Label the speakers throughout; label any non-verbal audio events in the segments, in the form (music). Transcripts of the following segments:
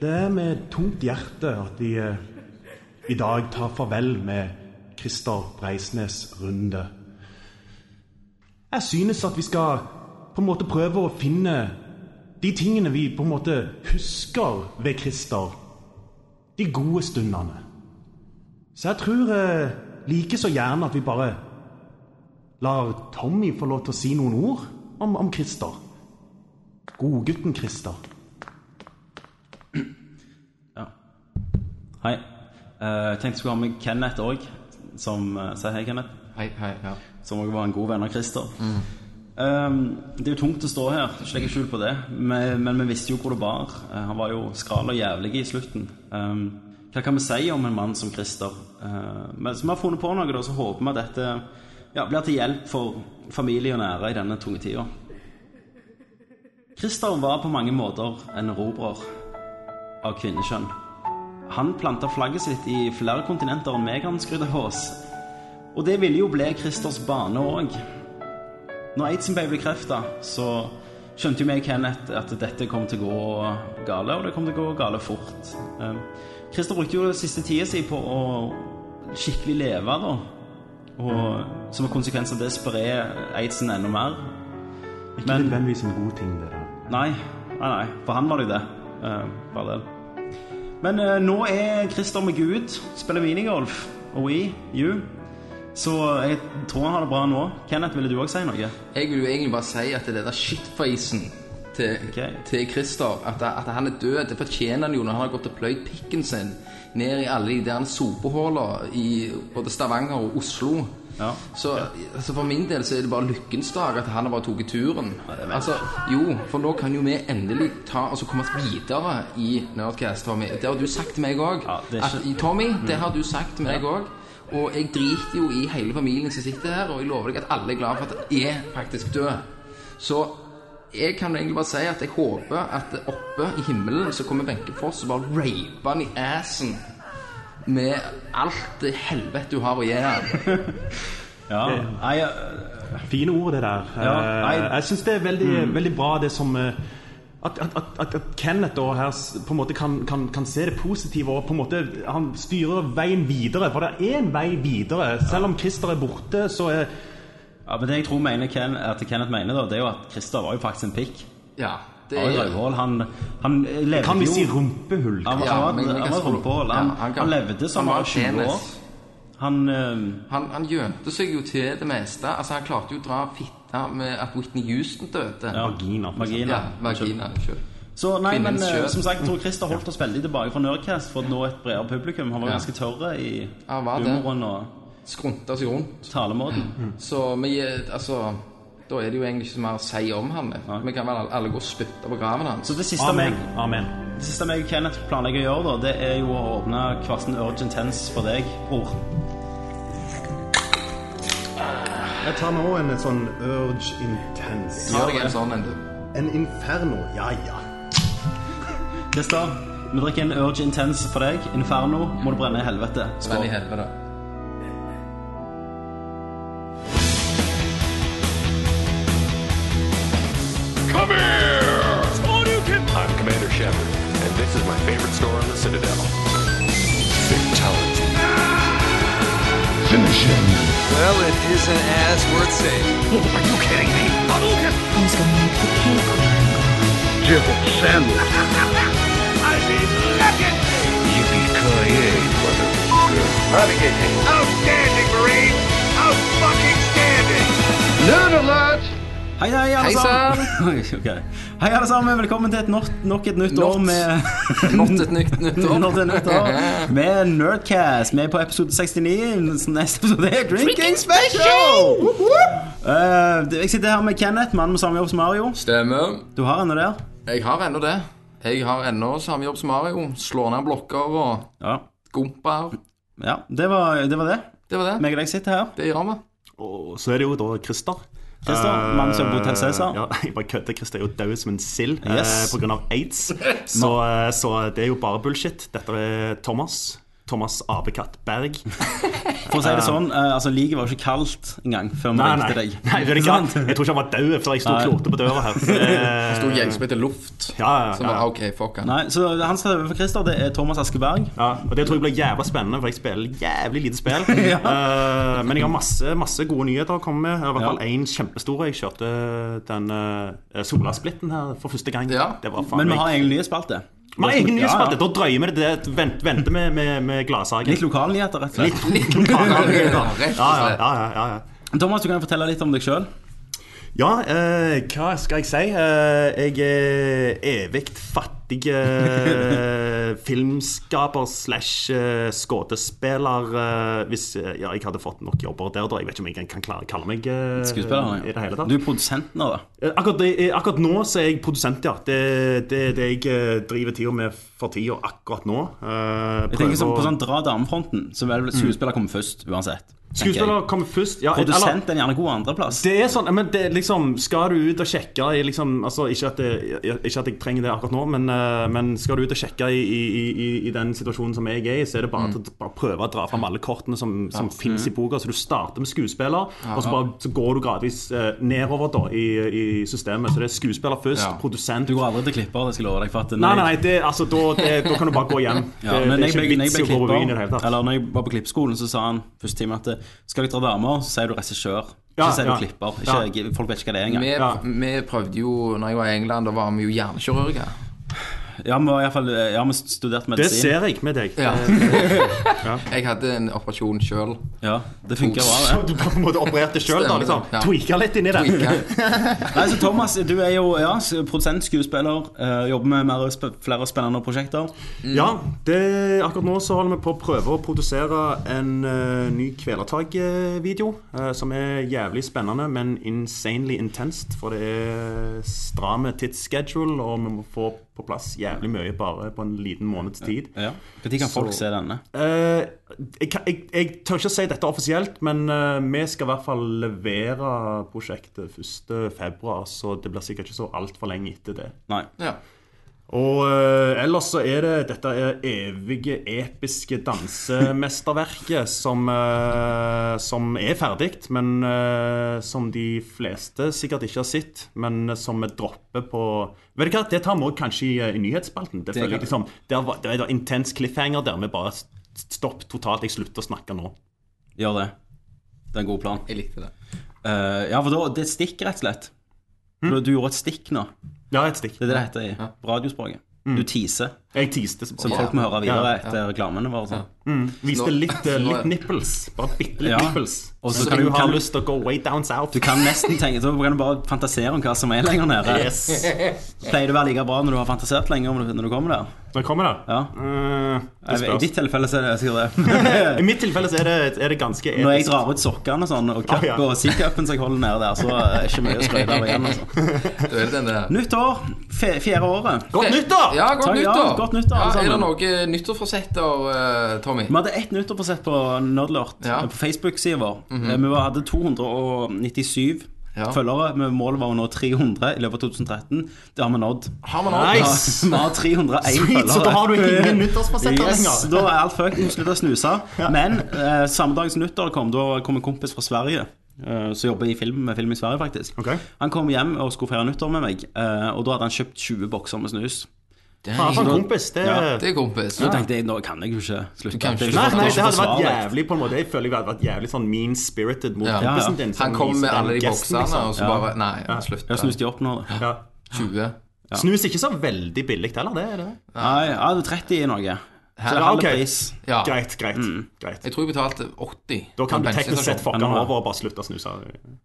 Speaker 1: Det er med et tungt hjerte at vi eh, i dag tar farvel med Christer Breisnes Runde. Jeg synes at vi skal på en måte prøve å finne de tingene vi på en måte husker ved Christer. De gode stundene. Så jeg tror eh, like så gjerne at vi bare lar Tommy få lov til å si noen ord om, om Christer. Godgutten Christer.
Speaker 2: Hei. Eh, Jeg tenkte jeg skulle ha med Kenneth òg. Som eh, Si hei, Kenneth.
Speaker 3: Hei, hei, ja.
Speaker 2: Som òg var en god venn av Christer. Eh, det er jo tungt å stå her, ikke legge skjul på det. Men, men vi visste jo hvor det bar. Eh, han var jo skral og jævlig i slutten. Eh, hva kan vi si om en mann som Christer? Eh, men så vi har funnet på noe, da, så håper vi at dette ja, blir til hjelp for familie og nære i denne tunge tida. Christer var på mange måter en erobrer av kvinnekjønn. Han planta flagget sitt i flere kontinenter enn meg han skrudde hos. Og det ville jo bli Christers bane òg. Når aidsen ble bekrefta, så skjønte jo meg og Kenneth at dette kom til å gå gale, og det kom til å gå gale fort. Eh, Christer brukte jo den siste tida si på å skikkelig leve, da. Og som en konsekvens av det spre aidsen enda mer.
Speaker 1: Ikke
Speaker 2: Men-
Speaker 1: nødvendigvis en god ting, det der.
Speaker 2: Nei, nei, nei. For han var det jo det. Eh, bare det. Men eh, nå er Christer med Gud, spiller minigolf og We, You. Så jeg tror han har det bra nå. Kenneth, ville du òg si noe?
Speaker 3: Jeg vil jo egentlig bare si at det der shitfacen til,
Speaker 2: Ok.
Speaker 3: til Christer, at, at han er død, det fortjener han jo når han har gått og pløyd pikken sin ned i alle de der sopehullene i både Stavanger og Oslo.
Speaker 2: Ja.
Speaker 3: Så altså for min del så er det bare lykkens dag at han har bare tatt turen.
Speaker 2: det er vel-
Speaker 3: Altså, jo, for nå kan jo vi endelig ta og så komme oss videre i Nerdcast, Tommy. Det har du sagt til meg òg.
Speaker 2: Ja, det er ikke- Mm.
Speaker 3: Tommy, det har du sagt til meg òg. Og jeg driter jo i hele familien som sitter her, og jeg lover deg at alle er glad for at jeg er faktisk død. Så jeg kan egentlig bare si at jeg håper at oppe i himmelen så kommer Wenche Foss og bare raper han i assen med alt det helvete du har å gi han.
Speaker 2: Ja. Nei, eh,
Speaker 1: Fine ord, det der.
Speaker 2: Ja,
Speaker 1: Eh,
Speaker 2: nei. Mm.
Speaker 1: jeg syns det er veldig, veldig bra det som eh, at, at, at, at- at Kenneth da her s- på en måte kan, kan, kan se det positive og på en måte han styrer veien videre. For det er en vei videre. Selv om Christer er borte, så er
Speaker 2: ja, men det jeg tror mener Ken, at Kenneth mener, da, det er jo at Christer var jo faktisk en pikk.
Speaker 3: Ja, det
Speaker 2: Han var jo rødhål. Han, han levde
Speaker 1: Kan vi
Speaker 2: jo
Speaker 1: si rumpehull?
Speaker 2: Han var,
Speaker 3: Ja,
Speaker 2: han
Speaker 3: men-
Speaker 2: var,
Speaker 3: men
Speaker 2: han
Speaker 3: hva
Speaker 2: var
Speaker 3: skal du-
Speaker 2: rumpehull.
Speaker 3: Ja,
Speaker 2: Han,
Speaker 3: han kan-
Speaker 2: han levde som han
Speaker 3: han var
Speaker 2: var 20 år.
Speaker 3: penis.
Speaker 2: Han eh,
Speaker 3: Han, han gjemte seg jo til det meste. Altså, han klarte jo å dra fitta med at Whitney Houston døde.
Speaker 2: ja,
Speaker 1: Vagina, for
Speaker 2: Vagina.
Speaker 3: ja vagina. Unnskyld.
Speaker 2: Så nei, men
Speaker 3: Kvinnens
Speaker 2: eh,
Speaker 3: kjøp.
Speaker 2: som sagt, jeg tror Christer holdt oss veldig tilbake fra Nerdcast for å nå et bredere publikum. Han var
Speaker 3: Ja.
Speaker 2: ganske tørre i
Speaker 3: Ja, var det.
Speaker 2: humoren og
Speaker 3: Skrunta seg rundt.
Speaker 2: talemåten.
Speaker 3: Så vi eh, Altså, da er det jo egentlig ikke så mer å si om han. Vi kan vel alle- alle gå og spytte på graven hans.
Speaker 2: Så det siste,
Speaker 1: Amen.
Speaker 2: meg,
Speaker 1: Amen.
Speaker 2: det siste meg og Kenneth planlegger å gjøre, da, det er jo å åpne Kvarten Urgent Tense for deg, bror.
Speaker 1: Jeg tar nå en sånn urge intense.
Speaker 3: Gjør deg en sånn en, du.
Speaker 1: En inferno. Ja, ja.
Speaker 2: Christer, vi drikker en Urge Intense for deg. Inferno må du brenne i helvete.
Speaker 3: Men i
Speaker 2: Skål.
Speaker 3: helvete.
Speaker 4: Come here! I'm Commander Shepard, and this is my favorite store on the Citadel. Fatality.
Speaker 5: Well, it isn't as worth saying.
Speaker 4: Are you kidding me?
Speaker 6: Who's gonna make the cake wrangle?
Speaker 4: (laughs) I mean, look at me! Yippee-ki-yay, motherfucker. Navigating. Outstanding, Marine! Out-fucking-standing!
Speaker 5: Nerd alert!
Speaker 2: Hei, hei, alle
Speaker 3: Hei,
Speaker 2: sammen! (laughs) Ok. Hei, alle sammen. Velkommen til et not, nok et nytt år
Speaker 3: Not.
Speaker 2: med
Speaker 3: Not et nytt nytt
Speaker 2: (laughs)
Speaker 3: år.
Speaker 2: Not et nytt år med Nerdcast. Vi er på episode 69. Så Neste episode er Drinking Special! Eh, det- jeg sitter her med Kenneth, mannen med samme jobb som Mario.
Speaker 3: (laughs) Stemmer.
Speaker 2: Du har henne der.
Speaker 3: Jeg har ennå det. Jeg har ennå samme jobb som Mario. Slår ned blokker og
Speaker 2: Ja.
Speaker 3: gomper.
Speaker 2: ja det, var, det var det.
Speaker 3: Det var det.
Speaker 2: Meg og deg sitter her.
Speaker 3: Det gjør vi.
Speaker 1: Og så er det jo da Christer.
Speaker 2: Christer,
Speaker 1: Eh,
Speaker 2: mannen som bor til Cæsar.
Speaker 1: Ja, (laughs) jeg bare kødder. Christer er jo død som en sild eh,
Speaker 2: Yes. (laughs)
Speaker 1: på grunn pga. aids. Så, eh, så det er jo bare bullshit. Dette er Thomas. Thomas Apekatt
Speaker 2: (laughs)
Speaker 1: Berg.
Speaker 2: For å si det sånn, eh, altså liket var jo ikke kaldt engang før vi
Speaker 1: Nei, nei. (laughs)
Speaker 2: ringte
Speaker 1: nei
Speaker 2: deg.
Speaker 1: det er ikke
Speaker 2: (laughs)
Speaker 1: sant. Jeg tror ikke han var død før jeg sto og
Speaker 2: Nei.
Speaker 1: klote på døra her.
Speaker 2: (laughs)
Speaker 1: Eh,
Speaker 3: Stor gjeng som heter Luft.
Speaker 1: Ja, ja, ja.
Speaker 3: Som var OK,
Speaker 1: (laughs)
Speaker 3: fuck han.
Speaker 2: Nei, så han som er over for Christer, det er Thomas Askeberg.
Speaker 1: Ja, og Det tror jeg blir jævla spennende, for jeg spiller jævlig lite
Speaker 2: (laughs)
Speaker 1: spill. Eh, men jeg har masse, masse gode nyheter å komme med. I hvert fall
Speaker 2: Ja.
Speaker 1: én kjempestor. Jeg kjørte den eh, Solasplitten her for første gang.
Speaker 3: Ja.
Speaker 1: Det var faen
Speaker 2: Men vi
Speaker 1: meg
Speaker 2: har egen nyhetsspalte.
Speaker 1: Men egen nyhetsspalte!
Speaker 2: Ja,
Speaker 1: Da drøyer vi det til vent, venter med, med, med
Speaker 2: ja.
Speaker 1: gladsaken.
Speaker 2: Litt lokalnyheter, rett og slett.
Speaker 3: Litt
Speaker 2: (laughs)
Speaker 3: lokale, (laughs) rett og
Speaker 1: Ja, ja,
Speaker 3: slett.
Speaker 1: ja, ja, ja, ja.
Speaker 2: Thomas, du kan fortelle litt om deg sjøl.
Speaker 1: Ja, eh, hva skal jeg si? Eh, jeg er evig fattig
Speaker 2: (laughs)
Speaker 1: eh, filmskaper slash eh, skuespiller. Eh, hvis eh, ja, jeg hadde fått nok jobber der, da. Jeg vet ikke om jeg kan klare, kalle meg eh,
Speaker 2: Skuespiller.
Speaker 1: i det hele tatt.
Speaker 2: Du er produsent nå, da.
Speaker 1: Eh, akkurat, eh, akkurat nå så er jeg produsent, ja. Det er det, det jeg eh, driver tida med for tida akkurat nå. Eh,
Speaker 2: Jeg tenker
Speaker 1: prøver
Speaker 2: sånn,
Speaker 1: å-
Speaker 2: På sånn dra damefronten, så vil skuespiller komme først uansett. tenker jeg.
Speaker 1: Skuespiller kommer først. Ja, eller-
Speaker 2: Produsent er gjerne god andreplass.
Speaker 1: Det er sånn, men det, er liksom, skal du ut og sjekke i liksom, altså, ikke, at det, ikke at jeg trenger det akkurat nå, men, eh, men skal du ut og sjekke i, i, i, i den situasjonen som jeg er i, så er det
Speaker 2: Mm.
Speaker 1: bare til å bare prøve å dra fram alle kortene som, som finnes i boka. Så du starter med skuespiller, og så, bare, så går du gradvis eh, nedover da, i, i systemet. Så det er skuespiller først,
Speaker 3: Ja.
Speaker 1: produsent
Speaker 2: Du går aldri til klipper, det skal jeg love deg. For at når
Speaker 1: Nei,
Speaker 2: jeg-
Speaker 1: nei, nei det, altså, da, det, da kan du bare gå hjem.
Speaker 2: Ja,
Speaker 1: det,
Speaker 2: men
Speaker 1: det er
Speaker 2: når jeg ble,
Speaker 1: ikke
Speaker 2: når jeg
Speaker 1: vits i
Speaker 2: ble
Speaker 1: å gå på byen i det hele
Speaker 2: klipper,
Speaker 1: tatt.
Speaker 2: eller når jeg var på klippskolen, så sa han første time at skal dere dra damer, så sier du regissør. Ikke
Speaker 1: Ja,
Speaker 2: sier du
Speaker 1: ja.
Speaker 2: klipper. Ikke, Folk vet ikke hva det er engang.
Speaker 3: Vi,
Speaker 1: Ja.
Speaker 3: vi prøvde jo, når jeg var i England, da var vi jo hjernekirurger.
Speaker 2: Ja, vi har i hvert fall- ja, vi studerte
Speaker 1: Det
Speaker 2: medisin.
Speaker 1: ser jeg med deg.
Speaker 3: Ja. Jeg hadde en operasjon sjøl.
Speaker 2: Ja, det funker bra, det.
Speaker 1: Så du på en måte opererte sjøl, da?
Speaker 3: Stemmer det.
Speaker 1: liksom
Speaker 3: Ja.
Speaker 1: Tweaka litt inni det?
Speaker 2: Nei, så Thomas, du er jo ja, produsent, skuespiller, eh, jobber med mer, sp flere spennende prosjekter.
Speaker 1: Ja, det, akkurat nå så holder vi på å prøve å produsere en eh, ny Kvelertak-video. eh, som er jævlig spennende, men insanely intenst. For det er stramme tidsschedule, og vi må få på plass jævlig mye bare på en liten måneds tid.
Speaker 2: Ja. Når kan folk
Speaker 1: Så-
Speaker 2: se denne?
Speaker 1: Eh, jeg, kan- jeg, jeg tør ikke å si dette offisielt, men eh, vi skal i hvert fall levere prosjektet 1.2., så det blir sikkert ikke så altfor lenge etter det.
Speaker 2: Nei.
Speaker 3: Ja.
Speaker 1: Og eh, ellers så er det dette er evige, episke dansemesterverket (laughs) som, eh, som er ferdig, men eh, som de fleste sikkert ikke har sett. Men som vi dropper på Vet du hva, Det tar vi også kanskje i, eh, i nyhetsspalten. Det, føler jeg liksom, der var, det er en intens cliffhanger der vi bare s- Stopp totalt, jeg slutter å snakke nå.
Speaker 2: Gjør det. Det er en god plan.
Speaker 3: Jeg likte det.
Speaker 2: Eh, ja, for da, det er et stikk, rett og slett.
Speaker 1: Hm?
Speaker 2: Du, du gjorde et stikk nå.
Speaker 1: Ja, et stikk.
Speaker 2: Det er det det heter i radiospråket. Du teaser,
Speaker 1: Jeg tiste. så
Speaker 2: som
Speaker 1: bare.
Speaker 2: folk må høre videre
Speaker 1: Hm. Ja,
Speaker 2: etter reklamene våre. og Sånn.
Speaker 1: Viste
Speaker 3: Nå-
Speaker 1: litt, eh,
Speaker 3: nå-
Speaker 1: litt nipples. Bare bitte litt
Speaker 2: Ja.
Speaker 1: nipples.
Speaker 2: Og så
Speaker 1: så
Speaker 2: kan
Speaker 1: du
Speaker 2: du-
Speaker 1: har
Speaker 2: kan-
Speaker 1: lyst til å gå way down south.
Speaker 2: Du kan nesten tenke, så kan du bare fantasere om hva som er lenger nede. (laughs)
Speaker 1: Yes.
Speaker 2: Pleier det å være like bra når du har fantasert lenge om det, når du kommer der?
Speaker 1: Når kommer det?
Speaker 2: Ja.
Speaker 1: Eh, det
Speaker 2: I
Speaker 1: spørs.
Speaker 2: ditt tilfelle så er det sikkert
Speaker 1: (laughs)
Speaker 2: det.
Speaker 1: I mitt tilfelle så er det, er det ganske
Speaker 2: Når jeg
Speaker 1: etisk.
Speaker 2: drar ut sokkene og sånn, og cup
Speaker 1: Ah, ja.
Speaker 2: og C-cupen som jeg holder nede der, så er det ikke mye å skryte av igjen. Altså.
Speaker 3: Da er det den der.
Speaker 2: Nytt år. Fe fjerde året.
Speaker 1: Godt nyttår!
Speaker 3: Ja, godt
Speaker 2: Takk, ja,
Speaker 3: nyttår.
Speaker 2: godt nyttår, alle
Speaker 3: ja, er det
Speaker 2: sammen.
Speaker 3: noe nyttårsforsetter, eh, Tommy?
Speaker 2: Vi hadde ett nyttårsforsett på Nerdlert
Speaker 3: Ja.
Speaker 2: på Facebook-sida vår.
Speaker 1: Mhm.
Speaker 2: Eh, Vi var- hadde 297
Speaker 3: Ja.
Speaker 2: følgere. men Målet var å nå 300 i løpet av 2013. Det har vi nådd.
Speaker 3: Har man
Speaker 1: Nei.
Speaker 3: alt?
Speaker 1: Nice.
Speaker 2: Vi har 301 følgere.
Speaker 1: Sweet, så da har du
Speaker 2: (laughs)
Speaker 1: ingen nyttårsforsetter
Speaker 2: Yes,
Speaker 1: lenger.
Speaker 2: da er alt fucked. Hun slutter å snuse. Men eh, samme dag som nyttår kom, da kom en kompis fra Sverige. eh, som jobber i film, med film i Sverige, faktisk.
Speaker 1: Ok.
Speaker 2: Han kom hjem og skulle feire nyttår med meg. eh, og da hadde han kjøpt 20 bokser med snus.
Speaker 1: Faen, for en
Speaker 3: Dang,
Speaker 1: kompis. Det,
Speaker 2: Ja.
Speaker 3: Det er kompis.
Speaker 2: Så tenkte jeg nå kan jeg jo ikke slutte.
Speaker 3: Du kan
Speaker 2: Det er
Speaker 3: ikke
Speaker 1: Nei, nei,
Speaker 2: jo det
Speaker 3: slutte.
Speaker 2: er
Speaker 1: det
Speaker 2: ikke
Speaker 1: hadde vært
Speaker 2: forsvarlig.
Speaker 1: jævlig på en måte. Jeg føler jeg hadde vært jævlig sånn mean-spirited mot
Speaker 3: Ja.
Speaker 1: kompisen
Speaker 2: Ja, ja.
Speaker 1: din. som
Speaker 3: Han kom
Speaker 1: viser
Speaker 3: med
Speaker 1: den
Speaker 3: alle de
Speaker 1: gesten,
Speaker 3: boksene,
Speaker 1: liksom.
Speaker 3: og så bare Nei, slutt.
Speaker 2: Jeg har snust i opp nå. da.
Speaker 1: Ja.
Speaker 3: 20.
Speaker 1: Snus ikke så veldig billig heller, det er det.
Speaker 2: Nei, ja, det er 30 i Norge. Så det er
Speaker 1: Ja,
Speaker 2: halv
Speaker 1: ok.
Speaker 2: pris.
Speaker 3: Ja.
Speaker 1: Greit, greit. greit.
Speaker 3: Jeg tror jeg betalte 80.
Speaker 1: Da
Speaker 3: på en
Speaker 1: kan du teknisk
Speaker 3: bensinstasjon.
Speaker 1: sett fucke
Speaker 2: Mm. Ja,
Speaker 1: han
Speaker 2: nå-
Speaker 1: over og bare slutte å snuse.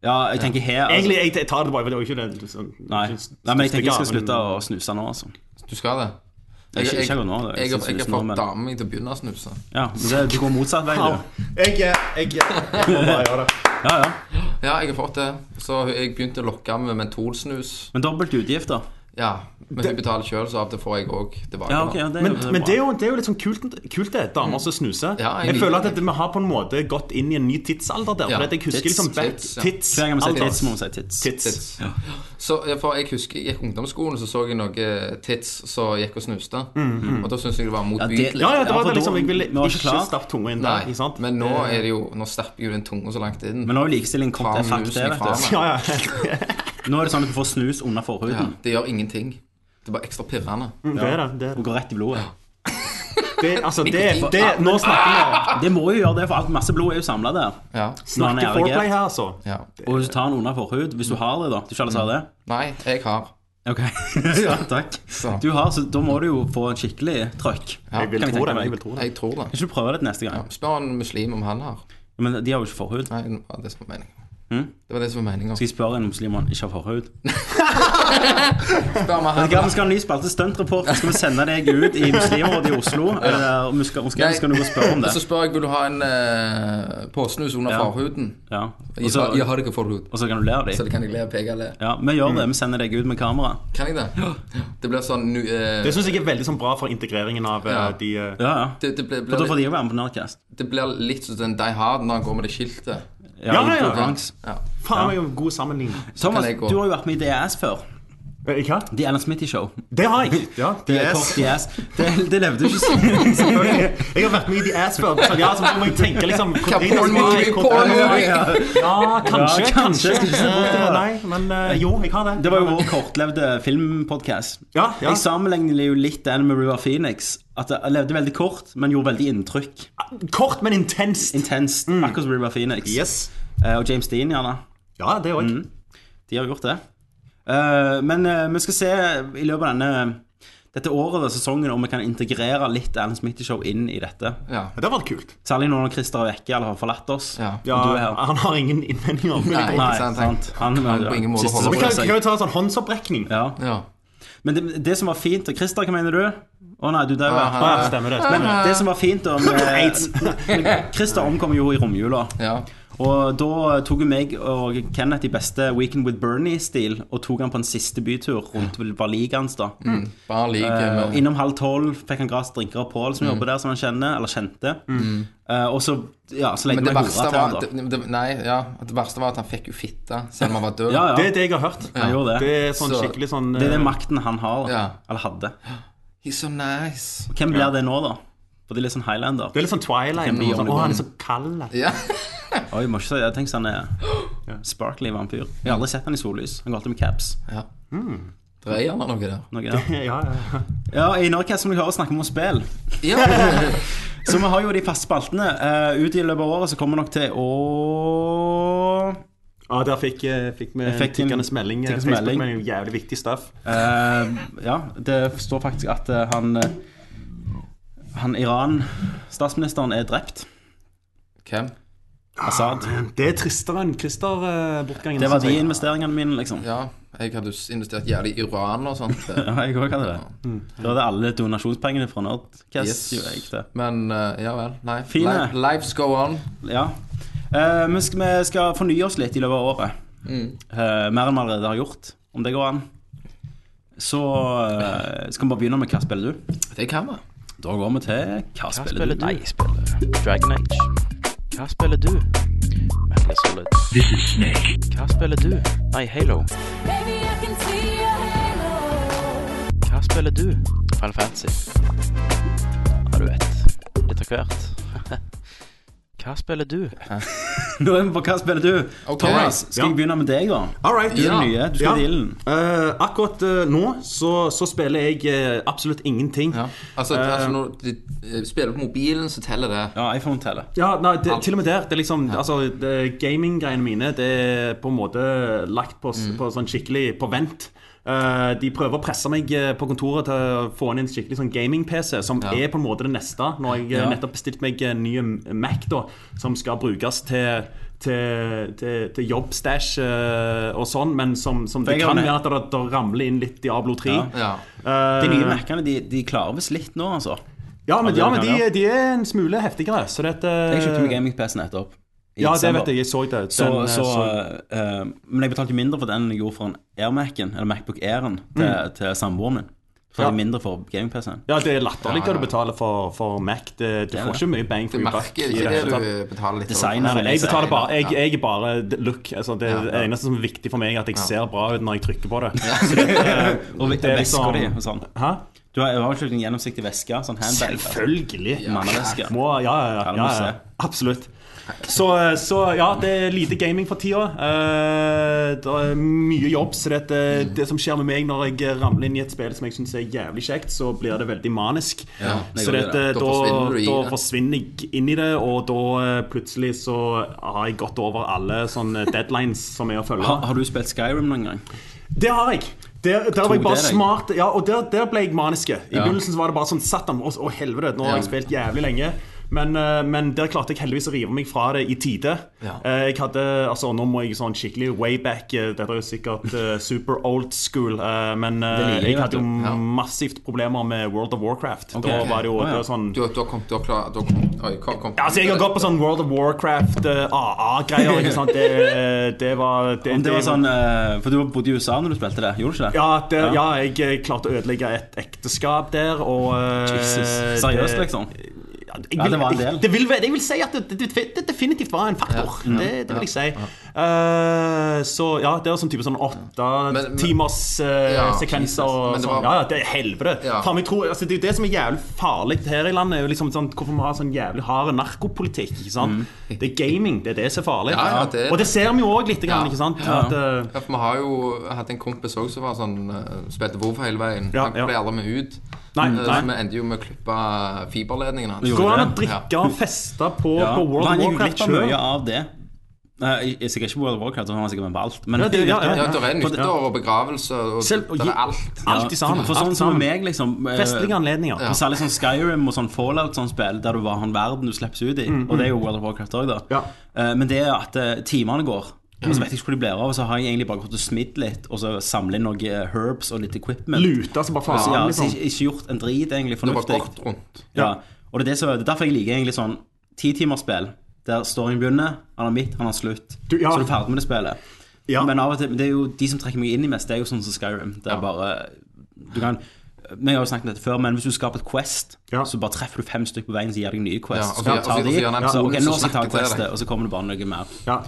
Speaker 2: Ja, jeg tenker her altså,
Speaker 1: Egentlig, jeg, jeg tar det bare, det var jo ikke det liksom,
Speaker 2: Nei. Nei, men jeg tenker jeg skal slutte å snuse nå, altså.
Speaker 3: Du skal det?
Speaker 2: Jeg- ikke akkurat nå, da. Jeg
Speaker 3: jeg,
Speaker 2: synes
Speaker 3: jeg
Speaker 2: det
Speaker 3: har
Speaker 2: er
Speaker 3: fått
Speaker 2: nå, men-
Speaker 3: damen min til å begynne å snuse.
Speaker 2: Ja, men det, du går motsatt vei,
Speaker 1: Au.
Speaker 2: du.
Speaker 1: Jeg, jeg, jeg, jeg må bare gjøre det.
Speaker 2: Ja, ja.
Speaker 3: Ja, jeg har fått det. Så jeg begynte å lokke med mentolsnus.
Speaker 2: Men dobbelt utgift, da.
Speaker 3: Ja, men jeg betaler sjøl, så av og til får jeg òg tilbake.
Speaker 2: Ja,
Speaker 3: da.
Speaker 2: ok, ja, det, er
Speaker 1: Men,
Speaker 2: jo-
Speaker 1: men det, er jo, det er jo litt sånn kult, kult det, damer som snuser.
Speaker 3: Mm. Ja, jeg
Speaker 1: jeg,
Speaker 3: liker
Speaker 1: føler at
Speaker 3: det.
Speaker 1: det, vi har på en måte gått inn i en ny tidsalder der.
Speaker 3: Ja,
Speaker 1: For at jeg husker
Speaker 2: tits,
Speaker 1: liksom back,
Speaker 3: tits, ja.
Speaker 1: tits,
Speaker 2: Hver gang vi sier
Speaker 1: alder.
Speaker 2: tits, må vi si tits.
Speaker 1: Tits.
Speaker 3: Ja. Så ja, for Jeg husker jeg gikk i ungdomsskolen, så så jeg noen tits som gikk og snuste. Og da syntes jeg det var motbydelig.
Speaker 1: Ja, ja, det
Speaker 2: Mhm. Ja,
Speaker 1: var
Speaker 2: for
Speaker 1: det liksom,
Speaker 2: da-
Speaker 1: jeg ville
Speaker 2: vi var ikke
Speaker 1: ikke
Speaker 2: klar.
Speaker 1: stappe tunga inn der.
Speaker 3: Nei,
Speaker 1: ikke sant?
Speaker 3: men nå er det jo Nå stapper jo den tunga så langt inn.
Speaker 2: Men nå har jo likestilling kommet til
Speaker 3: Ta
Speaker 2: fuck,
Speaker 3: musen
Speaker 2: det,
Speaker 3: ifra
Speaker 2: vet
Speaker 3: meg.
Speaker 2: du.
Speaker 1: ja, ja.
Speaker 2: Nå er det sånn at du får snus under
Speaker 3: altså. ja,
Speaker 2: forhuden.
Speaker 3: det gjør ingenting. Det er bare ekstra pirrende.
Speaker 2: Mm.
Speaker 1: Det er det. det, er
Speaker 2: Og
Speaker 1: det.
Speaker 2: går rett i blodet.
Speaker 1: det altså, det, det
Speaker 3: Ah,
Speaker 1: Nå snakker
Speaker 2: Det må jo gjøre det, for alt masse blod er jo samla der.
Speaker 3: Ja.
Speaker 1: vi snakker
Speaker 2: Når han er
Speaker 1: foreplay
Speaker 2: erigert.
Speaker 1: her, altså.
Speaker 3: ja.
Speaker 2: Og hvis du tar den under forhud, hvis du har det, da. Du ikke alle sa det?
Speaker 3: Nei, jeg
Speaker 2: (laughs)
Speaker 3: har.
Speaker 2: Ok, ja, takk.
Speaker 3: Så.
Speaker 2: Du har, så da må du jo få en skikkelig trøkk.
Speaker 1: Jeg vil
Speaker 2: Kan jeg
Speaker 1: tro
Speaker 2: tenke
Speaker 1: det.
Speaker 2: meg?
Speaker 1: Jeg vil tro det.
Speaker 3: Jeg tror det.
Speaker 2: Kan ikke du prøve det neste
Speaker 3: Ja.
Speaker 2: gang?
Speaker 3: Spør en muslim om han har.
Speaker 2: Men de har jo ikke forhud.
Speaker 3: Nei, det var det som var meningen. Det var det som var meningen.
Speaker 2: Mm. Skal jeg spørre en muslim om han ikke har forhud?
Speaker 3: Spør om han
Speaker 2: Vi skal, vi skal ha en ny spalte, stuntrapport. Skal vi sende deg ut i muslimrådet i Oslo? Eller om vi skal, om vi skal, skal du gå og spørre om det?
Speaker 3: (laughs) Så spør jeg vil du ha en eh, påsnus under
Speaker 2: Ja.
Speaker 3: forhuden.
Speaker 2: Ja. Og
Speaker 3: Jeg,
Speaker 2: så,
Speaker 3: har- jeg har det ikke forhud.
Speaker 2: og så kan du le av
Speaker 3: Så Mm.
Speaker 2: dem.
Speaker 3: det kan jeg le og peke og le.
Speaker 2: Ja, vi gjør det. Vi sender deg ut med kamera.
Speaker 3: Kan jeg det? Det blir sånn nu, eh,
Speaker 1: Det syns jeg er veldig sånn bra for integreringen av eh,
Speaker 3: Ja.
Speaker 1: de eh,
Speaker 2: Ja, ja.
Speaker 3: det, det, blir,
Speaker 2: Og da
Speaker 3: blir,
Speaker 2: får de jo være med på Nerdcast.
Speaker 3: litt- det blir litt sånn den Die Hard når han går med det skiltet.
Speaker 2: Ja,
Speaker 1: ja, ja.
Speaker 2: i Bronx.
Speaker 3: Ja.
Speaker 1: Faen, det er jo en god sammenligning.
Speaker 2: Thomas,
Speaker 3: kan jeg gå.
Speaker 2: du har jo vært med i DAS før.
Speaker 1: Eh, Hva?
Speaker 2: The Alan Smitty Show.
Speaker 1: Det har jeg! Ja,
Speaker 2: Det er kort i ass. Det, det levde du ikke
Speaker 3: (laughs)
Speaker 2: så
Speaker 1: Selvfølgelig. Jeg har vært med i The Ass før. Så ja, så må jeg tenke liksom
Speaker 3: porn movie, porn movie.
Speaker 1: Ja, kanskje.
Speaker 2: Ja, kanskje.
Speaker 1: kanskje.
Speaker 2: Skal ikke se bort ifra det.
Speaker 1: Eh, Nei, men eh, jo, jeg har det.
Speaker 2: Det var jo vår kortlevde filmpodcast.
Speaker 1: Ja, ja.
Speaker 2: Jeg sammenligner jo litt den med River Phoenix. At det levde veldig kort, men gjorde veldig inntrykk.
Speaker 1: Kort, men intenst.
Speaker 2: Intenst.
Speaker 3: Mm.
Speaker 2: Akkurat som River Phoenix.
Speaker 1: Yes.
Speaker 2: Eh, og James Dean, gjerne.
Speaker 1: Ja, det
Speaker 2: Mm.
Speaker 1: òg.
Speaker 2: De har gjort det. Eh, men eh, vi skal se i løpet av denne dette året og sesongen om vi kan integrere litt Alan Smitty Show inn i dette.
Speaker 3: Ja.
Speaker 1: Det var kult.
Speaker 2: Særlig nå når Christer er vekke eller har forlatt oss.
Speaker 3: Ja.
Speaker 1: Ja,
Speaker 2: Og du er her.
Speaker 1: han har ingen innvendinger. Men
Speaker 3: Nei.
Speaker 1: det går.
Speaker 2: Nei,
Speaker 3: ikke sant,
Speaker 2: sant. Han,
Speaker 3: Han på ingen måte
Speaker 2: Siste
Speaker 3: holder
Speaker 1: Vi
Speaker 2: som
Speaker 1: kan,
Speaker 2: bryr seg.
Speaker 1: kan jo ta en sånn håndsopprekning.
Speaker 2: Ja.
Speaker 3: ja.
Speaker 2: Men det, det som var fint og Christer, hva mener du? Å nei, du
Speaker 3: Ah,
Speaker 2: dauer.
Speaker 1: Ja, stemmer det. Stemmer. det.
Speaker 2: Det som var fint om eh,
Speaker 3: (laughs)
Speaker 2: (laughs)
Speaker 1: Aids.
Speaker 2: Christer omkom jo i romjula.
Speaker 3: ja.
Speaker 2: Og da tok jo meg og Kenneth i beste Weekend with Bernie-stil og tok han på en siste bytur rundt Valligans. da
Speaker 3: Bare like
Speaker 2: Eh,
Speaker 3: Mm. med Mm.
Speaker 2: Innom halv tolv fikk han gratis drinker av Pål, som jobber der, som han kjenner, eller kjente. Eh, og så ja, så
Speaker 3: Men
Speaker 2: lengte
Speaker 3: det
Speaker 2: vi hora
Speaker 3: verste
Speaker 2: til han,
Speaker 3: var
Speaker 2: da.
Speaker 3: det, det, Nei, ja. Det verste var at han fikk jo fitte selv om han var død.
Speaker 2: Ja, ja,
Speaker 1: Det er det jeg har hørt.
Speaker 2: han gjorde
Speaker 1: Det
Speaker 2: det.
Speaker 1: er sånn
Speaker 3: Så-
Speaker 1: skikkelig sånn
Speaker 2: Det er den
Speaker 1: eh,
Speaker 2: makten han har,
Speaker 3: Ja.
Speaker 2: eller hadde.
Speaker 3: He's so nice.
Speaker 2: Hvem blir det nå, da? For det er litt sånn Highlander.
Speaker 1: det er litt sånn Twilight.
Speaker 2: Hvem blir
Speaker 1: Sånn, Å,
Speaker 2: Oliver?
Speaker 1: han er så kald.
Speaker 3: Ja.
Speaker 2: Oi, må ikke si det. Tenk sånn eh, sparkly vampyr. Jeg har aldri sett han i sollys. Han går alltid med caps.
Speaker 3: ja.
Speaker 2: Hmm.
Speaker 3: Dreier han noe der?
Speaker 2: Noe der.
Speaker 1: Ja, ja, ja.
Speaker 2: Ja, i Norge som du hører snakker vi om spill.
Speaker 3: Ja.
Speaker 2: Så vi har jo de faste spaltene. Eh, ut i løpet av året så kommer vi nok til å
Speaker 1: Ja, der fikk, eh, fikk vi
Speaker 2: Jeg fikk en-
Speaker 1: tikkernes melding. eh,
Speaker 2: tikkernes melding.
Speaker 1: Facebook-melding er jo jævlig viktig stuff.
Speaker 2: eh, Ja, det står faktisk at eh, han eh, Han Iran-statsministeren er drept.
Speaker 3: Hvem?
Speaker 2: Assad.
Speaker 1: Det er tristere enn Christer-bortgangen.
Speaker 2: Det var de investeringene mine, liksom.
Speaker 3: Ja, jeg hadde jo investert jævlig i uran og sånt.
Speaker 2: (laughs) Ja, jeg òg hadde det. Da hadde alle donasjonspengene fra Nerdcast.
Speaker 3: Yes.
Speaker 2: jo, jeg det.
Speaker 3: Men eh, ja vel. Nei.
Speaker 2: Fine.
Speaker 3: Li- Lives go on.
Speaker 2: Ja. Eh, men skal, vi skal fornye oss litt i løpet av året. Eh, mer enn vi allerede har gjort, om det går an. Så eh, skal vi bare begynne med hva spiller du?
Speaker 3: Det kan vi.
Speaker 2: Da går vi til Hva spiller du?
Speaker 7: Nei, jeg spiller Dragon Age. Hva spiller du? Metal Gear Solid. This is Snake. Hva spiller du? Nei, Halo.
Speaker 8: Baby, I can see your halo.
Speaker 7: Hva spiller du? Final Fantasy. Ja, du vet. Litt av hvert. (laughs) Hva spiller du?
Speaker 2: (laughs) Nå er vi på Hva spiller du?
Speaker 3: Ok.
Speaker 2: Thomas, skal
Speaker 1: Ja.
Speaker 2: jeg begynne med deg, da?
Speaker 1: All right.
Speaker 2: Du er
Speaker 3: Ja.
Speaker 2: den nye. Du skal
Speaker 1: Ja.
Speaker 2: til ilden.
Speaker 1: Eh, akkurat eh, nå så, så spiller jeg eh, absolutt ingenting.
Speaker 3: Ja.
Speaker 1: Ja,
Speaker 3: Altså, altså når du eh, spiller på mobilen, så teller det.
Speaker 2: Ja, iPhone teller.
Speaker 1: nei, det, Til og med der. det er liksom, altså, det- Gaminggreiene mine Det er på en måte lagt på,
Speaker 2: Mm.
Speaker 1: s- på sånn skikkelig på vent. Eh, de prøver å presse meg eh, på kontoret til å få inn en skikkelig sånn gaming-PC, som
Speaker 3: Ja.
Speaker 1: er på en måte det neste. Nå har jeg eh,
Speaker 2: Ja.
Speaker 1: nettopp bestilt meg en ny mm, Mac, da, som skal brukes til til, til, til jobbstæsj eh, og sånn, men som, som det
Speaker 2: Jeg har
Speaker 1: kan
Speaker 2: det.
Speaker 1: være at det, det ramler inn litt Diablo 3.
Speaker 2: Ja.
Speaker 3: Ja.
Speaker 1: Eh.
Speaker 2: De nye Mac-ene de, de klarer visst litt nå, altså.
Speaker 1: Ja, men,
Speaker 2: det
Speaker 1: ja,
Speaker 2: kan
Speaker 1: men de,
Speaker 2: jeg
Speaker 1: de er eh, en smule heftigere. Så dette
Speaker 2: Jeg kjøpte meg gaming-PC nettopp.
Speaker 9: Ja, det
Speaker 2: desember.
Speaker 9: vet jeg. Jeg så det. Den,
Speaker 2: Så,
Speaker 9: eh,
Speaker 2: så, eh, men jeg betalte mindre for den enn jeg gjorde for en Air-Mac-en, eller Macbook Air-en, til, til samboeren min. Så
Speaker 1: Mm. Ja.
Speaker 2: jeg mindre for gaming-PC-en.
Speaker 1: Ja, det er latterlig hva du betaler for, for Mac. Det, du får ikke mye bang
Speaker 3: Det
Speaker 1: for your buck.
Speaker 3: merker jeg
Speaker 1: i
Speaker 3: ikke
Speaker 1: hele
Speaker 3: det
Speaker 1: tatt.
Speaker 3: du betaler litt
Speaker 2: Designer.
Speaker 3: for.
Speaker 1: Nei, jeg betaler
Speaker 2: (laughs)
Speaker 1: bare Jeg,
Speaker 3: Ja.
Speaker 1: jeg er bare look. Altså, det,
Speaker 3: Ja, ja.
Speaker 1: det eneste som er viktig for meg, er at jeg ser bra ut når jeg trykker på det.
Speaker 2: eh, Og
Speaker 1: Det er liksom-
Speaker 2: veska di og sånn.
Speaker 1: Hæ?
Speaker 2: Du har, jeg har jo ikke en gjennomsiktig veske, sånn handbag.
Speaker 3: altså.
Speaker 1: Selvfølgelig.
Speaker 2: Manneveske.
Speaker 1: Må, ja, ja, ja,
Speaker 2: Ja, det
Speaker 1: ja,
Speaker 2: må du
Speaker 1: ja.
Speaker 2: se.
Speaker 1: Absolutt. Så, så ja, det er lite gaming for tida. Eh, det er mye jobb. Så det, det, det som skjer med meg når jeg ramler inn i et spill som jeg syns er jævlig kjekt, så blir det veldig manisk.
Speaker 3: Ja,
Speaker 2: det
Speaker 1: så
Speaker 2: går
Speaker 1: det,
Speaker 2: det.
Speaker 1: da,
Speaker 3: Da
Speaker 1: da,
Speaker 3: forsvinner du i det.
Speaker 1: forsvinner jeg inn i det, og da eh, plutselig så har jeg gått over alle sånne deadlines som er å følge.
Speaker 2: Har, har du spilt Skyrim noen gang?
Speaker 1: Det har jeg. Der, der var jeg bare
Speaker 2: det deg.
Speaker 1: smart Ja, og der, der ble jeg maniske. I begynnelsen så var det bare sånn satan, å, å helvete, nå har jeg
Speaker 3: Ja.
Speaker 1: spilt jævlig lenge. Men, eh, men der klarte jeg heldigvis å rive meg fra det i tide.
Speaker 3: Ja.
Speaker 1: Eh, Jeg hadde, altså Nå må jeg sånn skikkelig way back. eh, Dette er jo sikkert eh, super old school. eh, Men eh,
Speaker 2: Det liker jeg,
Speaker 1: jeg hadde
Speaker 2: vet
Speaker 1: jo
Speaker 2: du.
Speaker 3: Ja.
Speaker 1: massivt problemer med World of Warcraft. Da var det jo
Speaker 2: Å, ja.
Speaker 1: det var sånn
Speaker 3: Du, du har kommet, du har klart du har kommet, Oi, kom, kom.
Speaker 1: Altså, jeg har gått på sånn World of Warcraft, eh, AA-greier. ikke sant? Det, eh, det var
Speaker 2: Om det var sånn, eh, For du bodde i USA når du spilte det, gjorde du ikke det?
Speaker 1: Ja, det, ja. jeg eh, klarte å ødelegge et ekteskap der, og eh,
Speaker 2: Jesus. Seriøst, liksom?
Speaker 1: Ja, jeg vil,
Speaker 2: Ja, det var en
Speaker 1: jeg-
Speaker 2: del.
Speaker 1: det vil, jeg vil si at det, det, det definitivt var en faktor.
Speaker 2: Mm.
Speaker 1: Det, det vil jeg si. Eh, så ja, det er sånn type sånn åtte
Speaker 3: Men- men-
Speaker 1: timers eh,
Speaker 3: Ja, Jesus.
Speaker 1: sekvenser og
Speaker 3: Men det
Speaker 1: sånn.
Speaker 3: var-
Speaker 1: Ja, ja, det er helvete.
Speaker 3: Ja.
Speaker 1: Faen, jeg tror, altså, det er jo det som er jævlig farlig her i landet, er jo liksom sånn, hvorfor vi har sånn jævlig hard narkopolitikk. Ikke sant? Det er gaming, det er det som er farlig.
Speaker 3: Mm. Ja, ja, det-
Speaker 1: Og det ser vi jo òg lite grann,
Speaker 3: Ja.
Speaker 1: ikke sant?
Speaker 2: Ja.
Speaker 1: At, eh,
Speaker 3: Ja, for vi har jo hatt en kompis også som var sånn eh, Spilte WoW hele veien.
Speaker 1: Ja,
Speaker 3: Han
Speaker 1: ja.
Speaker 3: ble aldri med ut.
Speaker 1: Nei,
Speaker 3: Eh,
Speaker 1: nei.
Speaker 3: Så vi endte jo med å klippe fiberledningen hans.
Speaker 2: Jo.
Speaker 1: Går det an å
Speaker 2: det?
Speaker 1: drikke og feste på,
Speaker 2: Ja.
Speaker 1: på World of
Speaker 2: han gikk jo
Speaker 1: Warcraft?
Speaker 2: glipp av mye av det. Nei, jeg- jeg er sikkert ikke World of Warcraft, han var sikkert med på alt. Men
Speaker 1: Ja, det- ja, ja.
Speaker 3: Ja, der er nyttår og begravelse og
Speaker 1: Selv-
Speaker 3: der er alt.
Speaker 1: Ja. Alt i sammen.
Speaker 2: For
Speaker 1: Alt
Speaker 2: sånn som
Speaker 1: sammen.
Speaker 2: meg, liksom eh,
Speaker 1: Festlige anledninger.
Speaker 2: og Særlig sånn Skyrim og sånn Fallout sånn spill, der du var han verden du slippes ut i. Og det er jo World of Warcraft òg, da.
Speaker 1: Mm, Ja. Mm.
Speaker 2: Eh, Men det er at eh, timene går. Og så vet jeg ikke hvor de blir av, og så har jeg egentlig bare gått og smidd litt, og så samlet noen eh, herbs og litt equipment.
Speaker 1: Lute som bare faen.
Speaker 2: Ja, altså,
Speaker 1: liksom.
Speaker 2: ikke, ikke gjort en drit egentlig
Speaker 3: Det var
Speaker 2: fornuftig.
Speaker 3: kort rundt.
Speaker 2: Ja. Og det er, det, som- det er derfor jeg liker egentlig sånn titimersspill. Der storyen begynner, han har midt, han har slutt.
Speaker 1: Du, ja.
Speaker 2: Så er du ferdig med det spillet.
Speaker 1: Ja.
Speaker 2: Men av og til, det er jo de som trekker meg inn i mest, det er jo sånn som Skyrim. Det er bare Du kan Vi har jo snakket om dette før, men hvis du skaper et Quest,
Speaker 1: Ja.
Speaker 2: så bare treffer du fem stykker på veien som gir deg nye
Speaker 3: Ja,
Speaker 2: Quest.
Speaker 3: og
Speaker 2: så
Speaker 3: så-
Speaker 2: kan du ta
Speaker 3: og så- og så
Speaker 2: de,
Speaker 3: gjør han en
Speaker 2: så,
Speaker 3: bonus
Speaker 2: ok, nå
Speaker 3: og
Speaker 2: skal jeg ta
Speaker 3: snakker til
Speaker 2: Questet,
Speaker 3: deg.
Speaker 2: og så kommer det bare noe mer.
Speaker 1: Ja.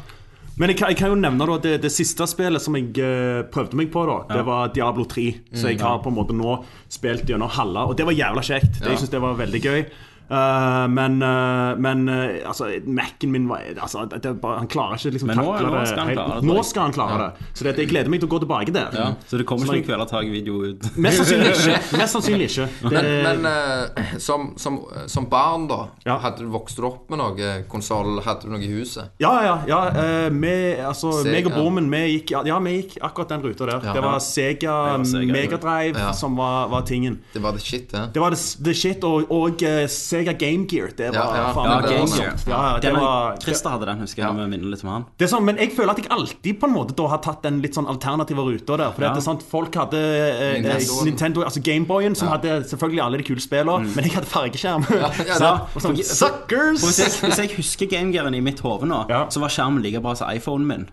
Speaker 1: Men jeg kan, jeg kan jo nevne da, det, det siste spillet som jeg eh, prøvde meg på. da Det var Diablo 3.
Speaker 2: Mm,
Speaker 1: Så jeg har på en måte nå spilt gjennom halve, og det var jævla kjekt. Det, jeg synes det var veldig gøy Eh, Men, eh, men eh, altså, Mac-en min var altså, det er bare, Han klarer ikke liksom
Speaker 2: Men nå-
Speaker 1: takle
Speaker 2: nå
Speaker 1: det
Speaker 2: skal han
Speaker 1: helt-
Speaker 2: klare det, tror
Speaker 1: Nå
Speaker 2: jeg.
Speaker 1: skal han klare det. Så det, jeg gleder meg til å gå tilbake der.
Speaker 2: Ja. Så det kommer
Speaker 1: Så jeg-
Speaker 2: ikke noen kvelertak-video ut.
Speaker 1: Mest
Speaker 2: (laughs)
Speaker 1: sannsynlig ikke. Mest sannsynlig ikke. Det,
Speaker 3: Men, men eh, som, som, som barn, da,
Speaker 1: Ja.
Speaker 3: hadde du vokst du opp med noe konsoll? Hadde du noe i huset?
Speaker 1: Ja, ja. ja eh, vi, altså,
Speaker 3: Sega.
Speaker 1: meg og broren min vi gikk, ja, ja, vi gikk akkurat den ruta der. det var Sega,
Speaker 2: Sega,
Speaker 1: Megadrive
Speaker 3: ja.
Speaker 1: som var, var tingen.
Speaker 3: Det var det shit, det.
Speaker 1: Det var the, the shit. Og, og eh, Sega Game Gear. Det var
Speaker 3: Ja, ja.
Speaker 1: faen
Speaker 2: Ja,
Speaker 1: meg
Speaker 2: Game
Speaker 1: awesome.
Speaker 2: Gear.
Speaker 1: Ja, ja, det
Speaker 2: Den-
Speaker 1: var det,
Speaker 2: Christer hadde den, husker jeg. Vi minner litt om han.
Speaker 1: det er sånn, Men jeg føler at jeg alltid på en måte da har tatt den litt sånn alternative ruta der. For det er sant, folk hadde eh, eh,
Speaker 3: Nintendoen.
Speaker 1: Nintendo, altså Gameboyen, som hadde selvfølgelig alle de kule spillene, men jeg hadde fargeskjerm.
Speaker 3: ja,
Speaker 1: (laughs) Så,
Speaker 3: da.
Speaker 1: og sånn, Suckers!
Speaker 2: Hvis jeg, hvis jeg husker gamegearen i mitt hode nå,
Speaker 1: Ja.
Speaker 2: så var skjermen like bra som iPhonen min.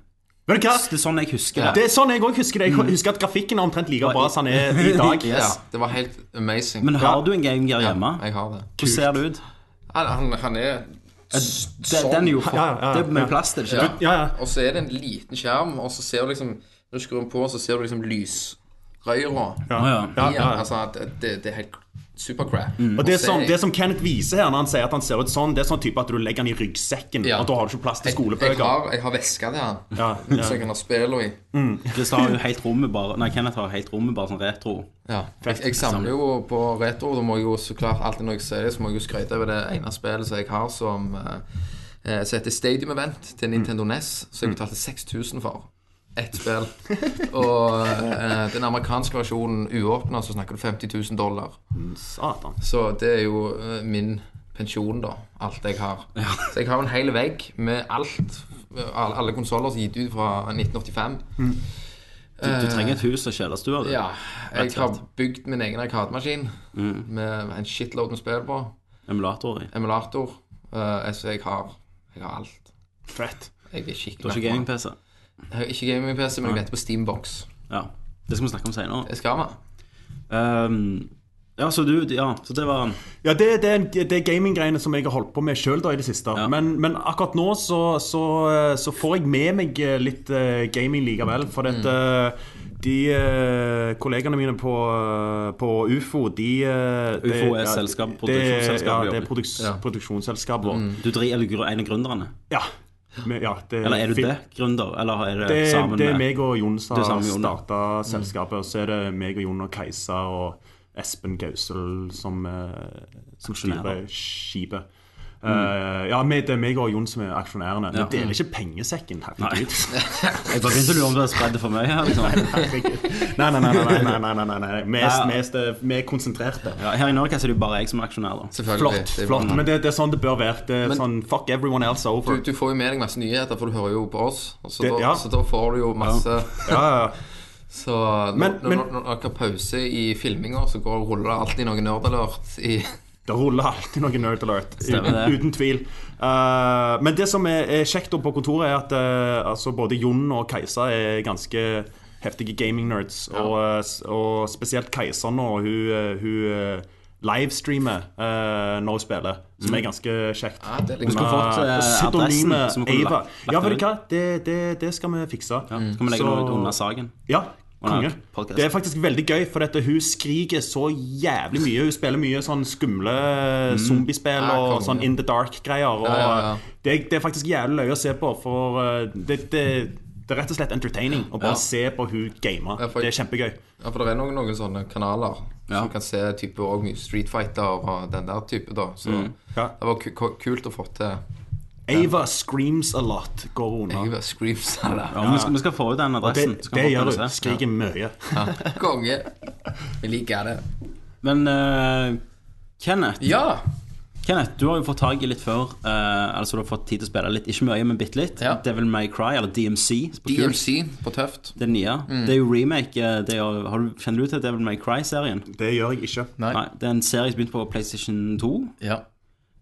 Speaker 1: Vet du hva?
Speaker 2: Det er sånn jeg husker
Speaker 1: Det
Speaker 2: det.
Speaker 1: er sånn jeg også husker det. Jeg husker at grafikken er omtrent like bra som den er i
Speaker 2: (laughs)
Speaker 1: dag.
Speaker 3: (laughs) Ja, det var helt amazing.
Speaker 2: Men har du en gamegear hjemme?
Speaker 3: Jeg har det.
Speaker 2: Hvordan ser det ut?
Speaker 3: Han, han, han er sånn.
Speaker 2: Den, den er jo for,
Speaker 1: Sånn. Ja, ja, ja.
Speaker 2: Det er med plass til, ikke
Speaker 3: ja.
Speaker 2: sant?
Speaker 1: Ja, ja.
Speaker 3: Og så er det en liten skjerm, og så ser du liksom Når du skrur den på, så ser du liksom lysrøyra. Ja.
Speaker 2: Å, ja.
Speaker 1: Ja, ja, Mm. ja.
Speaker 3: Altså, at det, det er helt supercrap.
Speaker 1: Og det som, det som Kenneth viser her, når han sier at han ser ut sånn, det er sånn type at du legger han i ryggsekken,
Speaker 3: Ja.
Speaker 1: og da har du ikke plass til
Speaker 3: Jeg, jeg,
Speaker 1: skolebøker.
Speaker 3: har, jeg har veska til han,
Speaker 1: Ja, ja.
Speaker 3: (laughs) så jeg kan ha spillene i.
Speaker 2: Christer har jo helt rommet bare Nei, Kenneth har helt rommet bare sånn retro.
Speaker 3: Ja. Jeg, jeg samler jo på retro. Da må jeg jo så klart alltid når jeg sier det, så må jeg jo skryte over det ene spillet som jeg har som eh, eh, som heter Stadium Event til Nintendo NES, som jeg betalte 6000 for. Ett spill. Og eh, den amerikanske versjonen uåpna, så snakker du 50 000 dollar.
Speaker 1: Satan.
Speaker 3: Så det er jo eh, min pensjon, da. Alt jeg har. Så jeg har en hel vegg med alt. eh, Alle, alle konsoller som er gitt ut fra 1985.
Speaker 2: Du
Speaker 1: Eh.
Speaker 2: trenger et hus og kjellerstue. du.
Speaker 3: Ja, jeg
Speaker 2: Rett og
Speaker 3: har
Speaker 2: slett.
Speaker 3: bygd min egen arkademaskin
Speaker 1: Mm.
Speaker 3: med en shitload med spill på.
Speaker 2: Emulator i.
Speaker 3: Emulator. eh, så jeg har, jeg har alt.
Speaker 1: Fett.
Speaker 3: Jeg er skikkelig
Speaker 2: Du har ikke
Speaker 3: gaming.
Speaker 2: gaming-PC?
Speaker 3: Jeg har ikke gaming-PC, men jeg venter på Steambox.
Speaker 2: Ja. Det skal vi snakke om senere.
Speaker 3: Det skal vi.
Speaker 2: Ehm, ja, så du Ja, så det var
Speaker 1: Ja, det, det er, en- det er gaminggreiene som jeg har holdt på med sjøl i det siste.
Speaker 2: Ja.
Speaker 1: Men, men akkurat nå så, så, så får jeg med meg litt eh, gaming likevel. For at eh, de eh, kollegene mine på, eh, på UFO, de eh, det-
Speaker 2: UFO er
Speaker 1: ja,
Speaker 2: selskap,
Speaker 1: det-
Speaker 2: produksjonsselskap
Speaker 1: Ja,
Speaker 2: vi
Speaker 1: det er
Speaker 2: jobber i. Mm.
Speaker 1: produks, produksjonsselskap vår.
Speaker 2: Du dri- er du gr- en av gründerne?
Speaker 1: Ja. Men, ja, det,
Speaker 2: Eller er du
Speaker 1: fi-
Speaker 2: det? Gründer? Eller er det,
Speaker 1: Det,
Speaker 2: sammen
Speaker 1: det er
Speaker 2: med
Speaker 1: meg og Jon som
Speaker 2: Det er
Speaker 1: har
Speaker 2: sammen med Jon, ja. Mm.
Speaker 1: starta selskapet. Og så er det meg og Jon og Kajsa og Espen Gausel som, eh, som styrer
Speaker 2: Aksjonærer. Mm.
Speaker 1: skipet. Eh, ja, med, det er meg og Jon som er aksjonærene.
Speaker 2: Ja.
Speaker 1: Vi deler ikke pengesekken. Herregud.
Speaker 2: (laughs) Jeg bare begynte å lure om du har spredd det for mye her. Liksom.
Speaker 1: herregud. Nei, nei, nei. nei, nei, nei, nei, nei, nei.
Speaker 2: (laughs)
Speaker 1: Vi, er,
Speaker 2: Ja.
Speaker 1: vi, er, st- vi er konsentrerte.
Speaker 2: Ja, her i Norge så er det jo bare jeg som er aksjonær, da.
Speaker 3: Selvfølgelig.
Speaker 1: Flott.
Speaker 3: Det er-
Speaker 1: flott, Men det, det er sånn det bør være. Det er
Speaker 3: Men-
Speaker 1: sånn, Fuck everyone else
Speaker 3: Du,
Speaker 1: over.
Speaker 3: du får jo med deg masse nyheter, for du hører jo på oss. Og så,
Speaker 1: Det-
Speaker 3: da,
Speaker 1: ja.
Speaker 3: så da får du jo masse
Speaker 1: Ja, ja, ja.
Speaker 3: Så når,
Speaker 1: Men- men-
Speaker 3: når, når dere har pause i filminga, så går, ruller det alltid noe nerdalert i
Speaker 1: Det ruller alltid noe nerd alert.
Speaker 2: Stemmer
Speaker 1: Uten,
Speaker 2: det.
Speaker 1: uten tvil. Eh, men det som er, er kjekt på kontoret, er at eh, altså både Jon og Kajsa er ganske heftige gaming-nerds. Og, eh, s- og spesielt Kajsa nå. Hun, eh, hun eh, livestreamer eh, når hun spiller, som er ganske kjekt.
Speaker 3: Mm. Ja, det er
Speaker 2: Vi
Speaker 3: liksom
Speaker 2: skulle fått eh, adressen.
Speaker 1: Pseudonyme
Speaker 2: så vi kunne
Speaker 1: Ava.
Speaker 2: lagt- lagt
Speaker 1: Ja,
Speaker 2: den
Speaker 1: vet
Speaker 2: ut. Mm.
Speaker 1: du hva? Det, det, det skal vi fikse.
Speaker 2: Så kan vi legge den ut under saken.
Speaker 1: Ja, konge.
Speaker 2: Under podcasten.
Speaker 1: Det er faktisk veldig gøy, for dette, hun skriker så jævlig mye. Hun spiller mye sånn skumle zombiespill
Speaker 3: Mm. Ja,
Speaker 1: og
Speaker 3: konge.
Speaker 1: sånn In the Dark-greier. Og
Speaker 3: Ja, ja, ja.
Speaker 1: Det, er- det er faktisk jævlig løye å se på, for eh, det, det, det er rett og slett entertaining å
Speaker 3: Ja.
Speaker 1: bare se på hun game.
Speaker 3: Ja, for-
Speaker 1: Det er kjempegøy.
Speaker 3: Ja, for det er noen, noen sånne kanaler
Speaker 2: Ja.
Speaker 3: som kan se type også mye Street Fighter og den der type, da. Så
Speaker 2: Mm.
Speaker 1: Ja.
Speaker 3: det var ku- ku- kult å få til
Speaker 1: Ava screams a lot går under.
Speaker 3: Ava Screams eller
Speaker 2: Ja, men vi, skal, vi skal få ut den
Speaker 1: Det,
Speaker 2: adressen. så
Speaker 1: det
Speaker 2: kan folk
Speaker 1: gjør
Speaker 2: kunne
Speaker 1: du.
Speaker 2: se.
Speaker 1: Skriker mye.
Speaker 3: (laughs) Konge. Vi liker det.
Speaker 2: Men eh, Kenneth,
Speaker 3: Ja!
Speaker 2: Kenneth, du har jo fått tak i litt før. eh, altså Du har fått tid til å spille litt. Ikke mye, men bitte litt.
Speaker 3: Ja.
Speaker 2: Devil May Cry, eller DMC. På kult.
Speaker 3: DMC på tøft.
Speaker 2: Det nye. Det er jo remake. eh, Det er, jo- har du, kjenner du til Devil May Cry-serien?
Speaker 1: Det gjør jeg ikke.
Speaker 3: Nei.
Speaker 2: Det er en serie som begynte på PlayStation 2.
Speaker 3: Ja.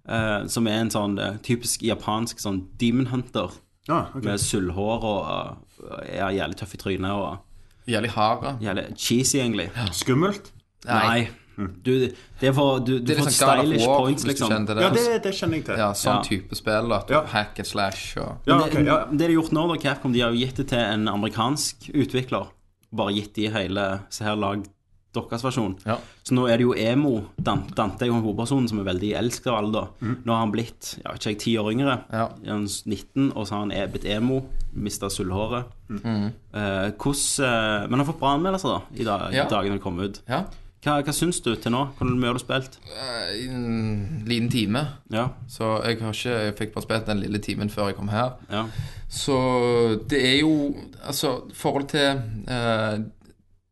Speaker 2: eh, som er en sånn eh, typisk japansk sånn demon hunter.
Speaker 1: Ah, ok.
Speaker 2: Med sølvhår og eh, er jævlig tøff i trynet og
Speaker 3: Jævlig hard. da.
Speaker 2: jævlig cheesy, egentlig.
Speaker 1: Skummelt?
Speaker 2: Nei.
Speaker 1: Hm.
Speaker 2: Du, det er for, du, du
Speaker 3: Det er
Speaker 2: får
Speaker 3: litt sånn God
Speaker 2: stylish
Speaker 3: of War,
Speaker 2: points,
Speaker 3: hvis du
Speaker 2: liksom.
Speaker 3: kjente det.
Speaker 1: Ja, det, det kjenner jeg til.
Speaker 3: Ja, sånn
Speaker 2: Ja.
Speaker 3: type spill. At du
Speaker 1: Ja.
Speaker 3: Hack and slash og
Speaker 1: Ja,
Speaker 2: Men
Speaker 1: ok,
Speaker 2: det,
Speaker 1: ja.
Speaker 2: men det de har gjort nå, da, Capcom, de har jo gitt det til en amerikansk utvikler. Bare gitt de hele Se her, lag deres versjon.
Speaker 3: Ja.
Speaker 2: Så nå er det jo emo. Dan- Dante er jo hovedpersonen som er veldig elsket av alle, da. Nå har han blitt ja, ikke jeg, ti år yngre.
Speaker 3: Mm. Ja.
Speaker 2: Han er 19, og så har han er blitt emo. Mista sølvhåret.
Speaker 3: Mm.
Speaker 2: Eh, hvordan, eh, men han har fått bra anmeldelser da, i, dag,
Speaker 3: Ja.
Speaker 2: i dagen det kom ut.
Speaker 3: Ja.
Speaker 2: Hva, hva syns du til nå? Hvor mye har du spilt?
Speaker 3: Eh, i En liten time.
Speaker 2: Ja,
Speaker 3: Så jeg har ikke Jeg fikk bare spilt den lille timen før jeg kom her.
Speaker 2: ja.
Speaker 3: Så det er jo Altså, i forhold til eh,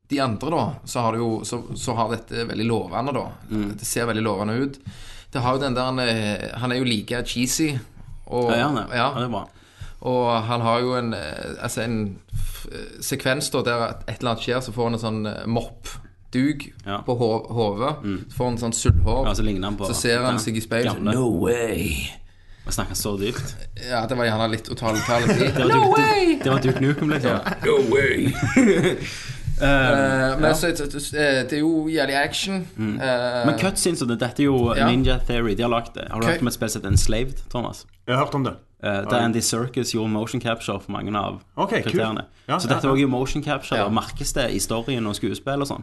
Speaker 3: de andre, da, så har, det jo, så, så har dette veldig lovende, da.
Speaker 2: Mm.
Speaker 3: Det ser veldig lovende ut. Det har jo den der eh, Han er jo like cheesy. Og,
Speaker 2: Ja, gjerne. Ja. det er bra.
Speaker 3: Og han har jo en, eh, altså en f- eh, sekvens da, der at et eller annet skjer, så får han en sånn eh, moppduk
Speaker 2: Ja. Mm.
Speaker 3: på ho- hodet. Så får han en sånn sullhår.
Speaker 2: Ja, så ligner han på
Speaker 3: så ser han seg i speilet.
Speaker 2: Gamle.
Speaker 3: No way!
Speaker 2: Jeg snakker så dypt.
Speaker 3: Ja, det var gjerne litt å ta litt
Speaker 2: (laughs)
Speaker 3: tall.
Speaker 2: Det var Duke, det, det var Duke Nukem, liksom.
Speaker 3: No way! Men så, så- så- eh, det er jo jævlig action. Eh,
Speaker 2: Mm. Men cutscenes og det, dette er jo
Speaker 3: Ja.
Speaker 2: Ninja Theory. De har lagt det. Har du
Speaker 3: Ok.
Speaker 2: hørt om et spill som heter Enslaved, Thomas?
Speaker 1: Jeg har hørt om det.
Speaker 2: Eh, der Andy Circus gjorde motion capture for mange av
Speaker 1: Ok, kult.
Speaker 2: kriteriene.
Speaker 1: Ja,
Speaker 2: så
Speaker 1: ja,
Speaker 2: dette
Speaker 1: ja.
Speaker 2: er også jo motion capture.
Speaker 3: Ja.
Speaker 2: og Merkes det i storyen og skuespill og sånn?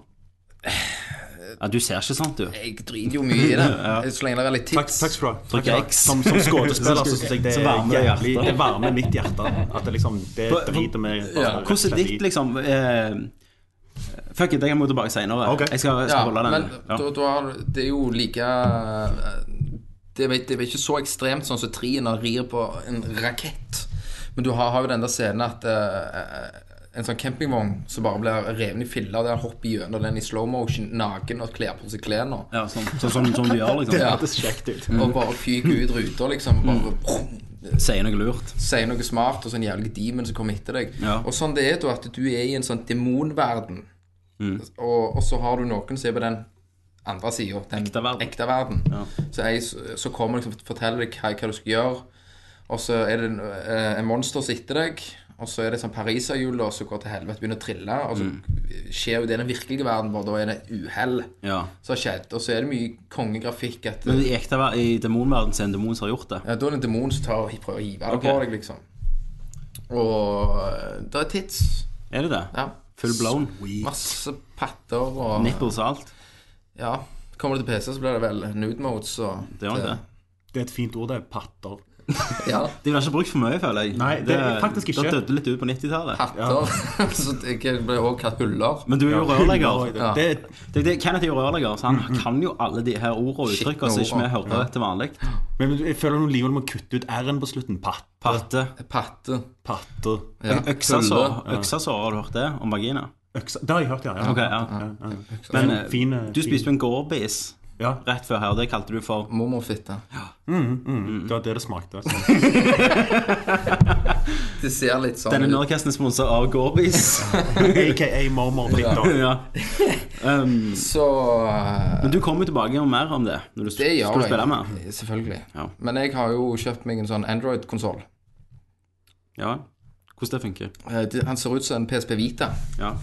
Speaker 2: Ja, du ser ikke sant, du.
Speaker 3: jeg driter jo mye i det.
Speaker 2: (laughs)
Speaker 3: Så lenge det er litt
Speaker 1: Takk,
Speaker 3: tids.
Speaker 1: takk skal du ha.
Speaker 2: Trykk
Speaker 1: Takk skal du ha.
Speaker 2: X.
Speaker 1: Som, som
Speaker 2: (laughs)
Speaker 1: skuespiller altså, så synes jeg det
Speaker 2: Så
Speaker 1: er
Speaker 2: varmer det
Speaker 1: jævlig
Speaker 2: hjertet.
Speaker 1: Det varmer mitt hjerte. At det liksom Det
Speaker 2: For- for-
Speaker 1: driter vi bare
Speaker 3: Ja.
Speaker 1: rett og
Speaker 2: Hvordan er
Speaker 1: slett i.
Speaker 2: ditt, liksom eh, Fuck it, det kan vi gå tilbake senere.
Speaker 1: Ok.
Speaker 2: Jeg skal, jeg skal
Speaker 3: Ja,
Speaker 2: holde
Speaker 3: men
Speaker 2: den. Ja.
Speaker 3: da, da har, det er jo like eh, Det er det er ikke så ekstremt sånn som trien rir på en rakett. Men du har, har jo den der scenen at eh, en sånn campingvogn som bare blir reven i filler, der han hopper gjennom den i slow motion, naken og kler på seg klærne.
Speaker 2: Ja, sånn sånn som du gjør, liksom.
Speaker 3: Ja.
Speaker 1: Det ser kjekt ut.
Speaker 3: Og bare fyker ut ruter, liksom. Bare
Speaker 2: Mm.
Speaker 3: brum,
Speaker 2: Sier noe lurt.
Speaker 3: sier noe smart, og så en jævlig demon som kommer etter deg.
Speaker 2: Ja.
Speaker 3: Og sånn det er da at du er i en sånn demonverden,
Speaker 2: Mm.
Speaker 3: og, og så har du noen som er på den andre sida, den
Speaker 2: Ekte verden.
Speaker 3: verden. Så ei s- så kommer liksom og forteller deg hva, hva du skal gjøre. Og så er det en, eh, en monster som er etter deg. Og så er det sånn pariserhjul da, som går til helvete, begynner å trille. Og så
Speaker 2: Mm.
Speaker 3: skjer jo det i den virkelige verden, hvor da er det uhell
Speaker 2: Ja.
Speaker 3: som har skjedd. Og så er det mye kongegrafikk. At,
Speaker 2: Men i ekte ver- i demonverden så er det en demon som har gjort det.
Speaker 3: Ja, da er det en demon som tar og hi- prøver å hive det
Speaker 2: Ok.
Speaker 3: på deg, liksom. Og eh, det er tits.
Speaker 2: Er det det?
Speaker 3: Ja.
Speaker 2: Full blown?
Speaker 3: Masse patter og
Speaker 2: Nipples og alt?
Speaker 3: Ja. Kommer det til PC, så blir det vel nude mode, så
Speaker 2: Det gjør nok det.
Speaker 1: Det er et fint ord, det. er Patter.
Speaker 3: Ja.
Speaker 2: De blir ikke brukt for mye, føler jeg.
Speaker 1: Nei, det- faktisk ikke.
Speaker 2: Det døde litt ut på 90-tallet.
Speaker 3: Patter. (laughs) så det blir også kalt huller.
Speaker 2: Men du er jo rørlegger.
Speaker 3: Ja. Mhm.
Speaker 1: Det,
Speaker 2: Det, det, Kenneth er jo rørlegger, så han kan jo alle de her ordene og
Speaker 3: Shit,
Speaker 2: uttrykkene som ikke vi
Speaker 3: ordene.
Speaker 2: hører til vanlig.
Speaker 1: men jeg føler noen livet må kutte ut r-en på slutten. Pat,
Speaker 2: Patte.
Speaker 3: Patte.
Speaker 1: patter.
Speaker 3: Ja.
Speaker 2: Øksasår.
Speaker 3: Hulle.
Speaker 2: Øksasår, har du hørt det? Om vagina.
Speaker 1: Øksa. Det har jeg hørt, ja. ja.
Speaker 2: Ok, ja. Men
Speaker 1: Men
Speaker 2: eh,
Speaker 1: fin,
Speaker 2: du spiste jo en gårdbis
Speaker 1: Ja,
Speaker 2: rett før her, og det kalte du for
Speaker 3: Mormorfitte.
Speaker 2: Mm.
Speaker 1: det var sånn. det det smakte. Så. (laughs)
Speaker 3: Det ser litt sånn
Speaker 2: Denne
Speaker 3: ut.
Speaker 2: nerdcasten er sponset av gårdbis.
Speaker 1: AKA mormorfitter.
Speaker 2: (laughs) ja. um,
Speaker 3: Så eh,
Speaker 2: men du kommer jo tilbake og mer om det når du sp-
Speaker 3: det gjør
Speaker 2: skal du
Speaker 3: jeg.
Speaker 2: spille med.
Speaker 3: Øh, Selvfølgelig.
Speaker 2: Ja.
Speaker 3: Men jeg har jo kjøpt meg en sånn Android-konsoll.
Speaker 2: Ja. Hvordan det funker.
Speaker 3: Øh, Han ser ut som en PSP Vita.
Speaker 2: Ja.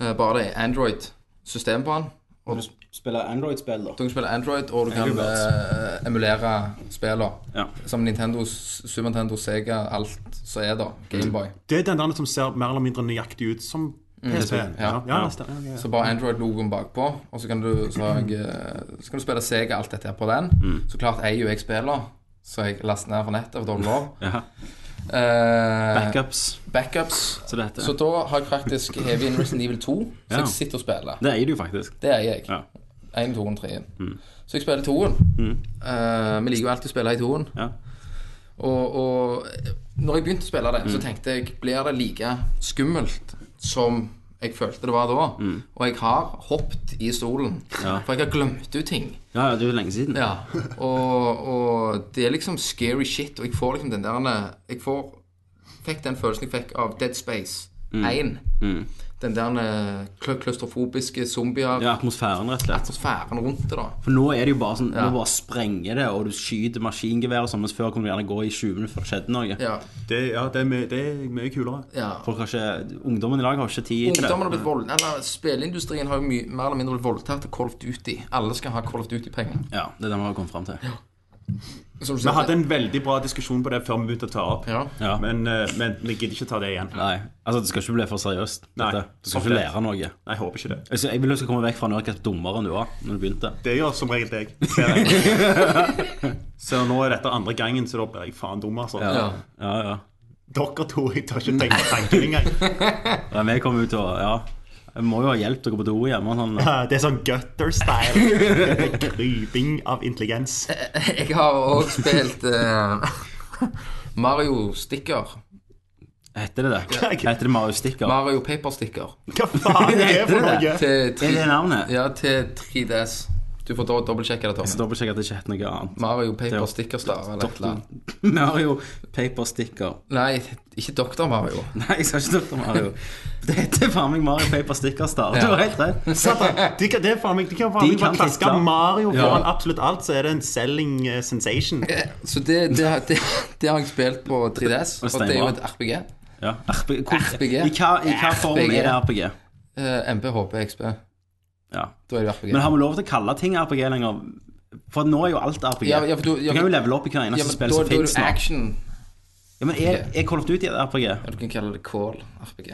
Speaker 3: Eh, Bare det er Android-system på han. Og du
Speaker 2: Spille Android-spill, da.
Speaker 3: kan spille Android, og du kan
Speaker 2: altså.
Speaker 3: eh, emulere spillene.
Speaker 2: Ja.
Speaker 3: Som Nintendo, S- Super Nintendo, Sega, alt som er
Speaker 2: Mm.
Speaker 3: da. Gameboy.
Speaker 1: Det er den der som ser mer eller mindre nøyaktig ut som
Speaker 2: Mm.
Speaker 1: PSP. Ja,
Speaker 3: Ja.
Speaker 1: ja, neste- ja, ja.
Speaker 3: Så bare Android-logoen bakpå, og så kan du, så har jeg, eh, så kan du spille Sega alt dette her på den.
Speaker 2: Mm.
Speaker 3: Så klart eier jo jeg spiller, så jeg laster ned fra nettet for dårlig lov.
Speaker 2: (laughs) Ja.
Speaker 3: Eh,
Speaker 2: Backups,
Speaker 3: backups.
Speaker 2: som det heter.
Speaker 3: Så da har jeg faktisk hevet inn Resident Evil 2, så
Speaker 2: Ja.
Speaker 3: jeg sitter og spiller.
Speaker 2: Det eier du jo faktisk.
Speaker 3: Det eier jeg.
Speaker 2: Ja. Mm.
Speaker 3: 1, 2, 3. Så jeg spiller 2-en. vi liker jo alltid å spille i 2-en.
Speaker 2: Ja.
Speaker 3: Og, og når jeg begynte å spille det,
Speaker 2: Mm.
Speaker 3: så tenkte jeg blir det like skummelt som jeg følte det var da.
Speaker 2: Mm.
Speaker 3: Og jeg har hoppet i stolen, for jeg har glemt ut ting.
Speaker 2: Ja, ja, det er jo lenge siden.
Speaker 3: Ja, og, og det er liksom scary shit, og jeg får liksom den der Jeg får, fikk den følelsen jeg fikk av Dead Space
Speaker 2: Mm.
Speaker 3: 1. Den der kla- klaustrofobiske zombier.
Speaker 2: Ja, atmosfæren, rett og slett.
Speaker 3: Atmosfæren rundt det, da.
Speaker 2: For nå er det jo bare sånn Nå bare sprenger det, og du skyter maskingevær og sånn, mens før kunne du gjerne gå i 20 minutter før det skjedde noe.
Speaker 3: Ja,
Speaker 1: Det, ja, det, er mye, det er mye kulere.
Speaker 3: ja.
Speaker 2: Folk har ikke Ungdommen i dag har ikke tid til det.
Speaker 3: Ungdommen har blitt vold... Eller spilleindustrien har jo mye, mer eller mindre blitt voldtatt til Call of Duty. Alle skal ha Call of Duty-penger.
Speaker 2: Ja, det er det vi har kommet fram til.
Speaker 3: Som du
Speaker 1: Vi
Speaker 3: sier-
Speaker 1: hadde en veldig bra diskusjon på det før vi begynte å ta opp.
Speaker 3: Ja.
Speaker 2: Ja.
Speaker 1: Men, eh, men vi gidder ikke ta det igjen.
Speaker 2: Nei. Altså, det skal ikke bli for seriøst.
Speaker 1: Nei.
Speaker 2: dette. Du skal
Speaker 1: Opplev.
Speaker 2: ikke lære noe.
Speaker 1: Nei, jeg håper ikke det.
Speaker 2: Altså, jeg vil du skal komme vekk fra noe dummere enn du var når du begynte.
Speaker 1: Det gjør som regel deg. Ser jeg.
Speaker 2: (laughs)
Speaker 1: Så nå er dette andre gangen, så da blir jeg faen dum, altså.
Speaker 3: Ja.
Speaker 2: Ja, ja.
Speaker 1: Dere to, jeg tør ikke tenke tanken
Speaker 2: (laughs)
Speaker 1: engang.
Speaker 2: Nei, vi kommer jo til å Ja. Jeg må jo ha hjelp til å gå på do hjemme. og
Speaker 1: (laughs)
Speaker 2: Sånn.
Speaker 1: Det er sånn gutter-style. Kryping av intelligens.
Speaker 3: (laughs) Jeg har òg spilt eh, (laughs) Mario Sticker.
Speaker 2: Heter det det? Heter det Mario Sticker?
Speaker 3: Mario Paper Sticker.
Speaker 1: Hva faen er det for noe?
Speaker 3: Til,
Speaker 2: Er det
Speaker 3: tre-
Speaker 2: navnet?
Speaker 3: ja, til 3DS. Du får da dobbeltsjekke det,
Speaker 2: Jeg
Speaker 3: Tom.
Speaker 2: skal dobbeltsjekke at det ikke heter noe annet.
Speaker 3: Mario Paper
Speaker 2: Det-
Speaker 3: Sticker-star eller et eller annet.
Speaker 2: (laughs) Mario Paper Sticker.
Speaker 3: Nei, ikke Doktor Mario.
Speaker 2: Nei, jeg skal ikke snakke om Mario. Det heter faen meg Mario Paper Sticker Star. Du har helt rett.
Speaker 1: Satan, de kan, det er faen meg, de kan faen
Speaker 2: De
Speaker 1: meg bare
Speaker 2: kan
Speaker 1: klaske
Speaker 2: titler.
Speaker 1: Mario
Speaker 3: Ja.
Speaker 1: foran absolutt alt, så er det en selling eh, sensation.
Speaker 3: Så det, det, har- det, det har jeg spilt på 3DS,
Speaker 2: Og
Speaker 3: og det er jo
Speaker 2: steinbra.
Speaker 3: et RPG.
Speaker 2: Ja, RPG. Hvor,
Speaker 3: RPG.
Speaker 2: I hva, i hva form er det RPG?
Speaker 3: Eh, MP, HP, XP.
Speaker 2: Ja.
Speaker 3: Da er det RPG.
Speaker 2: Men har vi lov til å kalle ting RPG lenger? For nå er jo alt RPG.
Speaker 3: Ja, ja, for du- ja,
Speaker 2: du kan
Speaker 3: men-
Speaker 2: jo levele opp i hver
Speaker 3: ja,
Speaker 2: eneste
Speaker 3: men
Speaker 2: spill
Speaker 3: da,
Speaker 2: som
Speaker 3: da er
Speaker 2: finnes
Speaker 3: det
Speaker 2: nå.
Speaker 3: action.
Speaker 2: Ja, men er, er Call of Duty et RPG?
Speaker 3: Ja, du kan kalle det Call-RPG.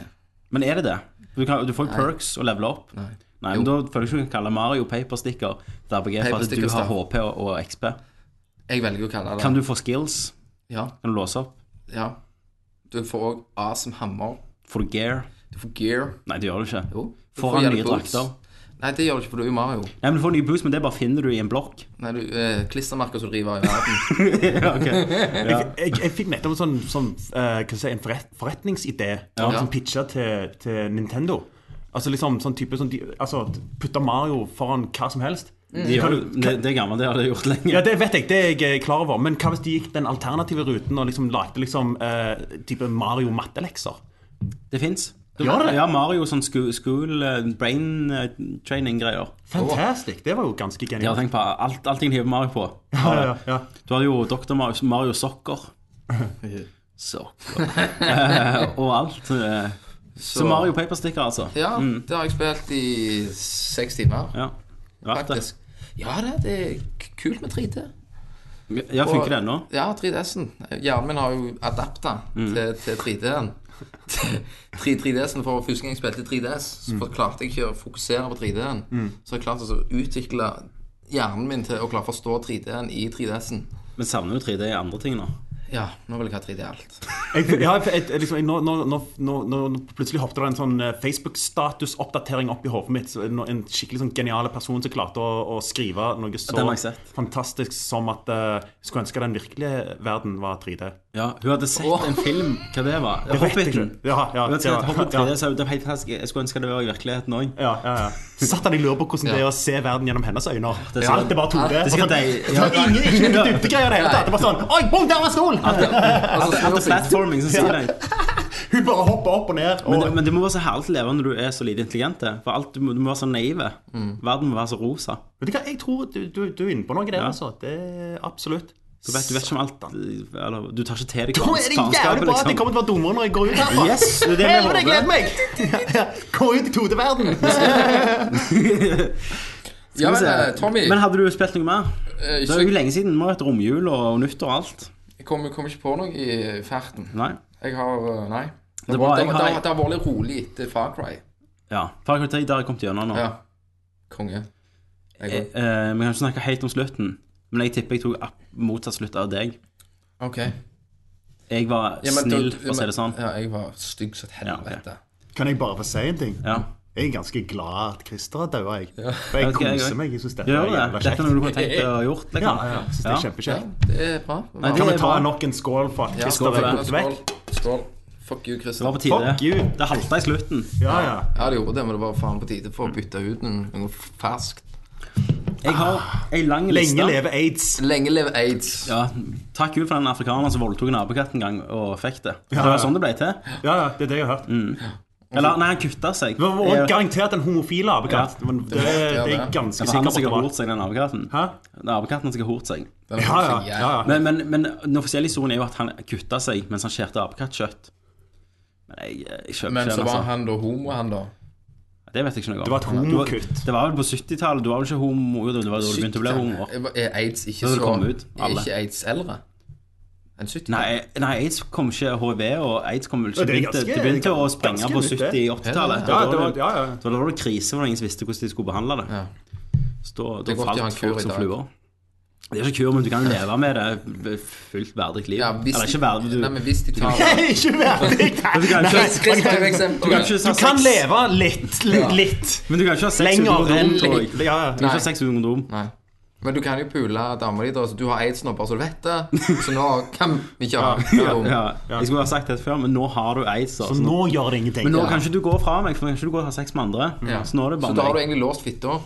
Speaker 2: Men er det det? Du, kan, du får jo perks og levele opp.
Speaker 3: Nei.
Speaker 2: Nei, men Da føler jeg ikke du kan kalle Mario Paper Sticker et RPG for at
Speaker 3: Papersticker
Speaker 2: du har
Speaker 3: Star.
Speaker 2: HP og, og XP.
Speaker 3: Jeg velger å kalle det
Speaker 2: Kan du få skills?
Speaker 3: Ja,
Speaker 2: Kan du låse opp?
Speaker 3: ja. Du får òg A som hammer.
Speaker 2: Får du gear?
Speaker 3: Du får gear.
Speaker 2: Nei, det gjør du ikke.
Speaker 3: Jo. Du
Speaker 2: Får han nye
Speaker 3: jævlig boots.
Speaker 2: drakter?
Speaker 3: Nei, det gjør du ikke, for du er jo Mario.
Speaker 2: Nei, men du får nye boost, men det bare finner du i en blokk.
Speaker 3: Nei, du eh, Klistremerker som river i
Speaker 2: (laughs)
Speaker 3: verden.
Speaker 1: Jeg, jeg fikk nettopp en sånn, sånn eh, hva skal jeg si, en forret, forretningsidé som
Speaker 3: Ja.
Speaker 1: pitcha til, til Nintendo. Altså liksom sånn type sånn, de- altså, Putte Mario foran hva som helst.
Speaker 2: De
Speaker 1: Kan
Speaker 2: gjør,
Speaker 1: du-
Speaker 2: det, det er gammelt, det har de gjort lenge.
Speaker 1: Ja, Det vet jeg, det er jeg eh, klar over. Men hva hvis de gikk den alternative ruten og liksom lagde liksom, eh, type Mario-mattelekser?
Speaker 2: Det fins.
Speaker 1: Gjør det?
Speaker 2: Ja, Mario sånn school, school eh, brain eh, training-greier.
Speaker 1: Fantastisk! Det var jo ganske
Speaker 2: Jeg har
Speaker 1: genialt.
Speaker 2: tenkt på alt, alt jeg kan hive Mario på.
Speaker 1: Ja, ja, ja. (laughs)
Speaker 2: Du hadde jo Dr. Mario, Mario Sokker. Sokker Eh, og alt. eh. Så, Mario Papersticker, altså.
Speaker 3: Ja, det har jeg spilt i seks timer,
Speaker 2: Ja. Verdt det.
Speaker 3: faktisk. Ja, det, det er k- kult med 3D.
Speaker 2: Ja,
Speaker 3: Og-
Speaker 2: funker det ennå?
Speaker 3: Ja, 3DS-en. Hjernen min har jo adapta
Speaker 2: Mm.
Speaker 3: til, til 3D-en. 3D-en, for Første gang jeg spilte 3DS, så
Speaker 2: Mm.
Speaker 3: klarte jeg ikke å fokusere på 3D-en. Så jeg klarte altså å utvikle hjernen min til å klare å forstå 3D-en i 3DS-en.
Speaker 2: Vi savner jo 3D i andre ting nå.
Speaker 3: Ja, nå vil jeg ha 3D i alt. (laughs)
Speaker 1: Jeg, ja, jeg, jeg, liksom, jeg, nå, nå, nå, nå, nå plutselig hoppet det en sånn eh, Facebook-statusoppdatering opp i hodet mitt. Så en, en skikkelig sånn genial person som klarte å, å skrive noe så
Speaker 2: den har jeg sett.
Speaker 1: fantastisk som at eh, jeg skulle ønske den virkelige verden var 3D.
Speaker 2: Ja, Hun hadde sett en film. Hva det var?
Speaker 1: vet jeg
Speaker 2: Hobbiten.
Speaker 1: ikke. Ja, ja,
Speaker 2: hun hadde sett
Speaker 1: ja,
Speaker 2: Hobbit
Speaker 1: ja.
Speaker 2: 3D, så det var helt fantastisk. Jeg skulle ønske det var i virkeligheten òg.
Speaker 1: Ja, ja, ja. Satt han i lurer på hvordan det er å se verden gjennom hennes øyne.
Speaker 2: er
Speaker 1: Ja,
Speaker 2: sikkert-
Speaker 1: Alt er bare 2D.
Speaker 2: Det er sikkert deg.
Speaker 1: Det var sånn- ingen, ingen dybdegreier i det hele tatt. Det var sånn Oi, boom, der var stolen!
Speaker 3: Altså,
Speaker 2: Alt er
Speaker 3: snurr seg.
Speaker 2: platforming som sier deg.
Speaker 1: Hun bare hopper opp og ned.
Speaker 2: Men
Speaker 1: Og,
Speaker 2: det, men det må være så herlig å leve når du er så lite intelligent. det. For alt, du, må, du må være så naive.
Speaker 1: Mm.
Speaker 2: Verden må være så rosa.
Speaker 1: vet du hva, jeg tror du, du, du er inne på noe der,
Speaker 2: Ja.
Speaker 1: altså. Det er absolutt.
Speaker 2: Du vet, du vet ikke om alt eller, Du tar ikke til deg liksom.
Speaker 1: Nå er det jævlig bra at jeg kommer til å være dummere når jeg går ut herfra.
Speaker 2: Yes, det er det vi
Speaker 1: Helvete, jeg gleder
Speaker 2: (laughs) håper.
Speaker 1: meg! (laughs) Gå ut i 2D-verden.
Speaker 3: Ja, men eh,
Speaker 2: Se.
Speaker 3: Tommy,
Speaker 2: Men hadde du spilt noe mer?
Speaker 3: eh,
Speaker 2: Det
Speaker 3: så
Speaker 2: er jo
Speaker 3: jeg
Speaker 2: lenge siden. Det må ha vært romjul og nyttår og alt.
Speaker 3: kom, kom ikke på noe i farten.
Speaker 2: Nei?
Speaker 3: Jeg har eh, Nei. Det,
Speaker 2: Det er bra,
Speaker 3: det,
Speaker 2: jeg
Speaker 3: det,
Speaker 2: har-
Speaker 3: det har vært litt rolig etter Far Cry.
Speaker 2: Ja. Far Cry 3, der har jeg kommet gjennom nå.
Speaker 3: Ja. Konge. Jeg
Speaker 2: Eh,
Speaker 3: går.
Speaker 2: eh, Vi kan ikke snakke høyt om slutten, men jeg tipper jeg tok app- motsatt slutt av deg.
Speaker 3: OK.
Speaker 2: Jeg var
Speaker 3: Ja, men da-
Speaker 2: snill, for å si det sånn.
Speaker 3: Ja, jeg var stygg som et
Speaker 2: Ja, ok.
Speaker 3: helvete.
Speaker 1: Kan jeg bare få si en ting?
Speaker 2: Ja.
Speaker 1: Jeg er ganske glad at Christer har daua, jeg. For jeg
Speaker 2: Ok, jeg
Speaker 1: koser
Speaker 2: også.
Speaker 1: meg. Jeg syns dette
Speaker 2: Gjør
Speaker 1: er
Speaker 2: det.
Speaker 1: jævla
Speaker 2: Dette er
Speaker 1: kjekt.
Speaker 2: noe du kunne tenkt deg å ha gjort.
Speaker 1: Ja,
Speaker 2: Liksom.
Speaker 1: ja, jeg synes det er
Speaker 3: Ja,
Speaker 1: kjempekjekt.
Speaker 3: det er bra.
Speaker 2: Nei, det
Speaker 1: Kan vi
Speaker 2: er
Speaker 1: ta
Speaker 2: bra.
Speaker 1: nok en skål for at
Speaker 3: Ja,
Speaker 1: Christer
Speaker 2: for
Speaker 1: er
Speaker 2: det.
Speaker 1: gått vekk?
Speaker 3: Skål. Fuck you, Christer.
Speaker 2: Det var på
Speaker 1: Fuck
Speaker 2: tide.
Speaker 1: you.
Speaker 2: Det halta i slutten.
Speaker 1: Ja, ja.
Speaker 3: Ja, det gjorde det, men det var faen på tide
Speaker 2: Mm.
Speaker 3: for å bytte ut noe noe ferskt.
Speaker 2: Jeg har ei lang liste.
Speaker 1: Ah, Lenge leve aids.
Speaker 3: Lenge leve aids.
Speaker 2: Ja, Takk Gud for den afrikaneren som voldtok en apekatt en gang og fikk det. Det var sånn det ble til.
Speaker 1: Ja, ja, det er det jeg har hørt.
Speaker 2: Mm. Eller nei, han kutta seg.
Speaker 1: Det var også
Speaker 2: Jeg-
Speaker 1: garantert en homofil apekatt. Men det, det er jeg
Speaker 2: Det
Speaker 1: ganske
Speaker 2: var han
Speaker 1: sikker
Speaker 2: som
Speaker 1: på.
Speaker 2: har
Speaker 1: at
Speaker 2: hort
Speaker 1: det var.
Speaker 2: seg, den apekatten.
Speaker 1: Hæ?
Speaker 2: Den apekatten som har hort seg.
Speaker 3: Den
Speaker 1: Ja,
Speaker 3: var
Speaker 1: ja.
Speaker 3: så
Speaker 1: ja,
Speaker 3: jævlig.
Speaker 1: ja.
Speaker 2: Men, men, men den offisielle historien er jo at han kutta seg mens han skjærte apekattkjøtt. Men jeg, jeg kjøper
Speaker 3: Men
Speaker 2: ikke
Speaker 3: så
Speaker 2: den.
Speaker 3: var
Speaker 2: Altså.
Speaker 3: han da homo, han da.
Speaker 2: Det vet jeg ikke noe om.
Speaker 1: Det var et homokutt.
Speaker 2: Det var vel på 70-tallet. Du var vel ikke homo? Jo, det var da du begynte å bli homo.
Speaker 3: Er aids ikke
Speaker 2: Da det
Speaker 3: så
Speaker 2: kom ut,
Speaker 3: Er
Speaker 2: alle.
Speaker 3: ikke aids eldre? Enn 70?
Speaker 2: Nei, nei, aids kom ikke HIV, og aids kom vel ikke
Speaker 1: Ja, det er
Speaker 2: begynte-
Speaker 1: ganske-
Speaker 2: Det begynte å
Speaker 1: ganske
Speaker 2: sprenge på
Speaker 1: nytt, det.
Speaker 2: 70-80-tallet.
Speaker 1: Ja, det
Speaker 2: Da var
Speaker 1: var,
Speaker 2: det-
Speaker 1: ja, ja.
Speaker 2: da var det krise hvor ingen visste hvordan de skulle behandle det.
Speaker 3: Ja.
Speaker 2: Så da, da
Speaker 3: Det er godt de har
Speaker 2: falt
Speaker 3: en kur
Speaker 2: folk
Speaker 3: i
Speaker 2: som
Speaker 3: dag.
Speaker 2: fluer. Det er ikke kur, men du kan jo leve med det fullt verdig liv.
Speaker 3: Ja, hvis
Speaker 2: Eller ikke
Speaker 3: de-
Speaker 2: verdig, du
Speaker 3: Nei, men hvis de
Speaker 2: (laughs)
Speaker 3: tar
Speaker 1: Ikke verdig!
Speaker 2: Men du kan jo
Speaker 3: Chris-
Speaker 2: ikke,
Speaker 3: Chris, for
Speaker 2: du
Speaker 3: eksempel.
Speaker 2: kan ikke
Speaker 1: Du
Speaker 2: ha sex
Speaker 1: kan leve litt. Litt. litt.
Speaker 2: Men du kan ikke ha sex uten
Speaker 1: Lenger enn
Speaker 2: kondom, tror jeg.
Speaker 1: litt. Ja,
Speaker 2: Du kan ikke
Speaker 3: Nei.
Speaker 2: ha sex uten kondom.
Speaker 3: Nei. Men du kan jo pule dama di, da. Så du har aids nå, bare så du
Speaker 2: (laughs)
Speaker 3: vet det. Så nå kan vi ikke ha
Speaker 2: Ja,
Speaker 3: homo.
Speaker 2: Jeg skulle ha sagt det før, men nå har du aids. da,
Speaker 1: Så
Speaker 2: så
Speaker 1: nå
Speaker 2: nå-
Speaker 1: gjør det ingenting.
Speaker 2: Men nå kan ikke du gå fra meg, for nå kan ikke du gå og ha sex med andre.
Speaker 3: Ja.
Speaker 2: Så nå er det
Speaker 3: Så
Speaker 2: bare
Speaker 3: da har du
Speaker 2: meg.
Speaker 3: egentlig låst fitta.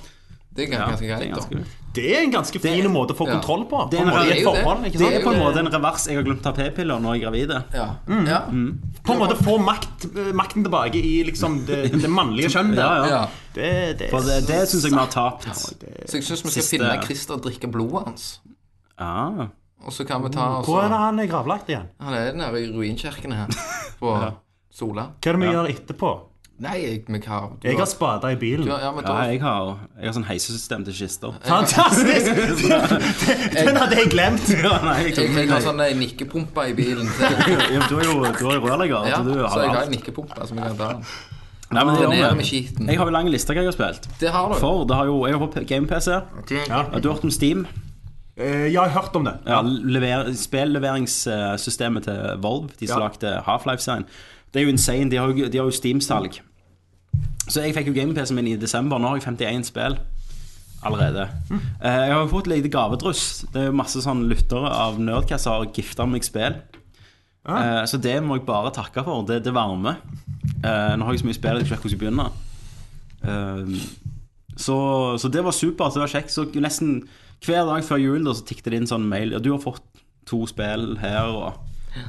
Speaker 3: Det er
Speaker 2: Ja,
Speaker 3: ganske
Speaker 2: det er
Speaker 3: greit,
Speaker 2: ganske
Speaker 3: da.
Speaker 2: greit.
Speaker 1: Det er en ganske fin måte å få
Speaker 3: Ja.
Speaker 1: kontroll på.
Speaker 2: Det
Speaker 1: på
Speaker 2: er
Speaker 1: en
Speaker 2: en-
Speaker 1: måte, i
Speaker 2: det er
Speaker 1: et
Speaker 3: jo det.
Speaker 1: forhold, ikke
Speaker 2: Det
Speaker 1: sant?
Speaker 2: er på en måte en revers. Jeg har glemt å ta p-piller når jeg er gravid.
Speaker 3: Ja.
Speaker 1: Mm.
Speaker 3: ja.
Speaker 2: Mm.
Speaker 1: På en måte få makt, makten tilbake i liksom det,
Speaker 2: (laughs)
Speaker 1: det mannlige kjønn.
Speaker 2: Ja,
Speaker 1: der.
Speaker 2: ja.
Speaker 3: ja.
Speaker 1: Det, det,
Speaker 2: For det, det syns jeg vi har tapt.
Speaker 3: Så jeg syns vi skal
Speaker 2: Siste-
Speaker 3: finne Christer og drikke blodet hans.
Speaker 2: Ja.
Speaker 3: Og så kan vi ta
Speaker 1: Mm.
Speaker 3: og
Speaker 1: Hvor er
Speaker 3: så,
Speaker 1: det han er gravlagt igjen?
Speaker 3: Han er nede i
Speaker 2: (laughs)
Speaker 3: ruinkirkene her. På Sola.
Speaker 1: Hva er det vi gjør etterpå?
Speaker 3: Nei, jeg, men hva du
Speaker 1: Jeg
Speaker 3: har-
Speaker 1: har spada i bilen.
Speaker 3: du har- ja, men
Speaker 2: ja
Speaker 3: da,
Speaker 2: jeg, har, jeg har sånn heisesystem til kister. (laughs)
Speaker 1: Fantastisk! (laughs) Den hadde jeg glemt.
Speaker 2: Ja, nei, jeg
Speaker 3: jeg,
Speaker 2: tok
Speaker 3: jeg
Speaker 2: den.
Speaker 3: har
Speaker 2: Jeg,
Speaker 3: sånn eh, nikkepumpe i bilen.
Speaker 2: (laughs) Ja, du er jo du er jo rørlegger.
Speaker 3: Ja,
Speaker 2: så du
Speaker 3: så
Speaker 2: har
Speaker 3: jeg har en
Speaker 2: alt.
Speaker 3: nikkepumpe som jeg kan ta.
Speaker 2: Nei, men det
Speaker 3: Ned
Speaker 2: gjør vi.
Speaker 3: med skiten.
Speaker 2: Jeg har jo lang liste hva jeg har spilt.
Speaker 3: Det har du.
Speaker 2: For det har jo, jeg har på game-PC.
Speaker 1: Ja.
Speaker 2: Du har hørt om Steam?
Speaker 1: Eh, Jeg har hørt om det.
Speaker 2: Ja, lever, Spilleveringssystemet til Volv, de som
Speaker 1: Ja.
Speaker 2: lagde Half-Life-serien. Det er jo insane. De har jo, de har jo Steam-salg. Så jeg fikk jo gaming-PC-en min i desember. Nå har jeg 51 spill allerede. Eh, Jeg har jo fått litt gavedryss. Det er jo masse sånn lyttere av Nerdcast som har gifta meg spill. Eh, Så det må jeg bare takke for. Det, det varmer. Eh, Nå har jeg så mye spill at jeg ikke vet hvor jeg skal begynne. Eh, så, så det var supert, det var kjekt. Så nesten hver dag før jul da, så tikket det inn sånn mail. Ja, du har fått to spill her og,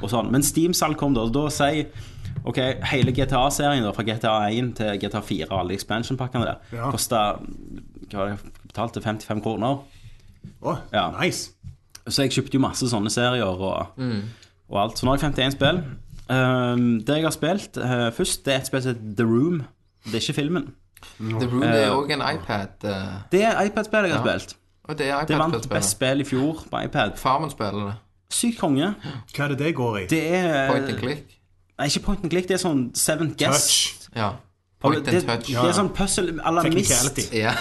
Speaker 2: og sånn. Men Steam-salg kom da. Og da sier Ok, hele GTA-serien da, fra GTA1 til GTA4 og alle expansion-pakkene der,
Speaker 1: Ja.
Speaker 2: kosta Hva var det jeg betalte? 55 kroner?
Speaker 1: Åh,
Speaker 2: Ja.
Speaker 1: nice.
Speaker 3: Mm.
Speaker 2: Så jeg kjøpte jo masse sånne serier og og alt. Så nå har jeg 51 spill. Ehm, det jeg har spilt eh, først, det er et spill som heter The Room. Det er ikke filmen.
Speaker 3: The Room det er òg en iPad. eh,
Speaker 2: Det er iPad-spill jeg har
Speaker 3: Ja.
Speaker 2: spilt.
Speaker 3: Og det er
Speaker 2: Det vant
Speaker 3: iPad-spillet.
Speaker 2: best spill i fjor på iPad.
Speaker 3: Farmen spiller det.
Speaker 2: Sykt konge.
Speaker 1: Hva er det det går i?
Speaker 2: Det er
Speaker 3: Point and click.
Speaker 2: Nei, ikke point and click, det er sånn seven guess.
Speaker 1: Touch.
Speaker 3: Ja.
Speaker 2: Og
Speaker 3: Point
Speaker 2: det,
Speaker 3: and touch.
Speaker 2: det er sånn puzzle à la Mist.
Speaker 1: Technicality.
Speaker 3: Ja.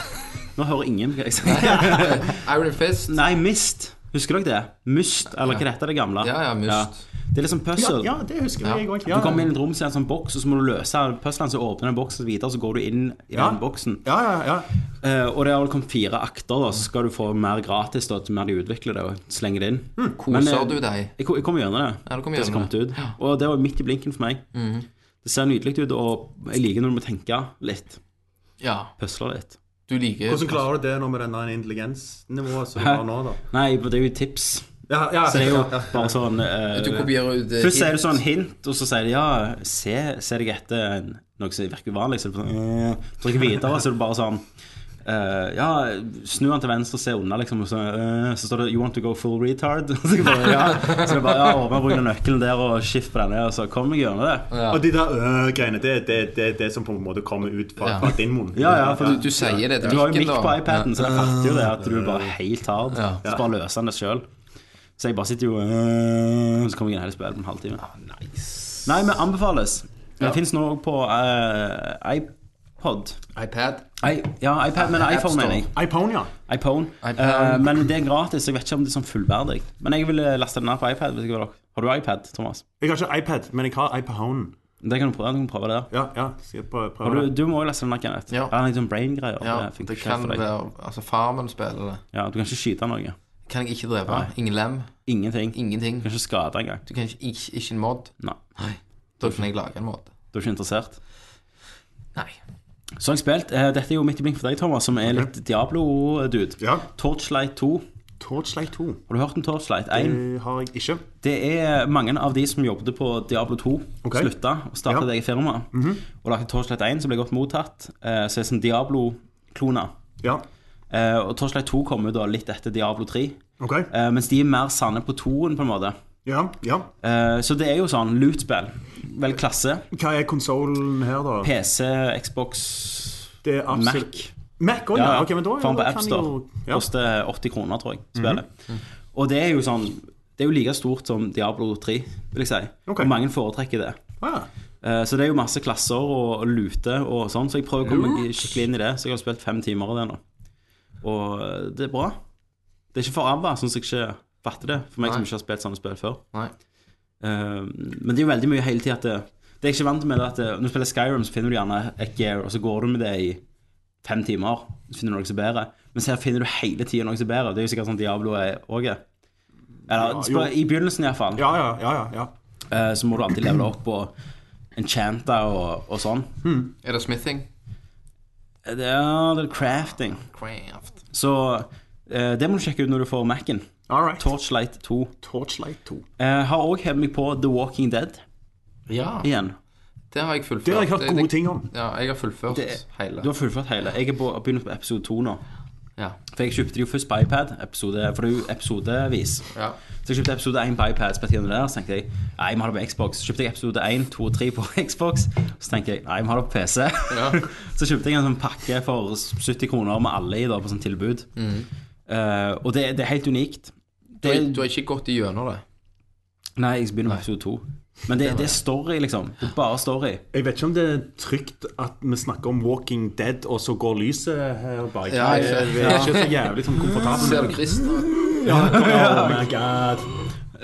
Speaker 2: Nå hører ingen hva jeg
Speaker 3: (laughs)
Speaker 2: sier.
Speaker 3: Iron Fist.
Speaker 2: Nei, Mist. Husker dere det? Myst, eller hva
Speaker 3: Ja.
Speaker 2: det heter det gamle?
Speaker 3: Ja, ja, Myst.
Speaker 2: Det er liksom
Speaker 1: Ja,
Speaker 2: puzzle.
Speaker 1: ja, det husker jeg òg.
Speaker 3: Ah.
Speaker 2: Du kommer inn i et rom, så er det en sånn boks, og så må du løse puzzlene, så åpner den boksen videre, så går du inn i
Speaker 1: Ja.
Speaker 2: den boksen.
Speaker 1: Ja, ja, ja.
Speaker 2: Eh, og det har vel kommet fire akter, da, så skal du få mer gratis da, til mer de utvikler det, og slenger det inn. Men,
Speaker 3: Hmm, Koser
Speaker 2: eh,
Speaker 3: du deg?
Speaker 2: Jeg, kom- jeg kom gjennom det.
Speaker 3: Ja, Mhm. du kom
Speaker 2: det som
Speaker 3: gjennom
Speaker 2: kom
Speaker 3: det.
Speaker 2: ut. Og det var midt i blinken for meg. Det ser nydelig ut, og jeg liker når du må tenke litt.
Speaker 3: Ja.
Speaker 2: Pusle litt.
Speaker 3: Du liker
Speaker 2: altså.
Speaker 1: Hvordan klarer du det nå med den der intelligensnivået som du har nå, da?
Speaker 2: Nei, det er jo tips.
Speaker 1: Ja, ja,
Speaker 2: Så det er jo
Speaker 1: ja, ja.
Speaker 2: bare sånn eh,
Speaker 3: Du kopierer ut eh,
Speaker 2: Først sier du
Speaker 3: hit.
Speaker 2: sånn hint, og så sier de ja, se, se deg etter en- noe som virker uvanlig. Så er det sånn, eh, trykker videre, så er det bare sånn eh, ja, snu han til venstre og se unna, liksom. Og så, eh, så står det 'You want to go full retard'? (laughs) Så jeg bare, ja. Så det er bare ja, åpne bruk av nøkkelen der og skift på denne, og så kom jeg gjennom det.
Speaker 1: Og de der øh, greiene, det er det, det, det som på en måte kommer ut fra,
Speaker 3: Ja.
Speaker 1: fra din munn.
Speaker 2: Ja, ja, for
Speaker 3: Du, du sier det til
Speaker 2: Du har jo
Speaker 3: mikken,
Speaker 2: mic
Speaker 3: da.
Speaker 2: på iPaden, så jeg fatter jo det at du er bare helt hard.
Speaker 3: Ja.
Speaker 2: Så bare løser han det sjøl. Så jeg bare sitter jo øh, Så kommer jeg inn i hele spillet på en halvtime.
Speaker 3: Ah,
Speaker 2: Nei, men anbefales. Det fins nå på eh, iPod.
Speaker 3: Ja. iPad.
Speaker 2: I, ja, iPad, men
Speaker 3: App
Speaker 2: iPhone,
Speaker 3: Store.
Speaker 2: mener jeg.
Speaker 1: iPhone, ja.
Speaker 2: iPhone.
Speaker 3: iPhone.
Speaker 2: Eh, men det er gratis, så jeg vet ikke om det er sånn fullverdig. Men jeg ville laste den ned på iPad. Hvis jeg var dere. Har du iPad, Thomas?
Speaker 1: Jeg har ikke iPad, men jeg har iPhone.
Speaker 2: Det kan du prøve. Du kan prøve det der.
Speaker 1: Ja, ja, skal jeg prøve, prøve
Speaker 2: Har du,
Speaker 1: det?
Speaker 2: du må jo laste den ned, Kenneth.
Speaker 3: Ja.
Speaker 2: Det er litt sånn brain-greier.
Speaker 3: Ja,
Speaker 2: funker
Speaker 3: det
Speaker 2: ikke helt
Speaker 3: kan
Speaker 2: for deg.
Speaker 3: være Altså, Farmen spiller det.
Speaker 2: ja, du kan ikke skyte noe.
Speaker 3: Kan jeg ikke drepe. Ingen lem.
Speaker 2: Ingenting.
Speaker 3: Ingenting.
Speaker 2: Du kan ikke skade engang.
Speaker 3: Du kan ikke, ikke, ikke en mod.
Speaker 2: Nei.
Speaker 3: Da kan jeg lage en mod.
Speaker 2: Du er ikke interessert?
Speaker 3: Nei.
Speaker 2: Så har jeg spilt eh, Dette er jo midt i blink for deg, Thomas, som er litt Diablo-dude.
Speaker 1: Ja.
Speaker 2: Torchlight 2.
Speaker 1: Torchlight 2
Speaker 2: Har du hørt om Torchlight 1?
Speaker 1: det har jeg ikke.
Speaker 2: Det er mange av de som jobbet på Diablo 2,
Speaker 1: Ok.
Speaker 2: slutta og startet
Speaker 1: Ja. Mhm.
Speaker 2: eget firma. Og lagde Torchlight 1, som ble godt mottatt. Eh, så er det som Diablo-kloner.
Speaker 1: Ja,
Speaker 2: Eh, og Torchlight 2 kommer jo da litt etter Diablo 3.
Speaker 1: ok.
Speaker 2: Eh, mens de er mer sanne på 2-en, på en måte.
Speaker 1: Ja, ja.
Speaker 2: Eh, så det er jo sånn loot-spill. Vel klasse.
Speaker 1: Hva er konsolen her, da?
Speaker 2: PC, Xbox,
Speaker 1: Det er absolutt...
Speaker 2: Mac.
Speaker 1: Mac også, ja.
Speaker 2: Ja,
Speaker 1: Ok, men da,
Speaker 2: får den på
Speaker 1: da kan
Speaker 2: AppStore.
Speaker 1: jo- Ja. Mhm.
Speaker 2: Koster 80 kroner, tror jeg. Spillet. Og det er jo sånn Det er jo like stort som Diablo 3, vil jeg si.
Speaker 1: Ok.
Speaker 2: Og mange foretrekker det.
Speaker 1: Ah,
Speaker 2: Eh, Så det er jo masse klasser og og lute og sånn, så jeg prøver å komme meg skikkelig inn i det. Så jeg har spilt fem timer av det nå. Og eh, det er bra. Det er ikke for ABBA, sånn som jeg ikke fatter det. For meg som
Speaker 3: Nei.
Speaker 2: ikke har spilt sånne spill før.
Speaker 3: Nei.
Speaker 2: Eh, Men det er jo veldig mye hele tida at det, det jeg ikke er vant med, det er at eh, når du spiller Skyrim, så finner du gjerne et gear, og så går du med det i fem timer. Så finner du noe som er bedre. Mens her finner du hele tida noe som er bedre. Det er jo sikkert sånn Diablo er òg. Eller
Speaker 1: Ja,
Speaker 2: spør,
Speaker 1: jo.
Speaker 2: i begynnelsen, iallfall.
Speaker 1: ja, ja, ja, ja, ja.
Speaker 2: Eh, Så må du alltid levele opp og enchante og, og sånn.
Speaker 1: Hm.
Speaker 3: Er det smithing?
Speaker 2: Eh, Det er, det er crafting.
Speaker 3: Craft.
Speaker 2: Så eh, det må du sjekke ut når du får Mac-en.
Speaker 1: All right.
Speaker 2: Torchlight 2.
Speaker 1: Torchlight 2.
Speaker 2: Jeg har òg hevet meg på The Walking Dead
Speaker 3: Ja.
Speaker 2: igjen.
Speaker 3: Det har jeg fullført.
Speaker 1: Det har jeg hørt gode ting om.
Speaker 3: Ja, jeg har fullført
Speaker 2: Det-
Speaker 3: hele.
Speaker 2: Du har fullført hele. Jeg er på, begynner på episode 2 nå.
Speaker 3: Ja.
Speaker 2: For jeg kjøpte det jo først på iPad, episode, for det er jo episodevis.
Speaker 3: Ja.
Speaker 2: Så jeg kjøpte episode 1 på iPad, spilte gjennom det der, så tenkte jeg nei, jeg må ha det på Xbox. Så kjøpte jeg episode 1, 2 og 3 på (laughs) Xbox, så tenkte jeg nei, jeg må ha det på PC. (laughs) så kjøpte jeg en sånn pakke for 70 kroner med alle i da, på sånn tilbud. Eh, og det, det er helt unikt.
Speaker 3: Du,
Speaker 2: Det,
Speaker 3: har, du har ikke gått igjennom det.
Speaker 2: nei, jeg begynner med episode 2. Men det, det er story, liksom. Det er bare story.
Speaker 1: Jeg vet ikke om det er trygt at vi snakker om Walking Dead, og så går lyset her bak.
Speaker 3: Ja,
Speaker 1: jeg,
Speaker 3: jeg-
Speaker 1: jeg er ikke så jævlig sånn komfortabel.
Speaker 3: Ser du Christer?
Speaker 1: Oh my god.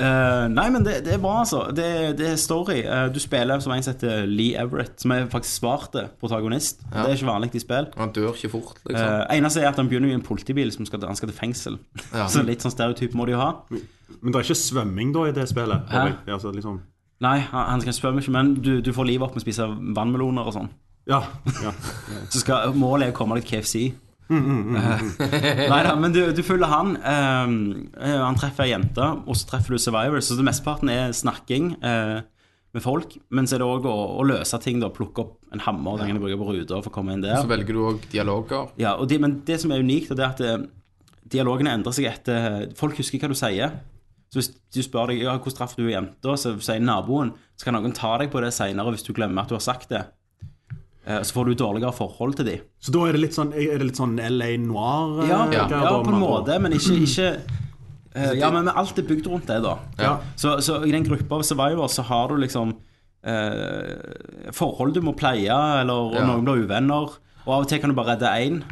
Speaker 2: Eh, nei, men det, det er bra, altså. Det, det er story. Eh, du spiller som en som heter Lee Everett, som er faktisk svarte protagonist. Det er ikke vanlig i spill.
Speaker 3: Han dør ikke fort, liksom.
Speaker 2: Uh, eneste er at han begynner i en politibil som skal, han skal til fengsel.
Speaker 3: Ja.
Speaker 2: Så litt sånn stereotyp må de jo ha.
Speaker 1: Men det er ikke svømming da i det spillet?
Speaker 2: Hæ?
Speaker 1: håper jeg. Altså, liksom.
Speaker 2: Nei, han, han skal svømme ikke, men du, du får livet opp med å spise vannmeloner og sånn.
Speaker 1: Ja. ja.
Speaker 2: Så skal, målet er å komme deg til KFC. Eh, Nei da, men du, du følger han. eh, eh, han treffer ei jente, og så treffer du Survivor. Så det mesteparten er snakking eh, med folk. Men så er det òg å, å løse ting. da Plukke opp en hammer den kan du bruke på ruter for å komme inn der.
Speaker 3: Så velger du òg dialoger.
Speaker 2: Ja, og det, men det som er unikt, det er at eh, dialogene endrer seg etter Folk husker eh, hva du sier, Så hvis du spør deg ja, hvordan traff du jenta, så sier naboen, så kan noen ta deg på det seinere hvis du glemmer at du har sagt det. Eh, Så får du dårligere forhold til de.
Speaker 1: Så da er det litt sånn, er det litt sånn LA noir? eh,
Speaker 2: Ja,
Speaker 1: greier
Speaker 2: ja,
Speaker 1: da, med
Speaker 2: på en
Speaker 1: andre ord?
Speaker 2: måte, men ikke, ikke eh, Ja, men alt er bygd rundt det, da.
Speaker 3: Ja.
Speaker 2: Så, så i den gruppa av survivors så har du liksom eh, forhold du må pleie, eller og
Speaker 3: Ja.
Speaker 2: noen blir uvenner. Og av og til kan du bare redde én,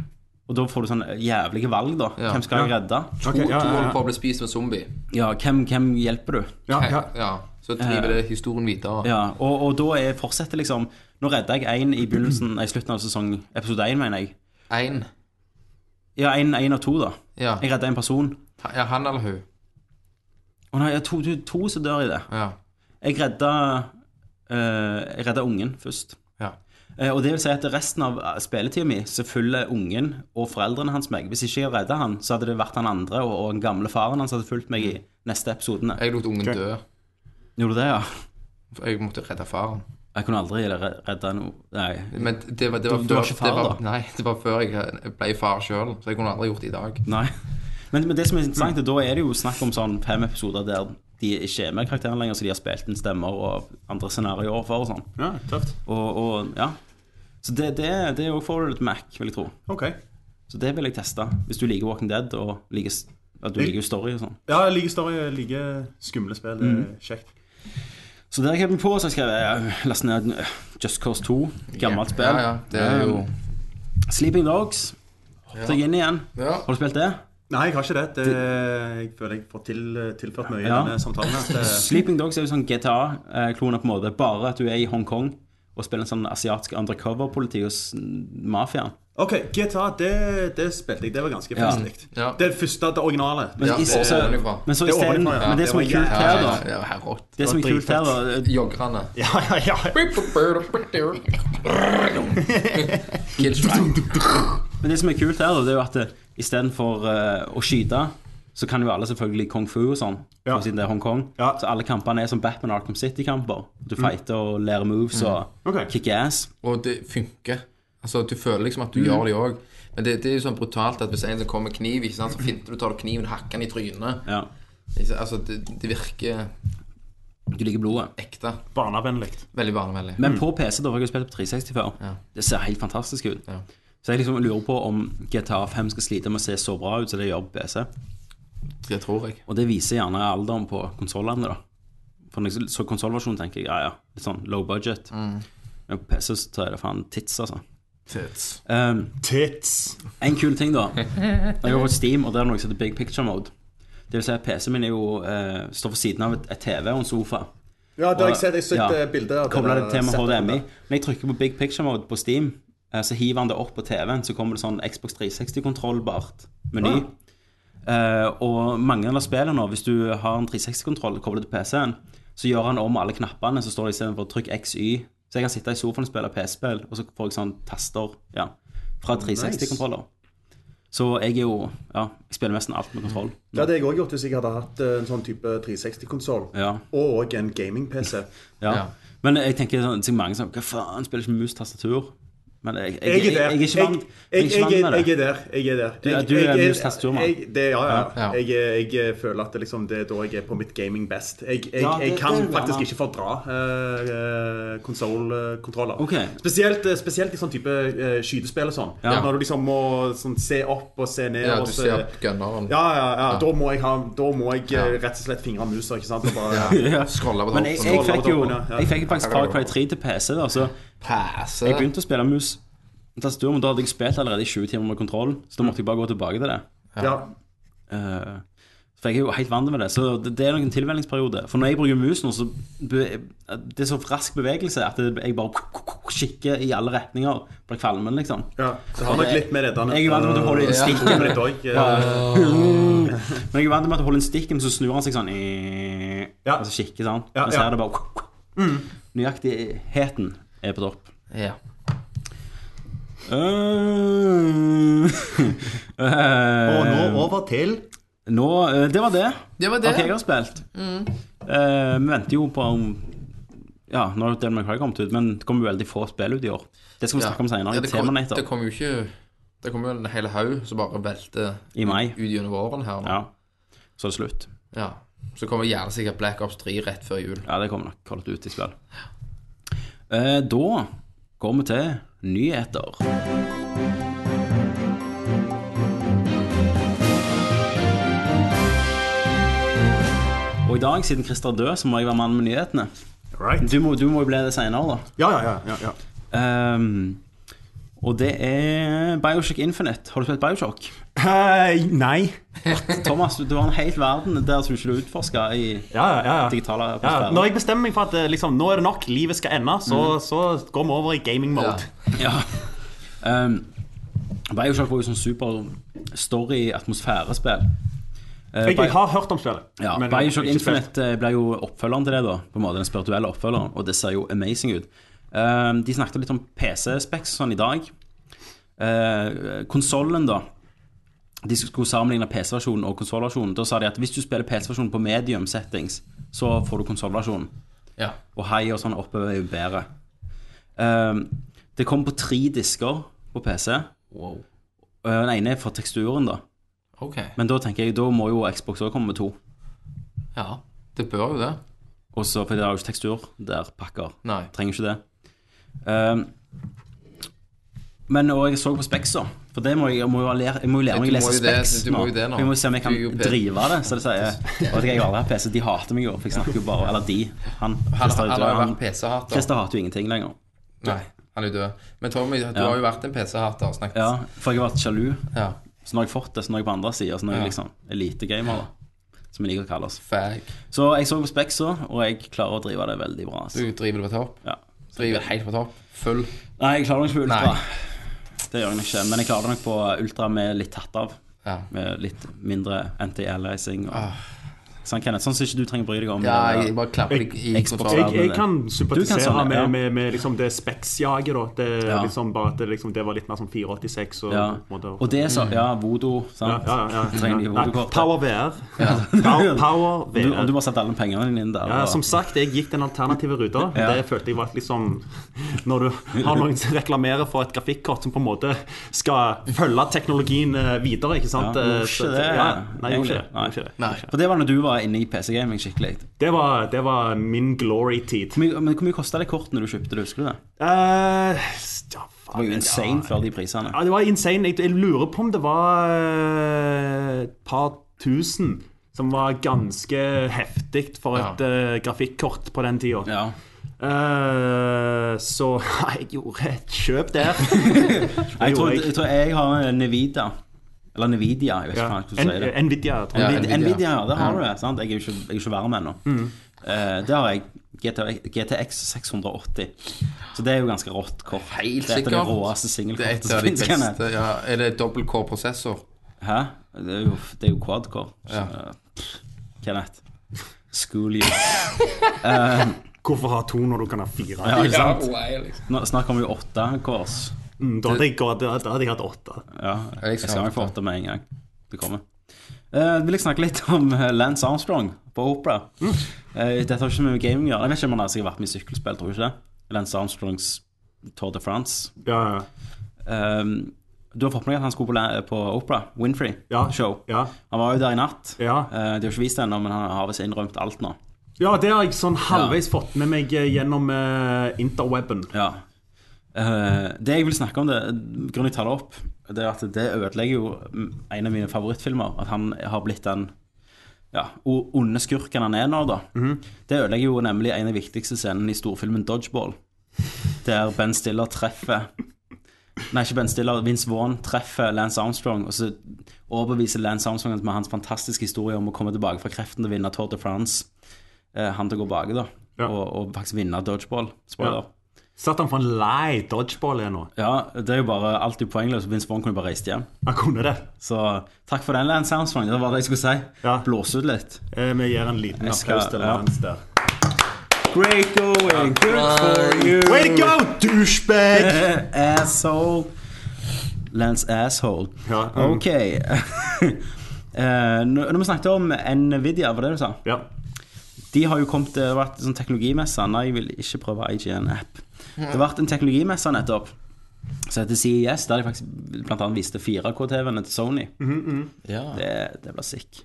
Speaker 2: og da får du sånne jævlige valg, da.
Speaker 3: Ja.
Speaker 2: Hvem skal jeg
Speaker 1: Ja.
Speaker 2: redde?
Speaker 1: Ok,
Speaker 3: To-
Speaker 1: ja,
Speaker 3: to
Speaker 1: ja,
Speaker 3: holder
Speaker 1: ja.
Speaker 3: på å bli spist av en zombie.
Speaker 2: Ja, hvem, hvem hjelper du?
Speaker 1: Ja, ja.
Speaker 3: ja. Så driver det historien videre.
Speaker 2: Eh. Ja, og, og da er, fortsetter liksom Nå redda jeg én i begynnelsen, i slutten av sesong episode én, mener jeg.
Speaker 3: Én.
Speaker 2: Ja, én av to, da.
Speaker 3: Ja.
Speaker 2: Jeg redda en person.
Speaker 3: ja, han eller hun.
Speaker 2: Å nei, ja, to, to, to som dør i det.
Speaker 3: Ja.
Speaker 2: Jeg redda, eh, jeg redda ungen først.
Speaker 3: ja.
Speaker 2: Eh, og det vil si at resten av eh, spilletiden min så følger ungen og foreldrene hans meg. Hvis ikke jeg redda han, så hadde det vært han andre og, og den gamle faren hans hadde fulgt meg i neste episodene.
Speaker 3: Jeg lot ungen dø.
Speaker 2: Eh, Gjorde du det, ja?
Speaker 3: for Jeg måtte redde faren.
Speaker 2: Jeg kunne aldri re- redda noe Nei.
Speaker 3: Men det var, det var
Speaker 2: Du-
Speaker 3: før
Speaker 2: du var ikke far,
Speaker 3: det var,
Speaker 2: da?
Speaker 3: Nei, det var før jeg eh, ble far sjøl, så jeg kunne aldri gjort det i dag.
Speaker 2: nei. Men, men det som er interessant, er da er det jo snakk om sånn fem episoder der de ikke er med karakterene lenger, så de har spilt inn stemmer og andre scenarioer for og sånn.
Speaker 1: ja tøft.
Speaker 2: Og, og ja. Så det, det, det er jo forwarded Mac, vil jeg tro.
Speaker 1: Ok.
Speaker 2: Så det vil jeg teste, hvis du liker Walking Dead og liker, at du liker story og sånn.
Speaker 1: Ja, jeg liker story, jeg liker skumle spill. Det
Speaker 2: Mm.
Speaker 1: er kjekt.
Speaker 2: Så der kom jeg på, så skrev jeg eh, last ned eh, Just Cause 2, gammelt spill. Um,
Speaker 3: Ja, ja, det er jo
Speaker 2: Sleeping Dogs, hoppet jeg inn igjen.
Speaker 3: Ja.
Speaker 2: Har du spilt det?
Speaker 1: Nei, jeg har ikke det. det jeg føler jeg får til, tilført mye
Speaker 2: Ja.
Speaker 1: i denne samtalen. her. Det-
Speaker 2: Sleeping Dogs er jo sånn GTA-klone på en måte, bare at du er i Hongkong og spiller en sånn asiatisk undercover-politi hos mm, mafiaen.
Speaker 1: Ok, GTA, det, det spilte jeg. Det var ganske
Speaker 2: Ja.
Speaker 1: festlig.
Speaker 3: Ja.
Speaker 1: Det første, det originale.
Speaker 2: Men,
Speaker 3: Ja,
Speaker 2: i-
Speaker 3: det er
Speaker 2: så,
Speaker 3: ovenifra.
Speaker 2: men så
Speaker 1: Det er
Speaker 2: i stedet,
Speaker 1: ovenifra, ja.
Speaker 2: men det
Speaker 1: Det
Speaker 2: som er
Speaker 1: var
Speaker 2: kult her da,
Speaker 3: Ja, her rått.
Speaker 2: det som er kult her da,
Speaker 3: Joggerne.
Speaker 1: Ja, ja, ja.
Speaker 3: (laughs) Kill strike.
Speaker 2: Men det som er kult her, da, det er jo at eh, det- istedenfor uh, å skyte, så kan jo alle selvfølgelig kung fu og sånn,
Speaker 1: Ja.
Speaker 2: for siden det er Hongkong.
Speaker 1: Ja. Mm.
Speaker 2: Så alle kampene er som Batman Arkham City-kamper. Du fighter og lærer moves og
Speaker 1: Ok.
Speaker 2: kick ass.
Speaker 3: Og det funker. Altså, du føler liksom
Speaker 2: Mm.
Speaker 3: at du gjør det òg. Men det, det er jo sånn brutalt at hvis en som kommer med kniv, ikke sant, så finter du, tar du kniven, hakker den i trynet.
Speaker 2: Ja.
Speaker 3: Ikke sant? Altså, det, det virker
Speaker 2: Du liker blodet.
Speaker 3: ekte.
Speaker 1: Barnevennlig. Mm.
Speaker 3: Veldig barnevennlig.
Speaker 2: Men på PC, da har jeg jo spilt på 360 før, det ser helt fantastisk ut.
Speaker 3: Ja.
Speaker 2: Så jeg liksom lurer på om GTA5 skal slite med å se så bra ut som det gjør på PC.
Speaker 3: Det tror jeg.
Speaker 2: Og det viser gjerne alderen på konsollene, da. For når jeg så konsollversjonen, tenker jeg ja, ja, litt sånn low budget. Men på PC så er det faen tits, altså.
Speaker 3: Tits.
Speaker 2: Um,
Speaker 1: Tits.
Speaker 2: En kul ting, da. Jeg går på Steam, og der er noe som heter Big Picture Mode. Det vil si at PC-en min er jo, eh, står for siden av et, et TV og en sofa.
Speaker 1: Ja, det har jeg sett. Jeg
Speaker 2: Ja.
Speaker 1: har sett eh, bilder av
Speaker 2: Kobler det til med HDMI.
Speaker 1: setupet.
Speaker 2: Når jeg trykker på Big Picture Mode på Steam, eh, så hiver han det opp på TV-en, så kommer det sånn Xbox 360-kontrollbart meny.
Speaker 1: Ah.
Speaker 2: Eh, og mange av spillene nå, hvis du har en 360-kontroll koblet til PC-en, så gjør han om alle knappene, så står det istedenfor trykk XY. Så jeg kan sitte i sofaen og spille PS-spill, og så får jeg sånn taster ja, fra 360-kontroller. Så jeg er jo Ja, jeg spiller nesten alt med kontroll.
Speaker 1: Det hadde jeg òg gjort hvis jeg hadde hatt eh, en sånn type 360-konsoll.
Speaker 2: Ja.
Speaker 1: Og en gaming-PC.
Speaker 2: Ja.
Speaker 3: Ja.
Speaker 2: Men jeg tenker sånn, til mange sånn Hva faen, spiller ikke mus tastatur? Men jeg, jeg,
Speaker 1: Jeg er der.
Speaker 2: jeg, jeg er ikke vant jeg er
Speaker 1: jeg,
Speaker 2: ikke
Speaker 1: jeg,
Speaker 2: vant
Speaker 1: jeg
Speaker 2: med det.
Speaker 1: er der. Jeg er der.
Speaker 2: Du-
Speaker 1: Jeg-
Speaker 2: du er
Speaker 1: jeg-
Speaker 2: en
Speaker 1: jeg-
Speaker 2: mus-tastatur, mann.
Speaker 1: jeg- det- Ja, ja.
Speaker 3: Ja.
Speaker 1: Jeg, jeg, jeg føler at det, liksom, det er da jeg er på mitt gaming best. Jeg, jeg,
Speaker 2: Ja, det-
Speaker 1: jeg kan
Speaker 2: det er jo
Speaker 1: faktisk
Speaker 2: bra.
Speaker 1: ikke fordra uh, konsollkontroller.
Speaker 2: Ok.
Speaker 1: Spesielt, spesielt i sånn type eh, skytespill og sånn.
Speaker 2: Ja.
Speaker 1: Når du liksom må sånn, se opp og se ned.
Speaker 3: Ja,
Speaker 1: og
Speaker 3: du
Speaker 1: så-
Speaker 3: ser gunneren.
Speaker 1: ja, ja, ja. Da må jeg, ha, da må jeg eh,
Speaker 3: Ja.
Speaker 1: rett og slett fingre musa, ikke sant? Og bare,
Speaker 3: (laughs) Scrolle på
Speaker 2: Men jeg, jeg,
Speaker 3: toppen.
Speaker 2: fikk jo
Speaker 1: Ja, ja.
Speaker 2: jeg fikk jo faktisk Far Cry 3 til PC. Da, så
Speaker 3: Passe.
Speaker 2: jeg begynte å spille mus tastatur, men da hadde jeg spilt allerede i 20 timer med kontroll, så da måtte jeg bare gå tilbake til det.
Speaker 1: ja.
Speaker 2: Eh, for jeg er jo helt vant med det, så det, det er nok en tilvenningsperiode. For når jeg bruker mus nå, så be, det er så rask bevegelse at det- jeg bare kikker i alle retninger. Blir kvalmen, liksom.
Speaker 1: ja. Det har nok litt med det der
Speaker 2: Jeg er vant med at du holder i stikken.
Speaker 1: med det òg. Ja.
Speaker 2: Men jeg er vant med at du holder en stikk, men så snur han seg sånn eh,
Speaker 1: Ja.
Speaker 2: Altså kikker, sant?
Speaker 1: Ja,
Speaker 2: og så
Speaker 1: ja.
Speaker 2: er det bare Nøyaktigheten er på topp.
Speaker 3: Ja.
Speaker 2: Uh,
Speaker 1: Og nå over til
Speaker 2: Eh, nå eh, Det var det.
Speaker 3: Det var det.
Speaker 2: Ok,
Speaker 3: Mm.
Speaker 2: jeg har spilt. Eh, vi venter jo på om- Ja, nå har Del McCray kommet ut, men det kommer jo veldig få spill ut i år. Det skal vi
Speaker 3: Ja.
Speaker 2: snakke om senere.
Speaker 3: Ja,
Speaker 2: i
Speaker 3: det, kom,
Speaker 2: Terminator
Speaker 3: det kom jo ikke Det kom jo en hel haug som bare velter
Speaker 2: i mai.
Speaker 3: ut gjennom våren her nå.
Speaker 2: Ja. Så er det slutt.
Speaker 3: Ja. Så kommer gjerne sikkert Black Ops 3 rett før jul.
Speaker 2: Ja, det kommer nok kallet ut i spill. Eh, da går vi til nyheter. Og i dag, siden Christer er død, så må jeg være mann med nyhetene.
Speaker 1: Right.
Speaker 2: Du må, du må jo bli det senere, da.
Speaker 1: Ja, ja, ja, ja, ja.
Speaker 2: Ehm, og det er Bioshock Infinite. Har du spilt Bioshock?
Speaker 1: Hei, Eh, nei.
Speaker 2: Thomas, du har en hel verden der som ikke du utforsker i
Speaker 1: Ja, ja, ja.
Speaker 2: digitale
Speaker 1: ja.
Speaker 2: atmosfærer.
Speaker 1: Når jeg bestemmer meg for at eh, liksom, nå er det nok, livet skal ende, så, så går vi over i gaming mode.
Speaker 2: Mm. Ja. Um, Bioshock var jo sånn super story-atmosfærespill. Eh,
Speaker 1: Jeg,
Speaker 2: Bi-
Speaker 1: jeg har hørt om spillet.
Speaker 2: ja,
Speaker 1: men jeg har
Speaker 2: Bioshock
Speaker 1: ikke spilt.
Speaker 2: Infinite eh, ble jo oppfølgeren til det, da. På en måte Den spirituelle oppfølgeren, og det ser jo amazing ut. Um, de snakket litt om PC-specs sånn i dag. Uh, Konsollen, da. De skulle sammenligne PC-versjonen og konsollversjonen. Da sa de at hvis du spiller PC-versjonen på medium settings, så får du konsollversjonen
Speaker 3: Ja.
Speaker 2: og hei og sånn oppover er jo bedre. Ehm, det kom på tre disker på PC.
Speaker 3: Wow.
Speaker 2: Og Den ene er for teksturen, da.
Speaker 3: Ok.
Speaker 2: Men da tenker jeg, da må jo Xbox også komme med to.
Speaker 3: Ja, det bør jo det.
Speaker 2: Og så, for det er jo ikke tekstur der, pakker.
Speaker 3: Nei.
Speaker 2: Trenger ikke det. Ehm, men og jeg så på Spexa, for det må jeg, jeg må jo lære, jeg må jo lære meg å
Speaker 3: Du må
Speaker 2: lese
Speaker 3: jo det-
Speaker 2: Spex
Speaker 3: du må jo det nå.
Speaker 2: Jeg må jo se om jeg kan
Speaker 3: Du er jo P-
Speaker 2: drive det, så det sier. Jeg vet ikke, jeg har aldri hatt PC, de hater meg jo, for jeg snakker jo bare Eller de. Han,
Speaker 3: Han,
Speaker 2: Christer,
Speaker 3: han har jo
Speaker 2: han-
Speaker 3: vært PC-hater.
Speaker 2: Christer hater jo ingenting lenger.
Speaker 3: Nei, han er død. Men Tommy, du har jo vært en PC-hater. Snakket.
Speaker 2: Ja, for jeg har vært sjalu.
Speaker 3: ja.
Speaker 2: Så nå har jeg fått det, så nå er jeg på andre sida. Så nå er
Speaker 3: Ja.
Speaker 2: jeg liksom elitegamer, da. Som jeg liker å kalle oss.
Speaker 3: Fag.
Speaker 2: Så jeg så på Spexa, og jeg klarer å drive det veldig bra.
Speaker 3: Du
Speaker 2: Altså.
Speaker 3: driver det på topp.
Speaker 2: Ja.
Speaker 3: Driver det helt på topp. Full.
Speaker 2: Nei, jeg klarer det nok på ultra.
Speaker 3: Nei.
Speaker 2: Det gjør jeg nok ikke. Men jeg klarer det nok på ultra med litt tatt av.
Speaker 3: Ja.
Speaker 2: Med litt mindre anti-aliasing.
Speaker 1: Ah.
Speaker 2: og- Sånn, Kenneth, sånn som ikke du trenger å bry deg om.
Speaker 3: Ja,
Speaker 2: det
Speaker 3: jeg bare klapper deg i
Speaker 2: Xbox-
Speaker 1: Jeg,
Speaker 3: konsollen.
Speaker 1: jeg kan sympatisere
Speaker 2: sånn, ja.
Speaker 1: med, med, med liksom det Specs-jaget. da. Det,
Speaker 2: Ja.
Speaker 1: liksom, bare at det, liksom, det var litt mer som 486. Og,
Speaker 2: ja.
Speaker 1: på en måte-
Speaker 2: Og det er så Ja, vodo,
Speaker 1: ja,
Speaker 2: sant.
Speaker 1: Mm. ja, ja,
Speaker 2: Jeg
Speaker 1: ja.
Speaker 2: Trenger de
Speaker 1: Nei,
Speaker 2: vodo-kort.
Speaker 1: Power VR. Power, power
Speaker 2: (laughs) Du,
Speaker 1: VR.
Speaker 2: og du bare setter alle pengene dine inn der.
Speaker 1: Ja,
Speaker 2: og-
Speaker 1: som sagt, jeg gikk den alternative ruta.
Speaker 2: Ja.
Speaker 1: Det følte jeg var at liksom Når du har noen som reklamerer for et grafikkort som på en måte skal følge teknologien eh, videre, ikke
Speaker 2: ja,
Speaker 1: sant?
Speaker 2: gjorde
Speaker 1: Eh,
Speaker 2: ikke
Speaker 1: så-
Speaker 2: det.
Speaker 1: Ja, nei, jeg gjorde ikke det.
Speaker 2: egentlig.
Speaker 1: Jeg gjorde ikke det.
Speaker 3: Nei.
Speaker 2: For det var når du var inne i PC-gaming skikkelig.
Speaker 1: Det var, det var min glory-tid.
Speaker 2: Hvor mye- Men hvor mye kosta det kortene du kjøpte? det, Husker du det?
Speaker 1: Eh, ja,
Speaker 2: Det var jo insane før de prisene.
Speaker 1: Ja, det var insane. Jeg, jeg lurer på om det var eh, et par tusen. Som var ganske heftig for et eh, grafikkort på den tida.
Speaker 2: Ja.
Speaker 1: Eh, så (laughs) jeg gjorde et kjøp der.
Speaker 2: Jeg tror,
Speaker 1: jeg.
Speaker 2: jeg tror jeg har eh, Nvidia. Eller Nvidia, jeg vet ikke
Speaker 1: Ja.
Speaker 2: hva jeg skal si det.
Speaker 1: En- Nvidia, Mm. tror
Speaker 3: Ja,
Speaker 1: jeg.
Speaker 2: Nvidia,
Speaker 3: Nvidia.
Speaker 2: Nvidia ja, det har du det. Sant? Jeg er jo ikke, jeg er jo ikke varm ennå. Eh, det har jeg. GT, GTX 680. Så det er jo ganske rått kort.
Speaker 3: Helt
Speaker 2: det er et av de
Speaker 3: sikkert.
Speaker 2: råeste
Speaker 3: Det er
Speaker 2: singelkortene
Speaker 3: et av
Speaker 2: som
Speaker 3: de
Speaker 2: finnes. Kenneth.
Speaker 3: beste. Ja. Er det dobbeltcore-prosessor?
Speaker 2: Hæ? Det er jo, det er jo quad-core. Så,
Speaker 3: Ja.
Speaker 2: pff, Kenneth. School you.
Speaker 1: Hvorfor ha to når du kan ha fire?
Speaker 2: Ja, liksom. ikke sant?
Speaker 3: wild.
Speaker 2: Nå snakker vi jo åtte-kors.
Speaker 1: Mm, da, hadde jeg, gått- da, da hadde jeg hatt åtte.
Speaker 2: Ja, jeg
Speaker 3: skal
Speaker 2: skal
Speaker 3: ha
Speaker 2: nok få åtte med en gang. Det kommer. Eh, vil jeg snakke litt om eh, Lance Armstrong på Opera. Eh, dette har ikke med gaming å gjøre. Jeg vet ikke om han har sikkert vært med i sykkelspill, tror du ikke det? Lance Armstrongs Tour de France.
Speaker 1: Ja, ja,
Speaker 2: Eh, du har fått med deg at han skulle på, la- på Opera, Winfrey
Speaker 1: Ja.
Speaker 2: show.
Speaker 1: ja.
Speaker 2: Han var jo der i natt.
Speaker 1: Ja.
Speaker 2: Eh, de har ikke vist det ennå, men han har visst innrømt alt nå.
Speaker 1: ja, det har jeg sånn halvveis fått med meg eh, gjennom eh, interweben.
Speaker 2: Ja. Eh, det jeg vil snakke om, det, grunnen jeg tar det opp, det er at det ødelegger jo en av mine favorittfilmer. At han har blitt den ja, o- onde skurken han er nå, da.
Speaker 1: Mhm.
Speaker 2: Det ødelegger jo nemlig en av de viktigste scenene i storfilmen Dodgeball. Der Ben Stiller treffer Nei, ikke Ben Stiller. Vince Vaughn treffer Lance Armstrong, og så overbeviser Lance Armstrong at med hans fantastiske historie om å komme tilbake fra kreften til å vinne Tour de France, eh, han til å gå bak, da.
Speaker 1: Ja.
Speaker 2: Og, og faktisk vinne dodgeball. Spoiler.
Speaker 1: Ja. Satt han for en lei dodgeball igjen nå?
Speaker 2: Ja, det er jo bare alltid poengløst. Vince Vaughn kunne bare reist hjem.
Speaker 1: Han kunne det.
Speaker 2: Så takk for den, Lance Armstrong. Det var det jeg skulle si.
Speaker 1: Ja.
Speaker 2: Blåse ut litt.
Speaker 1: Eh, vi gir en liten
Speaker 2: Jeg skal-
Speaker 1: applaus til
Speaker 2: ja.
Speaker 1: Lance der.
Speaker 2: Great going, good for you.
Speaker 1: Way to go,
Speaker 2: (laughs)
Speaker 1: douchebag!
Speaker 2: Asshole. Lance asshole.
Speaker 1: Ja, mm.
Speaker 2: Ok. (laughs) Eh, Når når vi snakket om Nvidia, var det det du sa?
Speaker 1: Ja.
Speaker 2: De har jo kommet, det har vært sånn teknologimesse Nei, jeg vil ikke prøve IGN-app Det har vært en teknologimesse nettopp Så heter CES, der de faktisk
Speaker 1: Mm.
Speaker 2: blant annet viste 4K-TV-ene til Sony
Speaker 3: Ja.
Speaker 2: det, det blir sick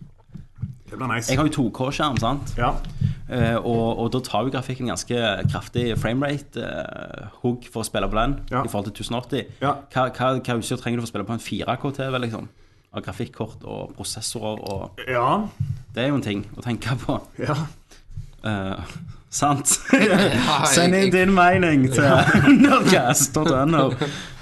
Speaker 1: Det blir nice.
Speaker 2: Jeg har jo 2K-skjerm, sant?
Speaker 1: Ja.
Speaker 2: Eh, og, og da tar jo grafikken ganske kraftig framerate-hugg for å spille på den
Speaker 1: Ja.
Speaker 2: i forhold til 1080.
Speaker 1: Ja.
Speaker 2: Hva, hva, hva utstyr trenger du for å spille på en 4K-TV? liksom? Av grafikkort og prosessorer og
Speaker 1: ja.
Speaker 2: Det er jo en ting å tenke på.
Speaker 1: ja.
Speaker 2: Eh, sant?
Speaker 3: Nei,
Speaker 2: Send inn
Speaker 3: jeg-
Speaker 2: din mening (laughs) til nerdcast.no.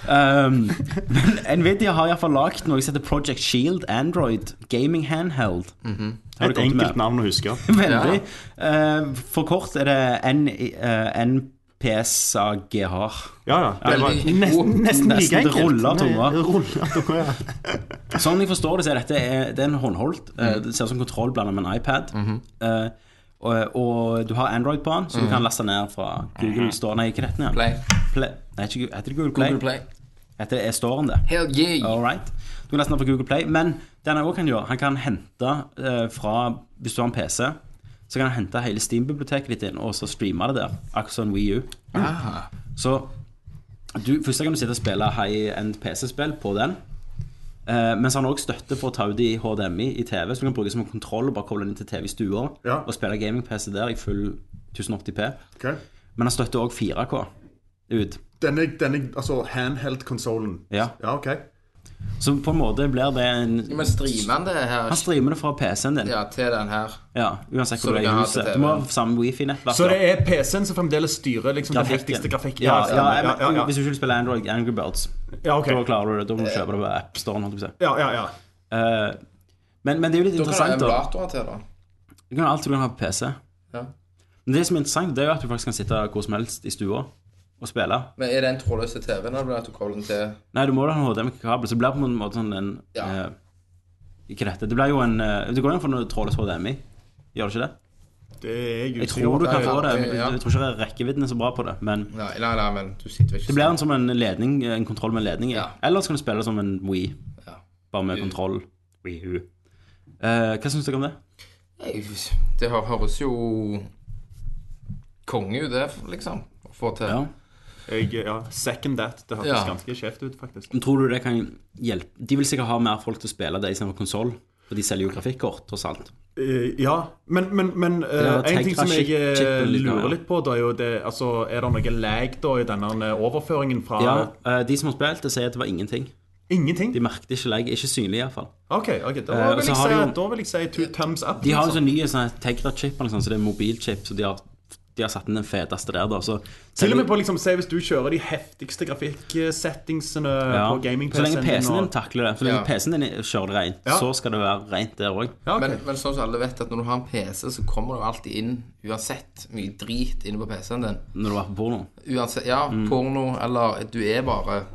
Speaker 2: Um, men Nvidia har iallfall lagd noe som heter Project Shield Android Gaming Handheld. Har du
Speaker 1: Et
Speaker 2: kommet med?
Speaker 1: enkelt navn å huske.
Speaker 2: (laughs) Veldig. Eh, for kort er det N, eh, NPSAGH.
Speaker 1: Ja, ja. Det var
Speaker 3: Veldig
Speaker 1: nesten,
Speaker 3: god.
Speaker 1: nesten
Speaker 2: Nesten
Speaker 1: like
Speaker 2: det
Speaker 1: enkelt.
Speaker 2: ruller av
Speaker 1: Nei,
Speaker 2: tunga.
Speaker 1: det ruller av tunga, ja.
Speaker 2: Sånn jeg forstår det, så er dette eh, det er en håndholdt. eh,
Speaker 3: Mm.
Speaker 2: Det ser ut som en kontroll blanda med en iPad.
Speaker 3: Mhm.
Speaker 2: Eh, og, og du har Android på den, så du kan laste ned fra Google Store. Nei, ikke dette igjen.
Speaker 3: Mhm. Play.
Speaker 2: Play. Nei, ikke, Gu- heter det Google Play?
Speaker 3: Google Play.
Speaker 2: Heter det Storen, det?
Speaker 3: Hell yeah.
Speaker 2: All right. Du kan laste den fra Google Play. Men det han òg kan gjøre, han kan hente eh, fra Hvis du har en PC, så kan han hente hele Steam-biblioteket ditt inn og så streame det der. Akkurat som en Wii U. Så du, først kan du sitte og spille high-end PC-spill på den. Eh, men så har han òg støtte for å ta ut i HDMI i TV, så du kan bruke det som en kontroll og bare koble den inn til TV i stua
Speaker 1: Ja.
Speaker 2: og spille gaming-PC der i full 1080P.
Speaker 1: Ok.
Speaker 2: Men han støtter òg 4K ut.
Speaker 1: Denne, denne altså handheld-konsollen.
Speaker 2: Ja.
Speaker 1: ok.
Speaker 2: Så på en måte blir det en
Speaker 3: Men streamer han det her
Speaker 2: Han streamer det fra PC-en din. Ja.
Speaker 3: ja, til den her?
Speaker 2: Uansett
Speaker 3: Så
Speaker 2: hvor du
Speaker 3: du
Speaker 2: er
Speaker 3: kan
Speaker 2: i
Speaker 3: ha
Speaker 2: huset.
Speaker 3: det til
Speaker 2: Du må
Speaker 3: TV.
Speaker 2: ha samme wifi-nettverk.
Speaker 1: Så
Speaker 2: da.
Speaker 1: det er PC-en som fremdeles styrer liksom, den heftigste grafikken?
Speaker 2: Ja, ja,
Speaker 1: stemmer.
Speaker 2: men,
Speaker 1: ja, ja,
Speaker 2: Hvis du ikke vil spille Android Angry Birds,
Speaker 1: ja, ok.
Speaker 2: da klarer du det. Da må du kjøpe det på AppStoren. holdt jeg på å si.
Speaker 1: ja, ja, ja.
Speaker 2: Eh, men, men det er jo litt
Speaker 3: Da kan du ha
Speaker 2: interessant. da.
Speaker 3: emulatorer til, da.
Speaker 2: Du kan ha alt du kan ha på PC.
Speaker 3: Ja.
Speaker 2: Men det som er interessant, det er jo at du faktisk kan sitte hvor som helst i stua og spille.
Speaker 3: Men er det en trådløs TV når du du kobler den til
Speaker 2: Nei, du må da ha en HDMI-kabel, så det blir på en måte sånn en
Speaker 3: Ja.
Speaker 2: eh, Ikke dette. Det blir jo en eh, Det går jo an å få noe trådløs HDMI. Gjør det ikke det?
Speaker 1: Det er jeg
Speaker 2: Jeg
Speaker 1: usikker
Speaker 2: tror du
Speaker 1: på.
Speaker 2: kan få det.
Speaker 3: Ja, ja, ja.
Speaker 2: Jeg tror ikke rekkevidden er så bra på det, men
Speaker 3: Nei, nei, nei men du sitter vel ikke sånn.
Speaker 2: Det blir en som en ledning, en kontroll med ledning. i.
Speaker 3: Ja.
Speaker 2: Eller så kan du spille som en Wii,
Speaker 3: Ja.
Speaker 2: bare med kontroll. Wii U. Eh, hva syns dere om det?
Speaker 3: Nei, Det hø- høres jo konge ut, det, liksom. Å få til.
Speaker 2: Ja.
Speaker 1: Jeg, ja, second that. Det hørtes
Speaker 3: Ja.
Speaker 1: ganske kjeft ut, faktisk.
Speaker 2: Men Tror du det kan hjelpe? De vil sikkert ha mer folk til å spille det istedenfor konsoll. For de selger jo grafikkort, tross alt.
Speaker 1: Eh, ja, men, men, men eh,
Speaker 2: Ja,
Speaker 1: en
Speaker 2: tenk
Speaker 1: ting som
Speaker 2: deg
Speaker 1: jeg eh,
Speaker 2: chip- chipen litt, ja.
Speaker 1: lurer litt på, da er jo det altså, Er det noe lag da i denne eh, overføringen fra
Speaker 2: Ja, eh, De som har spilt, det sier at det var ingenting.
Speaker 1: Ingenting?
Speaker 2: De merket ikke legg. Ikke synlig, iallfall.
Speaker 1: OK, ok, da,
Speaker 2: Eh, og
Speaker 1: vil
Speaker 2: så
Speaker 1: jeg
Speaker 2: har
Speaker 1: si,
Speaker 2: de jo-
Speaker 1: da vil jeg si two thumbs up.
Speaker 2: De har jo
Speaker 1: liksom.
Speaker 2: sånn nye sånn Tegra-chip, eller noe sånt, så det er mobilchip. Så de har, de har satt inn den feteste der, da. Så
Speaker 1: Til og med på liksom, si hvis du kjører de heftigste grafikksettingsene
Speaker 2: Ja.
Speaker 1: på gaming
Speaker 2: Så lenge PC-en din
Speaker 1: og-
Speaker 2: takler det, så lenge
Speaker 3: Ja.
Speaker 2: PC-en din kjører det rent,
Speaker 1: Ja.
Speaker 2: så skal det være rent der òg.
Speaker 1: ja, ok.
Speaker 3: Men, men sånn som alle vet, at når du har en PC, så kommer det jo alltid inn, uansett, mye drit inne på PC-en din.
Speaker 2: Når du er på porno.
Speaker 3: Uansett, ja,
Speaker 2: Mm.
Speaker 3: porno, eller du er bare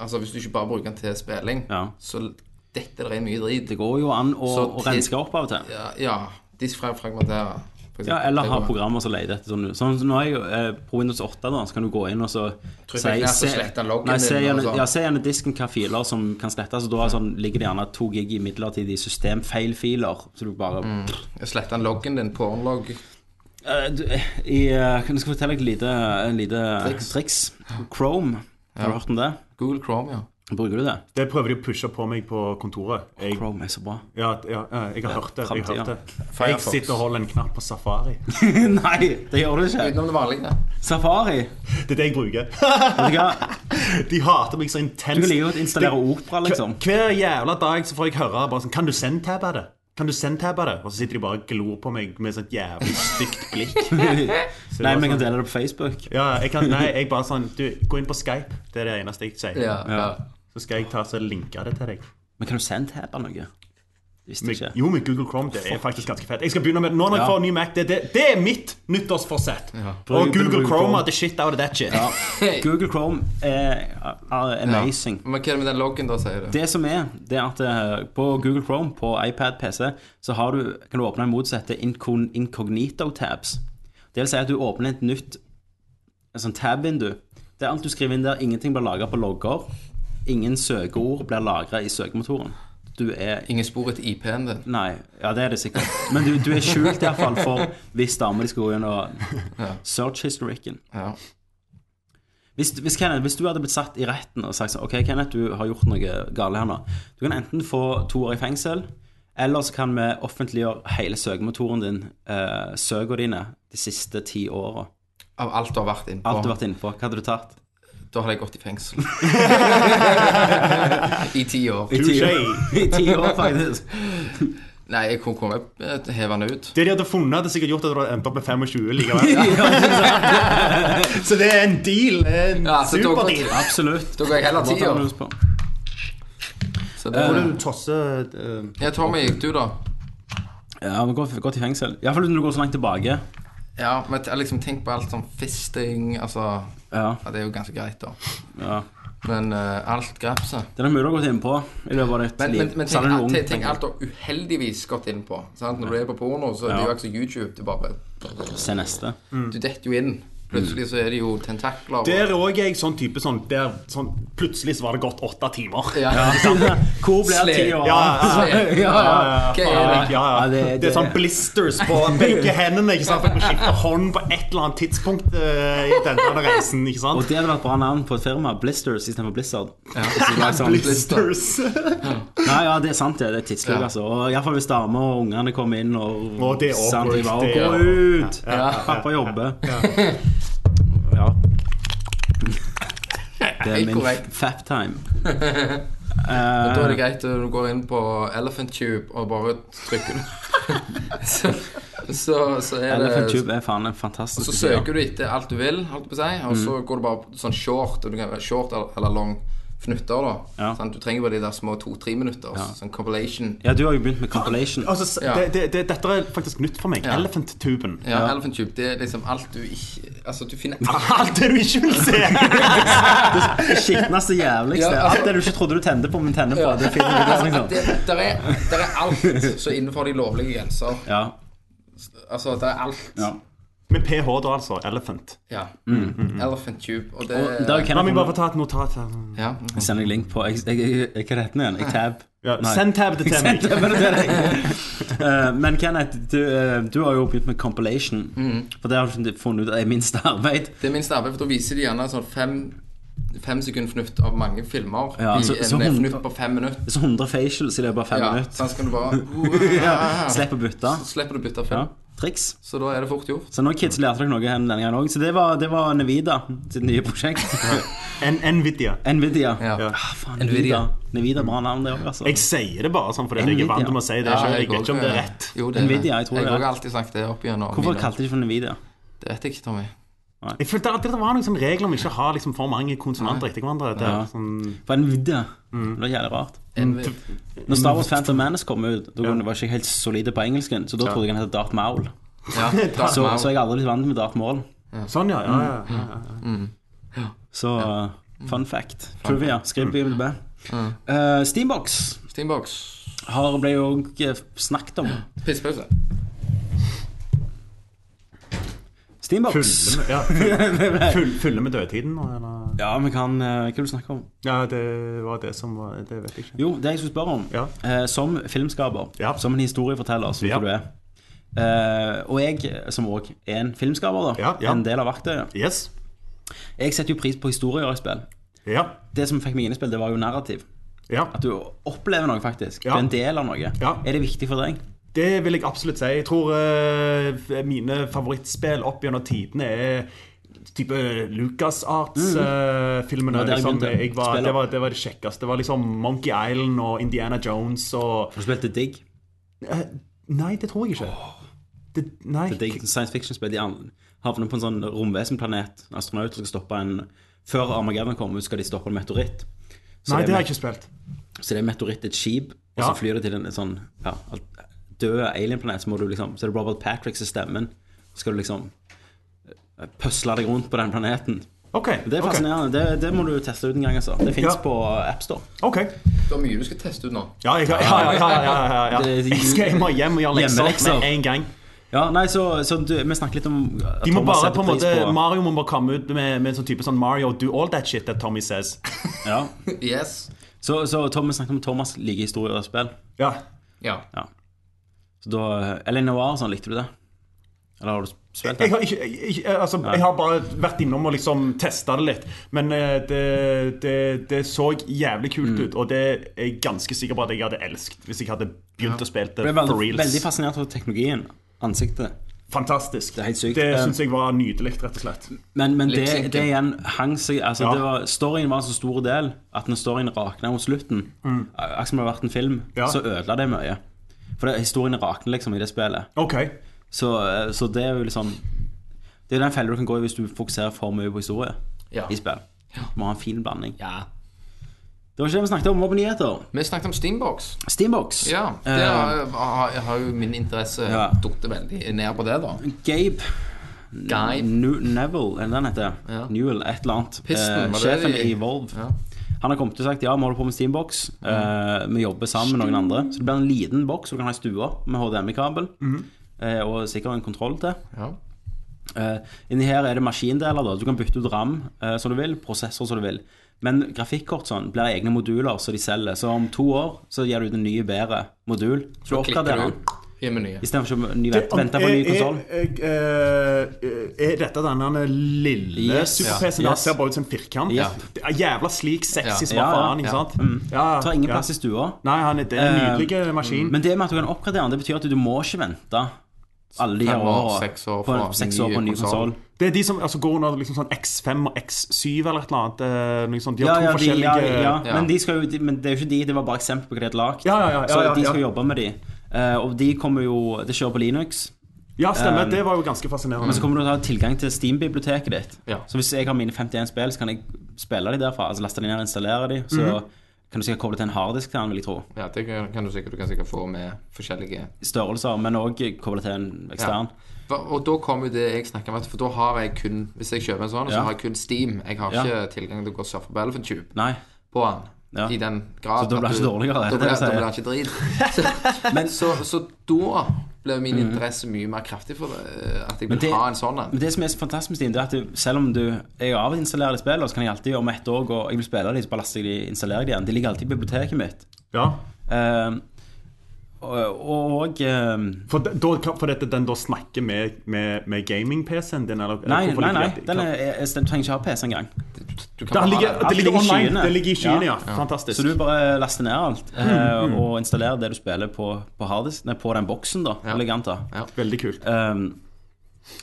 Speaker 3: Altså, hvis du ikke bare bruker den til spilling,
Speaker 2: Ja.
Speaker 3: så detter det inn mye drit.
Speaker 2: Det går jo an å,
Speaker 3: Så
Speaker 2: å
Speaker 3: til-
Speaker 2: renske opp av og til.
Speaker 3: Ja, ja diskfragmentere.
Speaker 2: Ja, eller ha programmer som leter etter sånn Sånn som nå er jeg jo eh, på Windows 8, da, så kan du gå inn og så
Speaker 3: Trykk på knapp og slette loggen
Speaker 2: Nei, se
Speaker 3: din,
Speaker 2: gjennom,
Speaker 3: altså.
Speaker 2: ja, se gjennom disken hva filer som kan slettes. og Da er sånn, ligger det gjerne to gig i midlertidige systemfeilfiler. Så du bare
Speaker 3: Mm. Slette den loggen din, pornlogg.
Speaker 2: Eh, du, i, eh, Kan jeg skal fortelle deg et lite, en lite triks. Chrome. Har du hørt om det?
Speaker 3: Google Chrome, ja.
Speaker 2: Bruker du det?
Speaker 1: Det prøver de å pushe på meg på kontoret. Jeg,
Speaker 2: Chrome er så
Speaker 3: (laughs)
Speaker 2: bra.
Speaker 1: ja, ja, eh, jeg har hørt det. Jeg, har hørt det. jeg
Speaker 3: Firefox.
Speaker 1: sitter og holder en knapp på safari.
Speaker 2: Nei, det gjør du ikke.
Speaker 3: Utenom det vanlige.
Speaker 2: Safari.
Speaker 1: Det er det jeg bruker. (laughs)
Speaker 2: Vet du hva?
Speaker 1: De hater meg så
Speaker 2: Du
Speaker 1: intenst.
Speaker 2: kan like godt installere Opera, liksom.
Speaker 1: Hver- Hver jævla dag så får jeg høre bare sånn Kan du sendtabbe det? Kan du sendtabbe det? Og så sitter de bare og glor på meg med sånt jævlig
Speaker 2: (laughs)
Speaker 1: stygt blikk.
Speaker 3: (laughs)
Speaker 1: Så det
Speaker 2: Nei,
Speaker 1: var
Speaker 2: men jeg
Speaker 1: sånn-
Speaker 2: kan dele det på Facebook.
Speaker 1: Ja, jeg kan, nei, jeg bare sånn Du, gå inn på Skype. Det er det eneste jeg sier.
Speaker 3: Ja. ja.
Speaker 1: Så skal jeg ta så linke det til deg.
Speaker 2: Men kan du sendtabe noe? Det visste
Speaker 1: Med,
Speaker 2: jeg ikke.
Speaker 1: jo, med Google Chrome. Det er faktisk ganske fett. Jeg skal begynne med det. Nå når jeg
Speaker 2: Ja.
Speaker 1: får en ny Mac, det, det, det er mitt nyttårsforsett. Og
Speaker 2: Bruk-
Speaker 1: Google
Speaker 2: bruk
Speaker 1: Chrome
Speaker 2: Chrome.
Speaker 1: er the shit out of that shit.
Speaker 2: Google Chrome er, er amazing.
Speaker 3: Men hva er det med den loggen, da, sier du?
Speaker 2: Det som er, det er at eh, på Google Chrome, på iPad, PC, så har du, kan du åpne en mot som heter incon- incognito tabs. Det vil si at du åpner et nytt en sånn tab-vindu. Det er alt du skriver inn der. Ingenting blir lagra på logger. Ingen søkeord blir lagra i søkemotoren. Du er
Speaker 3: Ingen spor etter IP-en din.
Speaker 2: Nei, ja det er det sikkert. Men du, du er skjult iallfall for hvis damer de skal gå inn og search historikken.
Speaker 3: Ja.
Speaker 2: Hvis, hvis, Kenneth, hvis du hadde blitt satt i retten og sagt sånn Ok, Kenneth, du har gjort noe galt her nå. Du kan enten få to år i fengsel, Eller så kan vi offentliggjøre hele søkemotoren din, eh, søkene dine, de siste ti åra.
Speaker 3: Av alt du har vært innpå.
Speaker 2: Alt du har vært innenfor. Hva hadde du tatt?
Speaker 3: Da hadde jeg gått i
Speaker 2: (laughs)
Speaker 3: fengsel. I ti år.
Speaker 2: I ti år, I ti år faktisk.
Speaker 3: Nei, jeg kunne komme heve den ut.
Speaker 1: Det de hadde funnet, hadde sikkert gjort at du hadde endt opp med 25 likevel. Så det er en deal. En
Speaker 3: Ja, så da-
Speaker 1: superdeal.
Speaker 2: Absolutt.
Speaker 3: Da går jeg heller
Speaker 2: Hva
Speaker 3: ti
Speaker 2: tar
Speaker 3: år.
Speaker 2: du lyst på?
Speaker 3: Så det,
Speaker 1: Du tosser eh,
Speaker 3: ja, Tommy, du da?
Speaker 2: Ja, vi går, går til fengsel. Iallfall når du går så langt tilbake.
Speaker 3: Ja, men t- liksom tenk på alt sånn fisting, altså
Speaker 2: Ja,
Speaker 3: ja, Det er jo ganske greit, da.
Speaker 2: ja.
Speaker 3: Men eh, alt grepset
Speaker 2: Det er nok mulig å gå inn på i løpet av ditt
Speaker 3: Men,
Speaker 2: liv.
Speaker 3: men, men
Speaker 2: Særlig
Speaker 3: tenk,
Speaker 2: når du er ung,
Speaker 3: tenk, tenk
Speaker 2: tenker
Speaker 3: alt du har uheldigvis gått inn på. Sant? Når du er på porno, så er det
Speaker 2: Ja. Mm.
Speaker 3: jo ikke så YouTube. Det er bare
Speaker 2: jeg. Se neste.
Speaker 3: Du detter jo inn. Plutselig så er det jo tentakler. og-
Speaker 1: Der òg er jeg sånn type sånn der sånn, Plutselig så var det gått åtte timer.
Speaker 3: Ja.
Speaker 2: Hvor blir ti
Speaker 3: Sle-
Speaker 2: år?
Speaker 1: Ja, ja,
Speaker 2: (laughs)
Speaker 3: Ja, ja. Hva er
Speaker 1: ja,
Speaker 3: det?
Speaker 1: ja.
Speaker 2: Ja, det-
Speaker 1: Det er sånn blisters på begge hendene. Ikke sant? For jeg må skifte hånd på et eller annet tidspunkt eh, i denne reisen. Ikke
Speaker 2: Og
Speaker 1: sant?
Speaker 2: det hadde vært bra navn på et firma. Blisters istedenfor Blizzard.
Speaker 3: Ja.
Speaker 1: Blisters. (laughs)
Speaker 2: Nei, sånn- ja, det er sant, det. Det er tidsløp,
Speaker 3: Ja.
Speaker 2: altså. Og Iallfall hvis damer og ungene kommer inn og
Speaker 1: Og det er
Speaker 2: Sant, de
Speaker 1: awkward,
Speaker 2: bare,
Speaker 1: det er-
Speaker 2: Gå ut!
Speaker 1: Ja, ja,
Speaker 2: Pappa jobber.
Speaker 3: (laughs)
Speaker 2: Ja. Det er
Speaker 3: Helt
Speaker 2: min
Speaker 3: korrekt.
Speaker 2: fap time.
Speaker 3: Men da er det greit at du går inn på Elephant Tube og bare trykker (laughs) den. så, så, så er det
Speaker 2: Elephant Tube er faen en fantastisk
Speaker 3: Så
Speaker 2: idé.
Speaker 3: søker du etter alt du vil, holdt jeg på å si, og
Speaker 2: Mm.
Speaker 3: så går du bare på sånn short, og du kan være short eller, eller long fnutter, da.
Speaker 2: Ja.
Speaker 3: Sant? du trenger bare de der små to-tre minutter, sånn compilation.
Speaker 2: Ja, du har jo begynt med compilation.
Speaker 1: Altså, s-
Speaker 3: Ja.
Speaker 1: det, det, det, dette er faktisk nytt for meg.
Speaker 3: Ja.
Speaker 1: Elephant-tuben. (laughs)
Speaker 3: Ja, Elephant Tube, det er liksom alt du ikke Altså, du
Speaker 2: (laughs)
Speaker 3: finner alt.
Speaker 1: Alt det du ikke vil se! (laughs)
Speaker 2: Det skitneste, jævligste.
Speaker 3: Ja.
Speaker 2: Alt det du ikke trodde du tente på, men tenner på. Det finner du
Speaker 3: (laughs)
Speaker 2: der, liksom.
Speaker 3: Det, der, er, der er alt så innenfor de lovlige grenser.
Speaker 2: Ja.
Speaker 3: Altså, der er alt.
Speaker 2: Ja. Mm.
Speaker 1: Med ph da, altså. Elephant.
Speaker 3: Ja. Elephant Tube, og det
Speaker 2: Da kan
Speaker 1: La meg
Speaker 2: jeg
Speaker 1: bare få ta et notat her.
Speaker 3: Ja. mhm.
Speaker 2: sende deg link på jeg, jeg, jeg, jeg, Hva heter den igjen? Jeg tab.
Speaker 1: Ja,
Speaker 2: Nei. (laughs)
Speaker 1: send tab til meg.
Speaker 2: Det var det til deg. Eh, Men Kenneth, du, eh, du har jo begynt med compilation.
Speaker 3: Mm.
Speaker 2: For det har du funnet ut er minst arbeid.
Speaker 3: Det er minst arbeid, for da viser de gjerne sånn fem Fem sekunder fnutt av mange filmer.
Speaker 2: Ja,
Speaker 3: i
Speaker 2: så-
Speaker 3: en
Speaker 2: så hun-
Speaker 3: fnutt på fem minutter.
Speaker 2: Så 100 facials i løpet av fem
Speaker 3: Ja,
Speaker 2: minutter.
Speaker 3: sånn
Speaker 2: (laughs)
Speaker 3: skal du bare
Speaker 2: Slipp å bytte.
Speaker 3: Så slipper du å bytte
Speaker 2: Ja.
Speaker 3: film.
Speaker 2: Triks.
Speaker 3: Så da er det fort gjort.
Speaker 2: Så nå kids lærte dere noe hen denne gangen òg. Så det var, det var Nevida sitt nye prosjekt.
Speaker 1: En Nvidia.
Speaker 2: (laughs) Nvidia.
Speaker 3: Ja.
Speaker 2: Ah, faen, Nvidia.
Speaker 3: Nvidia.
Speaker 2: Nvidia, bra navn, det òg, altså.
Speaker 1: Jeg sier det bare sånn fordi jeg er
Speaker 2: Nvidia.
Speaker 1: vant til å si det.
Speaker 3: Ja,
Speaker 1: selv. Jeg vet
Speaker 3: går-
Speaker 1: ikke om det er rett.
Speaker 3: Jo, det er
Speaker 2: Nvidia, jeg
Speaker 3: det.
Speaker 2: tror det
Speaker 3: Jeg
Speaker 2: er
Speaker 3: har
Speaker 2: rett.
Speaker 3: alltid sagt det opp igjennom.
Speaker 2: Hvorfor
Speaker 3: mine-
Speaker 2: kalte de det for Nvidia?
Speaker 3: Det vet jeg ikke,
Speaker 2: (laughs)
Speaker 3: Tommy.
Speaker 1: Jeg følte alltid at det var noen sånn regler om ikke å ha liksom, for mange konsonanter etter hverandre. Det,
Speaker 2: Ja.
Speaker 1: er sånn,
Speaker 2: For Nvidia.
Speaker 1: Mm.
Speaker 2: Det var jævlig rart.
Speaker 3: Envid.
Speaker 2: Når Star Wars Phantom Menace kom ut, da kunne- var jeg ikke helt solide på engelsken, så da trodde jeg han het Darth Maul.
Speaker 3: Ja, da,
Speaker 2: (laughs) Så, så jeg er aldri blitt vant med Darth Maul.
Speaker 1: sånn, ja. ja, ja, ja.
Speaker 2: Så uh,
Speaker 1: Mm.
Speaker 2: fun fact. Trivia. Skriv på IMDb. Uh, Steambox
Speaker 3: Steambox.
Speaker 2: har ble jo ikke snakket om.
Speaker 3: Pissepause.
Speaker 2: Steambox.
Speaker 1: Fylle, med-
Speaker 2: (laughs)
Speaker 1: ja, fylle, fylle med dødtiden nå, eller?
Speaker 2: Ja, vi kan uh, Hva vil du snakke om?
Speaker 1: Ja, det var det som var Det vet jeg ikke.
Speaker 2: Jo, det jeg skulle spørre om.
Speaker 1: Ja.
Speaker 2: eh, som filmskaper,
Speaker 1: Ja.
Speaker 2: som en historieforteller, som
Speaker 1: Ja.
Speaker 2: du er. eh, og jeg, som òg er en filmskaper, da,
Speaker 1: Ja, ja.
Speaker 2: en del av verktøyet
Speaker 1: Yes.
Speaker 2: Jeg setter jo pris på historier i spill.
Speaker 1: Ja.
Speaker 2: Det som fikk meg inn i spill, det var jo narrativ.
Speaker 1: ja.
Speaker 2: At du opplever noe, faktisk.
Speaker 1: Ja.
Speaker 2: Du er en del av noe.
Speaker 1: Ja.
Speaker 2: Er det viktig for deg?
Speaker 1: Det vil jeg absolutt si. Jeg tror eh, mine favorittspill opp gjennom tidene er type Lucas Arts-filmene.
Speaker 2: Mm. Det var der jeg
Speaker 1: liksom.
Speaker 2: begynte å
Speaker 1: Jeg var-
Speaker 2: spille.
Speaker 1: det, var- det var det kjekkeste. Det var liksom Monkey Island og Indiana Jones og Eh,
Speaker 2: Har du spilt The Dig?
Speaker 1: Nei, det tror jeg ikke. Det, nei,
Speaker 2: The Dig science fiction-spill. De an- havner på en sånn romvesenplanet. Astronauter skal stoppe en Før Armageddon kommer, skal de stoppe en meteoritt. Så
Speaker 1: nei, det har
Speaker 2: er
Speaker 1: jeg ikke spilt.
Speaker 2: Så det er meteoritt et skip, og
Speaker 1: Ja.
Speaker 2: så flyr det til en sånn ja, alt- død alienplanet. Så, må du liksom, så er det Robert Patrick som er stemmen. Så skal du liksom eh, pøsle deg rundt på den planeten.
Speaker 1: OK.
Speaker 2: Det er
Speaker 1: ok,
Speaker 2: fascinerende. Det, det må du teste ut en gang. altså Det fins
Speaker 1: Ja.
Speaker 2: på AppStore.
Speaker 1: OK.
Speaker 3: Det er mye du skal teste ut nå.
Speaker 1: Ja, jeg, ja, ja, ja, ja, ja, ja.
Speaker 2: Det- liksom.
Speaker 1: jeg skal jeg må hjem og gjøre lekser
Speaker 2: Hjemmelekser.
Speaker 1: med en gang.
Speaker 2: Ja, nei, så, så du, Vi snakket litt om at
Speaker 1: De må
Speaker 2: Thomas
Speaker 1: bare
Speaker 2: setter
Speaker 1: på en måte,
Speaker 2: pris på-
Speaker 1: Mario må bare komme ut med, med en sånn type sånn Mario do all that shit that Tommy says.
Speaker 2: ja.
Speaker 3: Yes.
Speaker 2: Så, så Thomas snakket om Thomas liker historier og spill.
Speaker 1: Ja
Speaker 3: Ja.
Speaker 2: Så da, Eller Noir og sånn, likte du det? Eller har du spilt
Speaker 1: Jeg
Speaker 2: det?
Speaker 1: har, ikke, jeg, jeg- altså, jeg har bare vært innom og liksom testa det litt. Men eh, det, det, det så jævlig kult
Speaker 2: Mm.
Speaker 1: ut, og det er jeg ganske sikker på at jeg hadde elsket hvis jeg hadde begynt å spille det
Speaker 2: Jeg ble
Speaker 1: for
Speaker 2: veldig,
Speaker 1: reals.
Speaker 2: veldig fascinert av teknologien. Ansiktet.
Speaker 1: Fantastisk.
Speaker 2: er helt sykt.
Speaker 1: Det
Speaker 2: Eh,
Speaker 1: syns jeg var nydelig, rett og slett.
Speaker 2: Men, men det,
Speaker 3: Lip-synken.
Speaker 2: det igjen hang seg altså,
Speaker 1: Ja.
Speaker 2: det var, Storyen var en så stor del at når storyen rakna mot slutten, akkurat som det hadde vært en film,
Speaker 1: Mm. Ja.
Speaker 2: så ødela det mye. For det, historien rakner liksom i det spillet.
Speaker 1: OK.
Speaker 2: Så, så det er jo liksom Det er den fella du kan gå i hvis du fokuserer for mye på historie
Speaker 3: Ja.
Speaker 2: i spill. Du må ha en fin blanding.
Speaker 3: ja.
Speaker 2: Det var ikke det vi snakket om, vi var på nyheter.
Speaker 3: Vi snakket om Steambox.
Speaker 2: Steambox.
Speaker 3: Ja, det har, har, har jo min interesse ja.
Speaker 2: Eh. Ja.
Speaker 3: datt veldig ned på det, da.
Speaker 2: Eh, Gabe
Speaker 3: Guy.
Speaker 2: New, Neville, eller den heter
Speaker 3: Ja.
Speaker 2: Newell, et eller annet.
Speaker 3: Piston,
Speaker 2: Eh,
Speaker 3: var det
Speaker 2: sjefen
Speaker 3: de-
Speaker 2: i Volve.
Speaker 3: Ja. Mm.
Speaker 2: Han har kommet og sagt ja, vi holder på med Steambox. Eh, vi jobber sammen med noen andre. Så det blir en liten boks du kan ha i stua med HDMI-kabel.
Speaker 3: Mm.
Speaker 2: eh, og sikkert en kontroll til.
Speaker 3: Ja.
Speaker 2: Eh, inni her er det maskindeler. da Du kan bytte ut RAM eh, som du vil, prosessor som du vil. Men grafikkort sånn blir egne moduler som de selger. Så om to år så gir du ut en ny, bedre modul. Så du
Speaker 3: Klikker
Speaker 2: oppgraderer den.
Speaker 3: du i menyen.
Speaker 2: Istedenfor å ny- vente på en ny
Speaker 1: Er- er-
Speaker 2: konsoll.
Speaker 1: Er, eh, er dette denne lille
Speaker 2: Yes.
Speaker 1: super-PC-en
Speaker 2: Ja.
Speaker 1: der
Speaker 2: Yes.
Speaker 1: ser bare ut som en firkant?
Speaker 2: Ja.
Speaker 1: Det er Jævla slik, sexy
Speaker 3: Ja.
Speaker 1: som
Speaker 2: Ja, ja,
Speaker 1: faen, ikke
Speaker 3: ja.
Speaker 1: sant? Ja,
Speaker 2: Tar ingen
Speaker 1: ja.
Speaker 2: plass i stua.
Speaker 1: Nei, han er, det er en
Speaker 2: Eh,
Speaker 1: nydelig maskin.
Speaker 2: Men det med at du kan oppgradere den, det betyr at du må ikke vente alle de her
Speaker 3: Fem år,
Speaker 2: årene
Speaker 3: seks år
Speaker 2: på,
Speaker 3: for
Speaker 2: seks
Speaker 3: ny
Speaker 2: år på en ny
Speaker 3: konsol.
Speaker 2: konsoll.
Speaker 1: Det er de som altså, går under liksom sånn X5 og X7 eller et eller annet. eh, noe sånt. De har
Speaker 2: Ja, ja,
Speaker 1: to
Speaker 2: de, ja,
Speaker 1: forskjellige
Speaker 2: ja.
Speaker 3: Ja.
Speaker 2: Men, de skal jo, de, men det er jo ikke de, det var bare eksempel på hva de hadde lagd.
Speaker 1: Ja, ja, ja, ja, ja,
Speaker 2: så de skal
Speaker 1: ja.
Speaker 2: jobbe med de. Eh, og de kommer jo Det kjører på Linux.
Speaker 1: Ja, stemmer.
Speaker 2: Um,
Speaker 1: det var jo ganske fascinerende.
Speaker 2: Men så kommer du til å ha tilgang til Steam-biblioteket ditt.
Speaker 3: Ja.
Speaker 2: Så hvis jeg har mine 51 spill, så kan jeg spille de derfra. Altså laste de ned og installere de. Så
Speaker 1: Mhm.
Speaker 2: kan du sikkert koble til en harddisk til den, vil jeg tro.
Speaker 3: Ja, det kan kan du sikkert, du kan sikkert få med forskjellige
Speaker 2: I Størrelser, men òg koble til en ekstern.
Speaker 3: Hva- Og da kommer jo det jeg snakker om, at- for da har jeg kun Hvis jeg kjøper en sånn, så
Speaker 2: Ja.
Speaker 3: har jeg kun Steam. Jeg har
Speaker 2: Ja.
Speaker 3: ikke tilgang til å gå og surfe Battlefield Tube
Speaker 2: Nei.
Speaker 3: på den.
Speaker 2: Ja.
Speaker 3: I den grad
Speaker 2: Så da blir
Speaker 3: at
Speaker 2: det
Speaker 3: du-
Speaker 2: ikke dårligere, det
Speaker 3: Da
Speaker 2: er det
Speaker 3: blir,
Speaker 2: jeg
Speaker 3: da
Speaker 2: sier.
Speaker 3: blir det ikke drit.
Speaker 2: (laughs)
Speaker 3: Så,
Speaker 2: Men-
Speaker 3: så, så da blir min interesse mye mer kraftig for det, at jeg vil
Speaker 2: det-
Speaker 3: ha en sånn en.
Speaker 2: Men det som er så fantastisk med Steam, det er at du, selv om du jeg avinstallerer de spillene, så kan jeg alltid om ett år gå Jeg vil spille de, så bare laster jeg de installere de igjen. De ligger alltid i biblioteket mitt.
Speaker 1: Ja.
Speaker 2: Eh, og og eh,
Speaker 1: For, de- da, for dette, den da snakker med, med, med gaming-PC-en din? Eller,
Speaker 2: Nei,
Speaker 1: hvorfor ligger
Speaker 2: nei, nei.
Speaker 1: det-
Speaker 2: Den er, Altså, jeg, jeg trenger ikke ha PC engang.
Speaker 3: Du
Speaker 1: Det
Speaker 3: kan bare
Speaker 1: ligger,
Speaker 3: ha
Speaker 1: det
Speaker 2: Alt
Speaker 1: ligger
Speaker 2: ligger i
Speaker 1: online.
Speaker 2: skyene.
Speaker 1: Det ligger i skyene, ja.
Speaker 2: Ja.
Speaker 1: Fantastisk.
Speaker 2: Så du bare laster ned alt
Speaker 1: Mm.
Speaker 2: eh, og installerer det du spiller på, på, harddisk- nei, på den boksen, da. Elegant, da.
Speaker 1: Veldig kult.
Speaker 2: Um,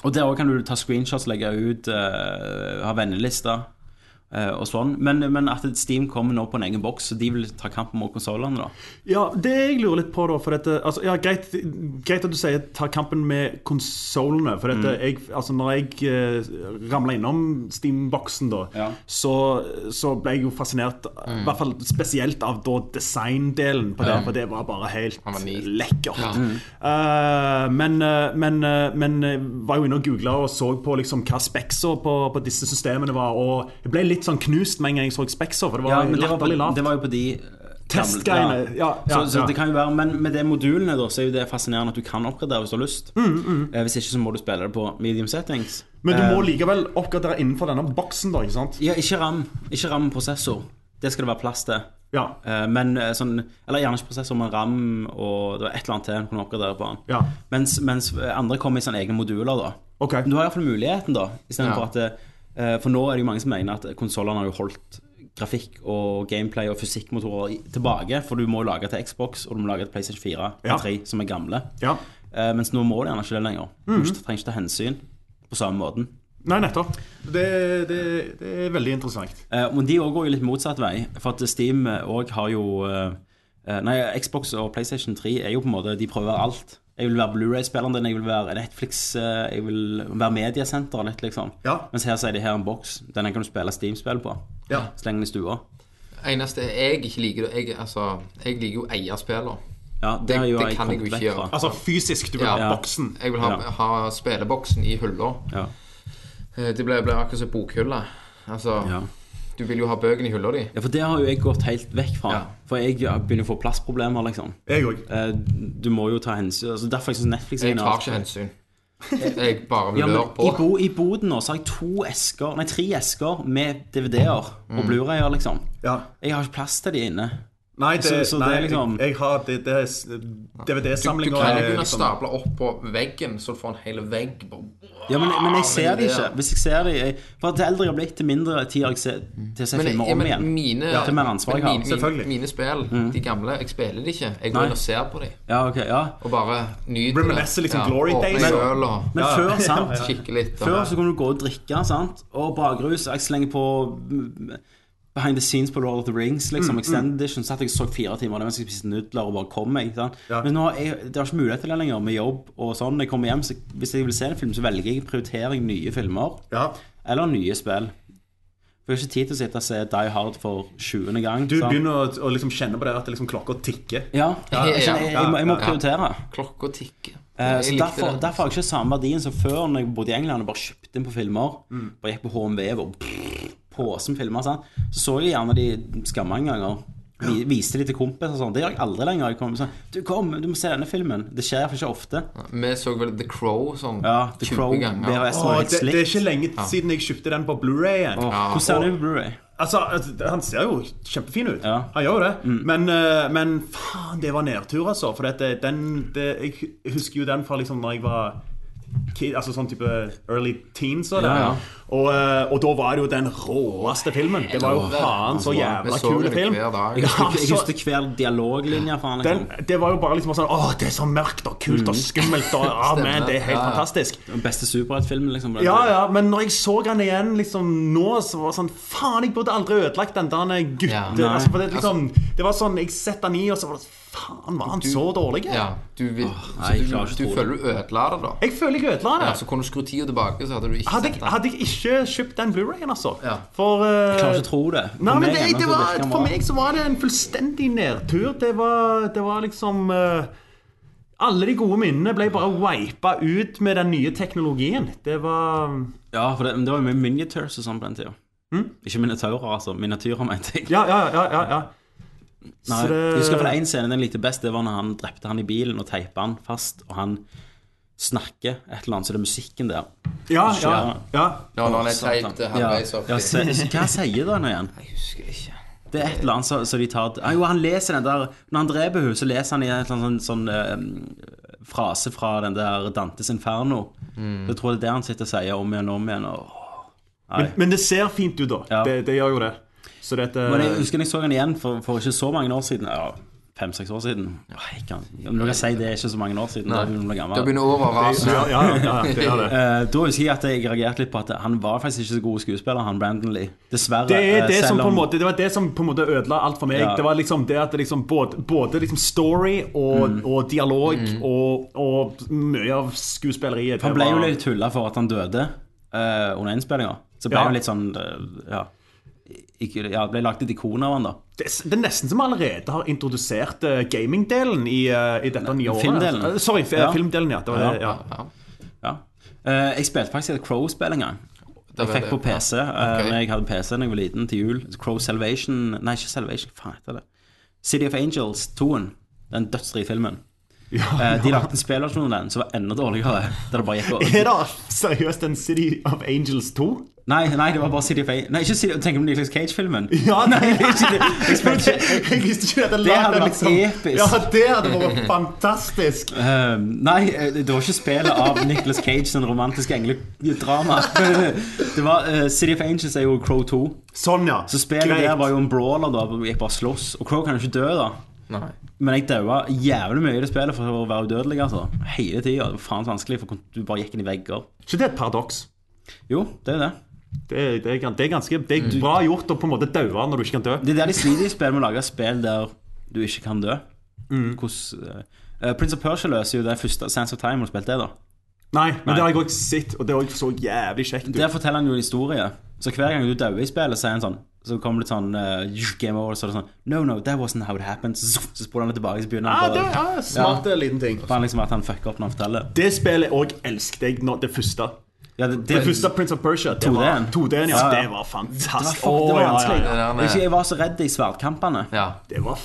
Speaker 2: og der òg kan du ta screenshots, legge ut, eh, ha vennelister eh, og sånn. Men, men at Steam kommer nå på en egen boks, så de vil ta kampen mot konsollene, da.
Speaker 1: Ja, det jeg lurer litt på da for dette, altså, ja, greit, greit at du sier ta kampen med konsolene. For dette,
Speaker 2: Mm.
Speaker 1: jeg, altså, når jeg eh, ramla innom Steam-boksen, da,
Speaker 2: Ja. Mm.
Speaker 1: så, så ble jeg jo fascinert. I hvert fall spesielt av da designdelen på det, for det var bare helt
Speaker 3: var neat.
Speaker 1: lekkert. Eh, men, eh, men, eh, men eh, var jo inne og googla og så på liksom, hva speksa på, på disse systemene var. Og jeg ble litt sånn knust med en gang jeg så speksa, for det var
Speaker 2: Ja, men det, var på,
Speaker 1: latterlig lavt.
Speaker 2: det var jo på de eh,
Speaker 1: Testgreiene,
Speaker 2: gamle-
Speaker 1: ja, ja,
Speaker 2: så, så
Speaker 1: ja.
Speaker 2: det kan jo være Men med de modulene da, så er jo det fascinerende at du kan oppgradere hvis du har lyst.
Speaker 1: Mm,
Speaker 2: Eh, hvis ikke så må du spille det på medium settings.
Speaker 1: Men du må
Speaker 2: Eh.
Speaker 1: likevel oppgradere innenfor denne boksen, da, ikke sant?
Speaker 2: Ja, ikke ram. Ikke ram prosessor. Det skal det være plass til.
Speaker 1: Ja.
Speaker 2: Eh, Men eh, sånn, eller gjerne ikke prosessor, men RAM og det var et eller annet til en kunne oppgradere på den.
Speaker 1: Ja.
Speaker 2: Mens, mens andre kommer i sånne egne moduler, da.
Speaker 1: Ok.
Speaker 2: Men du har iallfall muligheten, da. i stedet
Speaker 3: Ja.
Speaker 2: For at eh, For nå er det jo mange som mener at konsollene har jo holdt grafikk og gameplay og fysikkmotorer i- tilbake, for du må jo lage til Xbox og du må lage til PlayStation 4 og
Speaker 1: Ja.
Speaker 2: 3, som er gamle.
Speaker 1: Ja. Mhm.
Speaker 2: Eh, mens nå må du gjerne ikke det lenger. Du trenger ikke ta hensyn på samme måten.
Speaker 1: Nei, nettopp. Det, det, det er veldig interessant.
Speaker 2: Eh, Men de også går jo litt motsatt vei, for at Steam òg har jo eh, eh, Nei, Xbox og PlayStation 3 er jo på en måte De prøver alt. Jeg vil være Blu-ray-spilleren din, jeg vil være Netflix, eh, jeg vil være mediesenteret ditt, liksom.
Speaker 1: Ja.
Speaker 2: Mens her så er det her en boks. Denne kan du spille Steam-spill på.
Speaker 1: Ja.
Speaker 2: Sleng den i stua.
Speaker 3: Eneste jeg ikke liker jeg, altså, jeg liker jo eierspiller.
Speaker 2: Ja, det,
Speaker 3: Det-
Speaker 2: har jo
Speaker 3: det
Speaker 2: jeg
Speaker 3: kan jeg
Speaker 2: kommet
Speaker 3: jo
Speaker 2: vekk
Speaker 3: ikke
Speaker 2: fra.
Speaker 3: gjøre.
Speaker 1: Altså fysisk, du vil
Speaker 3: Ja.
Speaker 1: ha boksen.
Speaker 3: Jeg vil ha,
Speaker 2: Ja.
Speaker 3: ha spilleboksen i hylla.
Speaker 2: Ja.
Speaker 3: Eh, Det blir blir akkurat som bokhylla. Altså,
Speaker 2: Ja.
Speaker 3: du vil jo ha bøkene i hylla di.
Speaker 2: ja, for det har jo jeg gått helt vekk fra.
Speaker 3: Ja.
Speaker 2: For jeg begynner å få plassproblemer, liksom.
Speaker 1: Jeg òg.
Speaker 2: Eh, Du må jo ta hensyn altså, Derfor jeg syns Netflix er
Speaker 3: Jeg
Speaker 2: en
Speaker 3: tar
Speaker 2: av-
Speaker 3: ikke hensyn. Jeg bare vil
Speaker 2: Ja, men
Speaker 3: løre på.
Speaker 2: i, bo, I boden nå så har jeg to esker
Speaker 3: Mm.
Speaker 2: Nei, tre esker med DVD-er og Blu-rayer, liksom.
Speaker 1: Ja.
Speaker 2: Jeg har ikke plass til de inne.
Speaker 1: Nei, det,
Speaker 2: Så- så det er
Speaker 1: nei
Speaker 2: liksom-
Speaker 1: jeg, jeg har det, det er s-
Speaker 3: Du, du
Speaker 1: DVD-samlinger.
Speaker 3: kan jo
Speaker 1: er
Speaker 3: begynne å
Speaker 1: liksom-
Speaker 3: stable opp på veggen, så du får en hel vegg. på-
Speaker 2: Ja, men, men jeg ser det
Speaker 3: Ja.
Speaker 2: ikke. Hvis jeg ser det jeg, For til eldre jeg har blitt, til mindre tid har jeg se, til å se
Speaker 3: Men,
Speaker 2: filmer
Speaker 3: ja,
Speaker 2: om
Speaker 3: men
Speaker 2: igjen.
Speaker 3: mine,
Speaker 2: til mer ansvar jeg
Speaker 3: men
Speaker 2: har.
Speaker 3: mine-
Speaker 1: Selvfølgelig.
Speaker 3: Mine spill, de gamle, jeg spiller de ikke. Jeg
Speaker 2: Nei.
Speaker 3: går inn og ser på dem.
Speaker 2: Ja, ok, ja.
Speaker 3: Og bare nyter
Speaker 1: Reminisce liksom glory
Speaker 3: åpner
Speaker 1: days,
Speaker 3: en
Speaker 1: og-
Speaker 3: øl og
Speaker 2: Men før, sant?
Speaker 3: kikke litt. og-
Speaker 2: Før så kunne du gå og drikke, sant? Og bakrus. Jeg slenger på mm, Behind the scenes på Lord of the Rings,
Speaker 1: Mm,
Speaker 2: liksom. Extended edition. Satt jeg og så fire timer der mens jeg spiste nudler og bare kom meg. Sant?
Speaker 1: Ja.
Speaker 2: Men nå har jeg, det er ikke mulighet til det lenger, med jobb og sånn. Når jeg kommer hjem, så hvis jeg vil se en film, så velger jeg prioriterer jeg nye filmer.
Speaker 1: Ja.
Speaker 2: Eller nye spill. For jeg har ikke tid til å sitte og se Die Hard for 20. gang.
Speaker 1: Du
Speaker 2: sant?
Speaker 1: begynner å, å liksom kjenne på det at det liksom klokka tikker.
Speaker 2: Ja,
Speaker 3: Ja,
Speaker 2: jeg, jeg, jeg, jeg, må- jeg må
Speaker 3: ja.
Speaker 2: prioritere.
Speaker 3: Klokka tikker.
Speaker 2: Eh,
Speaker 3: Jeg
Speaker 2: Så
Speaker 3: likte
Speaker 2: derfor,
Speaker 3: det.
Speaker 2: derfor har jeg ikke samme verdien som før når jeg bodde i England og bare kjøpte inn på filmer.
Speaker 3: Mm.
Speaker 2: Bare gikk på HMV og pff, påse med filmer. Sant? Så så jeg gjerne de skamma en gang. og vi- Viste de til kompiser og sånn. Det gjør jeg aldri lenger. Jeg kommer sånn, du kom, du må se denne filmen. Det skjer ikke ofte.
Speaker 3: Vi så vel The Crow sånn
Speaker 2: Ja, The
Speaker 3: 20
Speaker 2: Crow,
Speaker 3: ganger.
Speaker 2: VHS var
Speaker 1: Åh,
Speaker 2: helt
Speaker 1: det, det er
Speaker 2: slitt.
Speaker 1: ikke lenge siden jeg kjøpte den på Blu-rayen.
Speaker 2: Åh, Hvordan ser det ut på Blu-ray?
Speaker 1: Altså, altså, han ser jo kjempefin ut.
Speaker 2: Ja. Mm.
Speaker 1: Han gjør jo det. Men, eh, men faen, det var nedtur, altså. For det, det- den det, Jeg husker jo den fra liksom når jeg var kid, altså sånn type early teens. Og, det.
Speaker 2: Ja, ja.
Speaker 1: og, eh, og da var det jo den råeste filmen. Det var jo faen så
Speaker 3: Vi
Speaker 1: jævla
Speaker 3: så
Speaker 1: kul
Speaker 3: den
Speaker 1: film.
Speaker 3: hver dag.
Speaker 2: Jeg husker, jeg
Speaker 1: altså-
Speaker 2: husker hver dialoglinje. Faen,
Speaker 1: Den,
Speaker 2: liksom.
Speaker 1: det var jo bare liksom sånn Åh, det er så mørkt og kult
Speaker 2: Mm.
Speaker 1: og skummelt
Speaker 3: (laughs)
Speaker 1: og ah, man, det er helt
Speaker 3: Ja, ja.
Speaker 1: fantastisk.
Speaker 2: Den beste superheltfilmen, liksom. på den
Speaker 1: Ja,
Speaker 2: tiden.
Speaker 1: ja, men når jeg så han igjen liksom nå, så var det sånn Faen, jeg burde aldri ødelagt den der han er gutte...
Speaker 3: Ja. Nei.
Speaker 1: altså, for det, liksom, det var sånn, Jeg sett han i, og så var det sånn, Faen, var han så dårlig?
Speaker 3: Ja, du vil
Speaker 2: nei,
Speaker 3: så
Speaker 2: jeg klarer ikke å
Speaker 3: du, du
Speaker 2: tro
Speaker 3: føler du ødela det, da.
Speaker 1: Jeg føler jeg ødela det.
Speaker 3: Ja, så kunne du skru tida tilbake, så hadde du ikke
Speaker 1: Hadde
Speaker 3: sett
Speaker 1: jeg,
Speaker 3: det.
Speaker 1: hadde jeg ikke kjøpt den Blu-rayen, altså.
Speaker 3: Ja.
Speaker 1: For eh,
Speaker 2: Jeg klarer ikke å tro det.
Speaker 1: Nei, men
Speaker 2: For meg
Speaker 1: det,
Speaker 2: ennå
Speaker 1: det
Speaker 2: så
Speaker 1: var,
Speaker 2: virker den
Speaker 1: For
Speaker 2: bra.
Speaker 1: meg så var det en fullstendig nedtur. Det var, det var liksom eh, Alle de gode minnene ble bare wipa ut med den nye teknologien. Det var
Speaker 2: Ja, for det, men det var jo mye miniatures og sånn på den tida.
Speaker 1: Hm?
Speaker 2: Ikke minitaurer, altså. Miniatyrer, mente jeg.
Speaker 1: Ja, ja, ja. ja, ja.
Speaker 2: Nei,
Speaker 1: Så det-
Speaker 2: Jeg husker for det en scene den likte best, det var når han drepte han i bilen og teipet han fast, og han snakker et eller annet, så det er musikken der.
Speaker 1: ja, ja,
Speaker 2: Ja.
Speaker 1: ja.
Speaker 3: Ja, når han er
Speaker 2: Satan.
Speaker 3: teit halvveis
Speaker 2: ja,
Speaker 3: opp
Speaker 2: ja,
Speaker 3: i-
Speaker 2: se, Hva sier den igjen?
Speaker 3: Jeg husker ikke.
Speaker 2: Det er et eller annet som som de tar ah, Jo, han leser den der Når han dreper henne, så leser han i en eller annen sånn, sånn eh, frase fra den der Dantes Inferno.
Speaker 3: Mm.
Speaker 2: Jeg tror det er det han sitter og sier om igjen og om igjen. Og...
Speaker 1: Men, men det ser fint ut, da.
Speaker 2: Ja.
Speaker 1: Det, det gjør jo det. Så dette
Speaker 2: Men jeg husker jeg så den igjen for, for ikke så mange år siden. Ja, Fem-seks år siden. Ja, jeg kan, om du kan si det er ikke så mange år siden. Da begynner du å bli
Speaker 3: Da
Speaker 2: gammel.
Speaker 3: begynner overrasen.
Speaker 1: eh, ja, ja, ja, ja, det
Speaker 2: (laughs)
Speaker 1: gjør det.
Speaker 2: Eh, da husker jeg at jeg reagerte litt på at han var faktisk ikke så god skuespiller, han Brandon Lee. Dessverre.
Speaker 1: Det, er
Speaker 2: eh,
Speaker 1: det,
Speaker 2: selv
Speaker 1: som på en
Speaker 2: om-
Speaker 1: måte, det var det som på en måte ødela alt for meg.
Speaker 2: Ja.
Speaker 1: Det var liksom det at det liksom både, både liksom story og,
Speaker 2: Mm.
Speaker 1: og dialog og, og mye av skuespilleriet
Speaker 2: Han
Speaker 1: det
Speaker 2: ble jo
Speaker 1: var-
Speaker 2: litt tulla for at han døde eh, under innspillinga. Så ble
Speaker 1: Ja.
Speaker 2: han litt sånn eh, Ja. Ikke, ja, ble lagt et ikon av han, da.
Speaker 1: Det, det er nesten som vi allerede har introdusert eh, gamingdelen i, eh, i dette nye året.
Speaker 2: filmdelen.
Speaker 1: Eh, Sorry, f-
Speaker 2: Ja.
Speaker 1: filmdelen, ja. Det var, det, ja.
Speaker 3: Ja.
Speaker 2: Ja. Eh, jeg spilte faktisk et Crow-spill en gang.
Speaker 3: Det
Speaker 2: Jeg
Speaker 3: var
Speaker 2: fikk
Speaker 3: det,
Speaker 2: på PC
Speaker 3: ja.
Speaker 2: eh,
Speaker 3: Ok.
Speaker 2: når jeg hadde PC da jeg var liten, til jul. Crow Salvation Nei, ikke Salvation, hva faen heter det? City of Angels 2-en. Den dødsrike filmen. Eh, de lagde en spillversjon av den som var enda dårligere. Der det bare gikk og-
Speaker 1: Er det seriøst en City of Angels 2?
Speaker 2: Nei, nei, det var bare City of Angels. Nei, ikke City Tenk om Nicolas Cage-filmen. (laughs)
Speaker 1: Ja, nei, det er ikke det.
Speaker 2: Jeg spilte ikke-
Speaker 1: Jeg visste ikke at den
Speaker 2: Det
Speaker 1: lagde
Speaker 2: hadde
Speaker 1: den,
Speaker 2: vært episk.
Speaker 1: Ja, det hadde vært fantastisk.
Speaker 2: Eh, nei, eh, det var ikke spillet av Nicolas Cage sin romantiske engledrama. (laughs) det var eh, City of Angels er jo Crow 2.
Speaker 1: Sånn, ja.
Speaker 2: Så spillet
Speaker 1: Greit.
Speaker 2: der var jo en brawler, da. hvor Vi gikk bare og slåss. Og Crow kan jo ikke dø, da.
Speaker 3: Nei.
Speaker 2: Men jeg daua jævlig mye i det spillet for å være udødelig, altså. Hele tida. Det var faen så vanskelig, for du bare gikk inn i vegger.
Speaker 1: Ikke det et paradoks?
Speaker 2: Jo, det er jo det.
Speaker 1: Det, er- det, er gans- det er ganske det
Speaker 2: Mm.
Speaker 1: er bra gjort å på en måte daue når du ikke kan dø.
Speaker 2: Det er der de sliter i spill med å lage spill der du ikke kan dø.
Speaker 1: Mm.
Speaker 2: Hvordan eh, Prince of Persia løser jo det første Sands of Time, har du spilt det, da?
Speaker 1: Nei, men det har jeg også sett, og det har også så jævlig kjekt ut.
Speaker 2: Der forteller han jo en historie. Så hver gang du dauer i spillet, så er han sånn så kommer det sånn eh, Game over, så er det sånn No, no, that wasn't how it happened. Så, så spoler han det tilbake, så begynner
Speaker 1: Ja,
Speaker 2: han
Speaker 1: Ah, det
Speaker 2: bare
Speaker 1: er smart liten ting.
Speaker 2: Bare liksom at han fucker opp når han forteller.
Speaker 1: Det spillet òg elsket jeg, når- det første.
Speaker 2: Ja, det,
Speaker 1: Det første Prince of Persia. Det
Speaker 2: 2D-en.
Speaker 1: var 2D-en, ja.
Speaker 2: Ja, ja.
Speaker 1: Det var
Speaker 2: det var,
Speaker 1: fantastisk.
Speaker 2: fuck, det
Speaker 1: Å,
Speaker 2: var
Speaker 1: ja, ja,
Speaker 2: vanskelig.
Speaker 1: ja.
Speaker 3: ja.
Speaker 2: Jeg, jeg var så redd i sverdkampene.
Speaker 3: Ja.
Speaker 1: Det var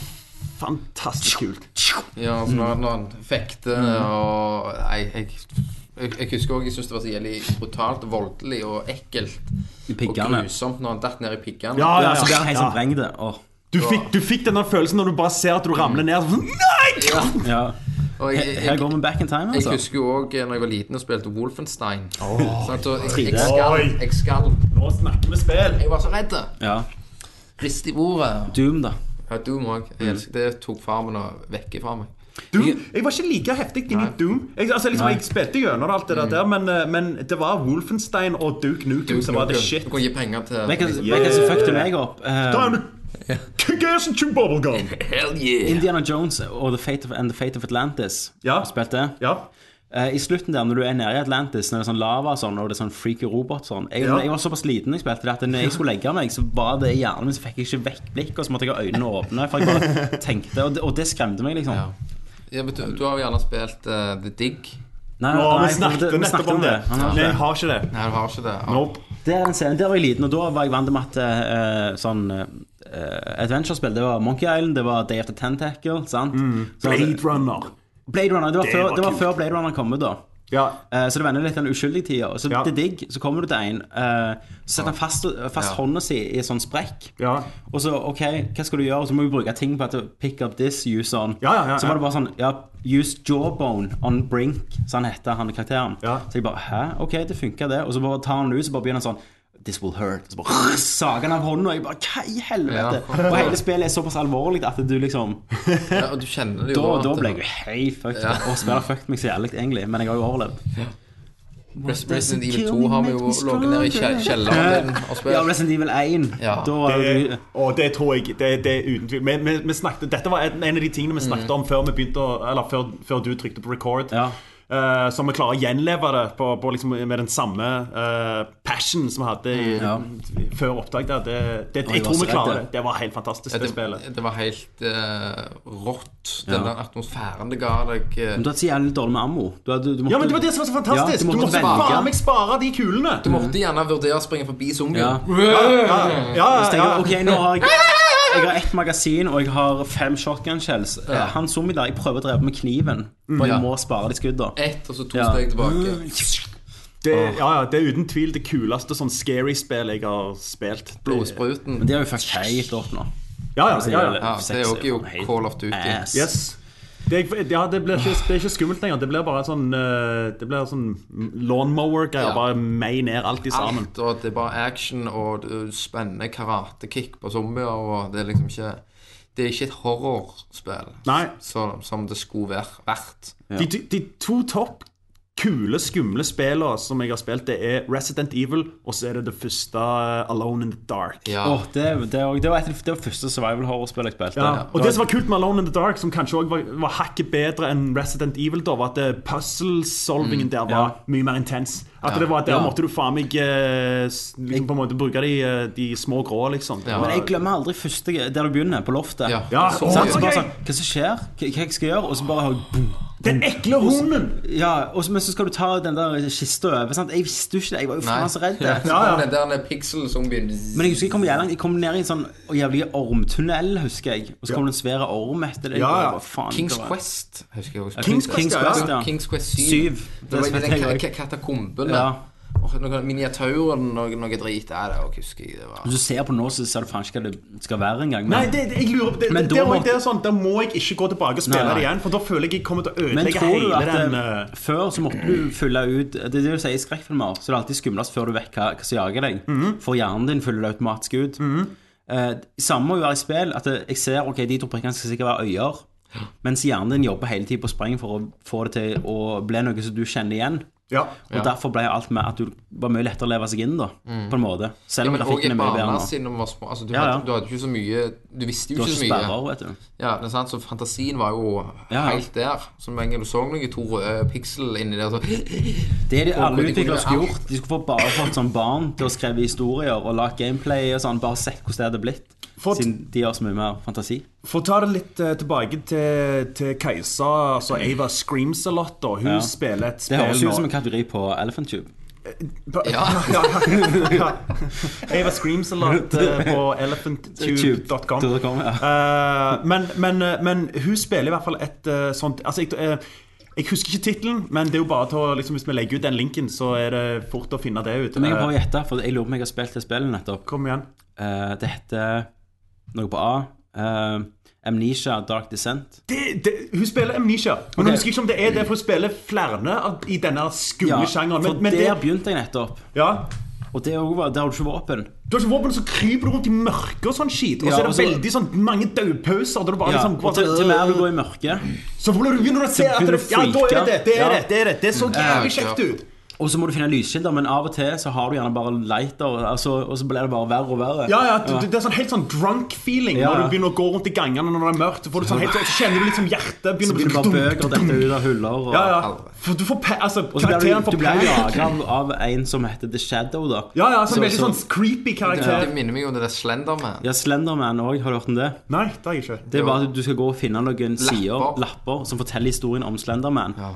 Speaker 1: fantastisk kult.
Speaker 3: Ja, altså når, når han fekter
Speaker 2: Mm.
Speaker 3: og Nei, jeg, jeg, jeg husker også jeg syntes det var så jævlig brutalt, voldelig og ekkelt.
Speaker 2: I
Speaker 3: Og
Speaker 2: piggene.
Speaker 3: grusomt når han datt ned i piggene.
Speaker 1: Ja,
Speaker 2: Ja, så blir han
Speaker 1: ja.
Speaker 2: helt sånn vrengd. Åh.
Speaker 1: Du fikk, du fikk denne følelsen når du bare ser at du ramler ned. sånn, Nei!
Speaker 3: Ja.
Speaker 2: Mm. Ja.
Speaker 3: Og jeg,
Speaker 2: Her her
Speaker 3: jeg,
Speaker 2: går vi back in time,
Speaker 3: jeg
Speaker 2: altså.
Speaker 3: husker jo òg da jeg var liten og spilte Wolfenstein. Sant, og jeg, jeg,
Speaker 2: Oi.
Speaker 3: skalv, jeg skalv.
Speaker 1: Nå snakker vi spill.
Speaker 3: Jeg var så redd.
Speaker 2: Ja.
Speaker 3: Rist i bordet.
Speaker 2: Doom, da.
Speaker 3: Ja, Doom òg. Det tok far min og vekk fra meg.
Speaker 1: Doom, jeg var ikke like heftig inni Doom. Jeg, altså, liksom, jeg spilte gjennom alt det der, men, eh, men det var Wolfenstein og Duke Nukem som var the shit.
Speaker 3: Du kan gi penger til
Speaker 2: Vet du hva som fucket meg opp? Eh,
Speaker 1: Time to kick ass and chew (laughs) bubblegum.
Speaker 3: Hell yeah!
Speaker 2: Indiana Jones og The Fate of, and The Fate of Atlantis.
Speaker 1: Ja.
Speaker 2: Spilte.
Speaker 1: Ja.
Speaker 2: Eh, I slutten der, når du er nede i Atlantis, når det er sånn lava og sånn, og det er sånn freaky robot sånn jeg,
Speaker 1: Ja.
Speaker 2: jeg var såpass liten da jeg spilte det, at når jeg skulle legge meg, så var det i hjernen min, så fikk jeg ikke vekk blikket, og så måtte jeg ha øynene åpne, for jeg bare tenkte, og det, og det skremte meg, liksom.
Speaker 3: Ja. Ja, men du, du har jo gjerne spilt eh, The Dig.
Speaker 2: Nei,
Speaker 1: Nå,
Speaker 2: nei,
Speaker 1: vi snakket
Speaker 2: vi
Speaker 1: nettopp om det.
Speaker 2: Han
Speaker 1: Nei,
Speaker 2: har ikke
Speaker 1: jeg har ikke det.
Speaker 3: Nei, du har ikke det. Ja.
Speaker 1: Nope.
Speaker 2: Det er den scenen. Der var jeg liten, og da var jeg vant med at eh, sånn eh, Adventure-spill Det var Monkey Island, det var Day of the Tentacle, sant? Så-
Speaker 1: Mm. Blade Runner.
Speaker 2: Blade Runner. Det var,
Speaker 1: Det
Speaker 2: før,
Speaker 1: var
Speaker 2: det var
Speaker 1: kult.
Speaker 2: før Blade Runner kom ut, da.
Speaker 1: Ja.
Speaker 2: Eh, Så det vender litt den uskyldige tida. Så
Speaker 1: Ja.
Speaker 2: til digg, så kommer du til en, eh, så setter han fast, fast
Speaker 3: Ja.
Speaker 2: hånda si i en sånn sprekk.
Speaker 1: Ja.
Speaker 2: Og så OK, hva skal du gjøre? Og så må vi bruke ting på at pick up this, use on.
Speaker 1: Ja, ja, ja,
Speaker 2: Så
Speaker 1: ja.
Speaker 2: var det bare sånn ja, Use jawbone on brink, så han heter han karakteren.
Speaker 1: Ja.
Speaker 2: Så jeg bare Hæ, OK, det funka, det. Og så bare tar han det ut, så bare begynner han sånn This will hurt. Så bare (laughs) sager han av hånda, og jeg bare Hva i helvete?
Speaker 3: Ja.
Speaker 2: Og hele spillet er såpass alvorlig at du
Speaker 1: (laughs)
Speaker 2: liksom
Speaker 3: Ja, og du kjenner det jo.
Speaker 2: Da,
Speaker 3: at
Speaker 2: da
Speaker 3: det-
Speaker 2: ble jeg jo hei fucked. up. Og spillet har fucked meg så jævlig, egentlig, men jeg har jo overlevd.
Speaker 3: Res- Resident Evil 2 har vi jo ligget nede i kjell- kjelleren
Speaker 2: (laughs)
Speaker 3: din og
Speaker 2: Ja,
Speaker 3: spilt.
Speaker 2: Resident Evil 1.
Speaker 3: Ja.
Speaker 2: Da var
Speaker 1: Det,
Speaker 2: det,
Speaker 1: og det tror jeg det, det er uten tvil. Vi, vi, vi snakket, dette var en, en av de tingene vi snakket om før, vi begynte å, eller før, før du trykte på record.
Speaker 2: Mm. Ja.
Speaker 1: Eh, så vi klarer å gjenleve det på, på liksom, med den samme eh, passion som vi hadde i,
Speaker 2: Mm, Ja.
Speaker 1: før opptak. Der. Det, det,
Speaker 2: Og jeg
Speaker 1: jeg tror vi
Speaker 2: var så redd,
Speaker 1: klarer det.
Speaker 2: det.
Speaker 1: Det var helt fantastisk, det, spillet.
Speaker 3: Det, det var helt eh, rått, den
Speaker 2: Ja.
Speaker 3: der atmosfæren det ga deg. eh,
Speaker 2: Men du hadde så jævlig dårlig med ammo. Du hadde, du måtte,
Speaker 1: Ja, men det var det som var så fantastisk!
Speaker 2: Ja,
Speaker 1: du måtte,
Speaker 2: velge.
Speaker 1: faen meg spare de kulene!
Speaker 3: Du måtte gjerne vurdere å springe forbi
Speaker 2: Ja.
Speaker 3: zombier.
Speaker 1: Ja, ja,
Speaker 2: Så
Speaker 1: ja.
Speaker 2: tenker du, ok, nå har jeg Jeg har ett magasin, og jeg har fem shotgun shells. Eh, Han zombie der, jeg prøver å drepe med kniven, for
Speaker 3: Ja. Eh.
Speaker 2: jeg må spare de skudda.
Speaker 3: Ett og så to
Speaker 2: Ja. Mm.
Speaker 3: steg tilbake.
Speaker 1: Det, ja, ja, det er uten tvil det kuleste sånn scary spillet jeg har spilt. Det-
Speaker 3: Blodspruten.
Speaker 2: Men de har jo fucked helt opp nå.
Speaker 1: Ja, ja, ja, ja.
Speaker 3: Ja, det er jo ikke jo Call of Duty.
Speaker 2: Ass.
Speaker 1: Yes. Det, er- ja, det, blir ikke, det er ikke skummelt lenger. Det blir bare sånn eh, Det blir sånn lawnmower-greier.
Speaker 3: Ja.
Speaker 1: Bare mei ned alt i sammen.
Speaker 3: Alt, og det er bare action og du spenner karatekick på zombier, og det er liksom ikke Det er ikke et horrorspill
Speaker 1: Nei.
Speaker 3: så, som det skulle være- vært.
Speaker 1: De, de, de to topp kule, skumle spillene som jeg har spilt, det er Resident Evil, og så er det det første eh, Alone in the Dark.
Speaker 3: Ja.
Speaker 2: Åh, det, det, var- det var et av de- det var første survival horror-spillet jeg spilte.
Speaker 1: Ja. Og det som var kult med Alone in the Dark, som kanskje også var, var hakket bedre enn Resident Evil, da, var at eh, puzzle-solvingen der var
Speaker 2: Ja.
Speaker 1: mye mer intens. At det var at der
Speaker 2: Ja.
Speaker 1: måtte du faen meg eh, s- liksom, på en måte bruke de, eh, de små grå, liksom. Det
Speaker 3: Ja.
Speaker 1: var-
Speaker 2: Men jeg glemmer aldri første der du begynner, på loftet.
Speaker 3: Ja.
Speaker 1: Ja,
Speaker 3: Så-
Speaker 1: og-
Speaker 2: Sant? Så bare
Speaker 1: Ok.
Speaker 2: sånn, Hva som skjer? Hva hva jeg skal gjøre? Og så bare har jeg boom.
Speaker 1: Den ekle hunden!
Speaker 2: Ja, og så, men så skal du ta den der kista over. Sant? Jeg visste jo ikke det. Jeg var jo faen så redd.
Speaker 3: Ja,
Speaker 2: det.
Speaker 3: så
Speaker 1: Ja, ja.
Speaker 3: kom Den der den pixel-zombien
Speaker 2: Men jeg husker jeg kom, gjennom, jeg kom ned i en sånn jævlig ormtunnel, husker jeg. Og så kom det en svær orm etter deg.
Speaker 1: Ja,
Speaker 2: og jeg
Speaker 1: ja.
Speaker 2: bare, faen,
Speaker 3: Kings
Speaker 2: det var-
Speaker 3: Quest husker jeg også.
Speaker 1: Kings Quest,
Speaker 2: Kings
Speaker 1: ja.
Speaker 2: Quest, ja.
Speaker 3: Kings Quest 7.
Speaker 2: Syv.
Speaker 3: Det var
Speaker 2: spilte
Speaker 3: den
Speaker 2: jeg
Speaker 3: ka-
Speaker 2: også.
Speaker 3: ka- katakombene.
Speaker 2: Ja.
Speaker 3: Og noen miniatyrer, noe, noe drit. Ja, det var- husker jeg det var.
Speaker 2: Hvis du ser på nå, så ser du faen ikke hva det skal være engang.
Speaker 1: Nei,
Speaker 2: Men,
Speaker 1: det, det, jeg lurer på det,
Speaker 2: Men
Speaker 1: det,
Speaker 2: da
Speaker 1: det, er
Speaker 2: måtte-
Speaker 1: også- det er sånn, Da må jeg ikke gå tilbake og spille
Speaker 2: Nei, nei.
Speaker 1: det igjen, for da føler jeg jeg kommer til å
Speaker 2: men
Speaker 1: ødelegge
Speaker 2: tror du
Speaker 1: hele
Speaker 2: at
Speaker 1: den
Speaker 2: eh,
Speaker 1: eh,
Speaker 2: før så måtte du fylle ut Det er det du sier i skrekkfilmer, så det er alltid skumlest før du vet hva, hva som jager deg. For hjernen din fyller det automatisk ut. Eh, samme må jo være i spill. At eh, jeg ser ok, de to prikkene skal sikkert være øyer. Mens hjernen din jobber hele tiden på spreng for å få det til å bli noe som du kjenner igjen.
Speaker 1: Ja.
Speaker 2: Og derfor ble alt med at du var mye lettere å leve seg inn, da. På en måte. Selv om
Speaker 3: Men også
Speaker 2: grafikken
Speaker 3: i
Speaker 2: er mye bedre
Speaker 3: barna
Speaker 2: nå.
Speaker 3: siden vi var små. Altså, du,
Speaker 2: Ja, ja.
Speaker 3: Hadde, du hadde ikke så mye Du visste
Speaker 2: Du
Speaker 3: jo
Speaker 2: har
Speaker 3: ikke så
Speaker 2: ikke
Speaker 3: mye.
Speaker 2: sperrer, vet du.
Speaker 3: Ja, det er sant, så Fantasien var jo
Speaker 2: Ja, ja.
Speaker 3: helt der. Som en gang du så noen to røde piksel inni der, så
Speaker 2: Det er det
Speaker 3: Og
Speaker 2: alle
Speaker 3: hvor de
Speaker 2: utviklere
Speaker 3: kunne-
Speaker 2: skulle gjort. De skulle få bare fått sånn barn til å skrive historier og lage gameplay og sånn. Bare sett hvordan det hadde blitt.
Speaker 1: For-
Speaker 2: Siden de har så mye mer fantasi.
Speaker 1: For å ta det litt eh, tilbake til, til Kajsa, altså Ava Screams a lot, da. Hun
Speaker 2: Ja.
Speaker 1: spiller et
Speaker 2: Det
Speaker 1: spill
Speaker 2: høres jo ut som en kategori på Elephant Tube.
Speaker 1: Ba-
Speaker 3: Ja.
Speaker 1: (laughs) ja, ja, ja. Ava Screams a lot eh, på elephanttube.com.
Speaker 2: Tube.com,
Speaker 1: (laughs) Eh, men, men, eh, men hun spiller i hvert fall et eh, sånt altså, jeg, eh, jeg husker ikke tittelen, men det er jo bare til å, liksom, hvis vi legger ut den linken, så er det fort å finne det ut.
Speaker 2: Men jeg kan
Speaker 1: Eh,
Speaker 2: prøve å gjette, for jeg lurer på om jeg har spilt Eh, det spillet nettopp.
Speaker 1: Kom igjen.
Speaker 2: Eh, det heter noe på A. eh, Amnesia, Dark Descent.
Speaker 1: Det, det, hun spiller Amnesia. Men
Speaker 2: Ok.
Speaker 1: jeg husker ikke om det er det, for hun spiller flere av, i denne skumle sjangeren.
Speaker 2: for
Speaker 1: Men, men det,
Speaker 2: der begynte jeg nettopp.
Speaker 1: ja.
Speaker 2: Og det er jo- der har du ikke våpen.
Speaker 1: Du har ikke våpen, så kryper du rundt i mørket og sånn skit. Og så
Speaker 2: Ja,
Speaker 1: er det
Speaker 2: og så-
Speaker 1: veldig sånn mange dødpauser. Der du bare
Speaker 2: Ja,
Speaker 1: liksom
Speaker 2: og til, til mer du går i mørket.
Speaker 1: Så hvordan begynner du å se at
Speaker 2: begynner
Speaker 1: det,
Speaker 2: du å
Speaker 1: ja, da er det det.
Speaker 2: freake.
Speaker 1: Det er
Speaker 2: Ja.
Speaker 1: det. Det er det. Det så
Speaker 3: Mm. Ja,
Speaker 1: jævlig kjekt
Speaker 3: ja.
Speaker 1: ut.
Speaker 2: Og så må du finne lyskilder, men av og til så har du gjerne bare lighter, altså, og så blir det bare verre og verre.
Speaker 1: Ja, ja, det, det er sånn helt sånn drunk feeling
Speaker 2: Ja,
Speaker 1: når
Speaker 2: ja.
Speaker 1: du begynner å gå rundt i gangene når det er mørkt. Så, får du sånn helt, så kjenner du liksom hjertet
Speaker 2: Så
Speaker 1: begynner
Speaker 2: blir
Speaker 1: å
Speaker 2: det bare
Speaker 1: bli sånn
Speaker 2: bøker dette ut av huller. Og,
Speaker 1: Ja, ja. For du får pa altså,
Speaker 2: og så blir
Speaker 1: karakteren
Speaker 2: du,
Speaker 1: får
Speaker 2: du blir
Speaker 1: panikk.
Speaker 2: jaga av- av en som heter The Shadow, da.
Speaker 1: Ja, ja, så
Speaker 2: Så-
Speaker 1: en veldig
Speaker 2: så-
Speaker 1: sånn creepy karakter.
Speaker 3: Det minner meg om det der Slenderman.
Speaker 2: Ja, Slenderman òg, har du hørt om det?
Speaker 1: Nei, det har jeg ikke.
Speaker 2: Det er bare at du skal gå og finne noen sider,
Speaker 3: Lapper.
Speaker 2: lapper, som forteller historien om Slenderman.
Speaker 3: Ja.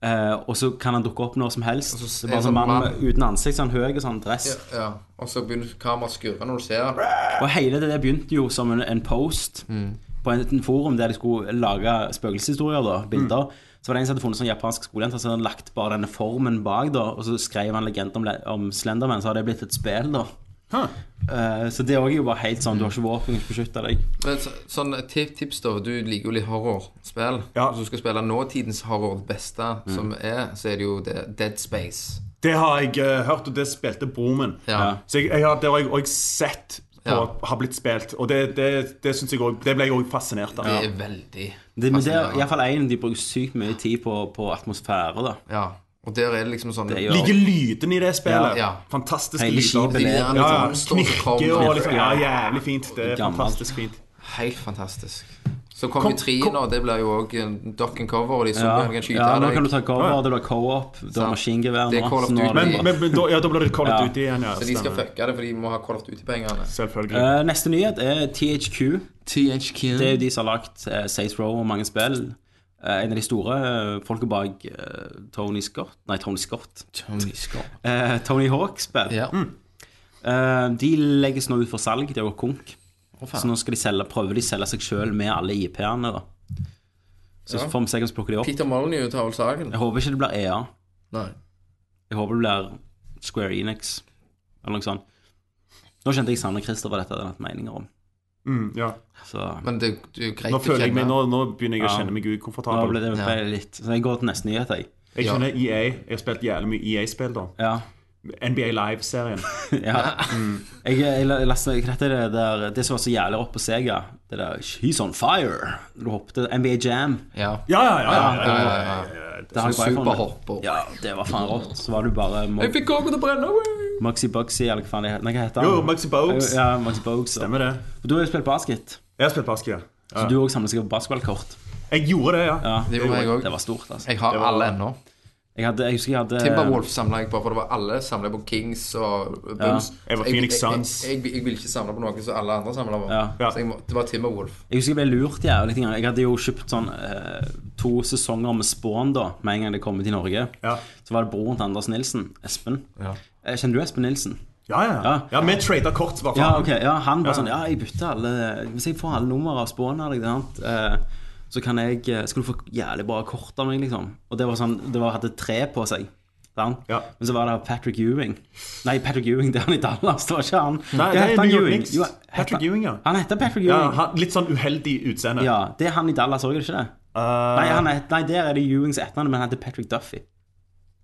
Speaker 2: Eh, og så kan han dukke opp når som helst.
Speaker 3: Og så
Speaker 2: det er bare
Speaker 3: er
Speaker 2: sånn
Speaker 3: det
Speaker 2: mann med-
Speaker 3: sånn
Speaker 2: uten ansikt, sånn høy og sånn dress.
Speaker 3: Ja, Og så begynner kameraet å skurre når du ser den.
Speaker 2: Og hele det der begynte jo som en, en post
Speaker 3: Mm.
Speaker 2: på en, en forum der de skulle lage spøkelseshistorier, da, bilder.
Speaker 3: Mm.
Speaker 2: Så var det en som hadde funnet sånn japansk skolejente, så hadde han lagt bare denne formen bak, da, og så skrev han legenden om, le- om Slenderman, så hadde det blitt et spill, da.
Speaker 1: Huh.
Speaker 2: Eh, så det òg er jo bare helt sånn, du har ikke våpen, du kan ikke beskytte deg.
Speaker 3: Men så, sånn tip, tips da, du liker jo litt horrorspill.
Speaker 1: Ja. Mm.
Speaker 3: Hvis du skal spille nåtidens horror, det beste som er, så er det jo det Dead Space.
Speaker 1: Det har jeg eh, hørt, og det spilte broren min.
Speaker 3: Ja.
Speaker 1: Så jeg, jeg, har- det har jeg òg sett på,
Speaker 3: Ja.
Speaker 1: har blitt spilt, og det, det, det synes jeg også, Det ble jeg òg fascinert av.
Speaker 3: Det er veldig
Speaker 2: Det, men det er
Speaker 3: fascinerende.
Speaker 2: iallfall én de bruker sykt mye tid på, på atmosfære, da.
Speaker 3: Ja. Og der er det liksom sånn
Speaker 2: Det
Speaker 3: det
Speaker 2: gjør-
Speaker 1: Liker lyden i det spillet.
Speaker 3: Ja.
Speaker 1: Fantastiske
Speaker 2: Hele skipet
Speaker 1: lyder.
Speaker 2: ned.
Speaker 1: Ja, ja.
Speaker 3: Står og
Speaker 1: Knirker
Speaker 3: kommer.
Speaker 1: og liksom Ja, jævlig fint. Det er
Speaker 2: Gammelt.
Speaker 1: fantastisk fint.
Speaker 3: Helt fantastisk. Så kom, jo trien, og det blir jo òg dock and cover, og de som
Speaker 2: Ja,
Speaker 3: kan skyte
Speaker 2: ja, nå
Speaker 3: deg.
Speaker 2: kan du ta cover, du har co-op, du har
Speaker 3: Sant.
Speaker 2: maskingevær
Speaker 3: Det er
Speaker 2: nå.
Speaker 3: Call of
Speaker 2: så nå
Speaker 3: Duty.
Speaker 2: har du
Speaker 1: Men,
Speaker 2: bare-
Speaker 1: men, men da, ja, da blir det kollet
Speaker 2: Ja.
Speaker 1: ut igjen, ja.
Speaker 3: Så de skal
Speaker 1: stemmer.
Speaker 3: fucke det, for de må ha Call of Duty-pengene.
Speaker 1: Selvfølgelig.
Speaker 2: Eh, Neste nyhet er THQ.
Speaker 3: THQ.
Speaker 2: Det er jo de som har lagt uh, Saints Row og mange spill. Eh, en av de store eh, folka bak eh, Tony Scott Nei, Tony Scott.
Speaker 3: Tony Scott.
Speaker 2: Eh, Tony Hawk-spill.
Speaker 3: Ja.
Speaker 2: Eh, de legges nå ut for salg. Det var konk.
Speaker 3: faen.
Speaker 2: så nå skal de selge, prøver de å selge seg sjøl med alle IP-ene. da Så
Speaker 3: Ja.
Speaker 2: får vi se hvordan de plukker de opp.
Speaker 3: Peter Molyneux tar vel saken.
Speaker 2: Jeg håper ikke det blir EA.
Speaker 3: Nei.
Speaker 2: Jeg håper det blir Square Enix eller noe sånt. Nå kjente jeg Sanne Christer hva dette hadde jeg hatt meninger om.
Speaker 1: Mm, ja.
Speaker 2: Så
Speaker 3: Men det, det er jo greit
Speaker 1: Nå, føler jeg meg, nå, nå begynner jeg å
Speaker 2: Ja.
Speaker 1: kjenne meg
Speaker 2: da ble
Speaker 1: ukomfortabel.
Speaker 2: det
Speaker 3: Ja.
Speaker 2: litt Så jeg går til neste nyhet, jeg.
Speaker 1: Jeg
Speaker 3: Ja.
Speaker 1: kjenner EA. Jeg har spilt jævlig mye EA-spill, da.
Speaker 2: Ja.
Speaker 1: NBA
Speaker 2: (laughs)
Speaker 1: Live-serien.
Speaker 2: Ja. Mm. Jeg, jeg, la- leste hva heter det, der, det som var så jævlig oppe på Sega, det der He's on fire. Du hoppet NBA Jam.
Speaker 3: Ja.
Speaker 1: Ja, ja, ja. ja, ja, ja, ja.
Speaker 2: Det har jeg på iPhone.
Speaker 3: Superhopper.
Speaker 2: Ja, det var faen rått. Så var du bare Mo-
Speaker 3: Jeg fikk kåken til å brenne! wee!
Speaker 2: Moxie Bugsy, eller hva faen det heter. Nei, hva heter han?
Speaker 1: Jo, Maxi Bogues.
Speaker 2: Ja, Moxie Bogues.
Speaker 1: Stemmer det.
Speaker 2: Du har jo spilt basket,
Speaker 1: Jeg har spilt basket, ja.
Speaker 2: så du òg samler sikkert basketballkort.
Speaker 1: Jeg gjorde det, ja.
Speaker 2: Ja,
Speaker 3: Det Eh. gjorde jeg
Speaker 2: det
Speaker 3: òg.
Speaker 2: var stort, altså.
Speaker 3: Jeg har alle ennå.
Speaker 2: Jeg, hadde, jeg husker jeg hadde
Speaker 3: Timberwolf samla jeg på, for det var alle samla på Kings og Bulls.
Speaker 1: Jeg var
Speaker 3: Så
Speaker 1: Phoenix Suns.
Speaker 3: Jeg, jeg, jeg, jeg ville ikke samle på noe som alle andre samla på.
Speaker 2: Ja.
Speaker 3: Så jeg må, det var Timberwolf.
Speaker 2: Jeg husker jeg ble lurt jævlig ting. Jeg hadde jo kjøpt sånn eh, to sesonger med Spawn da, med en gang det kom til Norge.
Speaker 1: Ja.
Speaker 2: Så var det broren til Anders Nilsen, Espen.
Speaker 3: Ja.
Speaker 2: Eh, Kjenner du Espen Nilsen?
Speaker 1: Ja, ja. ja.
Speaker 2: Ja.
Speaker 1: ja vi trader kort, i hvert
Speaker 2: Ja,
Speaker 1: fall.
Speaker 2: ok, ja, han bare
Speaker 1: Ja.
Speaker 2: sånn Ja, jeg bytter alle Hvis jeg får alle nummer av Spawn her, ikke sant eh, så kan jeg eh, Skal du få jævlig bra kort av meg, liksom. Og det var sånn Det var, hadde tre på seg. sant?
Speaker 1: Ja.
Speaker 2: Men så var det Patrick Ewing. Nei, Patrick Ewing, det er han i Dallas, det var ikke han.
Speaker 1: Nei,
Speaker 2: Hva
Speaker 1: det er
Speaker 2: heter han,
Speaker 1: New York
Speaker 2: Ewing?
Speaker 1: Knicks.
Speaker 2: Jo, heter-
Speaker 1: Patrick Ewing, ja.
Speaker 2: Han heter Patrick
Speaker 1: Ja,
Speaker 2: Ewing.
Speaker 1: han- litt sånn uheldig utseende.
Speaker 2: Ja, det er han i Dallas òg, er det ikke det?
Speaker 1: Eh,
Speaker 2: Nei, han het, nei, der er det Ewings etternavn, men han heter Patrick Duffy.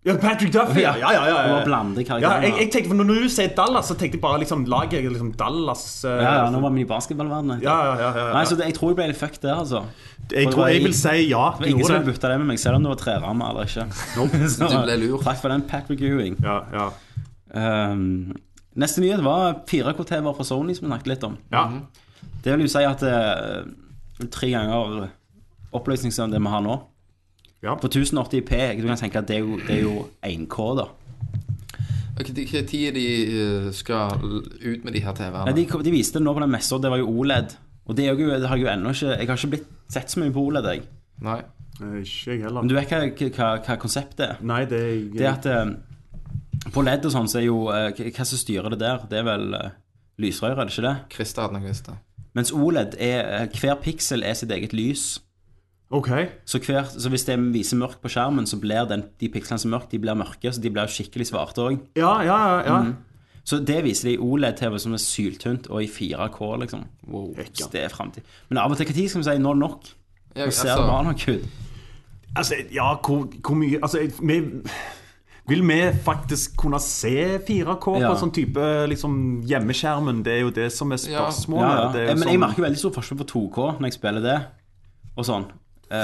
Speaker 1: ja, Patrick Duffy, ja. ja, ja, ja,
Speaker 2: Det
Speaker 1: ja.
Speaker 2: var
Speaker 1: ja
Speaker 2: blandede karakterer.
Speaker 1: jeg, jeg tenkte, for Når du sier Dallas, så tenkte jeg bare liksom laget jeg liksom Dallas eh,
Speaker 2: ja, ja, nå var vi i basketballverdenen.
Speaker 1: ja, ja, ja, ja, ja.
Speaker 2: Nei, så det, jeg tror jeg ble litt fucked der, altså.
Speaker 9: Jeg tror jeg vil si ja.
Speaker 2: Det var
Speaker 9: Jeg
Speaker 2: ingen som
Speaker 9: gjorde
Speaker 2: ville
Speaker 9: det.
Speaker 2: bytta det med meg, selv om det var treramme eller ikke. (laughs) Så,
Speaker 3: Du ble lurt.
Speaker 2: Takk for den, Patrick Ewing.
Speaker 1: ja, ja.
Speaker 2: Ehm, neste nyhet var 4K-TV-er fra Sony, som vi snakket litt om.
Speaker 1: ja.
Speaker 2: Det vil jo si at eh, tre ganger oppløsning som det vi har nå.
Speaker 1: Ja.
Speaker 2: På 1080p. Du kan tenke at det er jo, det er jo 1K, da.
Speaker 3: Ok, de- Hva tid er de eh, skal l- ut med de her
Speaker 2: Nei,
Speaker 3: TV-ene?
Speaker 2: de, de viste det nå på den messa, det var jo OLED. Og det, er jo, det har jeg jo ennå ikke Jeg har ikke blitt sett så mye på OLED, jeg.
Speaker 3: Nei.
Speaker 1: Eh, Ikke jeg heller.
Speaker 2: Men du vet hva, hva, hva konseptet er?
Speaker 1: Nei, det er
Speaker 2: Det er at eh, på LED og sånn, så er jo eh, Hva hva som styrer det der? Det er vel eh, lysrøret, er det ikke det?
Speaker 3: Christer hadde noe visst det.
Speaker 2: Mens OLED er eh, Hver piksel er sitt eget lys.
Speaker 1: OK.
Speaker 2: Så, hver, så hvis det viser mørkt på skjermen, så blir den, de pikslene som er mørke, de blir mørke. Så de blir jo skikkelig svarte òg.
Speaker 1: Ja, ja, ja. ja.
Speaker 2: Så det viser de i E OLED-TV som er syltynt og i 4K, liksom. Så det er fremtid. Men av og til når skal vi si nå er det nok? Vi
Speaker 3: Ja,
Speaker 2: ser
Speaker 3: altså,
Speaker 2: bra nok ut.
Speaker 1: Altså, ja, hvor, hvor mye Altså, jeg- vi vil vi faktisk kunne se 4K
Speaker 2: Ja.
Speaker 1: på sånn type liksom, hjemmeskjermen? Det er jo det som er
Speaker 3: Ja.
Speaker 1: spørsmålet.
Speaker 2: Ja, ja.
Speaker 1: Det er
Speaker 2: Eh,
Speaker 1: jo
Speaker 2: Men jeg
Speaker 1: sånn-
Speaker 2: merker veldig stor forskjell på 2K når jeg spiller det, og sånn.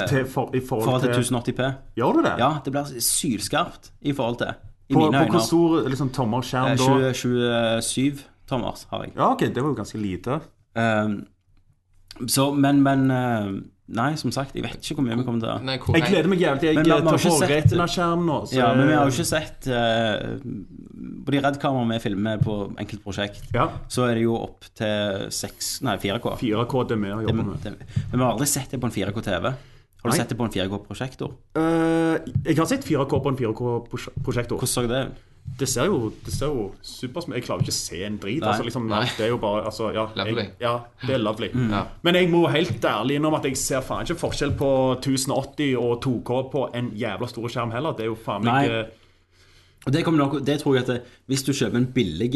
Speaker 1: til, for, I forhold,
Speaker 2: Forhold til
Speaker 1: til
Speaker 2: 1080p.
Speaker 1: Gjør du det?
Speaker 2: Ja, det blir sylskarpt i forhold til. I
Speaker 1: på,
Speaker 2: mine
Speaker 1: på hvor
Speaker 2: øyne.
Speaker 1: stor liksom, tommelskjerm da?
Speaker 2: Eh, 20, 27 tommers har jeg.
Speaker 1: Ja, ok, det var jo ganske lite.
Speaker 2: Ehm, så, men, men eh, Nei, som sagt, jeg vet ikke hvor mye vi kommer til å
Speaker 3: Nei, hvor,
Speaker 1: Jeg gleder meg jævlig til jeg eh,
Speaker 2: Men vi- vi har
Speaker 1: tar
Speaker 2: ikke
Speaker 1: på
Speaker 2: sett-
Speaker 1: Retina-skjerm nå. Så...
Speaker 2: Ja, men vi har jo ikke sett eh, På de Red-kameraene vi filmer på enkeltprosjekt,
Speaker 1: eh, Ja,
Speaker 2: så er det jo opp til 6, nei, 4K.
Speaker 1: 4K, det er vi har
Speaker 2: Men
Speaker 1: jobbet med.
Speaker 2: men vi har aldri sett det på en 4K-TV. Har du
Speaker 1: Nei.
Speaker 2: sett det på en 4K-prosjektor?
Speaker 1: Eh, jeg har sett 4K på en 4K-prosjektor.
Speaker 2: Hvordan så det ut?
Speaker 1: Det ser jo, det ser jo supersmart Jeg klarer jo ikke å se en drit.
Speaker 2: Nei.
Speaker 1: Altså, liksom,
Speaker 3: Nei.
Speaker 1: alt er jo bare altså, ja,
Speaker 3: Lovely. Mm.
Speaker 1: Jeg, ja, det er lovely.
Speaker 3: Ja.
Speaker 1: Men jeg må helt ærlig innrømme at jeg ser faen ikke forskjell på 1080 og 2K på en jævla stor skjerm heller. Det er jo faen
Speaker 2: Nei.
Speaker 1: meg eh,
Speaker 2: Og det, kommer nok, det tror jeg at det, hvis du kjøper en billig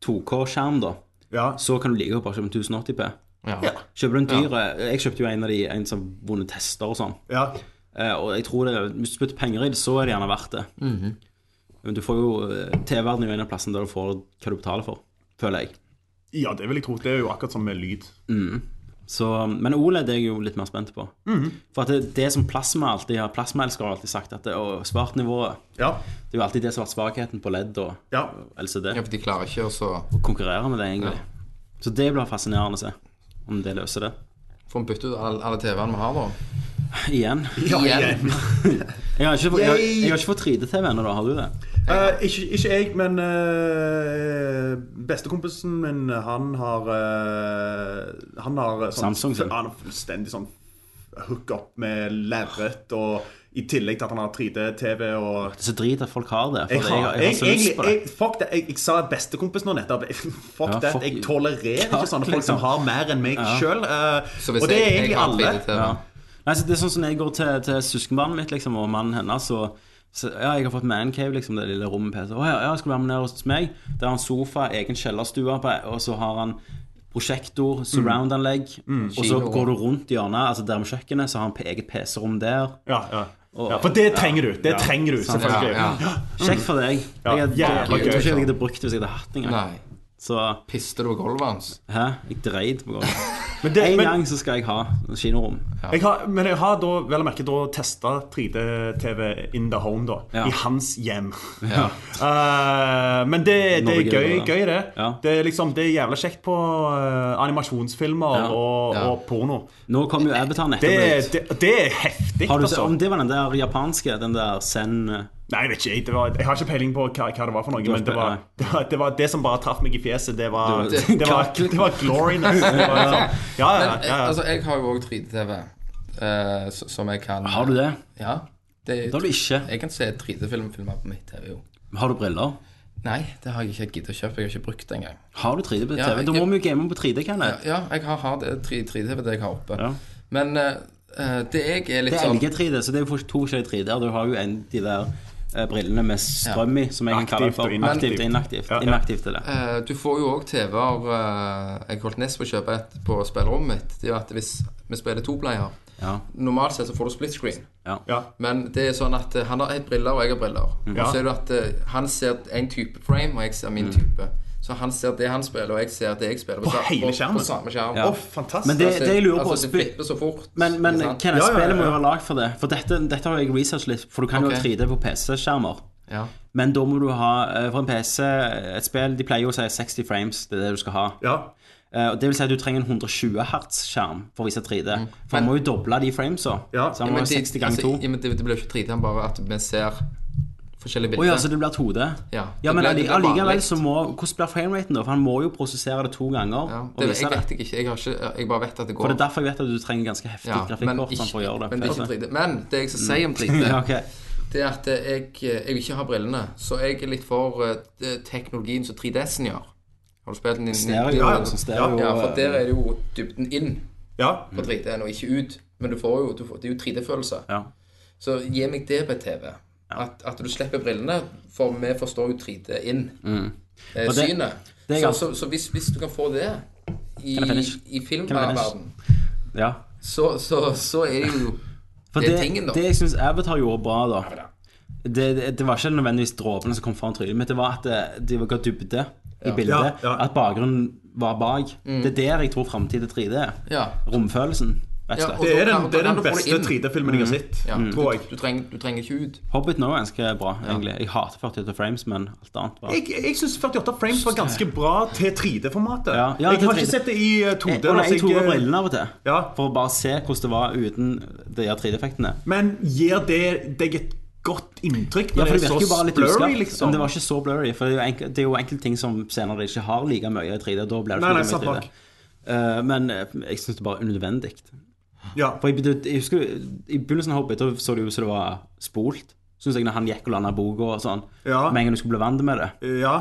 Speaker 2: 2K-skjerm, da,
Speaker 1: ja.
Speaker 2: så kan du like godt bare kjøpe en 1080p.
Speaker 3: ja.
Speaker 2: Kjøper du en dyr eh, Jeg kjøpte jo en av de En som har vunnet tester og sånn.
Speaker 1: ja.
Speaker 2: Eh, og jeg tror det, hvis du putter penger i det, så er det gjerne verdt det.
Speaker 3: Mhm.
Speaker 2: Men du får jo eh, TV-verden er jo en av plassene der du får hva du betaler for, føler jeg.
Speaker 1: Ja, det vil jeg tro. Det er jo akkurat som med lyd.
Speaker 2: Så, men OLED er jeg jo litt mer spent på.
Speaker 3: Mhm.
Speaker 2: For at det, det som plasma alltid har Plasmaelskere har alltid sagt at det, og svartnivået
Speaker 1: Ja.
Speaker 2: Det er jo alltid det som har vært svakheten på LED og
Speaker 1: ja.
Speaker 2: LCD.
Speaker 3: Ja, for de klarer ikke å så
Speaker 2: Å konkurrere med det, egentlig. Så det blir fascinerende å se om det løser det. (laughs)
Speaker 3: Får vi bytte ut alle, alle TV-ene vi har, da?
Speaker 2: Igjen.
Speaker 3: Igjen.
Speaker 2: Jeg har ikke, fått- jeg, har- jeg har ikke fått 3D-TV ennå, da. Har du det?
Speaker 1: Eh, ikke, ikke jeg, men eh, bestekompisen min, han har eh, Han har sånn,
Speaker 2: Samsung sin.
Speaker 1: Han har fullstendig sånn hook up med lerret, og i tillegg til at han har 3D-TV og
Speaker 2: Det er så drit at folk har det. For
Speaker 1: jeg har, jeg,
Speaker 2: så lyst
Speaker 1: egentlig-
Speaker 2: på det.
Speaker 1: jeg, fuck det. Jeg, jeg sa bestekompis nå nettopp. (laughs) Fuck
Speaker 2: Ja,
Speaker 1: det.
Speaker 2: fuck
Speaker 1: Jeg
Speaker 2: you.
Speaker 1: tolererer
Speaker 2: Ja,
Speaker 1: ikke sånne folk som
Speaker 2: liksom.
Speaker 1: har mer enn meg sjøl.
Speaker 3: Så hvis
Speaker 1: og det er
Speaker 3: jeg- jeg
Speaker 1: egentlig
Speaker 3: har
Speaker 1: alle.
Speaker 3: 3D-TV.
Speaker 2: ja. Nei, så det er sånn som når jeg går til, til søskenbarnet mitt liksom, og mannen hennes og så, Ja, jeg har fått mancave, liksom, det lille rommet med PC. Å ja, ja, skal du være med ned hos meg? Der har han sofa, egen kjellerstue, på- og så har han
Speaker 1: Mm.
Speaker 2: prosjektor, surround-anlegg, og så
Speaker 3: Kino.
Speaker 2: går du rundt hjørnet, altså der med kjøkkenet, så har han på eget PC-rom der.
Speaker 1: Ja, ja. ja, for det trenger du. Det trenger du,
Speaker 3: Ja,
Speaker 1: selvfølgelig.
Speaker 3: ja.
Speaker 2: Kjekt for deg.
Speaker 1: Ja,
Speaker 2: Jeg, jeg,
Speaker 1: jævla altså.
Speaker 2: jeg,
Speaker 3: gøy,
Speaker 2: tror ikke
Speaker 3: sånn.
Speaker 2: jeg hadde brukt det hvis jeg hadde hatt det engang.
Speaker 3: Nei.
Speaker 2: Så
Speaker 3: Piste du på gulvet hans?
Speaker 2: hæ, jeg dreit
Speaker 1: (laughs)
Speaker 2: på gangen.
Speaker 1: Men, det,
Speaker 2: En
Speaker 1: men,
Speaker 2: gang så skal jeg ha kinorom.
Speaker 1: jeg har, men jeg har da vel å merke da testa 3D-TV in the home, da.
Speaker 2: Ja.
Speaker 1: I hans hjem.
Speaker 3: Ja.
Speaker 1: (laughs) Eh, men det, det er
Speaker 2: Norge,
Speaker 1: gøy,
Speaker 2: da.
Speaker 1: gøy det.
Speaker 2: Ja.
Speaker 1: Det, er liksom, det er jævla kjekt på eh, animasjonsfilmer
Speaker 2: Ja.
Speaker 1: Og,
Speaker 3: Ja.
Speaker 1: og porno.
Speaker 2: Nå kom jo Avatar
Speaker 1: Det,
Speaker 2: nettopp ut.
Speaker 1: det, det er heftig,
Speaker 2: Har du sett
Speaker 1: altså.
Speaker 2: om det var den der japanske, den der Zen eh,
Speaker 1: Nei, jeg vet ikke. Jeg, det var, jeg har ikke peiling på hva, hva det var for noe,
Speaker 2: har
Speaker 1: men det
Speaker 2: ikke-
Speaker 1: var,
Speaker 2: nei.
Speaker 1: (laughs) det, var, det var det som bare traff meg i fjeset. Det var,
Speaker 2: Det
Speaker 1: det,
Speaker 2: var- (laughs)
Speaker 1: var, det var gloriness. Det var, liksom- ja, ja,
Speaker 3: Men,
Speaker 1: ja,
Speaker 3: eh,
Speaker 1: ja.
Speaker 3: altså, jeg har jo òg 3D-TV, eh, s- som jeg kan
Speaker 2: Har du det?
Speaker 3: Ja. Det,
Speaker 2: Det har du ikke.
Speaker 3: Jeg kan se 3D-film filmer på mitt TV, jo.
Speaker 2: Har du briller?
Speaker 3: Nei, det har jeg ikke giddet å kjøpe. Jeg har ikke brukt det engang.
Speaker 2: Har du 3D på TV?
Speaker 3: Ja, jeg-
Speaker 2: da må vi jo game på 3D, kan jeg.
Speaker 3: Ja, jeg har, har det 3D-TV, det jeg har oppe.
Speaker 2: Ja.
Speaker 3: Men eh, eh, det jeg er litt
Speaker 2: Det er
Speaker 3: sånn
Speaker 2: LG3D, så det er jo to forskjellige 3D-er. Du har jo en de der eh, brillene med strøm i, som jeg kan kalle det
Speaker 1: Aktivt
Speaker 2: for.
Speaker 1: og inaktivt.
Speaker 2: Aktivt og inaktivt.
Speaker 1: Ja, ja.
Speaker 2: Inaktivt er det.
Speaker 3: Eh, Du får jo òg TV-er eh, Jeg holdt nest på å kjøpe et på spillerommet mitt. Det er jo at hvis vi spiller toplayer
Speaker 2: Ja.
Speaker 3: Normalt sett så får du split screen.
Speaker 1: ja.
Speaker 3: Men det er sånn at eh, han har et briller, og jeg har briller. Og
Speaker 1: Ja.
Speaker 3: så er det at eh, han ser en type frame, og jeg ser min type. Så han ser det han spiller, og jeg ser det jeg spiller.
Speaker 1: På
Speaker 3: sa-
Speaker 1: hele skjermen?
Speaker 3: Mm. På, på samme skjerm.
Speaker 2: Ja.
Speaker 1: Å, fantastisk.
Speaker 2: Men det,
Speaker 3: Altså,
Speaker 2: det jeg lurer på
Speaker 3: altså, det
Speaker 2: spil-
Speaker 3: flipper så fort.
Speaker 2: Men, men
Speaker 3: ikke sant?
Speaker 2: Kenneth,
Speaker 1: Ja, ja, ja,
Speaker 2: spillet må jo
Speaker 1: ja.
Speaker 2: være lagd for det. For dette, dette har jeg researchet litt, for du kan
Speaker 3: Ok.
Speaker 2: jo ha 3D på PC-skjermer.
Speaker 3: ja.
Speaker 2: Men da må du ha eh, For en PC, et spill, de pleier jo å si 60 frames, det er det du skal ha.
Speaker 1: ja.
Speaker 2: Eh, og Det vil si at du trenger en 120 Hz-skjerm for å vise 3D. For han må jo doble de framesa.
Speaker 1: Ja.
Speaker 2: Så han må
Speaker 3: Mm. Ja,
Speaker 2: ha
Speaker 3: men det-
Speaker 2: 60 ganger
Speaker 3: altså,
Speaker 2: 2.
Speaker 3: ja, men det, det blir jo ikke 3D, han bare at vi ser forskjellige
Speaker 2: Å
Speaker 3: bilder.
Speaker 2: ja, så det blir 2D?
Speaker 3: Ja.
Speaker 2: ja men
Speaker 3: Det blir- det
Speaker 2: alli-
Speaker 3: blir
Speaker 2: allikevel
Speaker 3: vanlig.
Speaker 2: så må Hvordan blir frameraten, da? For han må jo prosessere det to ganger.
Speaker 3: Ja,
Speaker 2: og
Speaker 3: det,
Speaker 2: vise
Speaker 3: jeg
Speaker 2: det.
Speaker 3: vet ikke. Jeg, har ikke, jeg bare vet at det går.
Speaker 2: For det er derfor jeg vet at du trenger ganske heftig
Speaker 3: Ja, men,
Speaker 2: grafikkort sånn, for å gjøre det.
Speaker 3: men det er ikke 3D. Men det jeg skal si
Speaker 2: (laughs)
Speaker 3: om 3D,
Speaker 2: ja, ok.
Speaker 3: det er at jeg, jeg vil ikke ha brillene. Så jeg er litt for eh, teknologien som 3DS-en gjør. Har du spilt den inn?
Speaker 2: Stereo,
Speaker 3: ja,
Speaker 2: sånn stereo,
Speaker 3: ja, for der er det jo dybden inn
Speaker 1: ja.
Speaker 3: på 3D-en, og ikke ut. Men du får jo, du får, det er jo 3D-følelse.
Speaker 2: Mm. Ja.
Speaker 3: Så gi meg det på TV. At, at du slipper brillene, for vi forstår jo 3D inn. eh,
Speaker 2: Mm. Og det-
Speaker 3: synet.
Speaker 2: det er
Speaker 3: så,
Speaker 2: gans-
Speaker 3: så, så hvis, hvis du kan få det i,
Speaker 2: Kan jeg finish?
Speaker 3: i
Speaker 2: Kan jeg finish?
Speaker 3: filmverden
Speaker 2: Ja.
Speaker 3: så, så, så er det jo
Speaker 2: (laughs) For
Speaker 3: Det er
Speaker 2: det,
Speaker 3: tingen, da.
Speaker 2: det jeg syns Avatar gjorde bra, da det, det, det var ikke nødvendigvis dråpene som kom foran trynet mitt, det var at det, det ga dybde i bildet.
Speaker 1: Ja, ja.
Speaker 2: At bakgrunnen var bak. Det er der jeg tror framtid er 3D. er.
Speaker 3: Mm. Ja.
Speaker 2: Romfølelsen, rett og
Speaker 3: Ja,
Speaker 2: slett.
Speaker 3: og-
Speaker 1: Det er
Speaker 3: da-
Speaker 1: den, det Mm. er
Speaker 3: da-
Speaker 1: den
Speaker 3: da får du
Speaker 1: beste
Speaker 3: inn.
Speaker 1: 3D-filmen jeg har sett,
Speaker 3: ja
Speaker 1: tror jeg.
Speaker 3: Du, du, trenger, du trenger ikke ut.
Speaker 2: Hobbiten òg er ganske bra, egentlig. Jeg hater 48 frames, men alt annet var
Speaker 1: Jeg, jeg syns 48 frames var ganske bra til 3D-formatet.
Speaker 2: Ja, ja,
Speaker 1: jeg
Speaker 2: til
Speaker 1: har ikke
Speaker 2: 3D.
Speaker 1: sett det i eh, 2D.
Speaker 2: Jeg, og nei,
Speaker 1: altså,
Speaker 2: jeg tok av
Speaker 1: eh,
Speaker 2: brillene av og til,
Speaker 1: Ja.
Speaker 2: for å bare se hvordan det var uten de her 3D-effektene.
Speaker 1: Men gir det deg et godt inntrykk
Speaker 2: Ja,
Speaker 1: når
Speaker 2: for det
Speaker 1: det er
Speaker 2: virker jo
Speaker 1: så
Speaker 2: bare litt
Speaker 1: blurry,
Speaker 2: uskarpt.
Speaker 1: liksom?
Speaker 2: Men det var ikke så blurry, for det er jo enkel- det er jo enkelte ting som senere ikke har like mye 3D. og Da blir det
Speaker 1: Nei, nei,
Speaker 2: ikke
Speaker 1: satt
Speaker 2: like mye
Speaker 1: bak.
Speaker 2: 3D. Eh, men eh, jeg syns det bare er unødvendig.
Speaker 1: Ja.
Speaker 2: For jeg, begynte- jeg husker I begynnelsen av Hobbit da så det ut som det var spolt. Syns jeg når han gikk og landa boka og sånn.
Speaker 1: Ja.
Speaker 2: Med en gang du skulle bli vant med det.
Speaker 1: ja.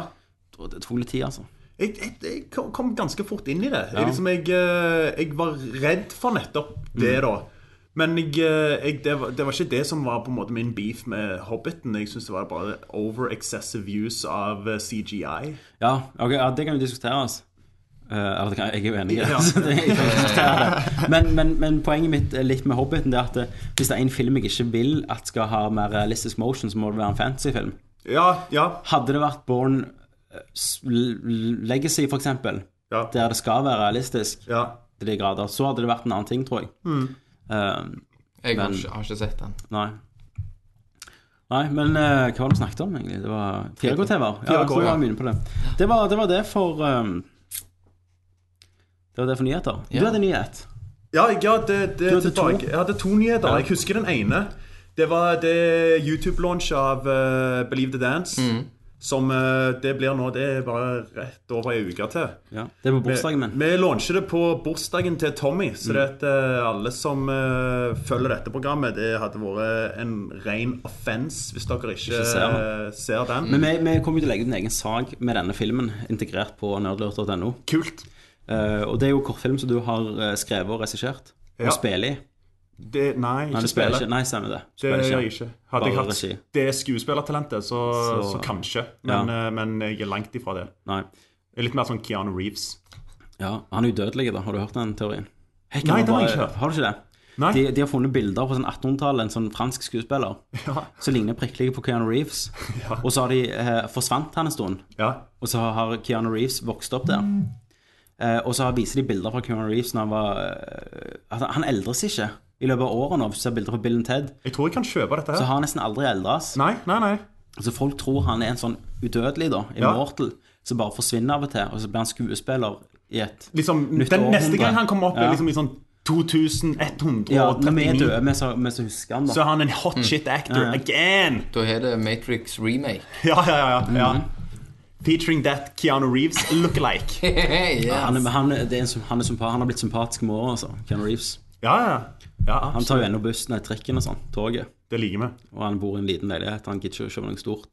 Speaker 2: Og Det tok litt tid, altså.
Speaker 1: Jeg, jeg, jeg kom- kom ganske fort inn i det. Jeg, liksom, jeg, eh, jeg var redd for nettopp
Speaker 2: Mm.
Speaker 1: det, da. Men jeg, eh, jeg, det, var, det var ikke det som var på en måte min beef med Hobbiten. Jeg syns det var bare over excessive use av eh, CGI.
Speaker 2: Ja, ok, ja det kan jo diskuteres. Eh, eller det kan, jeg er jo enig i det.
Speaker 1: Ja.
Speaker 2: (laughs) så det- jeg kan jo diskutere det. Men, men, men poenget mitt er litt med Hobbiten Det er at eh, hvis det er en film jeg ikke vil at skal ha mer realistisk motion, så må det være en fantasyfilm.
Speaker 1: Ja, ja.
Speaker 2: Hadde det vært Born Legacy, for eksempel,
Speaker 1: Ja.
Speaker 2: der det skal være realistisk
Speaker 1: ja. Mm.
Speaker 2: til de grader, så hadde det vært en annen ting, tror jeg. Eh,
Speaker 3: Jeg har
Speaker 2: Men-
Speaker 3: ikke, har ikke sett den.
Speaker 2: nei. Nei, men eh, hva var det vi snakket om, egentlig? Det var 4K-TV. Ja, jeg
Speaker 1: 4K,
Speaker 2: tror jeg
Speaker 1: ja.
Speaker 2: var mye på det. Det var, det var det for eh, Det var det for nyheter. Du hadde en nyhet.
Speaker 1: Ja, ja det, det
Speaker 2: hadde
Speaker 1: tilbake.
Speaker 2: to?
Speaker 1: Jeg hadde to nyheter. Jeg husker den ene. Det var det YouTube-launch av eh, Believe the Dance.
Speaker 2: Mm.
Speaker 1: Som eh, det blir nå. Det er bare rett over ei uke til.
Speaker 2: Ja. Det var bursdagen min. Mm.
Speaker 1: Vi launcher det på bursdagen til Tommy, så det at eh, alle som eh, følger dette programmet, det hadde vært en ren offense hvis dere ikke,
Speaker 2: Ikke ser den.
Speaker 1: eh, ser den.
Speaker 2: Men vi, vi kommer jo til å legge ut en egen sak med denne filmen integrert på nerdlurt.no.
Speaker 1: kult.
Speaker 2: Eh, og det er jo kortfilm som du har eh, skrevet og regissert.
Speaker 1: Ja.
Speaker 2: Og spiller i.
Speaker 1: Det, nei,
Speaker 2: Nei,
Speaker 1: ikke
Speaker 2: du spiller
Speaker 1: spille.
Speaker 2: ikke. Nei, stemmer det.
Speaker 1: Det
Speaker 2: Spiller
Speaker 1: gjør jeg ikke. Hadde jeg
Speaker 2: Bare
Speaker 1: hatt
Speaker 2: regi.
Speaker 1: det skuespillertalentet, så, så.
Speaker 2: Så-
Speaker 1: kanskje. Men, eh, men jeg er langt ifra det.
Speaker 2: Nei.
Speaker 1: Jeg er litt mer sånn Keanu Reeves.
Speaker 2: Ja, han er udødelig, da. Har du hørt den teorien? Hei,
Speaker 1: Nei, den
Speaker 2: kan
Speaker 1: har jeg
Speaker 2: man bare-
Speaker 1: ikke hørt.
Speaker 2: Har du ikke det?
Speaker 1: Nei.
Speaker 2: De, de har funnet bilder på sånn 1800-tallet, en sånn fransk skuespiller
Speaker 1: Ja.
Speaker 2: som ligner prikkelig på Keanu Reeves.
Speaker 1: (laughs) Ja.
Speaker 2: Og så har de eh, forsvant han en stund,
Speaker 1: Ja.
Speaker 2: og så har Keanu Reeves vokst opp der. Eh, og så har- viser de bilder fra Keanu Reeves når han var eh, at Han eldres ikke i løpet av årene. og Hvis du ser bilder fra Bill and Ted,
Speaker 1: Jeg tror jeg kan kjøpe dette
Speaker 2: så
Speaker 1: her.
Speaker 2: har han nesten aldri eldres.
Speaker 1: Nei, nei, nei.
Speaker 2: Så folk tror han er en sånn udødelig, da, immortal, som bare forsvinner av og til, og så blir han skuespiller i et
Speaker 1: Liksom,
Speaker 2: Nytt
Speaker 1: den neste
Speaker 2: århundre.
Speaker 1: gang han kommer opp, er
Speaker 2: Ja.
Speaker 1: liksom i sånn
Speaker 2: Ja, når vi er
Speaker 1: 2139.
Speaker 2: døde, vi så, vi så husker han, da.
Speaker 1: så er han en hot shit actor
Speaker 2: Ja, ja.
Speaker 1: again!
Speaker 3: Da er det Matrix remake. (laughs)
Speaker 1: Ja, ja, ja. ja.
Speaker 2: Mm.
Speaker 1: Featuring that Keanu Reeves look-alike.
Speaker 2: han,
Speaker 3: yes.
Speaker 2: er, han, er, det er en, som- han, er sympa- han har blitt sympatisk med året, altså. Keanu Reeves.
Speaker 1: Ja, ja. ja
Speaker 2: Han
Speaker 1: absolutt.
Speaker 2: tar jo ennå bussen, nei, trikken og sånn, toget.
Speaker 1: det liker vi.
Speaker 2: Og han bor i en liten leilighet. Han gidder ikke å kjøpe noe stort.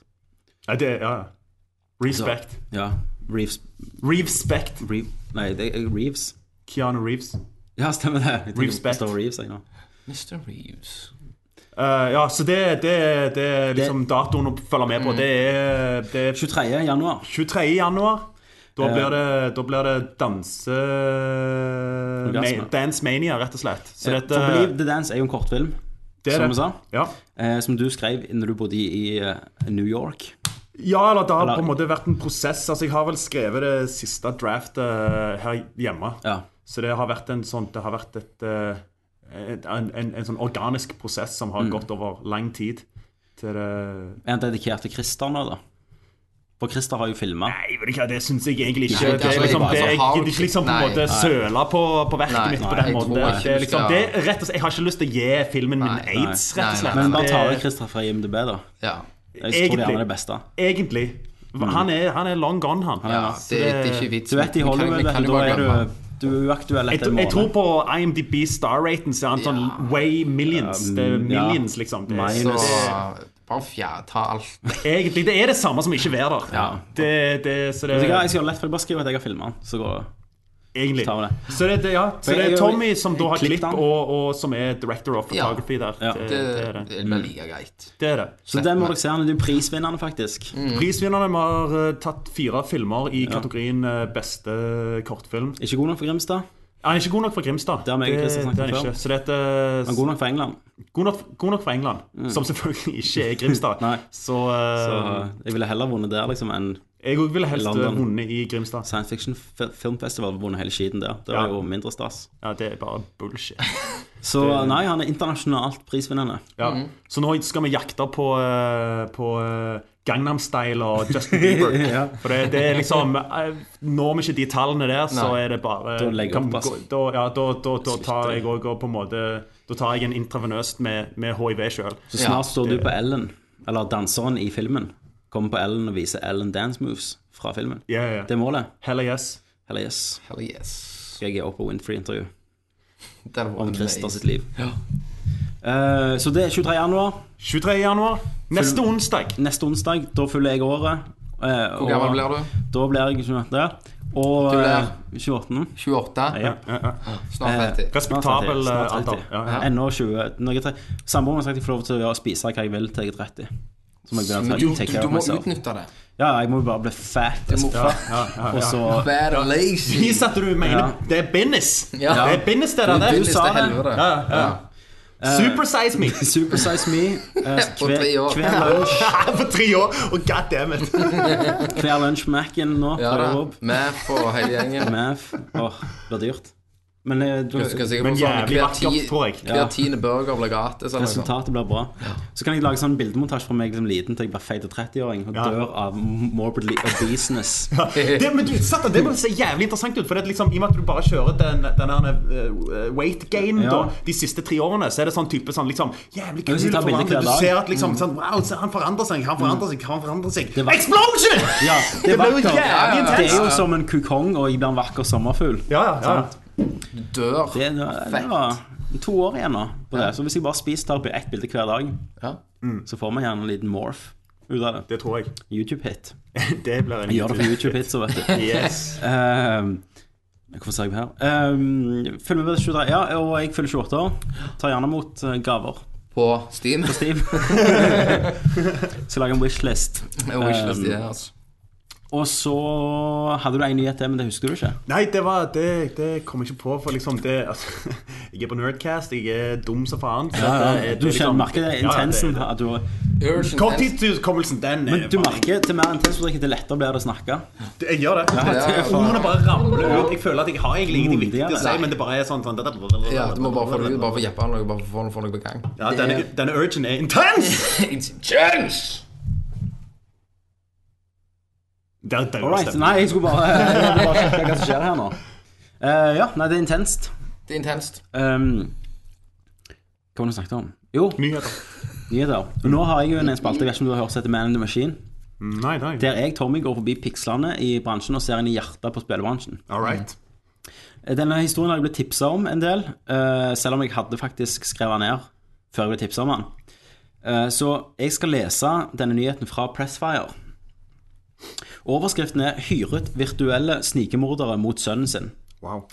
Speaker 1: Ja, det, ja. ja.
Speaker 2: Altså-
Speaker 1: Respect.
Speaker 2: Ja. Reeves
Speaker 1: Respect
Speaker 2: Reeve, Nei, det er Reeves.
Speaker 1: Keanu Reeves.
Speaker 2: Ja, stemmer det. Jeg tenker-
Speaker 1: Reeves
Speaker 2: det står
Speaker 1: Beck.
Speaker 2: Reeves, jeg nå.
Speaker 3: Mr. Reeves.
Speaker 1: Eh, ja, så det, det, det er liksom
Speaker 2: Det- Mm.
Speaker 1: datoen å følge med på. Det er, det er
Speaker 2: 23. januar.
Speaker 1: 23. januar. Da
Speaker 2: Eh.
Speaker 1: blir det, da blir det danse...
Speaker 2: Orgasme.
Speaker 1: ma- Dance Mania, rett og slett. Så
Speaker 2: For
Speaker 1: dette
Speaker 2: Believe the Dance er jo en kortfilm,
Speaker 1: det er
Speaker 2: som vi
Speaker 1: det.
Speaker 2: sa.
Speaker 1: Ja.
Speaker 2: Eh, som du skrev når du bodde i eh, New York.
Speaker 1: Ja, eller det har
Speaker 2: Eller-
Speaker 1: på en måte vært en prosess. Altså, Jeg har vel skrevet det siste draftet her hjemme.
Speaker 2: Ja.
Speaker 1: Så det har vært en sånn Det har vært et, eh, et en, en, en sånn organisk prosess som har
Speaker 2: Mm.
Speaker 1: gått over lang tid. Til det
Speaker 2: Er han dedikert til Christer nå, da? For Christer har jo filma.
Speaker 1: Nei, vet du hva, det syns jeg egentlig ikke.
Speaker 3: Nei,
Speaker 1: det er
Speaker 3: altså,
Speaker 1: liksom,
Speaker 3: jeg-
Speaker 1: det, jeg
Speaker 3: altså,
Speaker 1: gidder ikke liksom på en
Speaker 3: nei,
Speaker 1: måte
Speaker 3: nei.
Speaker 1: søle på, på
Speaker 3: Nei,
Speaker 1: verket mitt på
Speaker 3: nei,
Speaker 1: den
Speaker 3: jeg tror
Speaker 1: måten.
Speaker 3: ikke
Speaker 1: Det er
Speaker 3: vi
Speaker 1: liksom,
Speaker 3: skal-
Speaker 1: det er rett og slett, jeg har ikke lyst til å gi filmen min
Speaker 3: Nei, nei,
Speaker 1: aids, rett og
Speaker 3: nei,
Speaker 1: slett.
Speaker 3: nei,
Speaker 2: Men bare ta vekk
Speaker 1: Det-
Speaker 2: Christer fra IMDb, da.
Speaker 3: Ja.
Speaker 2: Jeg tror det er
Speaker 1: Egentlig.
Speaker 2: han er det beste.
Speaker 1: Egentlig. Han er, han er long gone, han.
Speaker 3: Mm. ja det, det er ikke vits.
Speaker 2: Du vet i
Speaker 3: Vi kan-
Speaker 2: Hollywood,
Speaker 3: vi
Speaker 2: vet
Speaker 3: kan
Speaker 2: du,
Speaker 3: jo
Speaker 2: da
Speaker 3: bare
Speaker 2: er
Speaker 3: glemme han.
Speaker 2: du, du er uaktuell
Speaker 1: Jeg,
Speaker 2: etter en
Speaker 1: jeg tror
Speaker 2: måned.
Speaker 1: på IMDb star-raten så er han sånn way millions. Det
Speaker 3: mm,
Speaker 1: er millions, liksom. Det er,
Speaker 2: Minus.
Speaker 3: Så
Speaker 1: så,
Speaker 3: bare fjer, ta alt.
Speaker 1: egentlig, (laughs) det er det samme som ikke er der. Det, det, så det,
Speaker 2: Vet du hva, Jeg skal gjøre det lett, for jeg bare skriver at jeg har filma den. Så går det.
Speaker 1: Egentlig.
Speaker 2: tar vi det.
Speaker 1: Så det, det, ja. så det
Speaker 2: Men jeg-
Speaker 1: er
Speaker 2: jeg-
Speaker 1: Tommy som da har
Speaker 2: klippet
Speaker 1: klipp,
Speaker 2: han.
Speaker 1: og, og som er director of
Speaker 3: Ja.
Speaker 1: photography der.
Speaker 2: Ja.
Speaker 1: Det,
Speaker 3: Det,
Speaker 1: det er det.
Speaker 3: det blir like greit.
Speaker 1: det er det.
Speaker 2: Så den må dere se. Han er jo prisvinnende, faktisk.
Speaker 3: Mm.
Speaker 1: Prisvinnerne vi har eh, tatt fire filmer i kategorien eh, beste kortfilm.
Speaker 2: Ikke god nok for Grimstad,
Speaker 1: Han er ikke god nok for Grimstad.
Speaker 2: Det har meg og Christian
Speaker 1: det
Speaker 2: snakket
Speaker 1: er han
Speaker 2: om før.
Speaker 1: ikke. Så dette,
Speaker 2: men god nok for England.
Speaker 1: god, nok, god nok for England, som selvfølgelig (laughs) ikke er Grimstad.
Speaker 2: Nei.
Speaker 1: Så, eh,
Speaker 2: Så jeg ville heller vunnet der liksom enn
Speaker 1: jeg òg ville helst eh,
Speaker 2: London.
Speaker 1: vunnet i Grimstad.
Speaker 2: Science Fiction F- Filmfestival vunnet hele skiten der. Det
Speaker 1: Ja.
Speaker 2: var jo mindre stas.
Speaker 1: Ja, det er bare bullshit.
Speaker 2: Så nei, han er internasjonalt prisvinnende.
Speaker 1: Ja. Så nå skal vi jakte på, eh, på eh, Gangnam Style og Justin Bieber. For det, det er liksom eh, Når vi ikke de tallene der, så
Speaker 3: Nei.
Speaker 1: er det bare
Speaker 2: Da legger jeg
Speaker 1: kan
Speaker 2: opp, ass.
Speaker 1: gå- da, ja, da, da, da
Speaker 2: Slutter.
Speaker 1: tar jeg òg på en måte Da tar jeg en intravenøst med, med HIV sjøl.
Speaker 2: Så snart står du på Ellen, eller danseren i filmen, kommer på Ellen og viser Ellen dance moves fra filmen.
Speaker 1: Yeah,
Speaker 2: Det er målet.
Speaker 1: Hell yes.
Speaker 2: Eller yes.
Speaker 3: Hell yes.
Speaker 2: Skal jeg gi opp på Winfrey-intervju
Speaker 3: Det hadde vært
Speaker 2: om Christer
Speaker 3: nice.
Speaker 2: sitt liv?
Speaker 3: Ja.
Speaker 2: Eh, så det er 23. januar.
Speaker 1: 23. januar. Neste onsdag.
Speaker 2: Neste onsdag. Da fyller jeg året. eh,
Speaker 3: Hvor
Speaker 2: og
Speaker 3: gammel blir du?
Speaker 2: Da blir jeg 28. Og
Speaker 3: Du blir-
Speaker 2: eh, 28.
Speaker 3: 28?
Speaker 2: Ja. Eh,
Speaker 3: Snart 50.
Speaker 1: Respektabel
Speaker 2: Snart
Speaker 1: eh,
Speaker 2: alltid.
Speaker 1: alder. Ja, ja.
Speaker 2: Ennå 20. Når jeg er tre- Samboeren har sagt jeg får lov til å gjøre- spise hva jeg vil til jeg er 30. Så må jeg begynne
Speaker 3: Men
Speaker 2: å
Speaker 3: du,
Speaker 2: ta-
Speaker 3: du,
Speaker 2: take care
Speaker 3: du
Speaker 2: of
Speaker 3: må
Speaker 2: myself.
Speaker 3: utnytte det.
Speaker 2: Ja, jeg må jo bare bli fat as
Speaker 3: må-
Speaker 2: fuck.
Speaker 1: Ja, ja,
Speaker 2: Og
Speaker 1: ja.
Speaker 2: så
Speaker 1: (laughs)
Speaker 3: Bad
Speaker 1: Vis
Speaker 3: lazy.
Speaker 1: at du mener
Speaker 2: Ja.
Speaker 1: Det er business.
Speaker 3: Ja.
Speaker 1: Det er business, det der.
Speaker 3: Du
Speaker 1: det.
Speaker 3: sa det.
Speaker 1: Ja,
Speaker 3: Helvete.
Speaker 1: ja. Supersize me. (laughs)
Speaker 2: Supersize me. eh, så
Speaker 3: (laughs) På
Speaker 2: hver-
Speaker 3: tre år.
Speaker 2: Hver lunsj
Speaker 1: På tre år, og god damn it.
Speaker 2: Hver lunsj Mac-en nå
Speaker 3: Ja
Speaker 2: på
Speaker 3: da.
Speaker 2: jobb.
Speaker 3: Med for hele gjengen.
Speaker 2: Math. Åh, det blir dyrt. Men eh, du,
Speaker 3: Du skal sikkert
Speaker 1: Men
Speaker 3: få sånn
Speaker 1: jævlig
Speaker 3: hver
Speaker 1: vakkert,
Speaker 3: ti-
Speaker 1: tror jeg.
Speaker 2: Ja.
Speaker 3: hver tiende burger blir gratis. eller noe sånt.
Speaker 2: resultatet blir bra. Så kan jeg lage sånn bildemontasje fra meg som liten til jeg blir feit og 30-åring og
Speaker 1: Ja.
Speaker 2: dør av morbidly
Speaker 1: (laughs)
Speaker 2: obeseness. (laughs)
Speaker 1: Det, men du, Satan, det må se jævlig interessant ut. For det er liksom, I og med at du bare kjører den, den der, eh, weight gain
Speaker 2: Ja.
Speaker 1: da, de siste tre årene, så er det sånn type sånn liksom Jævlig
Speaker 2: Ja,
Speaker 1: kul
Speaker 2: hvis du tar bilder
Speaker 1: forandring.
Speaker 2: hver
Speaker 1: Du
Speaker 2: dag.
Speaker 1: ser at liksom sånn, Wow, se, han forandrer seg, han forandrer seg, han forandrer seg.
Speaker 2: Mm. var-
Speaker 1: Explosion!
Speaker 2: Ja, det er
Speaker 1: Det blir jo
Speaker 2: vakkert.
Speaker 1: jævlig
Speaker 2: Det er jo
Speaker 1: intenst.
Speaker 2: som en kukong og iblant vakker sommerfugl.
Speaker 1: Ja, ja, ja.
Speaker 3: Dør.
Speaker 2: Det, det, det var to år igjen nå på det. Så hvis jeg bare spiser tar ett bilde hver dag,
Speaker 3: Ja.
Speaker 2: så får man gjerne en liten morph ut av det.
Speaker 1: Det tror jeg. (laughs)
Speaker 2: YouTube-hit.
Speaker 1: Det blir en
Speaker 2: Gjør det for YouTube-hit, så
Speaker 1: (laughs)
Speaker 2: vet du.
Speaker 1: Yes.
Speaker 2: Ehm, Hvorfor sa jeg det her? Um, Følg med på 23. Ja, og jeg fyller 28 år. Tar gjerne imot eh, gaver.
Speaker 3: På Steam.
Speaker 2: (laughs) Steve. Skal lage en wishlist.
Speaker 3: Jeg må ikke lese det, altså.
Speaker 2: Og så hadde du en nyhet til, men det husker du ikke.
Speaker 1: Nei, det, var, det, det kom jeg ikke på, for liksom det altså, (laughs) Jeg er på Nerdcast, jeg er dum som faen. så det er- det er
Speaker 2: Du
Speaker 1: liksom-
Speaker 2: kjenner merker det
Speaker 1: Ja, ja, det-
Speaker 2: intensen.
Speaker 1: det-
Speaker 2: at du,
Speaker 3: Urgent Health.
Speaker 1: Korttidshukommelsen, den
Speaker 2: men du merker til mer intens du drikker, til lettere blir det å snakke.
Speaker 1: Jeg gjør det.
Speaker 3: ja, ja.
Speaker 1: Ordene bare ramler ut. Jeg føler at jeg har egentlig ingenting viktig å si,
Speaker 2: Modigere.
Speaker 1: men det bare er sånn, sånn
Speaker 3: Ja, du må bare få det ut. Bare få jappa noe, bare få få noe på gang.
Speaker 1: Ja, denne, denne urgen er intens!
Speaker 3: Kjønns!
Speaker 1: Der, der
Speaker 2: All right. Nei, jeg
Speaker 1: (laughs)
Speaker 2: skulle bare, jeg skulle bare sjekke hva som skjer her nå. Eh, ja, nei, det er intenst.
Speaker 3: Det er intenst.
Speaker 2: Um, hva var det du snakket om? Jo,
Speaker 1: Nyheter.
Speaker 2: nyheter. Og Nå har jeg jo en spalte, jeg vet ikke om du har hørt, som heter Man in the Machine.
Speaker 1: Nei, nei.
Speaker 2: Der jeg, Tommy, går forbi pikslene i bransjen og ser inn i hjertet på spillebransjen.
Speaker 1: All right.
Speaker 2: Denne historien har jeg blitt tipsa om en del, eh, selv om jeg hadde faktisk skrevet den ned før jeg ble tipsa om den. Eh, så jeg skal lese denne nyheten fra Pressfire. Overskriften er 'Hyret virtuelle snikemordere mot sønnen sin'.
Speaker 1: Wow.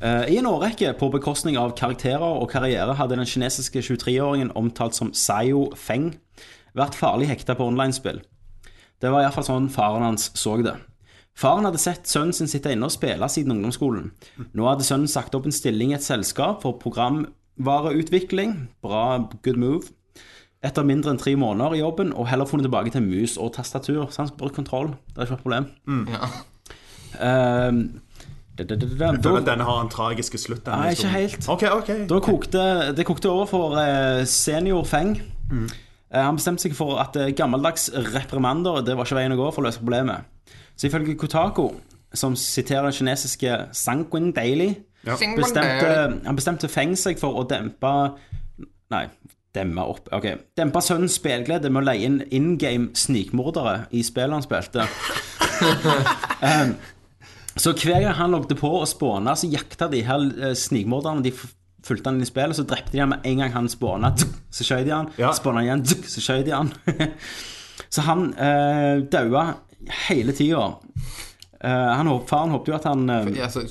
Speaker 2: Eh, I en årrekke, på bekostning av karakterer og karriere, hadde den kinesiske 23-åringen omtalt som Sayo Feng vært farlig hekta på onlinespill. Det var iallfall sånn faren hans så det. Faren hadde sett sønnen sin sitte inne og spille siden ungdomsskolen. Nå hadde sønnen sagt opp en stilling i et selskap for programvareutvikling, bra good move, etter mindre enn tre måneder i jobben, og heller funnet tilbake til mus og tastatur. Så han skulle bruke kontroll, det er ikke noe problem. Ehm, da, da, da, da, da.
Speaker 1: Føler at denne har en tragisk slutt. denne
Speaker 2: Nei, ikke
Speaker 1: historien.
Speaker 2: helt.
Speaker 1: Ok, ok.
Speaker 2: Da kokte, det kokte over for eh, senior Feng. Eh, han bestemte seg for at eh, gammeldags reprimander det var ikke veien å gå for å løse problemet. Så ifølge Kotako, som siterer den kinesiske Sanquin Daily, bestemte, han bestemte Feng seg for å dempe Nei, demme opp. Ok. Dempe sønnens spilleglede med å leie inn in game snikmordere i spillet han spilte. um, så hver gang han logget på og spåna, så jakta de her eh, snikmorderne. De f- fulgte han inn i spillet, så drepte de han med en gang han spåna. (laughs) Så skjøt de han.
Speaker 1: Ja.
Speaker 2: Spåna igjen, (laughs) tuk, så skjøt de han. så han eh, daua hele tida. Eh, han, håp- faren håpte jo at han eh,
Speaker 3: Ja, altså,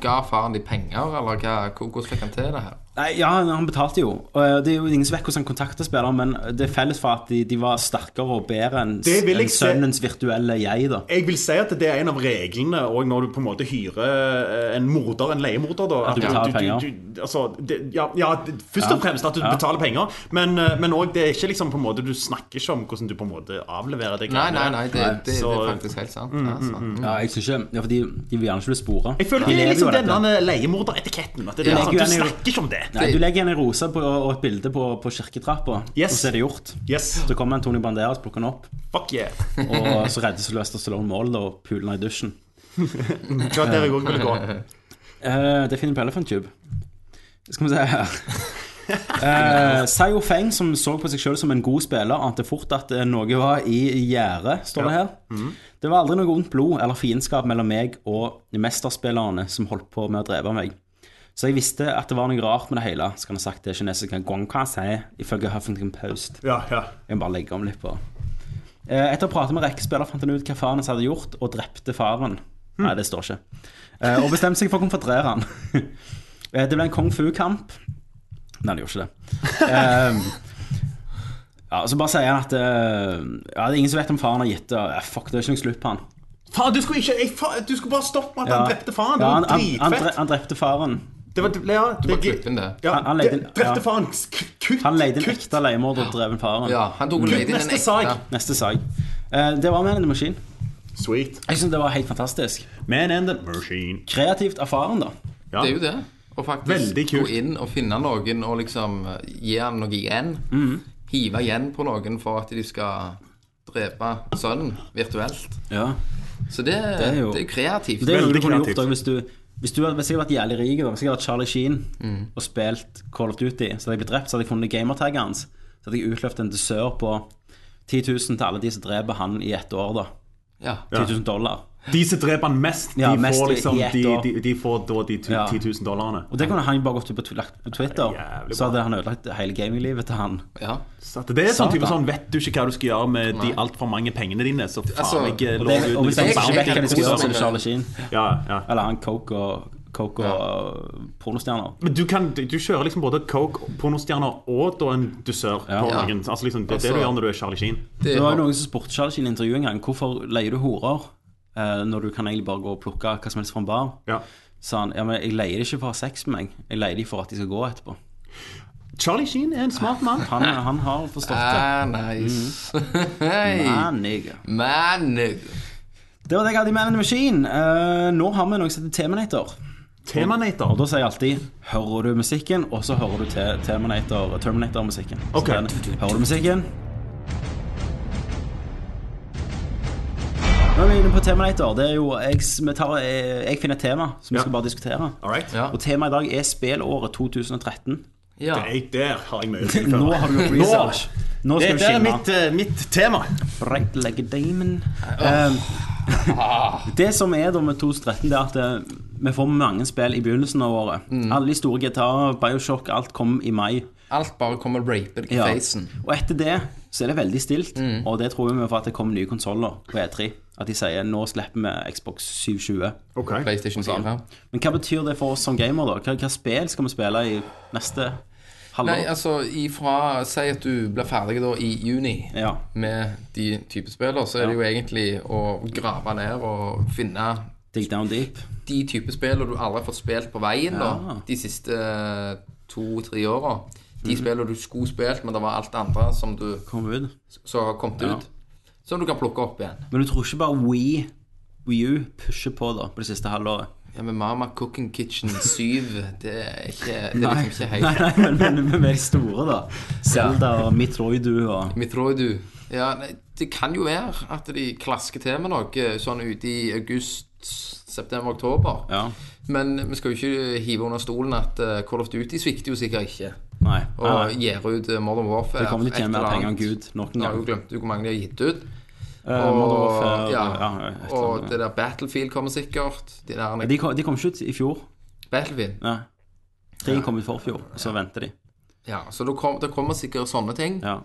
Speaker 3: ga faren de penger, eller hva, hvordan fikk han til det her?
Speaker 2: Nei, ja, han- han betalte jo. Og eh, det er jo ingen som vet hvordan han kontakter spilleren, men det er felles for at de, de var sterkere og bedre enn
Speaker 1: Det vil jeg
Speaker 2: enn
Speaker 1: se.
Speaker 2: sønnens virtuelle jeg, da.
Speaker 1: Jeg vil si at det er en av reglene òg når du på en måte hyrer eh, en morder, en leiemorder. da
Speaker 2: At du betaler penger.
Speaker 1: altså, det, ja, ja, det- først og fremst at du betaler penger, men eh, men òg det er ikke liksom på en måte Du snakker ikke om hvordan du på en måte avleverer det.
Speaker 3: Nei,
Speaker 1: greiene.
Speaker 3: nei, nei, det, det, det er
Speaker 1: så-
Speaker 3: faktisk helt sant. Ja, sant.
Speaker 2: Ja, jeg synes ikke, ja, for de, de vil gjerne ikke bli spora.
Speaker 1: Jeg føler
Speaker 2: De
Speaker 1: det er
Speaker 2: lever jo
Speaker 1: liksom
Speaker 2: av dette.
Speaker 1: denne leiemorderetiketten. At det er sånn,
Speaker 2: Jeg
Speaker 3: Ja.
Speaker 2: er
Speaker 1: du
Speaker 2: enig i-
Speaker 1: snakker ikke om det.
Speaker 2: Nei, du legger igjen en rose på, og et bilde på, på kirketrappa,
Speaker 1: Yes.
Speaker 2: og så er det gjort.
Speaker 1: Yes,
Speaker 2: Så kommer Antonio Banderas, plukker han opp,
Speaker 1: fuck (laughs) yeah.
Speaker 2: og så redder Sylvester Stallone mål da, og puler han i dusjen.
Speaker 1: Det var der jeg òg ville gå.
Speaker 2: Eh, det finner på Elephant Tube. Skal vi se her Eh, Sayo Feng, som så på seg sjøl som en god spiller, ante fort at eh, noe var i gjære, står det her. Det var aldri noe ondt blod eller fiendskap mellom meg og mesterspillerne som holdt på med å drepe meg. Så jeg visste at det var noe rart med det hele, skal han ha sagt det kinesiske Guangkasei, ifølge Huffington Post.
Speaker 1: Ja, ja.
Speaker 2: Jeg må bare legge om litt på. Eh, Etter å prate med rekkespillere fant han ut hva faren hans hadde gjort, og drepte faren.
Speaker 1: Hm.
Speaker 2: Nei, det står ikke. Eh, Og bestemte seg for å konfrontere han. (laughs) Eh, Det ble en kung fu-kamp. Nei, det gjorde ikke det. Eh, Ja, og Så bare sier han at eh, ja, det er ingen som vet om faren har gitt det. og, eh, Fuck, det er ikke noe slutt på han.
Speaker 1: Faen, du skulle ikke jeg, faen, Du skulle bare stoppe med at han
Speaker 2: Ja.
Speaker 1: drepte faren. Det
Speaker 2: Ja,
Speaker 1: var
Speaker 2: han, han, han, dre-
Speaker 1: dritfett.
Speaker 2: han drepte faren.
Speaker 1: Det var, ja,
Speaker 3: Du
Speaker 1: det,
Speaker 3: må klippe inn det.
Speaker 1: ja,
Speaker 2: Han- han leide-
Speaker 1: det- drepte
Speaker 2: ja.
Speaker 1: faren. K- Kutt!
Speaker 2: Han leide en
Speaker 1: kutt.
Speaker 2: ekte leiemorder og drev faren.
Speaker 3: Ja, han tok og
Speaker 1: Kutt,
Speaker 3: leide inn en
Speaker 1: neste sak.
Speaker 3: ekte.
Speaker 2: Neste sak. Eh, Det var med en maskin.
Speaker 1: Sweet.
Speaker 2: Jeg synes det var helt fantastisk.
Speaker 1: Man and the machine.
Speaker 2: Kreativt av faren, da.
Speaker 1: Ja.
Speaker 3: Det er jo det. Og
Speaker 1: Veldig
Speaker 3: faktisk
Speaker 1: kult.
Speaker 3: gå inn og finne noen og liksom eh, gi han noe igjen. Hive igjen på noen for at de skal drepe sønnen virtuelt.
Speaker 2: Ja.
Speaker 3: Så det, det,
Speaker 2: er
Speaker 3: er,
Speaker 2: jo-
Speaker 3: jo, kreativt.
Speaker 2: Det er noe
Speaker 1: Veldig
Speaker 2: du kunne
Speaker 1: kreativt.
Speaker 2: gjort også hvis du hvis du hadde hvis jeg hadde vært jævlig rik og hvis jeg hadde vært Charlie Sheen og spilt Call of Duty, så hadde jeg blitt drept, så hadde jeg funnet gamertagget hans. Så hadde jeg utløpt en dusør på 10 000 til alle de som dreper han i ett år, da.
Speaker 3: ja.
Speaker 2: 10 000 dollar.
Speaker 1: De som dreper han mest, de,
Speaker 2: Ja, mest
Speaker 1: får
Speaker 2: i-
Speaker 1: liksom,
Speaker 2: i ett
Speaker 1: de,
Speaker 2: år.
Speaker 1: de, de får da de tu-
Speaker 2: Ja.
Speaker 1: 10 000 dollarene.
Speaker 2: Og det kunne han jo bare gått ut på tw- lagt på Twitter,
Speaker 1: Jævlig
Speaker 2: så hadde han ødelagt hele gaminglivet til han.
Speaker 3: ja.
Speaker 1: Så at det er sånn
Speaker 2: Satan.
Speaker 1: type sånn Vet du ikke hva du skal gjøre med de altfor mange pengene dine, så faen
Speaker 3: Altså,
Speaker 1: ikke lov
Speaker 2: Og, det,
Speaker 1: liksom
Speaker 2: og hvis
Speaker 3: det
Speaker 2: han
Speaker 3: er
Speaker 2: ikke vet hva de skal gjøre, så er
Speaker 3: det
Speaker 2: det Charlie Sheen.
Speaker 1: Ja, ja.
Speaker 2: Eller han Coke og, coke og øh, pornostjerner.
Speaker 1: Men du, kan, du kjører liksom både coke, pornostjerner og da en dusør på
Speaker 3: Ja.
Speaker 1: noen. Altså liksom, det er
Speaker 3: Altså-
Speaker 1: det du gjør når du er Charlie Sheen.
Speaker 3: Det,
Speaker 2: Det var jo noen som spurte Charles i en intervju en gang Hvorfor leier du horer eh, når du kan egentlig bare gå og plukke hva som helst fra en bar?
Speaker 1: Ja.
Speaker 2: Sa han ja, men jeg leier det ikke for å ha sex med meg, jeg leier de for at de skal gå etterpå.
Speaker 1: Charlie Sheen er en smart mann.
Speaker 2: Han, han har forstått det.
Speaker 3: ah, (laughs) nice. Hei.
Speaker 2: Man, nigga.
Speaker 3: Man.
Speaker 2: det var det jeg hadde i Man in the Machine. Eh, nå har vi noe som heter Terminator.
Speaker 1: Temanator.
Speaker 2: Og da sier jeg alltid 'hører du musikken', og så hører du te- Terminator- Terminator-musikken. Så
Speaker 1: Ok.
Speaker 2: den, Hører du musikken? Nå er vi inne på Terminator. Det er jo, jeg, vi tar, eh, jeg, jeg finner et tema som
Speaker 1: Ja.
Speaker 2: vi skal bare diskutere.
Speaker 1: All right.
Speaker 3: Ja.
Speaker 2: Og temaet i dag er spillåret 2013.
Speaker 3: Ja.
Speaker 1: Jeg, der har jeg mye å (laughs) tilføre.
Speaker 2: Nå har du gjort research. Nå skal du
Speaker 1: Dette er
Speaker 2: skinne.
Speaker 1: mitt, eh, mitt tema.
Speaker 2: Right like a diamond.
Speaker 3: (laughs)
Speaker 2: Um, det som er da med 2013, det er at eh, vi får mange spill i begynnelsen av året.
Speaker 3: Mm.
Speaker 2: Alle de store GTA, Bioshock, alt kom i mai.
Speaker 3: Alt bare kommer raped i
Speaker 2: Ja.
Speaker 3: facen.
Speaker 2: Og etter det så er det veldig stilt,
Speaker 3: Mm.
Speaker 2: og det tror vi for at det kommer nye konsoller på E3. At de sier nå slipper vi Xbox 720.
Speaker 1: Okay.
Speaker 3: PlayStation
Speaker 2: Sånn.
Speaker 3: 4.
Speaker 2: Men hva betyr det for oss som gamer, da? Hva, hva spill skal vi spille i neste halvår?
Speaker 3: Nei, altså ifra Si at du blir ferdig da i juni
Speaker 2: Ja.
Speaker 3: med de type spiller, så er det jo egentlig å grave ned og finne
Speaker 2: Dig Down Deep.
Speaker 3: de type spiller du aldri har fått spilt på veien da,
Speaker 2: Ja. Mhm.
Speaker 3: de siste to-tre åra. De spiller du skulle spilt, men det var alt andre som du
Speaker 2: Kom ut.
Speaker 3: så har kommet
Speaker 2: Ja.
Speaker 3: ut, som du kan plukke opp igjen.
Speaker 2: Men du tror ikke bare Wii, Wii U pusher på da, på det siste halvåret?
Speaker 3: Ja, men Mama Cooking Kitchen 7, det er ikke Det er
Speaker 2: Nei,
Speaker 3: liksom ikke
Speaker 2: nei,
Speaker 3: helt
Speaker 2: nei men, men, men mer store, da. Zelda og Mitroidu og
Speaker 3: Metroidu. Ja, nei, det kan jo være at de klasker til med noe sånn ute i august, september, oktober.
Speaker 2: Ja.
Speaker 3: Men vi skal jo ikke eh, hive under stolen at eh, Call of Duty svikter jo sikkert ikke.
Speaker 2: Nei. nei,
Speaker 3: Og
Speaker 2: nei.
Speaker 3: gir ut eh, Modern Warfare.
Speaker 2: Det kommer til å
Speaker 3: et
Speaker 2: tjene mer
Speaker 3: eller
Speaker 2: penger enn
Speaker 3: annet.
Speaker 2: Gud nok en
Speaker 3: Nå har
Speaker 2: gang.
Speaker 3: jo glemt hvor mange de har gitt ut.
Speaker 2: Eh, Modern Warfare, ja, et eller
Speaker 3: og
Speaker 2: annet.
Speaker 3: det der Battlefield kommer sikkert. De der
Speaker 2: De kom, de kom ikke ut i fjor.
Speaker 3: Battlefield.
Speaker 2: Nei. Tre kom ut forfjor, så venter de.
Speaker 3: Ja, så det, kom, det kommer sikkert sånne ting.
Speaker 2: Ja.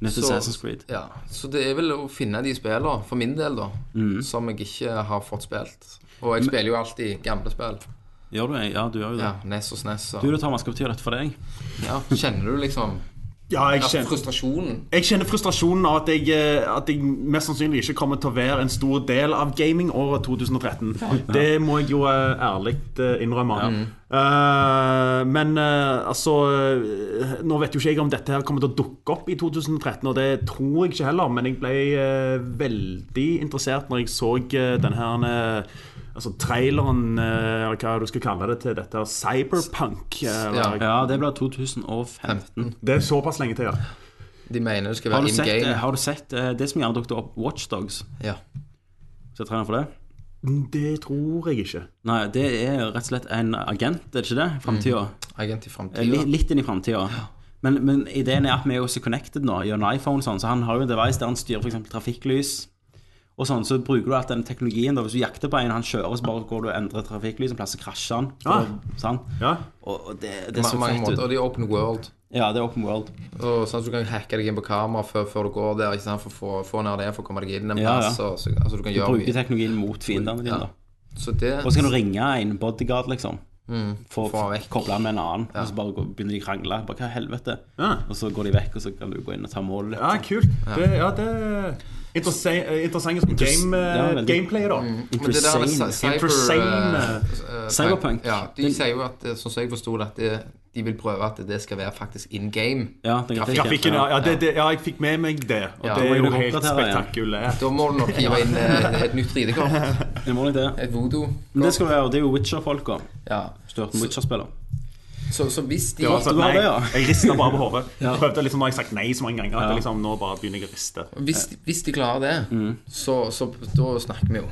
Speaker 2: Nytt
Speaker 3: Så-
Speaker 2: Assassin's Creed.
Speaker 3: Ja, så det er vel å finne de spillene, for min del, da,
Speaker 2: Mm.
Speaker 3: som jeg ikke har fått spilt. Og jeg spiller jo alltid gamle spill.
Speaker 2: Gjør du det? Ja, du gjør jo det.
Speaker 3: Ja, Nes og Snes.
Speaker 2: Du,
Speaker 3: Og,
Speaker 2: da, Thomas, hva betyr dette for deg?
Speaker 3: ja, kjenner du liksom
Speaker 1: Ja, jeg
Speaker 3: ja,
Speaker 1: kjenner,
Speaker 3: frustrasjonen?
Speaker 1: jeg kjenner frustrasjonen av at jeg, eh, at jeg mest sannsynlig ikke kommer til å være en stor del av gamingåret 2013. Det må jeg jo eh, ærlig eh, innrømme. Eh, men eh, altså eh, Nå vet jo ikke jeg om dette her kommer til å dukke opp i 2013, og det tror jeg ikke heller, men jeg ble eh, veldig interessert når jeg så eh, den her eh, Altså traileren, eh, eller hva du skal kalle det, til dette her cyberpunk. eh, Eller,
Speaker 3: Ja.
Speaker 2: Ja, det blir 2015.
Speaker 1: Det er såpass lenge til, ja.
Speaker 3: De mener det skal
Speaker 2: Mm. Har
Speaker 3: være
Speaker 2: du
Speaker 3: in
Speaker 2: sett, eh,
Speaker 3: game.
Speaker 2: har du sett eh, det som gjerne dukket opp, Watchdogs?
Speaker 3: Ja.
Speaker 2: Skal jeg trene for det?
Speaker 1: Det tror jeg ikke.
Speaker 2: Nei, det er rett og slett en agent, er det ikke det? Framtida.
Speaker 3: Agent i
Speaker 2: Li-
Speaker 3: framtida.
Speaker 2: Litt inn i framtida. Men, men ideen er at vi er jo så connected nå gjennom iPhone, og sånn, så han har jo en device der han styrer f.eks. trafikklys. Og sånn, Så bruker du alt den teknologien. da, Hvis du jakter på en, han kjører, så bare går du og endrer trafikklys en plass, så krasjer han.
Speaker 1: Ah.
Speaker 2: Og, sant?
Speaker 1: Ja.
Speaker 2: Og, og det, det er
Speaker 3: På
Speaker 2: så
Speaker 3: mange
Speaker 2: fett
Speaker 3: måter.
Speaker 2: ut.
Speaker 3: Og de er open world.
Speaker 2: Ja, det er open world.
Speaker 3: Og sånn at du kan hacke deg inn på kamera før, før du går der, ikke sant? for å få, få ned det, for å komme deg inn en
Speaker 2: Ja,
Speaker 3: plass.
Speaker 2: ja.
Speaker 3: Og, så, altså, du kan gjøre
Speaker 2: Bruker
Speaker 3: mye.
Speaker 2: teknologien mot fiendene dine.
Speaker 3: Ja.
Speaker 2: da.
Speaker 3: Så det
Speaker 2: Og så kan du ringe en bodyguard, liksom. For
Speaker 3: få
Speaker 2: å
Speaker 3: vekk.
Speaker 2: koble han med en annen. Og så bare går, begynner de å krangle. Bare, hva i helvete?
Speaker 1: Ja.
Speaker 2: Og så går de vekk, og så kan du gå inn og ta målet.
Speaker 1: Ja, kult. Det, ja, det er interessant, interessant som game, eh,
Speaker 2: ja, veldig.
Speaker 1: gameplay, da.
Speaker 3: Men det der med
Speaker 2: Interessant.
Speaker 3: cy- cyber,
Speaker 1: Interessane.
Speaker 3: eh, eh,
Speaker 2: Cyberpunk.
Speaker 3: Ja, de
Speaker 2: Den-
Speaker 3: sier jo at, eh, sånn som jeg forsto det, at det- de vil prøve at det skal være faktisk in game.
Speaker 2: Ja, den grafikken.
Speaker 1: Grafikken, ja, ja, det, det, ja, jeg fikk med meg det. Og
Speaker 3: Ja.
Speaker 1: det er
Speaker 2: Må
Speaker 1: jo
Speaker 2: du
Speaker 1: helt
Speaker 2: oppdatere, ja.
Speaker 1: spektakulært.
Speaker 3: Da må du nok hive inn eh,
Speaker 2: (laughs)
Speaker 3: et nytt 3D-kort.
Speaker 2: Det må nok det.
Speaker 3: Et voodoo.
Speaker 2: Men det skal du gjøre. Det er jo Witcher-folka.
Speaker 3: Ja.
Speaker 2: Hvis du har hørt om Witcher-spiller.
Speaker 3: Så, så hvis de
Speaker 1: Det var sånn,
Speaker 2: du har
Speaker 1: nei,
Speaker 2: det, altså- ja.
Speaker 1: jeg rista bare på hodet.
Speaker 2: Ja.
Speaker 1: Prøvde liksom, Nå har jeg sagt nei så mange ganger at
Speaker 2: Ja.
Speaker 1: jeg liksom, nå bare begynner jeg å riste.
Speaker 3: hvis, hvis de klarer det,
Speaker 2: Mm.
Speaker 3: så, så da snakker vi jo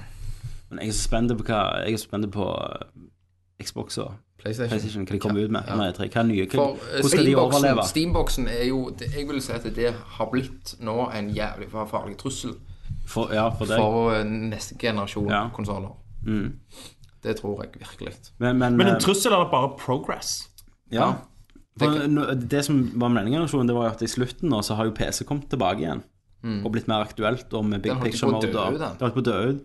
Speaker 2: Men jeg er så spent på hva Jeg er så spent på eh, Xbox og
Speaker 3: PlayStation.
Speaker 2: PlayStation, hva de kommer ut med. Nei, tre. Hva er nye? Hva,
Speaker 3: For
Speaker 2: hvordan
Speaker 3: eh,
Speaker 2: skal de
Speaker 3: Steamboxen,
Speaker 2: overleve?
Speaker 3: Steamboxen er jo det, Jeg vil si at det har blitt nå en jævlig farlig trussel
Speaker 2: For, ja, for deg.
Speaker 3: for eh, neste generasjon
Speaker 2: Ja. Mm.
Speaker 3: konsoler. Det tror jeg virkelig.
Speaker 2: Men, men,
Speaker 1: Men
Speaker 2: eh,
Speaker 1: en trussel er det bare progress.
Speaker 2: ja.
Speaker 3: Det
Speaker 2: For,
Speaker 3: kan-
Speaker 2: nå- det som var meningen, generasjonen, det var jo at i slutten nå, så har jo PC kommet tilbake igjen. Og blitt mer aktuelt, og med big
Speaker 3: Mm. Den holdt
Speaker 2: picture
Speaker 3: på å
Speaker 2: mode.
Speaker 3: dø
Speaker 2: og-
Speaker 3: ut,
Speaker 2: Det
Speaker 3: den.
Speaker 2: har holdt på å dø ut.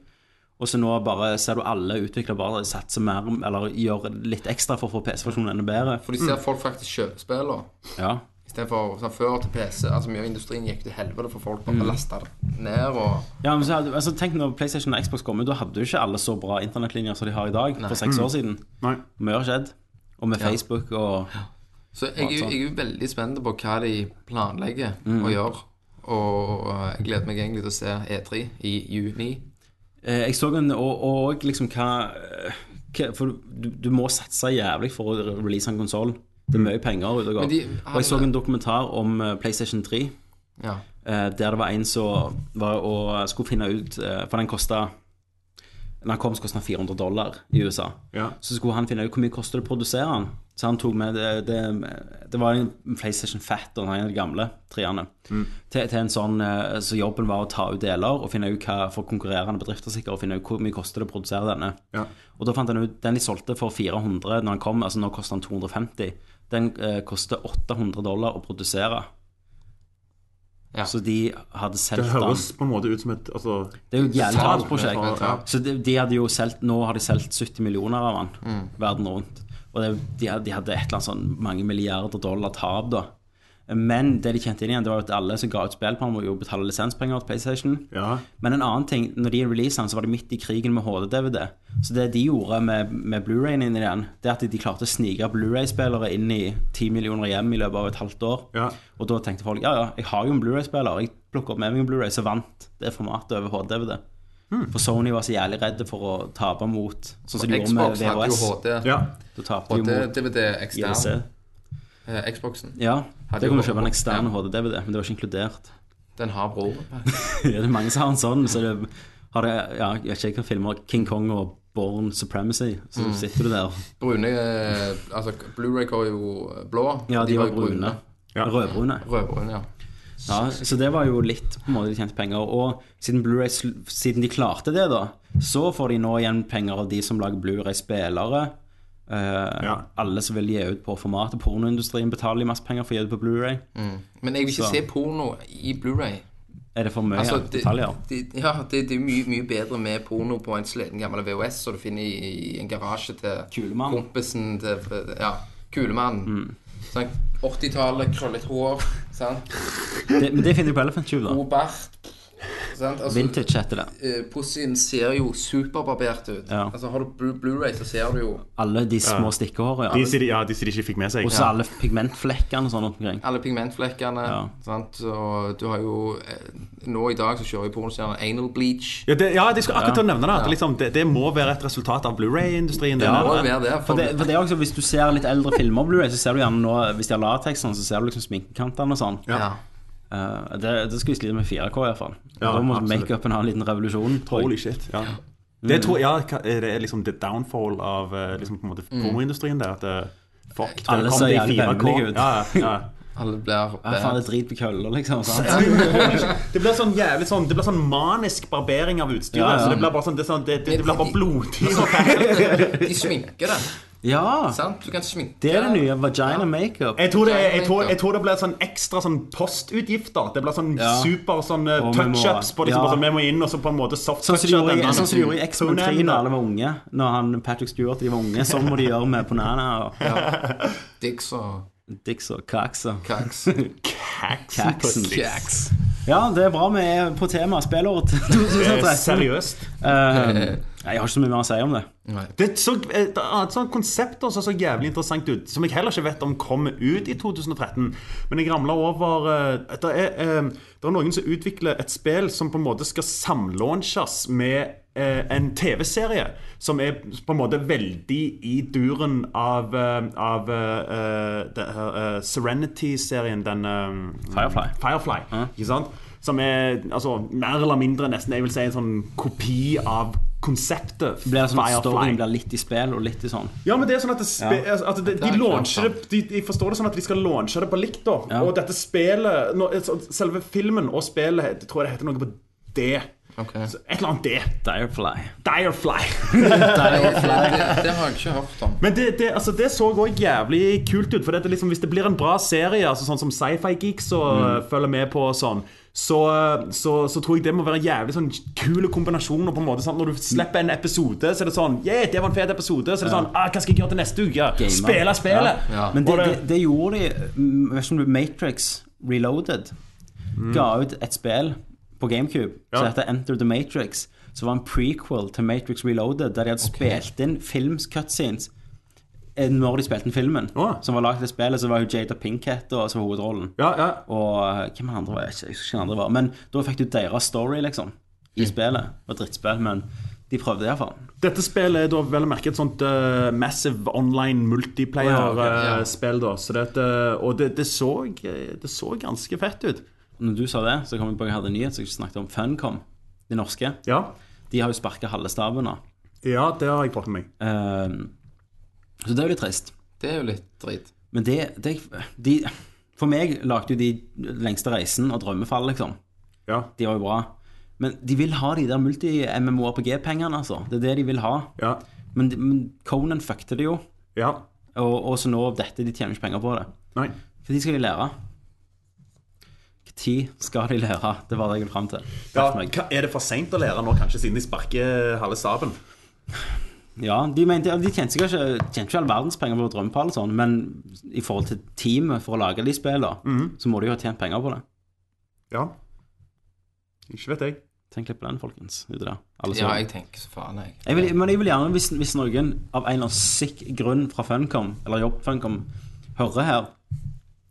Speaker 2: Og så nå bare ser du alle utviklere bare satser mer, eller gjør litt ekstra for å få PC-versjonen enda bedre.
Speaker 3: For de ser folk faktisk kjøpe spillene.
Speaker 2: Ja.
Speaker 3: Istedenfor sånn, før til PC. Altså Mye av industrien gikk til helvete for folk bare lasta det ned og
Speaker 2: Ja, men så hadde, altså, tenk når PlayStation og Xbox kom ut, da hadde jo ikke alle så bra internettlinjer som de har i dag, for seks år siden.
Speaker 1: Nei.
Speaker 2: Vi har skjedd. Og med Facebook og
Speaker 3: Så jeg, er jo- jeg er jo veldig spent på hva de planlegger å gjøre. Og eh, jeg gleder meg egentlig til å se E3 i juni.
Speaker 2: eh, Jeg så en Og, og liksom hva, eh, hva For du, du må satse jævlig for å re- release en konsoll. Det er mye penger ute og går.
Speaker 3: Men de-
Speaker 2: Og jeg så en dokumentar om eh, PlayStation 3,
Speaker 3: Ja.
Speaker 2: eh, der det var en som var og skulle finne ut eh, For den kosta Når den kom, så kosta den 400 dollar i USA.
Speaker 1: Ja.
Speaker 2: Så skulle han finne ut hvor mye koster det å produsere den. Så han tok med Det, det, det var en PlayStation Fat og en av de gamle treene.
Speaker 1: Mm.
Speaker 2: Til, til en sånn eh, Så jobben var å ta ut deler og finne ut hva for konkurrerende bedrifter sikkert, og finne ut hvor mye koster det å produsere denne.
Speaker 1: Ja.
Speaker 2: Og da fant han ut den de solgte for 400 når han kom, altså nå koster den 250. Den eh, koster 800 dollar å produsere.
Speaker 3: Ja.
Speaker 2: Så de hadde
Speaker 1: Det
Speaker 2: solgt den.
Speaker 1: høres på en måte ut som et altså,
Speaker 2: Det er jo et jævlig
Speaker 1: Salg,
Speaker 2: tapsprosjekt.
Speaker 1: men- ja.
Speaker 2: Så de, de hadde jo solgt Nå har de solgt 70 millioner av den verden rundt. Og det, de, hadde- de hadde et eller annet sånn mange milliarder dollar tap, da. Men det de kjente inn igjen, det var jo at alle som ga ut spill på den, må jo betale lisenspenger til PlayStation.
Speaker 1: Ja.
Speaker 2: Men en annen ting, når de releaset den, så var de midt i krigen med HD-DVD. Så det de gjorde med, med Blu-rayen inn i den, det er at de klarte å snike Blu-ray-spillere inn i 10 millioner hjem i løpet av et halvt år.
Speaker 1: Ja.
Speaker 2: Og da tenkte folk ja, ja, jeg har jo en Blu-ray-spiller, jeg plukker opp med meg en Blu-ray, så vant det formatet over HD-DVD.
Speaker 3: Hmm.
Speaker 2: For Sony var så jævlig redde for å tape mot Sånn som de gjorde med
Speaker 3: Xbox hadde jo
Speaker 2: VHS.
Speaker 3: HD.
Speaker 1: ja.
Speaker 2: Da tapte de
Speaker 3: HD,
Speaker 2: mot
Speaker 3: DVD
Speaker 2: ILC.
Speaker 3: ekstern. Eh, Xboxen.
Speaker 2: Ja,
Speaker 3: Hadde
Speaker 2: det kunne
Speaker 3: jo
Speaker 2: kjøpe en
Speaker 3: HD.
Speaker 2: ekstern
Speaker 3: Ja.
Speaker 2: HD-DVD, men det var ikke inkludert.
Speaker 3: Den har broren.
Speaker 2: (laughs) Ja, det er mange som har en sånn. Så det, har det, ja, jeg vet ikke hva filmer King Kong og Born Supremacy. Så sitter du der.
Speaker 3: (laughs) Brune eh, Altså, Blu-ray var jo blå.
Speaker 2: Ja, de,
Speaker 3: jo
Speaker 2: var brune. Rødbrune.
Speaker 3: Rødbrune, ja.
Speaker 2: Ja, så det var jo litt på en måte de tjente penger. Og siden, Blu-ray sl- siden de klarte det, da, så får de nå igjen penger av de som lager Blu-ray-spillere. Eh,
Speaker 1: Ja.
Speaker 2: Alle som vil gi ut på formatet. Pornoindustrien betaler masse penger for å gi ut på Blu-ray.
Speaker 3: Men jeg vil ikke
Speaker 2: Så.
Speaker 3: se porno i Blu-ray.
Speaker 2: Er det for mye
Speaker 3: Altså, det,
Speaker 2: detaljer?
Speaker 3: det, ja, det, det er mye, mye bedre med porno på en sliten gammel VHS som du finner i, i en garasje til
Speaker 2: Kulemann. Mm.
Speaker 3: kompisen til Ja, Kulemann. Sant? 80-tallet, krøllet hår, sant?
Speaker 2: Det, men det finner du på Elephant Tube, da.
Speaker 3: god bart. Sant? Altså,
Speaker 2: Vintage heter det.
Speaker 3: eh, Pussyen ser jo superbarbert ut.
Speaker 2: Ja.
Speaker 3: Altså Har du Blu- Blu-ray, så ser du jo
Speaker 2: Alle de små stikkehårene.
Speaker 1: De
Speaker 2: Ja.
Speaker 1: sier de- ja, de sier de ikke fikk med seg.
Speaker 2: Og så alle pigmentflekkene og sånn rundt omkring.
Speaker 3: alle pigmentflekkene.
Speaker 2: Ja.
Speaker 3: Sant? Og du har jo eh, Nå i dag så kjører jo pornostjerner anal bleach.
Speaker 1: Ja, det, ja, de skulle akkurat til å nevne det. At liksom, det, det må være et resultat av Blu-ray-industrien.
Speaker 3: Det
Speaker 1: Ja.
Speaker 3: må jo være det.
Speaker 2: For
Speaker 3: For,
Speaker 2: det, for det er også, Hvis du ser litt eldre filmer, på Blu-ray, så ser du gjerne nå Hvis de har latex, sånn, så ser du liksom sminkekantene og sånn.
Speaker 3: ja.
Speaker 2: Eh, det, det skal vi slite med 4K, i hvert fall.
Speaker 1: Ja,
Speaker 2: da må
Speaker 1: absolutt.
Speaker 2: makeupen ha en liten revolusjon. tror jeg.
Speaker 1: Holy shit. Ja. Mm. Det tror ja, hva- er det er liksom the downfall av eh, liksom, på en måte pornoindustrien der. At eh, fuck, nå
Speaker 2: Alle
Speaker 1: kom
Speaker 2: ser
Speaker 1: det i
Speaker 2: jævlig
Speaker 1: 4K.
Speaker 2: vemmelige ut.
Speaker 1: Ja, ja.
Speaker 3: Alle blir
Speaker 2: Ja, faen, det er drit på køller, liksom. Sant?
Speaker 1: (laughs) Det blir sånn jævlig sånn Det blir sånn manisk barbering av utstyret.
Speaker 2: Ja, ja.
Speaker 1: Så det blir bare sånn Det, er sånn, det, det, det blir bare (laughs) blodig.
Speaker 3: De sminker det.
Speaker 2: Ja!
Speaker 3: Sant? Du kan sminke
Speaker 2: Det er det nye. Vagina makeup.
Speaker 1: Jeg tror, det, er- jeg, tror, jeg tror det blir sånn ekstra sånn postutgifter. Det blir sånn
Speaker 2: Ja.
Speaker 1: super sånn eh,
Speaker 2: Og vi må-
Speaker 1: touch-ups på det.
Speaker 2: ja.
Speaker 1: Som bare sånn, vi må inn og så på en måte soft
Speaker 2: Sånn som de gjorde i-
Speaker 1: denne-
Speaker 2: sånn som de gjorde i X-Men 3 da
Speaker 1: tonen.
Speaker 2: alle var unge. Når han, Patrick Stewart de var unge. Sånn må de gjøre med Ponana og
Speaker 3: Dicks og
Speaker 2: Dix og Cax og
Speaker 3: kaks.
Speaker 2: Caxen.
Speaker 3: Kjeks.
Speaker 2: Ja, det er bra vi er på tema spillåret (laughs)
Speaker 1: Eh,
Speaker 2: 2013.
Speaker 1: Seriøst. Um,
Speaker 2: Eh, jeg har ikke så mye mer å si om det.
Speaker 1: Det er så, eh, et annet sånt konsept også, så jævlig interessant ut, som jeg heller ikke vet om kommer ut i 2013. Men jeg ramla over eh, det er, eh, det er noen som utvikler et spill som på en måte skal samlaunches med eh, en TV-serie som er på en måte veldig i duren av, eh, av eh, eh, det her, eh, Serenity-serien, den eh,
Speaker 2: Firefly.
Speaker 1: Firefly. Ikke sant? Som er altså, mer eller mindre nesten jeg vil si en sånn kopi av konseptet
Speaker 2: Blir det sånn at storyen blir litt i spill og litt i sånn.
Speaker 1: Ja, men det er sånn at, det spe,
Speaker 2: Ja.
Speaker 1: altså, de, de,
Speaker 3: er
Speaker 1: launcher det,
Speaker 3: klart
Speaker 1: de, de forstår det sånn at de skal launche det på likt. da
Speaker 2: Ja.
Speaker 1: Og dette spillet nå, så- Selve filmen og spillet het- tror jeg det heter noe på D.
Speaker 3: Ok.
Speaker 1: Så Et eller annet D.
Speaker 2: Direfly.
Speaker 1: Direfly. (laughs)
Speaker 3: Det, det har jeg ikke hørt om.
Speaker 1: Men det, det, altså, det så òg jævlig kult ut. For dette, liksom, hvis det blir en bra serie, altså, sånn som Sci-Fi Geeks og
Speaker 2: Mm.
Speaker 1: øh, følger med på og sånn, så, eh, så, så tror jeg det må være en jævlig sånn kule kombinasjoner. på en måte sant? Når du slipper en episode, så er det sånn Yeah, det var en fet episode. Så er det sånn ah, Hva skal jeg gjøre til neste uke? Ja, Spille spillet!
Speaker 2: Ja. Men det,
Speaker 1: Og
Speaker 2: det, det gjorde de mm, vet ikke om det- Matrix Reloaded ga ut et spill på GameCube
Speaker 1: Mm. Ja.
Speaker 2: som heter Enter the Matrix. Som var en prequel til Matrix Reloaded, der de hadde spilt inn films cutscenes eh, når de spilte inn filmen.
Speaker 1: Å.
Speaker 2: Som var laget i spillet, så var jo Jada Pinkett da, som var hovedrollen.
Speaker 1: ja, ja.
Speaker 2: Og eh, hvem andre var jeg ikke, jeg husker ikke hvem andre var. Men da fikk du deres story, liksom, i spillet. Det var drittspill, men de prøvde det iallfall.
Speaker 1: Dette spillet er da vel å merke et sånt eh, massive online
Speaker 2: Å, ja, ok, ja.
Speaker 1: multiplayer-spill. da så dette, eh, Og det, det, så, eh, det så ganske fett ut.
Speaker 2: Når du sa det, så kom jeg på at jeg hadde en nyhet som jeg ikke snakket om. Funcom, de norske.
Speaker 1: Ja,
Speaker 2: De har jo sparka halve staben nå.
Speaker 1: ja det har jeg fått med meg.
Speaker 2: Eh, så det er jo litt trist.
Speaker 3: Det er jo litt drit.
Speaker 2: Men det, det de, For meg lagde jo de lengste reisen og drømmefall, liksom.
Speaker 1: Ja,
Speaker 2: De var jo bra. Men de vil ha de der multi-MMORPG-pengene, altså. Det er det de vil ha.
Speaker 1: ja,
Speaker 2: Men, men Conan fuckte det jo.
Speaker 1: ja.
Speaker 2: Og, og så nå dette, de tjener ikke penger på det.
Speaker 1: Nei.
Speaker 2: For de skal de lære. Når skal de lære? Det var det jeg ville fram til.
Speaker 1: Ja,
Speaker 2: Takk for meg.
Speaker 1: hva- er det for seint å lære nå, kanskje, siden de sparker eh, halve staben?
Speaker 2: Ja, de, mente, de tjente sikkert ikke, tjente ikke all verdens penger på Drømmepall, og sånn, men i forhold til teamet for å lage de spillene, så må de jo ha tjent penger på det.
Speaker 1: Ja. Ikke vet jeg.
Speaker 2: Tenk litt på den, folkens. Ute der. Alle som-
Speaker 3: Ja, jeg tenker så faen, jeg.
Speaker 2: jeg vil, men jeg vil gjerne, hvis, hvis noen av en eller annen sick grunn fra Funcom, eller jobb Funcom, hører her,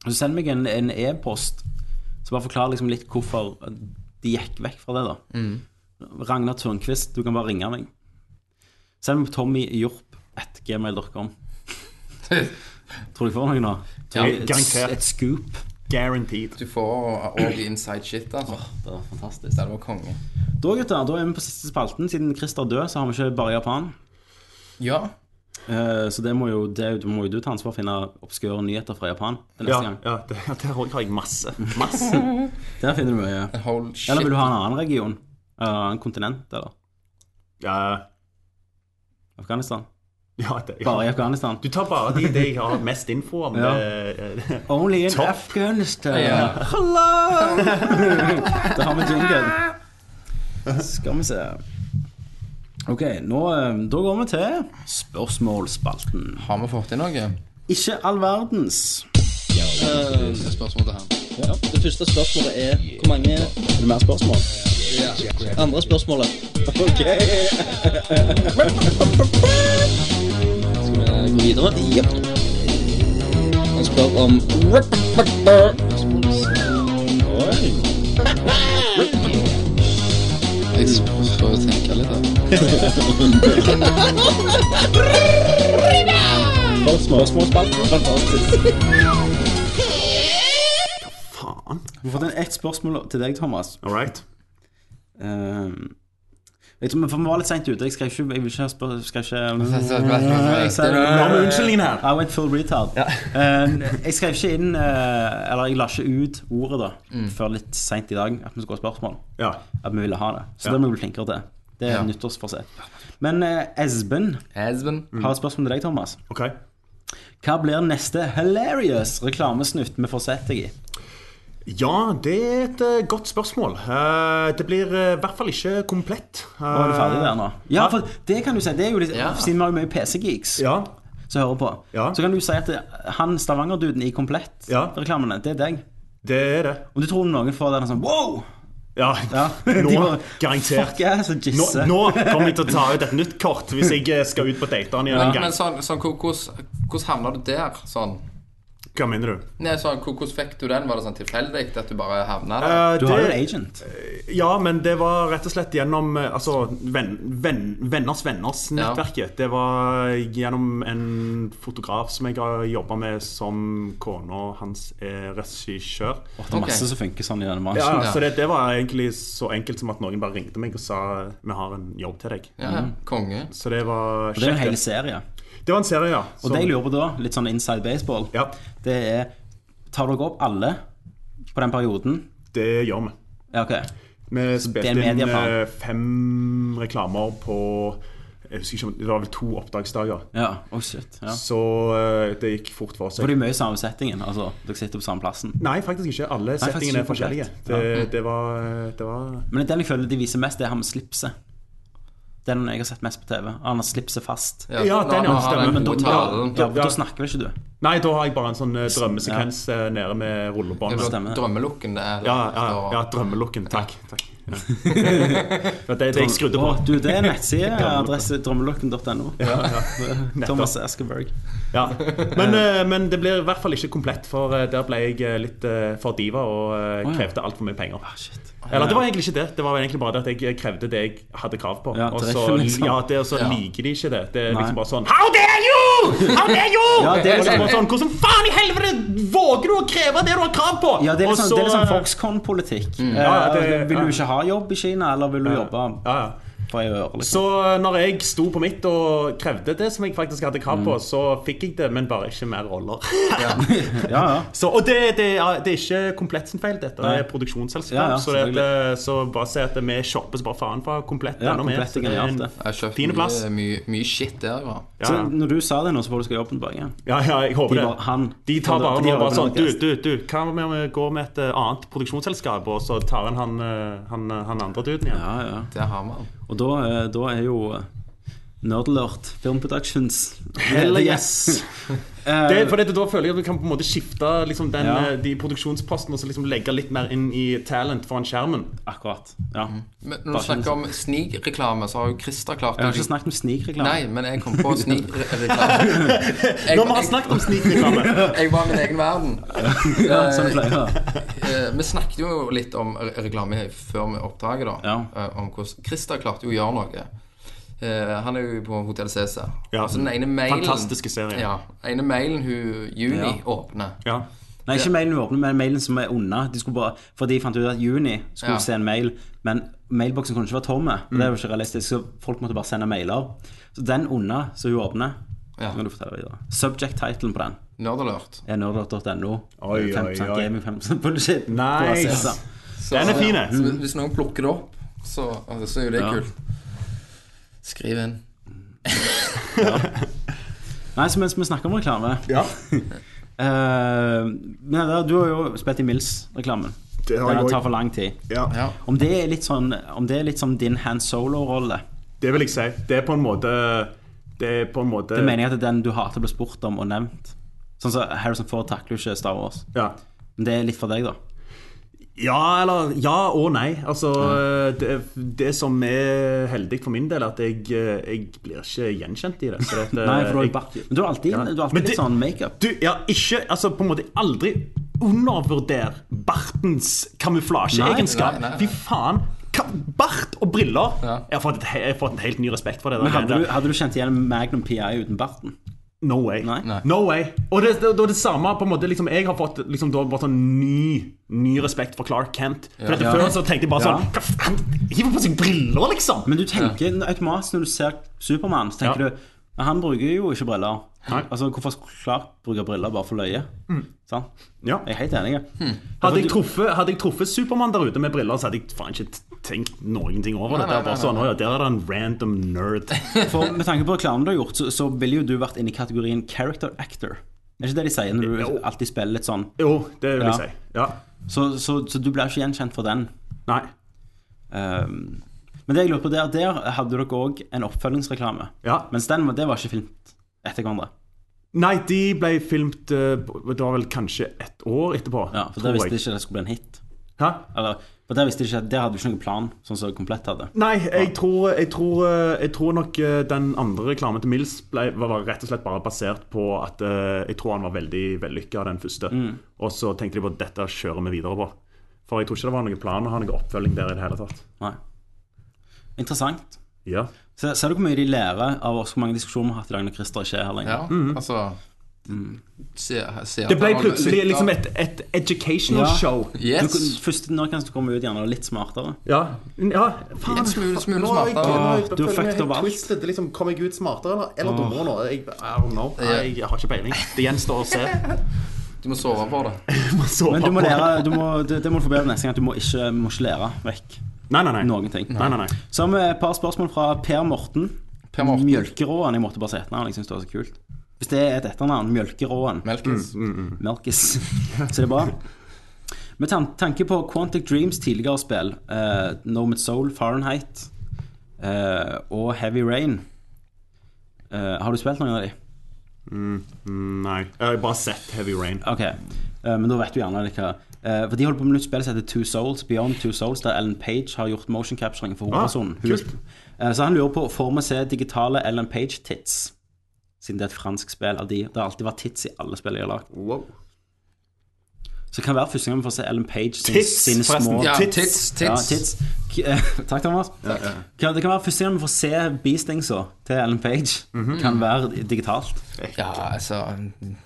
Speaker 2: så send meg en en e-post som bare forklarer liksom litt hvorfor de gikk vekk fra det. da.
Speaker 1: Mm.
Speaker 2: Ragnar Tørnquist, du kan bare ringe meg. Send meg på tommyjorp.gmail.com. Tror du jeg får noe nå? Tror jeg, et,
Speaker 1: garantert.
Speaker 2: et scoop.
Speaker 1: Guaranteed.
Speaker 3: Du får òg inside shit, altså.
Speaker 2: Det var fantastisk.
Speaker 3: Det hadde vært konge.
Speaker 2: Da gutter, da er vi på siste spalten. Siden Christer er død, så har vi ikke bare Japan.
Speaker 3: Ja.
Speaker 2: Eh, Så det må jo, det må jo du ta ansvar for å finne obskure nyheter fra Japan til neste
Speaker 1: Ja,
Speaker 2: gang.
Speaker 1: ja det, der òg har jeg masse. Masse.
Speaker 2: Der finner du mye.
Speaker 3: Hold shit.
Speaker 2: Eller vil du ha en annen region? Eh, En kontinent, eller?
Speaker 1: (laughs) Ja,
Speaker 2: Afghanistan?
Speaker 1: Ja, det, ja.
Speaker 2: Bare i Afghanistan.
Speaker 1: Du tar bare de, de jeg har mest info om.
Speaker 2: Ja.
Speaker 1: eh,
Speaker 2: Only in
Speaker 1: Topp.
Speaker 2: Afghanistan.
Speaker 3: Ja.
Speaker 2: Hello! (laughs) da har vi jinglen. Skal vi se. Ok, nå, eh, da går vi til spørsmålsspalten.
Speaker 3: Har vi fått inn noe?
Speaker 2: Ikke all verdens.
Speaker 3: Siste spørsmål til han.
Speaker 10: Det første spørsmålet er hvor mange
Speaker 2: Er det mer spørsmål?
Speaker 10: andre spørsmålet. Ok. Skal vi gå videre? Ja. Han spør om Oi.
Speaker 3: Jeg prøver å tenke litt her.
Speaker 10: Spørsmålsspalten. Fantastisk.
Speaker 1: (laughs) faen.
Speaker 2: Vi har fått inn ett spørsmål til deg, Thomas.
Speaker 1: All right.
Speaker 2: Ehm, jeg tror, for vi var litt seint ute. Jeg skrev ikke Jeg vil ikke ha spør... Skal ikke
Speaker 1: Nå har vi unnskyldningen her.
Speaker 2: I went full retard. (laughs) Eh, jeg skrev ikke inn eh, Eller jeg la ikke ut ordet da
Speaker 3: Mm.
Speaker 2: før litt seint i dag at vi skulle ha spørsmål.
Speaker 1: Ja.
Speaker 2: At vi ville ha det. Så
Speaker 1: Ja.
Speaker 2: det må vi bli flinkere til. Det er
Speaker 3: Ja.
Speaker 2: nyttårsforsett. Men eh, Esben
Speaker 3: Esben.
Speaker 2: har et spørsmål til deg, Thomas.
Speaker 1: OK.
Speaker 2: Hva blir neste hilarious reklamesnutt vi får sett deg i?
Speaker 1: Ja, det er et eh, godt spørsmål. Eh, det blir eh, i hvert fall ikke komplett. Eh,
Speaker 2: Nå er du ferdig der nå. Ja, for det kan du si. Det er jo litt,
Speaker 3: Ja.
Speaker 2: Siden vi har jo mye PC-geeks
Speaker 1: Eh, Ja.
Speaker 2: som hører på,
Speaker 1: Ja.
Speaker 2: så kan du si at det, han Stavanger-duden i Komplett-reklamene, det er deg.
Speaker 1: Det er det.
Speaker 2: Om du tror noen får den sånn wow!
Speaker 1: Ja.
Speaker 2: Ja.
Speaker 1: (laughs) Nå,
Speaker 2: (laughs) De bare,
Speaker 1: garantert.
Speaker 2: Fuck ass og
Speaker 1: Nå,
Speaker 2: jisse.
Speaker 1: nå kommer jeg til å ta ut et nytt kort hvis jeg eh, skal ut på datene igjen en
Speaker 3: Men
Speaker 1: gang.
Speaker 3: sånn, sånn, hvor- hvordan hvordan havna du der? Sånn.
Speaker 1: Hva mener du?
Speaker 3: Nei, sånn, hvor- Hvordan fikk du den? Var det sånn tilfeldig at du bare havna der?
Speaker 1: Eh,
Speaker 2: Du har jo en
Speaker 1: det-
Speaker 2: agent.
Speaker 1: Ja, men det var rett og slett gjennom eh, altså, venn, venn, Venners Venners
Speaker 3: Ja.
Speaker 1: nettverket. Det var gjennom en fotograf som jeg har jobba med som kona hans er regissør.
Speaker 2: Åh, det er masse
Speaker 3: Ok.
Speaker 2: som funker sånn i denne
Speaker 1: Ja,
Speaker 2: bransjen.
Speaker 1: Så det, det var egentlig så enkelt som at noen bare ringte meg og sa vi har en jobb til deg.
Speaker 3: Ja, ja. Konge.
Speaker 1: Så det var
Speaker 2: Det er en hel
Speaker 1: kjekt.
Speaker 2: serie.
Speaker 1: Det, det var en serie, ja.
Speaker 2: Og det jeg lurer på da, litt sånn inside baseball,
Speaker 1: ja,
Speaker 2: det er Tar dere opp alle på den perioden?
Speaker 1: det gjør vi.
Speaker 2: Ja, ok.
Speaker 1: Vi spilte
Speaker 2: det er
Speaker 1: inn
Speaker 2: medieplan.
Speaker 1: eh, fem reklamer på jeg husker ikke, om- Det var vel to oppdragsdager.
Speaker 2: Ja, oh shit. Ja.
Speaker 1: Så eh, det gikk fort for
Speaker 2: For
Speaker 1: seg.
Speaker 2: det er mye i samme settingen. Altså, dere sitter på samme plassen.
Speaker 1: Nei, faktisk ikke. Alle
Speaker 2: faktisk
Speaker 1: settingene er
Speaker 2: ikke
Speaker 1: forskjellige.
Speaker 2: komplett.
Speaker 1: Det, det var, det var
Speaker 2: Men den jeg føler de viser mest, det er han med slipset. Det er den jeg har sett mest på TV. Han har slipset fast. Ja,
Speaker 1: Ja, den, ja, stemmer.
Speaker 3: Men
Speaker 1: Men
Speaker 3: da
Speaker 1: da-
Speaker 3: talen.
Speaker 1: ja,
Speaker 2: for Da snakker vel ikke du?
Speaker 1: Nei, da har jeg bare en sånn eh, drømmesekvens eh, nede med rullebåndet.
Speaker 2: stemmer.
Speaker 3: Drømmelukken der.
Speaker 1: Ja, ja, ja, drømmelooken. Takk. takk. Ja. (laughs) For det, det jeg skrudde på.
Speaker 2: Åh, du, det er
Speaker 1: (laughs)
Speaker 2: en nettside. Adresse drømmelukken.no.
Speaker 1: Nettopp.
Speaker 2: Thomas Askeberg.
Speaker 1: (laughs) Ja. Men, eh, men det blir i hvert fall ikke komplett, for eh, der ble jeg eh, litt eh, for diva og eh, krevde altfor mye penger.
Speaker 2: Shit.
Speaker 1: Eller det var egentlig ikke det. Det var egentlig bare det at jeg eh, krevde det jeg hadde krav på.
Speaker 2: Ja,
Speaker 1: og så,
Speaker 2: treffen, liksom.
Speaker 1: ja, det, og så
Speaker 3: Ja.
Speaker 1: liker de ikke det. Det er
Speaker 2: Nei.
Speaker 1: liksom bare sånn How dare you! How dare you!
Speaker 2: Ja, det er
Speaker 1: og så
Speaker 2: sånn-
Speaker 1: bare sånn Hvordan faen i helvete våger du å kreve det du har krav på?
Speaker 2: Ja, det er
Speaker 1: Og
Speaker 2: litt sånn,
Speaker 1: så- eh, Mm.
Speaker 2: det er litt sånn Foxconn-politikk. Eh,
Speaker 1: Ja, det-
Speaker 2: vil du
Speaker 1: ja.
Speaker 2: ikke ha jobb i Kina, eller vil du jobbe
Speaker 1: ja, ja.
Speaker 2: for ei øre? Liksom?
Speaker 1: Så eh, når jeg sto på mitt og krevde det som jeg faktisk hadde krav
Speaker 2: Mm.
Speaker 1: på, så fikk jeg det, men bare ikke mer roller. (laughs)
Speaker 2: Ja, ja.
Speaker 1: Så, og det, det, er, det er ikke komplett sin feil, dette
Speaker 2: Nei.
Speaker 1: er produksjonsselskap.
Speaker 2: Ja, ja,
Speaker 1: så, det, at, eh, så bare si at vi shopper så bare faen fra komplett
Speaker 2: Ja,
Speaker 1: enda mer.
Speaker 2: Komplett
Speaker 1: Så det er
Speaker 2: er
Speaker 1: en-
Speaker 2: genialt, det.
Speaker 3: Jeg har kjøpt
Speaker 1: Fine plass.
Speaker 3: mye, mye, mye shit der, ja.
Speaker 1: Ja,
Speaker 2: Så
Speaker 1: ja.
Speaker 2: når du sa det nå, så får du skal jobben tilbake.
Speaker 1: ja, ja, jeg håper
Speaker 2: De
Speaker 1: det.
Speaker 2: bare- han-
Speaker 1: de tar
Speaker 2: han-
Speaker 1: bare,
Speaker 2: de
Speaker 1: nå
Speaker 2: har
Speaker 1: bare
Speaker 2: bare
Speaker 1: sånn Du,
Speaker 2: podcast.
Speaker 1: du, du, hva med om vi går med et eh, annet produksjonsselskap, og så tar han han, eh, han, han andre duden igjen?
Speaker 2: Ja, ja.
Speaker 3: Der har vi den.
Speaker 2: Og da, eh, da er jo eh, Nerdlert Film Productions
Speaker 1: Hell
Speaker 2: ledige.
Speaker 1: yes!
Speaker 2: Eh,
Speaker 1: (laughs) Det, er fordi at da føler jeg at vi kan på en måte skifte liksom den,
Speaker 2: Ja.
Speaker 1: eh, de produksjonspostene og så liksom legge litt mer inn i talent foran skjermen.
Speaker 2: Eh, Akkurat. Ja.
Speaker 1: Mm.
Speaker 3: Men når du snakker om snikreklame, så har jo Christer klart
Speaker 2: Jeg har ikke snakket om snikreklame.
Speaker 3: Nei,
Speaker 2: (laughs)
Speaker 3: men jeg kom på snikreklame. Jeg,
Speaker 1: Når vi har snakket om snikreklame!
Speaker 2: (laughs)
Speaker 3: jeg, jeg var i min egen verden.
Speaker 2: Ja, sånn pleier jeg å være.
Speaker 3: Eh, Vi snakket jo litt om re- reklame før vi oppdaget, da.
Speaker 2: Ja.
Speaker 3: Eh, Om hvordan Christer klarte jo å gjøre noe. Eh, Han er jo på Hotell Cæsar.
Speaker 1: Ja.
Speaker 3: Altså, den ene mailen
Speaker 1: Fantastiske serie.
Speaker 3: Ja. Den ene mailen hun Juni
Speaker 2: Ja.
Speaker 3: åpner.
Speaker 1: Ja.
Speaker 2: Nei, ikke mailen vi åpner, men mailen som er unna. De skulle bare, for de fant ut at juni skulle
Speaker 3: Ja.
Speaker 2: se en mail, men mailboksen kunne ikke være tomme. Det er jo ikke realistisk, så folk måtte bare sende mailer. Så den unna, som hun åpner,
Speaker 3: Ja.
Speaker 2: kan du fortelle videre. Subject-titlen på den
Speaker 3: Nerdalert.
Speaker 2: er nerdlert.no.
Speaker 1: Oi, oi,
Speaker 2: 5%
Speaker 1: oi.
Speaker 2: gaming, 5% bullshit.
Speaker 1: Nice.
Speaker 2: På Cæsar.
Speaker 3: Så-
Speaker 1: Den er fin. jeg.
Speaker 3: Så Hvis noen plukker det opp, så, altså, så er jo det
Speaker 2: Ja.
Speaker 3: kult. Skriv inn.
Speaker 2: Nei, så mens vi snakker om reklame
Speaker 11: Ja.
Speaker 2: Eh, men da, du har jo spilt i Mills-reklamen.
Speaker 11: Det har jeg
Speaker 2: Den
Speaker 11: også.
Speaker 2: tar for lang tid.
Speaker 11: Ja.
Speaker 2: Om, det er litt sånn, om det er litt som din Han Solo-rolle
Speaker 1: Det vil jeg si. Det er på en måte Det er på en måte
Speaker 2: Det mener jeg at det er den du hater ble spurt om og nevnt. Sånn som Harrison Ford takler jo ikke Star Wars. Men det er litt for deg, da.
Speaker 1: Ja, eller ja og nei. Altså, det, det som er heldig for min del, er at jeg, eh, jeg blir ikke gjenkjent i det. Så det
Speaker 2: Nei, for du har jo bart. Men du har alltid, du har alltid litt sånn makeup.
Speaker 1: Du, ja, ikke Altså, på en måte aldri undervurder bartens kamuflasjeegenskap.
Speaker 2: Nei, nei, nei, nei.
Speaker 1: Fy faen. Ka- Bart og briller! Jeg, har fått et, he- jeg har fått en helt ny respekt for det.
Speaker 2: Men
Speaker 1: der.
Speaker 2: hadde, du, hadde du kjent igjen Magnum PI uten barten?
Speaker 1: No way. No way. Og det, det, det er det samme på en måte liksom, Jeg har fått liksom, da, bare sånn ny, ny respekt for Clark Kent. For
Speaker 2: Ja.
Speaker 1: dette
Speaker 2: Ja.
Speaker 1: Før så tenkte jeg bare
Speaker 2: Ja.
Speaker 1: sånn Hva faen? Hiver på seg briller, liksom!
Speaker 2: Men du tenker automatisk når du ser Supermann, så tenker du "Men Han bruker jo ikke briller. Altså, Hvorfor skulle Clark bruke briller bare for løye? Sant? Jeg er helt enig.
Speaker 1: Mm. Hadde jeg truffet, hadde jeg truffet Supermann der ute med briller, så hadde jeg faen ikke t- tenkt noen ting over
Speaker 2: Nei,
Speaker 1: det.
Speaker 2: nei,
Speaker 1: Det er bare
Speaker 2: nei,
Speaker 1: sånn,
Speaker 2: nei,
Speaker 1: «Å ja, Der er det en random nerd.
Speaker 2: For Med tanke på reklamen du har gjort, så, så ville jo du vært inne i kategorien character actor. Er ikke det de sier når du alltid spiller litt sånn?
Speaker 1: Jo, det vil jeg si.
Speaker 2: Så, så, så du blir ikke gjenkjent for den?
Speaker 1: Nei.
Speaker 2: Ehm, men det jeg lurer på der, der hadde dere òg en oppfølgingsreklame. Mens den var- det var ikke filmt etter hverandre.
Speaker 1: Nei, de ble filmt eh, Det var vel kanskje ett år etterpå.
Speaker 2: Ja, for
Speaker 1: tror
Speaker 2: der visste
Speaker 1: jeg.
Speaker 2: de ikke det skulle bli en hit.
Speaker 1: Hæ?
Speaker 2: Eller, for der visste de ikke at der hadde du ikke noen plan, sånn som Komplett hadde.
Speaker 1: Nei, jeg tror, jeg, tror, jeg tror nok eh, den andre reklamen til Mills ble, var var rett og slett bare basert på at eh, jeg tror han var veldig vellykka, den første.
Speaker 2: Mm.
Speaker 1: Og så tenkte de på at dette kjører vi videre på. For jeg tror ikke det var noen plan å ha noen oppfølging der i det hele tatt.
Speaker 2: Nei. Interessant.
Speaker 1: Ja.
Speaker 2: Ser, ser du hvor mye de lærer av oss, hvor mange diskusjoner vi har hatt i dag når Christer ikke er her lenger?
Speaker 3: Ja, altså se, se,
Speaker 1: Mhm. Det ble plutselig liksom et, et educational show.
Speaker 2: Du, kan- først, nå kan du komme ut gjerne litt smartere.
Speaker 1: Ja. ja. Faen,
Speaker 11: En smule- smule
Speaker 1: nå har jeg-
Speaker 11: smartere.
Speaker 1: nå har jeg-
Speaker 2: Du har
Speaker 1: føler meg
Speaker 2: fucked
Speaker 1: helt
Speaker 2: up alt.
Speaker 1: twisted. Liksom, Kommer jeg ut smartere eller, eller
Speaker 2: Åh.
Speaker 1: dummere nå? Jeg, I don't know.
Speaker 2: Ja.
Speaker 1: Nei, jeg har ikke peiling. Det gjenstår å se. (laughs)
Speaker 3: Du må sove på det.
Speaker 2: Men du må lære, du må, det, det må du få bedre neste gang. Du må ikke, må ikke lære vekk noen ting.
Speaker 1: Nei, nei, nei.
Speaker 2: Så har vi et par spørsmål fra Per Morten. Per Morten. Mjølkeråen. Jeg måtte bare si etternavn. Jeg syns det var så kult. Hvis det er et etternavn, Mjølkeråen
Speaker 3: Melkis.
Speaker 1: Mm,
Speaker 2: Melkis. Så det er bra. Med tan tanke på Quantic Dreams tidligere spill, uh, Nomad Soul, Fahrenheit eh, og Heavy Rain eh, Har du spilt noen av de?
Speaker 1: Mm, mm, nei. Jeg har bare sett Heavy Rain.
Speaker 2: Ok, eh, men da vet du gjerne hva eh, For de holder på med et nytt spill som heter Two Souls Beyond Two Souls, der Ellen Page har gjort motion capturing for hovedpersonen.
Speaker 1: Ah,
Speaker 2: Hun- Eh, så han lurer på får vi se digitale Ellen Page-tits, siden det er et fransk spill av de. Det har alltid vært tits i alle spill jeg har lagd. Så det kan være første gang vi får se Ellen Page sin,
Speaker 1: Tits,
Speaker 2: sine
Speaker 1: forresten.
Speaker 2: små
Speaker 1: Ja, tits, tits.
Speaker 2: Ja, tits. K- eh, (laughs) Takk, Thomas.
Speaker 1: Ja, ja.
Speaker 2: Kan- Det kan være første gang vi får se beastingsa til Ellen Page.
Speaker 1: Mhm.
Speaker 2: Kan være digitalt.
Speaker 3: Ja, altså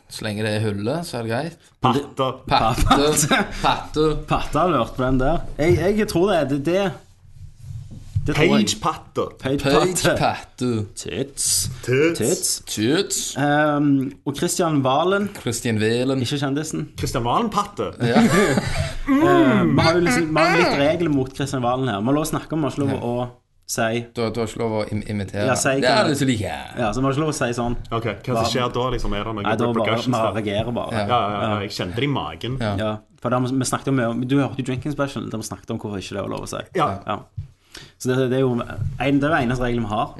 Speaker 3: Så lenge det er hullet, så er det greit.
Speaker 1: Patter.
Speaker 3: Patter. Patter.
Speaker 2: Patter har hørt på den der. Jeg, jeg tror det er det. det. det tror jeg.
Speaker 1: Page Patter.
Speaker 2: Page
Speaker 3: Page
Speaker 2: Patter. Tits.
Speaker 1: Tits.
Speaker 2: Tits. Ehm, og Christian Valen.
Speaker 3: Christian Valen.
Speaker 2: Ikke kjendisen.
Speaker 1: Christian Valen Patter.
Speaker 3: Ja.
Speaker 2: Ehm, Vi har jo liksom, vi har litt regler mot Christian Valen her. Vi har lov å snakke om, vi har ikke lov å si
Speaker 3: Du, du har ikke lov å im imitere.
Speaker 2: ja, si,
Speaker 3: det
Speaker 2: hva-
Speaker 3: er det som liker.
Speaker 2: Ja, så vi har ikke lov å si sånn.
Speaker 1: Ok, Hva som skjer da? liksom? Er det noen
Speaker 2: Nei, da bare,
Speaker 1: repercussions
Speaker 2: man
Speaker 1: der?
Speaker 2: reagerer bare.
Speaker 1: Ja, ja, ja, Jeg kjente det i magen.
Speaker 2: Ja. for da, vi snakket om, Du hørte jo Drinking Special, der vi snakket om hvorfor ikke det var lov å si.
Speaker 1: Ja.
Speaker 2: Så det, det er jo en, det er jo eneste regelen vi har.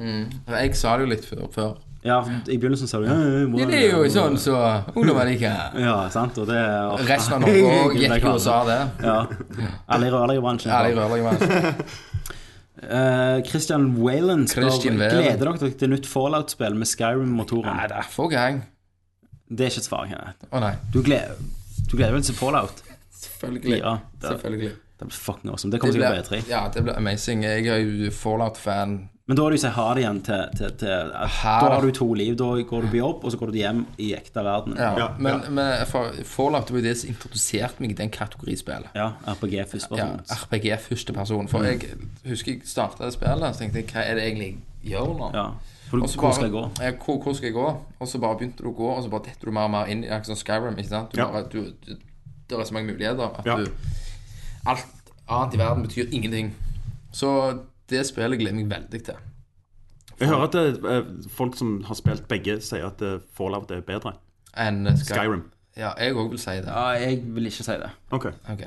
Speaker 3: Jeg sa det jo litt før. før.
Speaker 2: Ja, I begynnelsen sa du ja,
Speaker 3: Ja, det er jo sånn så ungdommer liker.
Speaker 2: Ja, sant, og det er
Speaker 3: Resten av (laughs) Norge også gikk jo og sa det.
Speaker 2: Ja. Alle i rørleggerbransjen.
Speaker 3: Alle i rørleggerbransjen.
Speaker 2: Eh, Christian Whalen spør
Speaker 3: Christian Whalen.
Speaker 2: Gleder dere dere til nytt Fallout-spill med Skyrim-motoren. Nei,
Speaker 3: det er for gang.
Speaker 2: Det er ikke et svar, Kenneth.
Speaker 3: Å, nei.
Speaker 2: Du, gleder, du gleder vel til Fallout?
Speaker 3: Selvfølgelig.
Speaker 2: Ja, det,
Speaker 3: Selvfølgelig.
Speaker 2: Det blir fucking awesome. Det kommer
Speaker 3: Det
Speaker 2: sikkert på
Speaker 3: blir-
Speaker 2: E3.
Speaker 3: Ja, det blir amazing. Jeg er jo Fallout-fan.
Speaker 2: Men da har du ikke ha det igjen til, til, til Da har du to liv. Da går du på jobb, og så går du hjem i ekte verden.
Speaker 3: Ja, men, men for Fallout det var jo det som introduserte meg i den kategorispillet.
Speaker 2: Ja, RPG førsteperson.
Speaker 3: Ja, Ah. RPG førsteperson. For
Speaker 2: Mm.
Speaker 3: jeg husker jeg starta det spillet, så tenkte jeg hva er det jeg egentlig jeg gjør nå?
Speaker 2: Ja, for du-
Speaker 3: Og
Speaker 2: Altså,
Speaker 3: så
Speaker 2: hvor
Speaker 3: bare-
Speaker 2: skal jeg gå?
Speaker 3: Ja, hvor, hvor skal jeg gå? Og så bare begynte du å gå, og så bare detter du mer og mer inn i akkurat som Skyrim. ikke sant? Du
Speaker 2: Ja.
Speaker 3: bare, du, du, det er så mange muligheter at
Speaker 2: Ja.
Speaker 3: du Alt annet i verden betyr ingenting. Så det spillet gleder jeg meg veldig til.
Speaker 1: Jeg hører at det, eh, folk som har spilt begge, sier at eh, Fallout er bedre.
Speaker 3: enn Sky-
Speaker 1: Skyrim.
Speaker 3: Ja, jeg òg vil si det.
Speaker 2: Ja, jeg vil ikke si det.
Speaker 1: OK.
Speaker 3: Ok.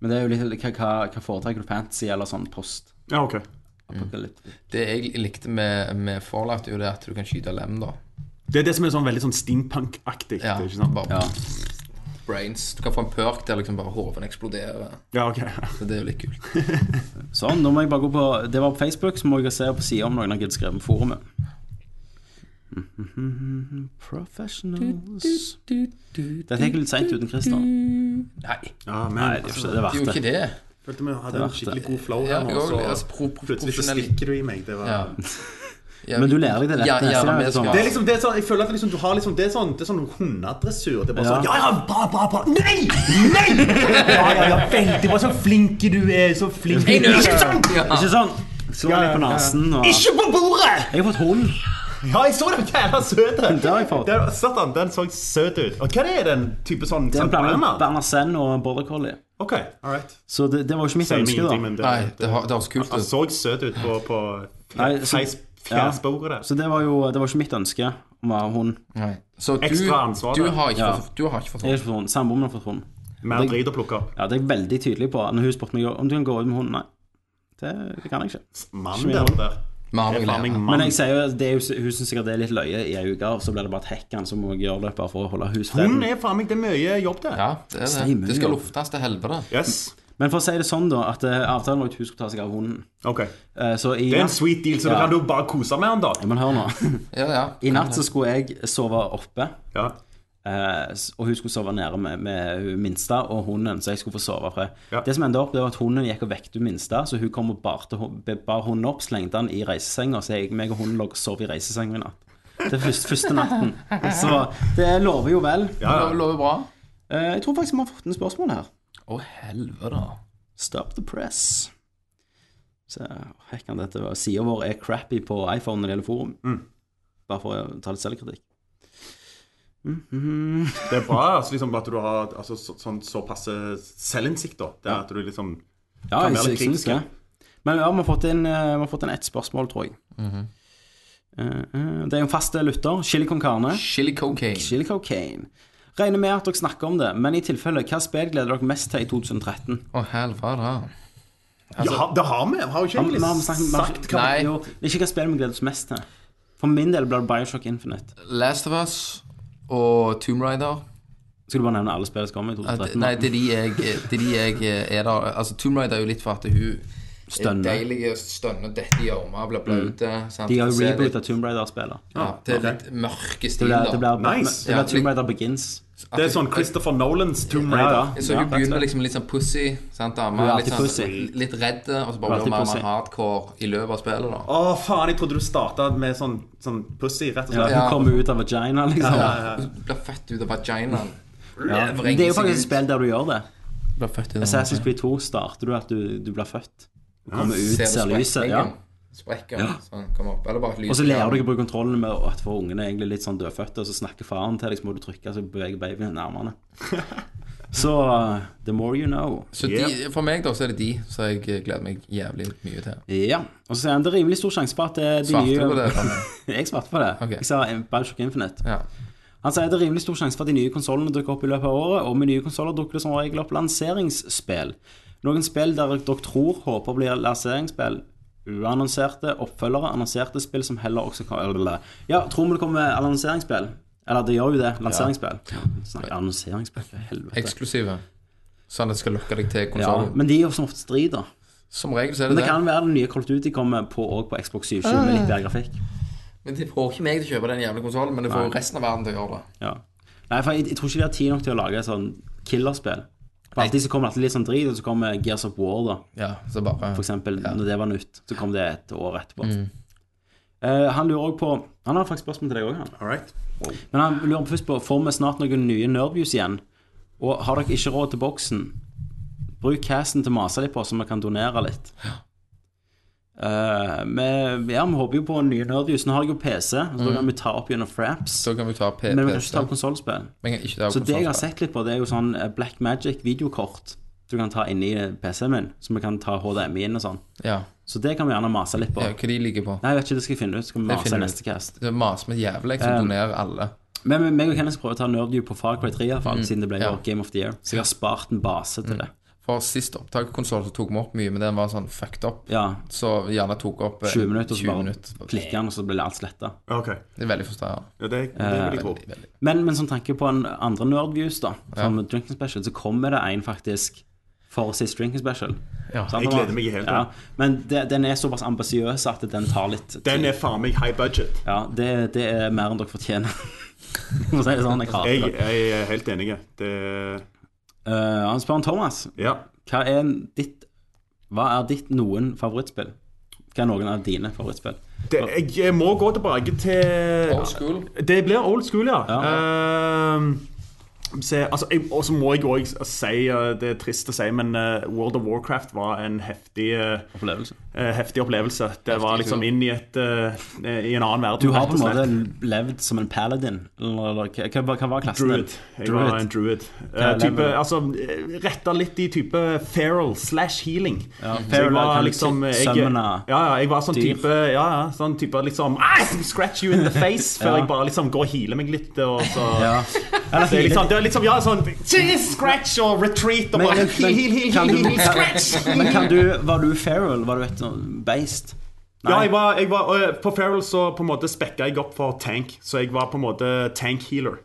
Speaker 2: Men det er jo litt hva, hva, hva foretrekker du? Fantasy eller sånn post?
Speaker 1: Ja, ok.
Speaker 3: Mm.
Speaker 2: Apokalypt.
Speaker 3: Det jeg likte med, med Fallout, er jo det at du kan skyte lem, da.
Speaker 1: Det er det som er sånn veldig sånn steampunk-aktig.
Speaker 3: Ja,
Speaker 1: ikke sant?
Speaker 3: bare
Speaker 2: Ja.
Speaker 3: brains. Du kan få en perk der liksom bare hoven eksploderer.
Speaker 1: Ja, ok.
Speaker 3: Så det er jo litt kult.
Speaker 2: Sånn, nå må jeg bare gå på Det var på Facebook, så må jeg se på sida om noen har giddet skrive med forumet. Mhm, Professionals Dette gikk litt seint uten Christer.
Speaker 3: Nei,
Speaker 1: (laughs) Ja, men,
Speaker 2: Nei, det er ikke det. Det er verdt
Speaker 3: det er jo ikke
Speaker 2: det.
Speaker 3: det.
Speaker 1: følte vi hadde en
Speaker 2: vært
Speaker 1: skikkelig god flow
Speaker 3: Ja,
Speaker 1: her
Speaker 3: jeg
Speaker 1: nå,
Speaker 3: også, altså,
Speaker 1: så
Speaker 3: pro, pro,
Speaker 1: plutselig så
Speaker 3: profesjonell-
Speaker 1: stikker du i meg. Det, var...
Speaker 2: (laughs)
Speaker 3: Ja. Ja,
Speaker 2: Men du lærer deg det rett
Speaker 3: ja,
Speaker 2: neste
Speaker 3: ja,
Speaker 2: gang,
Speaker 3: vi skal-
Speaker 2: Thomas.
Speaker 1: det er liksom, det er sånn, jeg føler at det liksom, du har liksom, det er sånn, det er sånn hundedressur. Det er bare
Speaker 2: Ja.
Speaker 1: sånn Ja, ja, bra, bra, bra. Nei!
Speaker 3: (laughs)
Speaker 1: Nei! Ja, ja, ja, veldig bra. Så flink du er. Så flink du er. Ikke sånn!
Speaker 2: Ikke sånn slå litt på nesen og
Speaker 1: Ikke på bordet!
Speaker 2: Jeg har fått hund.
Speaker 1: Ja, jeg så den jævla søte.
Speaker 2: Den har jeg fått.
Speaker 1: Der satt han, den så søt ut. Og hva er den type sånn?
Speaker 2: Det er en
Speaker 1: sånn
Speaker 2: blanding mellom
Speaker 1: Burma?
Speaker 2: Berner Senn og en border collie.
Speaker 1: Ok, all right.
Speaker 2: Så det, det var jo ikke mitt
Speaker 1: Sier meg
Speaker 2: ønske,
Speaker 1: ingenting,
Speaker 2: da.
Speaker 1: men det-
Speaker 3: Nei, det har- det høres kult
Speaker 1: Han
Speaker 3: ut.
Speaker 1: så søt ut på, på
Speaker 2: Nei, så-
Speaker 1: fjes-
Speaker 2: ja.
Speaker 1: fjesbordet der.
Speaker 2: Så det var jo det var ikke mitt ønske om å ha hund.
Speaker 3: Nei. Så du,
Speaker 1: Ekstra ansvar,
Speaker 3: du
Speaker 1: det.
Speaker 3: har ikke
Speaker 2: Ja.
Speaker 3: fått, du har ikke fått
Speaker 2: Jeg har ikke fått hund. Samboeren min har fått hund.
Speaker 1: Mer drit å plukke opp.
Speaker 2: Ja, det er jeg veldig tydelig på. Når hun spurte meg om du kan gå ut med hund, nei. Det, det kan jeg ikke.
Speaker 1: Mann der, og der.
Speaker 3: Vi har
Speaker 1: Det er
Speaker 3: noe
Speaker 1: faen meg
Speaker 3: lære.
Speaker 2: Men
Speaker 1: mann.
Speaker 2: jeg sier jo at det er, jo- hun syns sikkert det er litt løye i ei uke, og så blir det bare et hekkan som må jeg gjøre det bare for å holde
Speaker 1: Hun
Speaker 2: husfreden.
Speaker 1: er faen meg det er mye jobb der.
Speaker 3: Ja, det er
Speaker 2: Sier
Speaker 3: det.
Speaker 2: mye,
Speaker 3: Det skal
Speaker 2: ja.
Speaker 3: luftes til helvete.
Speaker 1: Yes.
Speaker 2: Men for å si det sånn, da, at eh, avtalen var at hun skulle ta seg av hunden.
Speaker 1: Ok.
Speaker 2: Eh, Så i
Speaker 1: Det er en sweet deal, så
Speaker 2: Ja.
Speaker 1: da kan du bare kose med han, da.
Speaker 2: Ja, Men hør
Speaker 1: (laughs)
Speaker 2: nå.
Speaker 3: Ja, ja.
Speaker 2: I natt så skulle jeg sove oppe.
Speaker 1: Ja.
Speaker 2: Eh, s- og hun skulle sove nede med, med hun minste og hunden, så jeg skulle få sove fra.
Speaker 1: Ja.
Speaker 2: Det som endte opp, det var at hunden gikk og vekket hun minste, så hun kom og barte, hun- be- bar hunden opp, slengte den i reisesenga, så jeg meg og hunden lå og sov i reisesenga i natt. Det er første,
Speaker 1: (laughs)
Speaker 2: første natten. Så det lover jo vel.
Speaker 1: Ja,
Speaker 3: Det
Speaker 1: ja.
Speaker 3: lover bra.
Speaker 2: Eh, jeg tror faktisk vi har fått en spørsmål her.
Speaker 3: Å, helvete.
Speaker 2: Stop the press. Så hekken dette var Sida vår er crappy på iPhone når det gjelder forum. Bare for å ta litt selvkritikk.
Speaker 1: Det er bra altså, liksom, at du har altså, så, sånn såpass selvinnsikt, da. Det er at du liksom
Speaker 2: Ja,
Speaker 1: Kan
Speaker 2: jeg,
Speaker 1: være
Speaker 2: jeg
Speaker 1: litt
Speaker 2: synes det. Men ja, vi har fått inn, eh, vi har fått inn ett spørsmål, tror jeg.
Speaker 3: Mhm.
Speaker 2: Eh, eh, det er jo en fast lytter. Chili con carne.
Speaker 3: Chili cocaine.
Speaker 2: Chili cocaine. Regner med at dere snakker om det, men i tilfelle, hva spill gleder dere mest til i 2013?
Speaker 3: Å, helvete. Altså-
Speaker 1: ja, Det har vi. Har jo ikke
Speaker 2: Har vi-
Speaker 1: egentlig
Speaker 2: vi har snakket- vi har-
Speaker 1: sagt hva
Speaker 3: Nei.
Speaker 2: Jo, det er ikke hva spill vi gleder oss mest til. For min del blir det Bioshock Infinite.
Speaker 3: Last of Us og Tomb Raider.
Speaker 2: Skal du bare nevne alle spill som kommer i
Speaker 3: Ja, det-
Speaker 2: 2013?
Speaker 3: Nei, det er de jeg, det er, de jeg er der Altså, Tomb Raider er jo litt for at hun
Speaker 2: Stønner. Mm.
Speaker 3: er deilig og stønner, detter i armer, blir blaute. sant?
Speaker 2: De har jo
Speaker 3: Så er det-
Speaker 2: reboota Tomb Raider-spillet.
Speaker 3: Ja, det er litt mørke
Speaker 2: Det
Speaker 3: stil,
Speaker 2: blir,
Speaker 3: da.
Speaker 2: det blir,
Speaker 1: Nice.
Speaker 2: det blir
Speaker 3: Ja,
Speaker 2: Tomb Raider Begins.
Speaker 3: At
Speaker 1: Det er
Speaker 3: hun-
Speaker 1: sånn Christopher Nolans Tomb
Speaker 2: Ja,
Speaker 1: Raider.
Speaker 2: ja.
Speaker 3: Så hun begynner med liksom litt sånn pussy, sant,
Speaker 2: Hun er
Speaker 3: dame? Litt,
Speaker 2: alltid pussy.
Speaker 3: sånn, litt redd, og så bare
Speaker 2: Hun er
Speaker 3: blir hun mer
Speaker 2: alltid
Speaker 3: mer hardcore i løpet av spillet, da.
Speaker 1: Å, faen, jeg trodde du starta med sånn, sånn pussy, rett og
Speaker 2: Ja,
Speaker 1: slett.
Speaker 2: hun kommer ut av vagina, liksom.
Speaker 3: Hun blir født ut av vaginaen.
Speaker 2: Ja. Men Det er jo faktisk et spill der du gjør det.
Speaker 3: Blir født ut av
Speaker 2: Assassin's Creed 2 starter du at du, du blir født. Du kommer ut, ser lyset. Ja.
Speaker 3: Sprekker, sånn, kommer opp. Eller bare lyset.
Speaker 2: Og så lærer du ikke å bruke kontrollen med at for ungene er egentlig litt sånn dødfødte, og så snakker faren til deg, så må du trykke, så beveger babyen nærmere.
Speaker 3: (laughs)
Speaker 2: Så uh, the more you know.
Speaker 3: Så de, for meg, da, så er det de som jeg gleder meg jævlig mye til.
Speaker 2: Ja. Og så sier han det er rimelig stor sjanse for at det er de
Speaker 3: Svarte
Speaker 2: nye
Speaker 3: du på det? Rane?
Speaker 2: (laughs) Jeg svarte på det.
Speaker 3: Ok.
Speaker 2: Jeg sa eh, Bioshock Infinite.
Speaker 3: Ja.
Speaker 2: Han sier det er rimelig stor sjanse for at de nye konsollene dukker opp i løpet av året, og med nye konsoller dukker det som regel opp lanseringsspill. Noen spill der dere tror håper blir lanseringsspill. Uannonserte oppfølgere, annonserte spill som heller også kan eller- eller- Ja, tror vi det kommer lanseringsspill? Eller det gjør jo det. Lanseringsspill. Snakk annonseringsspill, for helvete.
Speaker 3: Eksklusive. Sånn at det skal lokke deg til
Speaker 2: Ja,
Speaker 3: konsollen.
Speaker 2: men de er jo som ofte strid, da.
Speaker 3: Som regel så er
Speaker 2: Men
Speaker 3: det
Speaker 2: det
Speaker 3: det.
Speaker 2: kan være den nye Colt Duty kommer på òg på Xbox 720 med litt bedre grafikk.
Speaker 3: Men De får ikke meg til å kjøpe den jævla konsollen, men det får jo resten av verden til å gjøre det.
Speaker 2: Ja. Nei, for jeg, jeg tror ikke de har tid nok til å lage et sånn killerspill. For alltid så kommer det alltid litt sånn drit, og så kommer Gears of War, da.
Speaker 3: Ja, Mm. så bare
Speaker 2: For eksempel, når det var nytt, så kom det et år etterpå. Eh, han lurer også på Han har faktisk spørsmål til deg òg, han.
Speaker 1: All right.
Speaker 2: Men han lurer først på Får vi snart noen nye Nerviews igjen. Og har dere ikke råd til boksen, bruk casen til å mase litt på, så vi kan donere litt. Eh, vi, ja, vi håper jo på nye Nerviews. Nå har jeg jo PC, så da kan vi ta opp gjennom Fraps.
Speaker 3: Mm. Så kan vi ta
Speaker 2: Men vi kan ikke
Speaker 3: PPC.
Speaker 2: ta opp konsollspill.
Speaker 3: Men jeg kan ikke ta
Speaker 2: Så det jeg har
Speaker 3: konsolspill.
Speaker 2: sett litt på, det er jo sånn eh, Black Magic videokort. du kan ta inni PC-en min, så vi kan ta HDMI-en og sånn.
Speaker 3: Ja.
Speaker 2: Så det kan vi gjerne mase litt på.
Speaker 3: Ja, hva de ligger på.
Speaker 2: Nei, jeg vet ikke, det skal jeg finne ut. Så skal vi
Speaker 3: Det
Speaker 2: mase
Speaker 3: finner
Speaker 2: i
Speaker 3: vi
Speaker 2: neste cast.
Speaker 3: Det maser med jævlig, så
Speaker 2: Eh,
Speaker 3: donerer alle.
Speaker 2: Men men meg og Kenneth skal prøve å ta Nerdview på Far Cry 3, i hvert fall,
Speaker 3: Mm,
Speaker 2: siden det ble
Speaker 3: ja. Mm.
Speaker 2: vår Game of the Year. Så jeg har spart en base til det.
Speaker 3: For sist opptakskonsoll så tok vi opp mye, men den var sånn fucked up.
Speaker 2: Ja.
Speaker 3: Så vi gjerne tok opp eh,
Speaker 2: 20 minutter, så
Speaker 3: 20
Speaker 2: bare
Speaker 3: minutter.
Speaker 2: klikker han, og så blir alt sletta.
Speaker 1: Ok.
Speaker 3: Det er veldig frustrerende.
Speaker 1: Ja, det, det vil jeg tro.
Speaker 3: Veldig, veldig.
Speaker 2: Men, men som tanke på en andre Nerdviews, da,
Speaker 3: Ja.
Speaker 2: som Drinking Special, så kommer det en faktisk for sist Drinking Special.
Speaker 3: Ja.
Speaker 2: Sant,
Speaker 1: Jeg
Speaker 2: Thomas?
Speaker 1: gleder meg i hele
Speaker 2: Ja.
Speaker 1: tatt.
Speaker 2: Men det, den er såpass ambisiøs at den tar litt tid.
Speaker 1: Den er faen meg high budget.
Speaker 2: Ja, det, det er mer enn dere fortjener. (laughs) For å si det sånn, jeg hater
Speaker 1: Jeg,
Speaker 2: det.
Speaker 1: jeg er helt enig. Det
Speaker 2: Eh, han spør om Thomas.
Speaker 1: Ja.
Speaker 2: Hva er ditt Hva er ditt noen favorittspill? Hva er noen av dine favorittspill?
Speaker 1: Det, jeg, jeg må gå tilbake til
Speaker 3: Old school.
Speaker 1: Det blir old school, ja. Ehm, se, altså, jeg, og så må jeg òg si eh, Det er trist å si, men eh, World of Warcraft var en heftig eh,
Speaker 2: Opplevelse.
Speaker 1: eh, Heftig opplevelse. Det var
Speaker 3: Heftig
Speaker 1: liksom
Speaker 3: tur.
Speaker 1: inn i, et, eh, i en annen verden.
Speaker 2: Du har
Speaker 1: rett
Speaker 2: på
Speaker 1: og
Speaker 2: en
Speaker 1: slett.
Speaker 2: måte levd som en paladin, eller, eller hva- hva, hva var klassen
Speaker 1: Druid. Jeg var en druid. Eh, type,
Speaker 2: level?
Speaker 1: altså, retta litt i type feral slash healing.
Speaker 2: Ja,
Speaker 1: Så
Speaker 2: feral,
Speaker 1: jeg var
Speaker 2: kan
Speaker 1: liksom
Speaker 2: du
Speaker 1: jeg,
Speaker 2: summona
Speaker 1: ja, ja, jeg var sånn
Speaker 2: dyr?
Speaker 1: type Ja, ja, sånn type liksom ah, Scratch you in the face
Speaker 2: (laughs)
Speaker 1: før
Speaker 2: Ja.
Speaker 1: jeg bare liksom går og healer meg litt. Og så, (laughs)
Speaker 2: Ja.
Speaker 1: det, er liksom, det er liksom Ja, sånn geez, Scratch og retreat og
Speaker 2: Men-
Speaker 1: bare
Speaker 2: men-
Speaker 1: heal, heal, heal,
Speaker 2: kan
Speaker 1: heal,
Speaker 2: du-
Speaker 1: heal, scratch!
Speaker 2: Men kan du, var du feral? Var du et sånn beist?
Speaker 1: Ja, jeg var, jeg var, og, eh, på feral så på en måte spekka jeg opp for tank, så jeg var på en måte tank healer.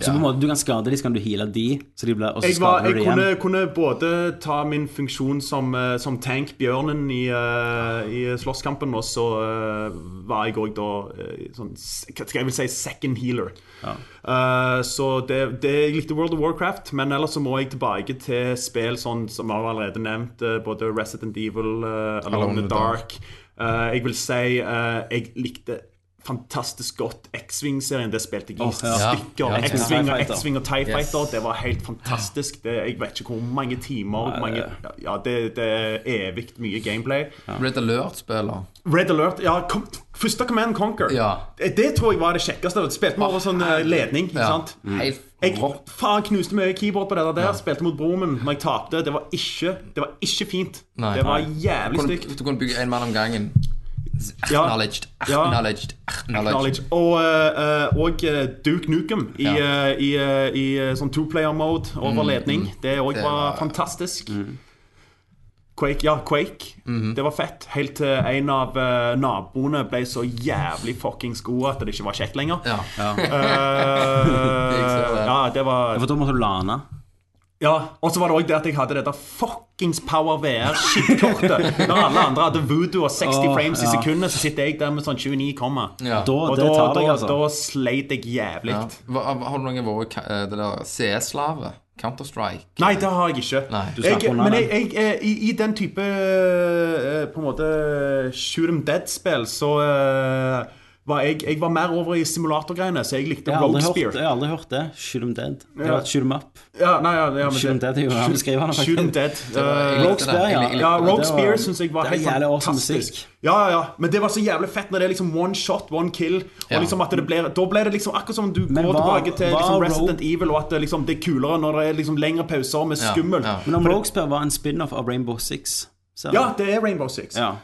Speaker 2: Så på en måte du kan skade de, så kan du heale de, så de blir, og så
Speaker 1: Jeg, var,
Speaker 2: skader du
Speaker 1: jeg
Speaker 2: de
Speaker 1: kunne,
Speaker 2: igjen.
Speaker 1: kunne både ta min funksjon som, eh, som tank-bjørnen i, eh, i slåsskampen, og så eh, var jeg òg da eh, sånn, s- Hva skal jeg vel si second healer. Eh, så det, det Jeg likte World of Warcraft, men ellers så må jeg tilbake til spill sånn som jeg har allerede nevnt, eh, både Resident Evil, eh, Alone in the Dark. Eh, jeg vil si eh, jeg likte fantastisk godt X-Wing-serien. Det spilte jeg i
Speaker 2: Åh, ja.
Speaker 1: stykker.
Speaker 2: Ja, ja.
Speaker 1: X-Wing og
Speaker 2: Fighter.
Speaker 1: X-Wing og TIE Fighter, det var helt fantastisk. Det, jeg vet ikke hvor mange timer hvor mange, ja, det, det er evig mye gameplay.
Speaker 3: Red Alert-spiller.
Speaker 1: Red Alert ja, kom, Første Command Conquer.
Speaker 3: Ja.
Speaker 1: Det det tror jeg var det kjekkeste. Spilte vi over sånn eh, ledning. Ikke
Speaker 3: Ja. Mm.
Speaker 1: sant?
Speaker 3: Helt
Speaker 1: Jeg
Speaker 3: rått.
Speaker 1: faen knuste mye keyboard på det der. Spilte mot broren min når jeg tapte. Det var ikke, det var ikke fint.
Speaker 3: Nei.
Speaker 1: det var
Speaker 3: Nei. Du
Speaker 1: jævlig
Speaker 3: kunne,
Speaker 1: stygt.
Speaker 3: du kunne bygge en mann om gangen.
Speaker 1: Ja.
Speaker 3: Acknowledged.
Speaker 1: Ja.
Speaker 3: Acknowledged. Acknowledged.
Speaker 1: Knowledge. Og, eh, og eh, Duke Nukem i,
Speaker 3: Ja. Mm.
Speaker 1: eh, i, eh, i eh, sånn two-player-mode over ledning. Det òg
Speaker 3: Det
Speaker 1: var,
Speaker 3: var- Mm.
Speaker 1: fantastisk. Quake, ja, Quake.
Speaker 3: Mm-hmm.
Speaker 1: Det var fett. Helt til en av eh, naboene ble så jævlig fuckings god at det ikke var kjekt lenger.
Speaker 3: Ja. Jeg ser
Speaker 1: Eh,
Speaker 3: (laughs) det.
Speaker 1: ja, det var
Speaker 2: For da måtte du lane.
Speaker 1: ja. Og så var det òg det at jeg hadde dette fuckings Power VR-skittkortet. Når alle andre hadde voodoo og 60
Speaker 2: Åh,
Speaker 1: frames i
Speaker 2: ja.
Speaker 1: sekundet, så sitter jeg der med sånn 29 komma.
Speaker 3: Ja.
Speaker 2: Da,
Speaker 1: Og
Speaker 2: det
Speaker 1: da,
Speaker 2: tar deg,
Speaker 1: da,
Speaker 2: altså.
Speaker 1: da sleit jeg jævlig.
Speaker 3: Ja. Hva- Har du noen vært ka- eh, det der CS-slave? Counter-Strike?
Speaker 1: Nei, det har jeg ikke.
Speaker 3: Nei. Du
Speaker 2: slapp
Speaker 1: jeg,
Speaker 2: unna
Speaker 1: men
Speaker 2: den.
Speaker 1: jeg, jeg, eh, i, i den type eh, På en måte shoot em dead-spill, så eh, var jeg, jeg var mer over i simulatorgreiene, så jeg likte
Speaker 2: Jeg har
Speaker 1: Rogue
Speaker 2: aldri
Speaker 1: Spear.
Speaker 2: hørt, jeg har aldri hørt det. Shoot 'em dead. Det var et Shoot 'em up.
Speaker 1: Ja, nei, ja, ja, men
Speaker 2: Shoot 'em
Speaker 1: det-
Speaker 2: dead er jo han skriver han.
Speaker 1: Shoot 'em
Speaker 2: faktisk.
Speaker 1: dead.
Speaker 3: var-
Speaker 1: eh,
Speaker 2: Rogue Spear, ja.
Speaker 3: Jeg- jeg-
Speaker 1: Ja, Rogue
Speaker 2: Det
Speaker 1: Spear syns jeg var
Speaker 2: det
Speaker 1: helt
Speaker 2: er jævlig awesome
Speaker 1: fantastisk.
Speaker 2: musikk.
Speaker 1: Ja, ja, ja. Men det var så jævlig fett når det er liksom one shot, one kill. Og
Speaker 3: Ja.
Speaker 1: liksom at det blir, Da blir det liksom akkurat som du
Speaker 2: Men
Speaker 1: går
Speaker 2: hva-
Speaker 1: tilbake til
Speaker 2: hva
Speaker 1: liksom
Speaker 2: Rogue-
Speaker 1: Resident Evil, og at det, liksom, det er kulere når det er liksom lengre pauser med
Speaker 3: Ja,
Speaker 1: skummelt.
Speaker 3: ja.
Speaker 2: Men om Roguespear var en spin-off av Rainbow Six så-
Speaker 1: Ja, det er Rainbow Six.
Speaker 2: Ja.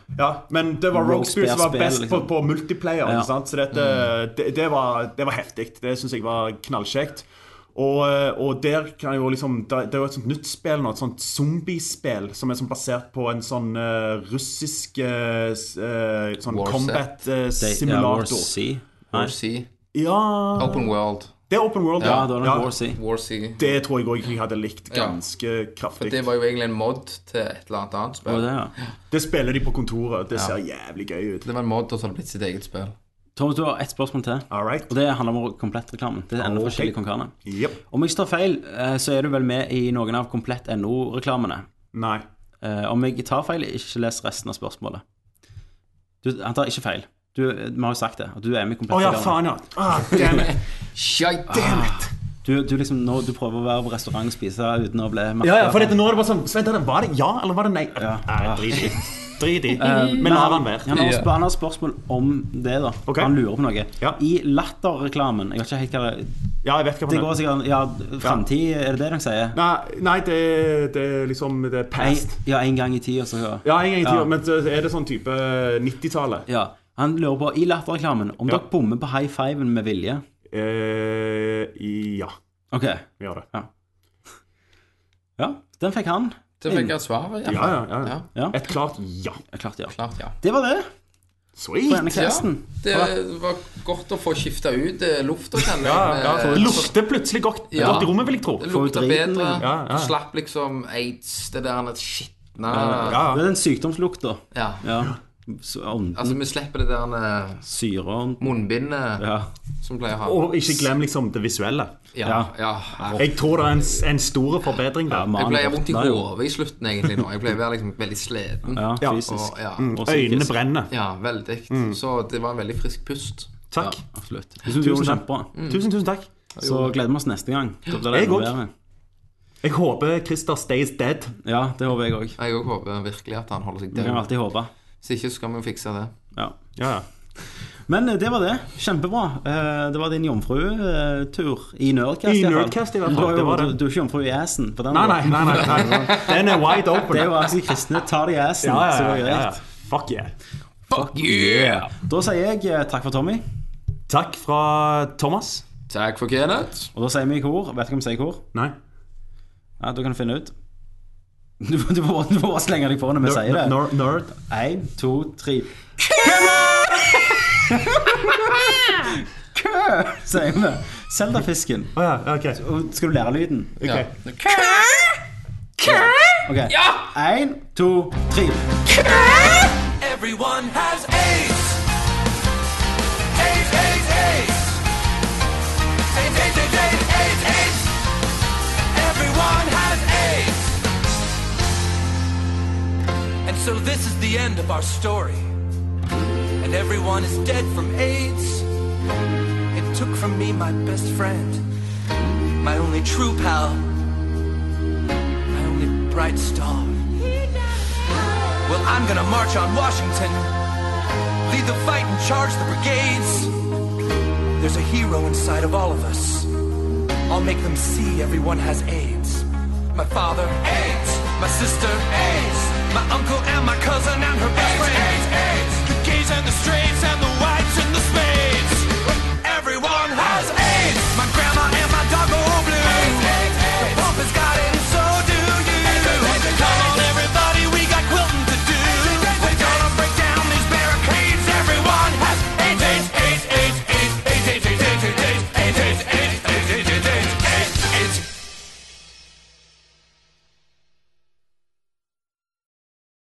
Speaker 1: Men det var Rogue,
Speaker 2: Rogue
Speaker 1: Spear som var
Speaker 2: Spear-spill,
Speaker 1: best
Speaker 2: liksom.
Speaker 1: på, på multiplayer.
Speaker 2: Ja. Mm.
Speaker 1: Ikke sant? Så dette, det, det var, det var heftig. Det syns jeg var knallkjekt. Og, eh, og der kan jeg jo liksom Det det er jo et sånt nytt spill nå, et sånt zombiespill som er sånn basert på en sånn eh, russisk eh, s- eh, sånn
Speaker 3: War Z.
Speaker 2: Det- ja, War
Speaker 1: combat-simulator.
Speaker 2: C.
Speaker 3: War C.
Speaker 1: ja,
Speaker 3: Open World.
Speaker 1: Det er open world.
Speaker 2: Ja, det var nok War C.
Speaker 3: War C.
Speaker 1: Det tror jeg òg jeg hadde likt
Speaker 3: Ja.
Speaker 1: ganske kraftig.
Speaker 3: Det var jo egentlig en mod til et eller annet annet
Speaker 2: Det var
Speaker 3: spill.
Speaker 2: det, ja.
Speaker 1: Det spiller de på kontoret. Det ser jævlig gøy ut.
Speaker 3: Det var en mod, og så har det blitt sitt eget spill.
Speaker 2: Thomas, du har ett spørsmål til.
Speaker 1: All right.
Speaker 2: Og det handler om komplettreklamen. Det er enda
Speaker 1: Ok.
Speaker 2: for Chili Con Carne.
Speaker 1: Jep.
Speaker 2: Om jeg ikke tar feil, eh, så er du vel med i noen av Komplett.no-reklamene.
Speaker 1: Nei.
Speaker 2: Eh, om jeg tar feil, ikke les resten av spørsmålet. Du, han tar ikke feil. Du, vi har jo sagt det. at Du er med i
Speaker 1: Å ja,
Speaker 2: Komplett.no.
Speaker 1: faen, ja. Ah, damn it.
Speaker 3: Shite!
Speaker 2: du, du, liksom, nå, du prøver å være på restaurant og spise uten å bli merket.
Speaker 1: Ja, ja, for dette, nå er det bare sånn Vent, var det ja, eller var det nei?
Speaker 2: Ja.
Speaker 1: Nei, drit i. Drit i. (laughs) Men lar han være.
Speaker 2: Han har,
Speaker 3: Ja.
Speaker 2: sp- han har spørsmål om det, da.
Speaker 1: Ok.
Speaker 2: Han lurer på noe.
Speaker 1: Ja.
Speaker 2: I latterreklamen Jeg vet ikke helt hva det
Speaker 1: Ja, jeg vet hva
Speaker 2: Det går sikkert Ja, framtid, er det det dere sier?
Speaker 1: Nei, nei det, er- det er liksom Det er
Speaker 2: En,
Speaker 1: past.
Speaker 2: ja, en gang i tida, så ja.
Speaker 1: Ja, en gang i tida,
Speaker 2: Ja.
Speaker 1: men så er det sånn type 90-tallet?
Speaker 2: ja. Han lurer på, i latterreklamen, om dere bommer på high fiven med vilje.
Speaker 1: Eh, i- ja,
Speaker 2: Ok.
Speaker 1: vi gjør det.
Speaker 2: Ja. Ja, den fikk han.
Speaker 3: Så
Speaker 2: Ah.
Speaker 3: fikk jeg svaret. i hvert
Speaker 1: Ja,
Speaker 3: fall.
Speaker 1: ja, ja. ja.
Speaker 2: Ja.
Speaker 1: Et klart ja.
Speaker 2: Ja, Klart, ja.
Speaker 3: Klart, ja.
Speaker 2: Det var det. På
Speaker 1: Sweet!
Speaker 2: denne casten.
Speaker 3: Det var godt å få skifta ut eh, lufta, kjenner
Speaker 1: Ja,
Speaker 3: jeg.
Speaker 1: ja,
Speaker 3: Eh,
Speaker 1: det lukter plutselig godt,
Speaker 3: Ja.
Speaker 1: godt i rommet, vil jeg tro.
Speaker 3: Det
Speaker 2: Få ut
Speaker 3: lukta
Speaker 2: driten,
Speaker 3: bedre.
Speaker 2: liksom.
Speaker 1: Ja, ja.
Speaker 3: Du slapp liksom aids, det der skitne
Speaker 1: Ja,
Speaker 2: Det er den sykdomslukta.
Speaker 3: ja.
Speaker 2: Ja. Så ånden,
Speaker 3: Altså, vi slipper det der eh,
Speaker 2: syreånden.
Speaker 3: munnbindet
Speaker 2: Ja.
Speaker 3: som pleier å ha.
Speaker 1: Og ikke glem liksom det visuelle.
Speaker 3: Ja, ja.
Speaker 1: Jeg tror det er en, en stor forbedring
Speaker 2: Ja,
Speaker 1: der.
Speaker 2: mannen
Speaker 3: Jeg ble vondt i
Speaker 2: borte der, jo.
Speaker 3: hodet i slutten, egentlig. nå Jeg ble bare liksom veldig sliten.
Speaker 2: Ja,
Speaker 1: Ja.
Speaker 2: fysisk.
Speaker 3: Og, ja.
Speaker 2: Og psykisk.
Speaker 1: Øynene brenner.
Speaker 3: ja, veldig. Så det var en veldig frisk pust.
Speaker 1: Takk.
Speaker 2: Ja, absolutt. Mm. Jeg synes du gjorde det kjempebra.
Speaker 1: Tusen, tusen takk.
Speaker 2: Så gleder vi oss neste gang. Da blir det
Speaker 1: Jeg
Speaker 2: enda
Speaker 1: også.
Speaker 2: bedre.
Speaker 1: Jeg håper Christer stays dead.
Speaker 2: Ja, det håper jeg òg.
Speaker 3: Jeg også håper virkelig at han holder seg
Speaker 2: Det kan
Speaker 3: død.
Speaker 2: alltid håpe.
Speaker 3: Hvis ikke, så skal vi jo fikse det.
Speaker 2: Ja.
Speaker 1: Ja, ja.
Speaker 2: Men eh, det var det. Kjempebra. Eh, Det var din jomfrutur i Nerdcast.
Speaker 1: I
Speaker 2: hvert fall.
Speaker 1: Nerdcast i hvert fall,
Speaker 2: Du, har jo-
Speaker 1: det var det.
Speaker 2: du, du er ikke jomfru i assen. På den
Speaker 1: Nei, nei,
Speaker 2: måten.
Speaker 1: nei, nei, nei. Den er wide open.
Speaker 2: Det er jo altså kristne tar det i assen.
Speaker 1: Ja,
Speaker 2: så
Speaker 1: ja,
Speaker 2: det
Speaker 1: ja,
Speaker 2: er
Speaker 1: ja.
Speaker 2: greit.
Speaker 1: Fuck yeah.
Speaker 3: Fuck yeah!
Speaker 2: Da sier jeg eh, takk for Tommy,
Speaker 1: Takk fra Thomas.
Speaker 3: Takk for Kenneth.
Speaker 2: og da sier vi i kor. Vet du hva vi sier i kor?
Speaker 1: Nei.
Speaker 2: Ja, du kan finne ut. Du, du, må, du må bare slenge deg på når vi sier det.
Speaker 1: Nerd. nerd.
Speaker 2: Én, to, tre. Kø! Kø, sier vi. Seldafisken.
Speaker 1: Å ja, ok.
Speaker 2: Og Skal du lære lyden?
Speaker 3: Ja.
Speaker 1: Ok.
Speaker 2: Ok. Én, to, tre.
Speaker 5: Everyone has AIDS. AIDS, AIDS, AIDS. AIDS, AIDS, AIDS, AIDS, AIDS, AIDS. Everyone has AIDS. And so this is the end of our story. And everyone is dead from AIDS. It took from me my best friend, my only true pal, my only bright star. Well, I'm gonna march on Washington, lead the fight and charge the brigades. There's a hero inside of all of us. I'll make them see everyone has AIDS. My father, AIDS. My sister, AIDS. My uncle and my cousin and her best friend, AIDS, AIDS. The gays and the straights and the whites and the spades. Everyone has AIDS. My grandma.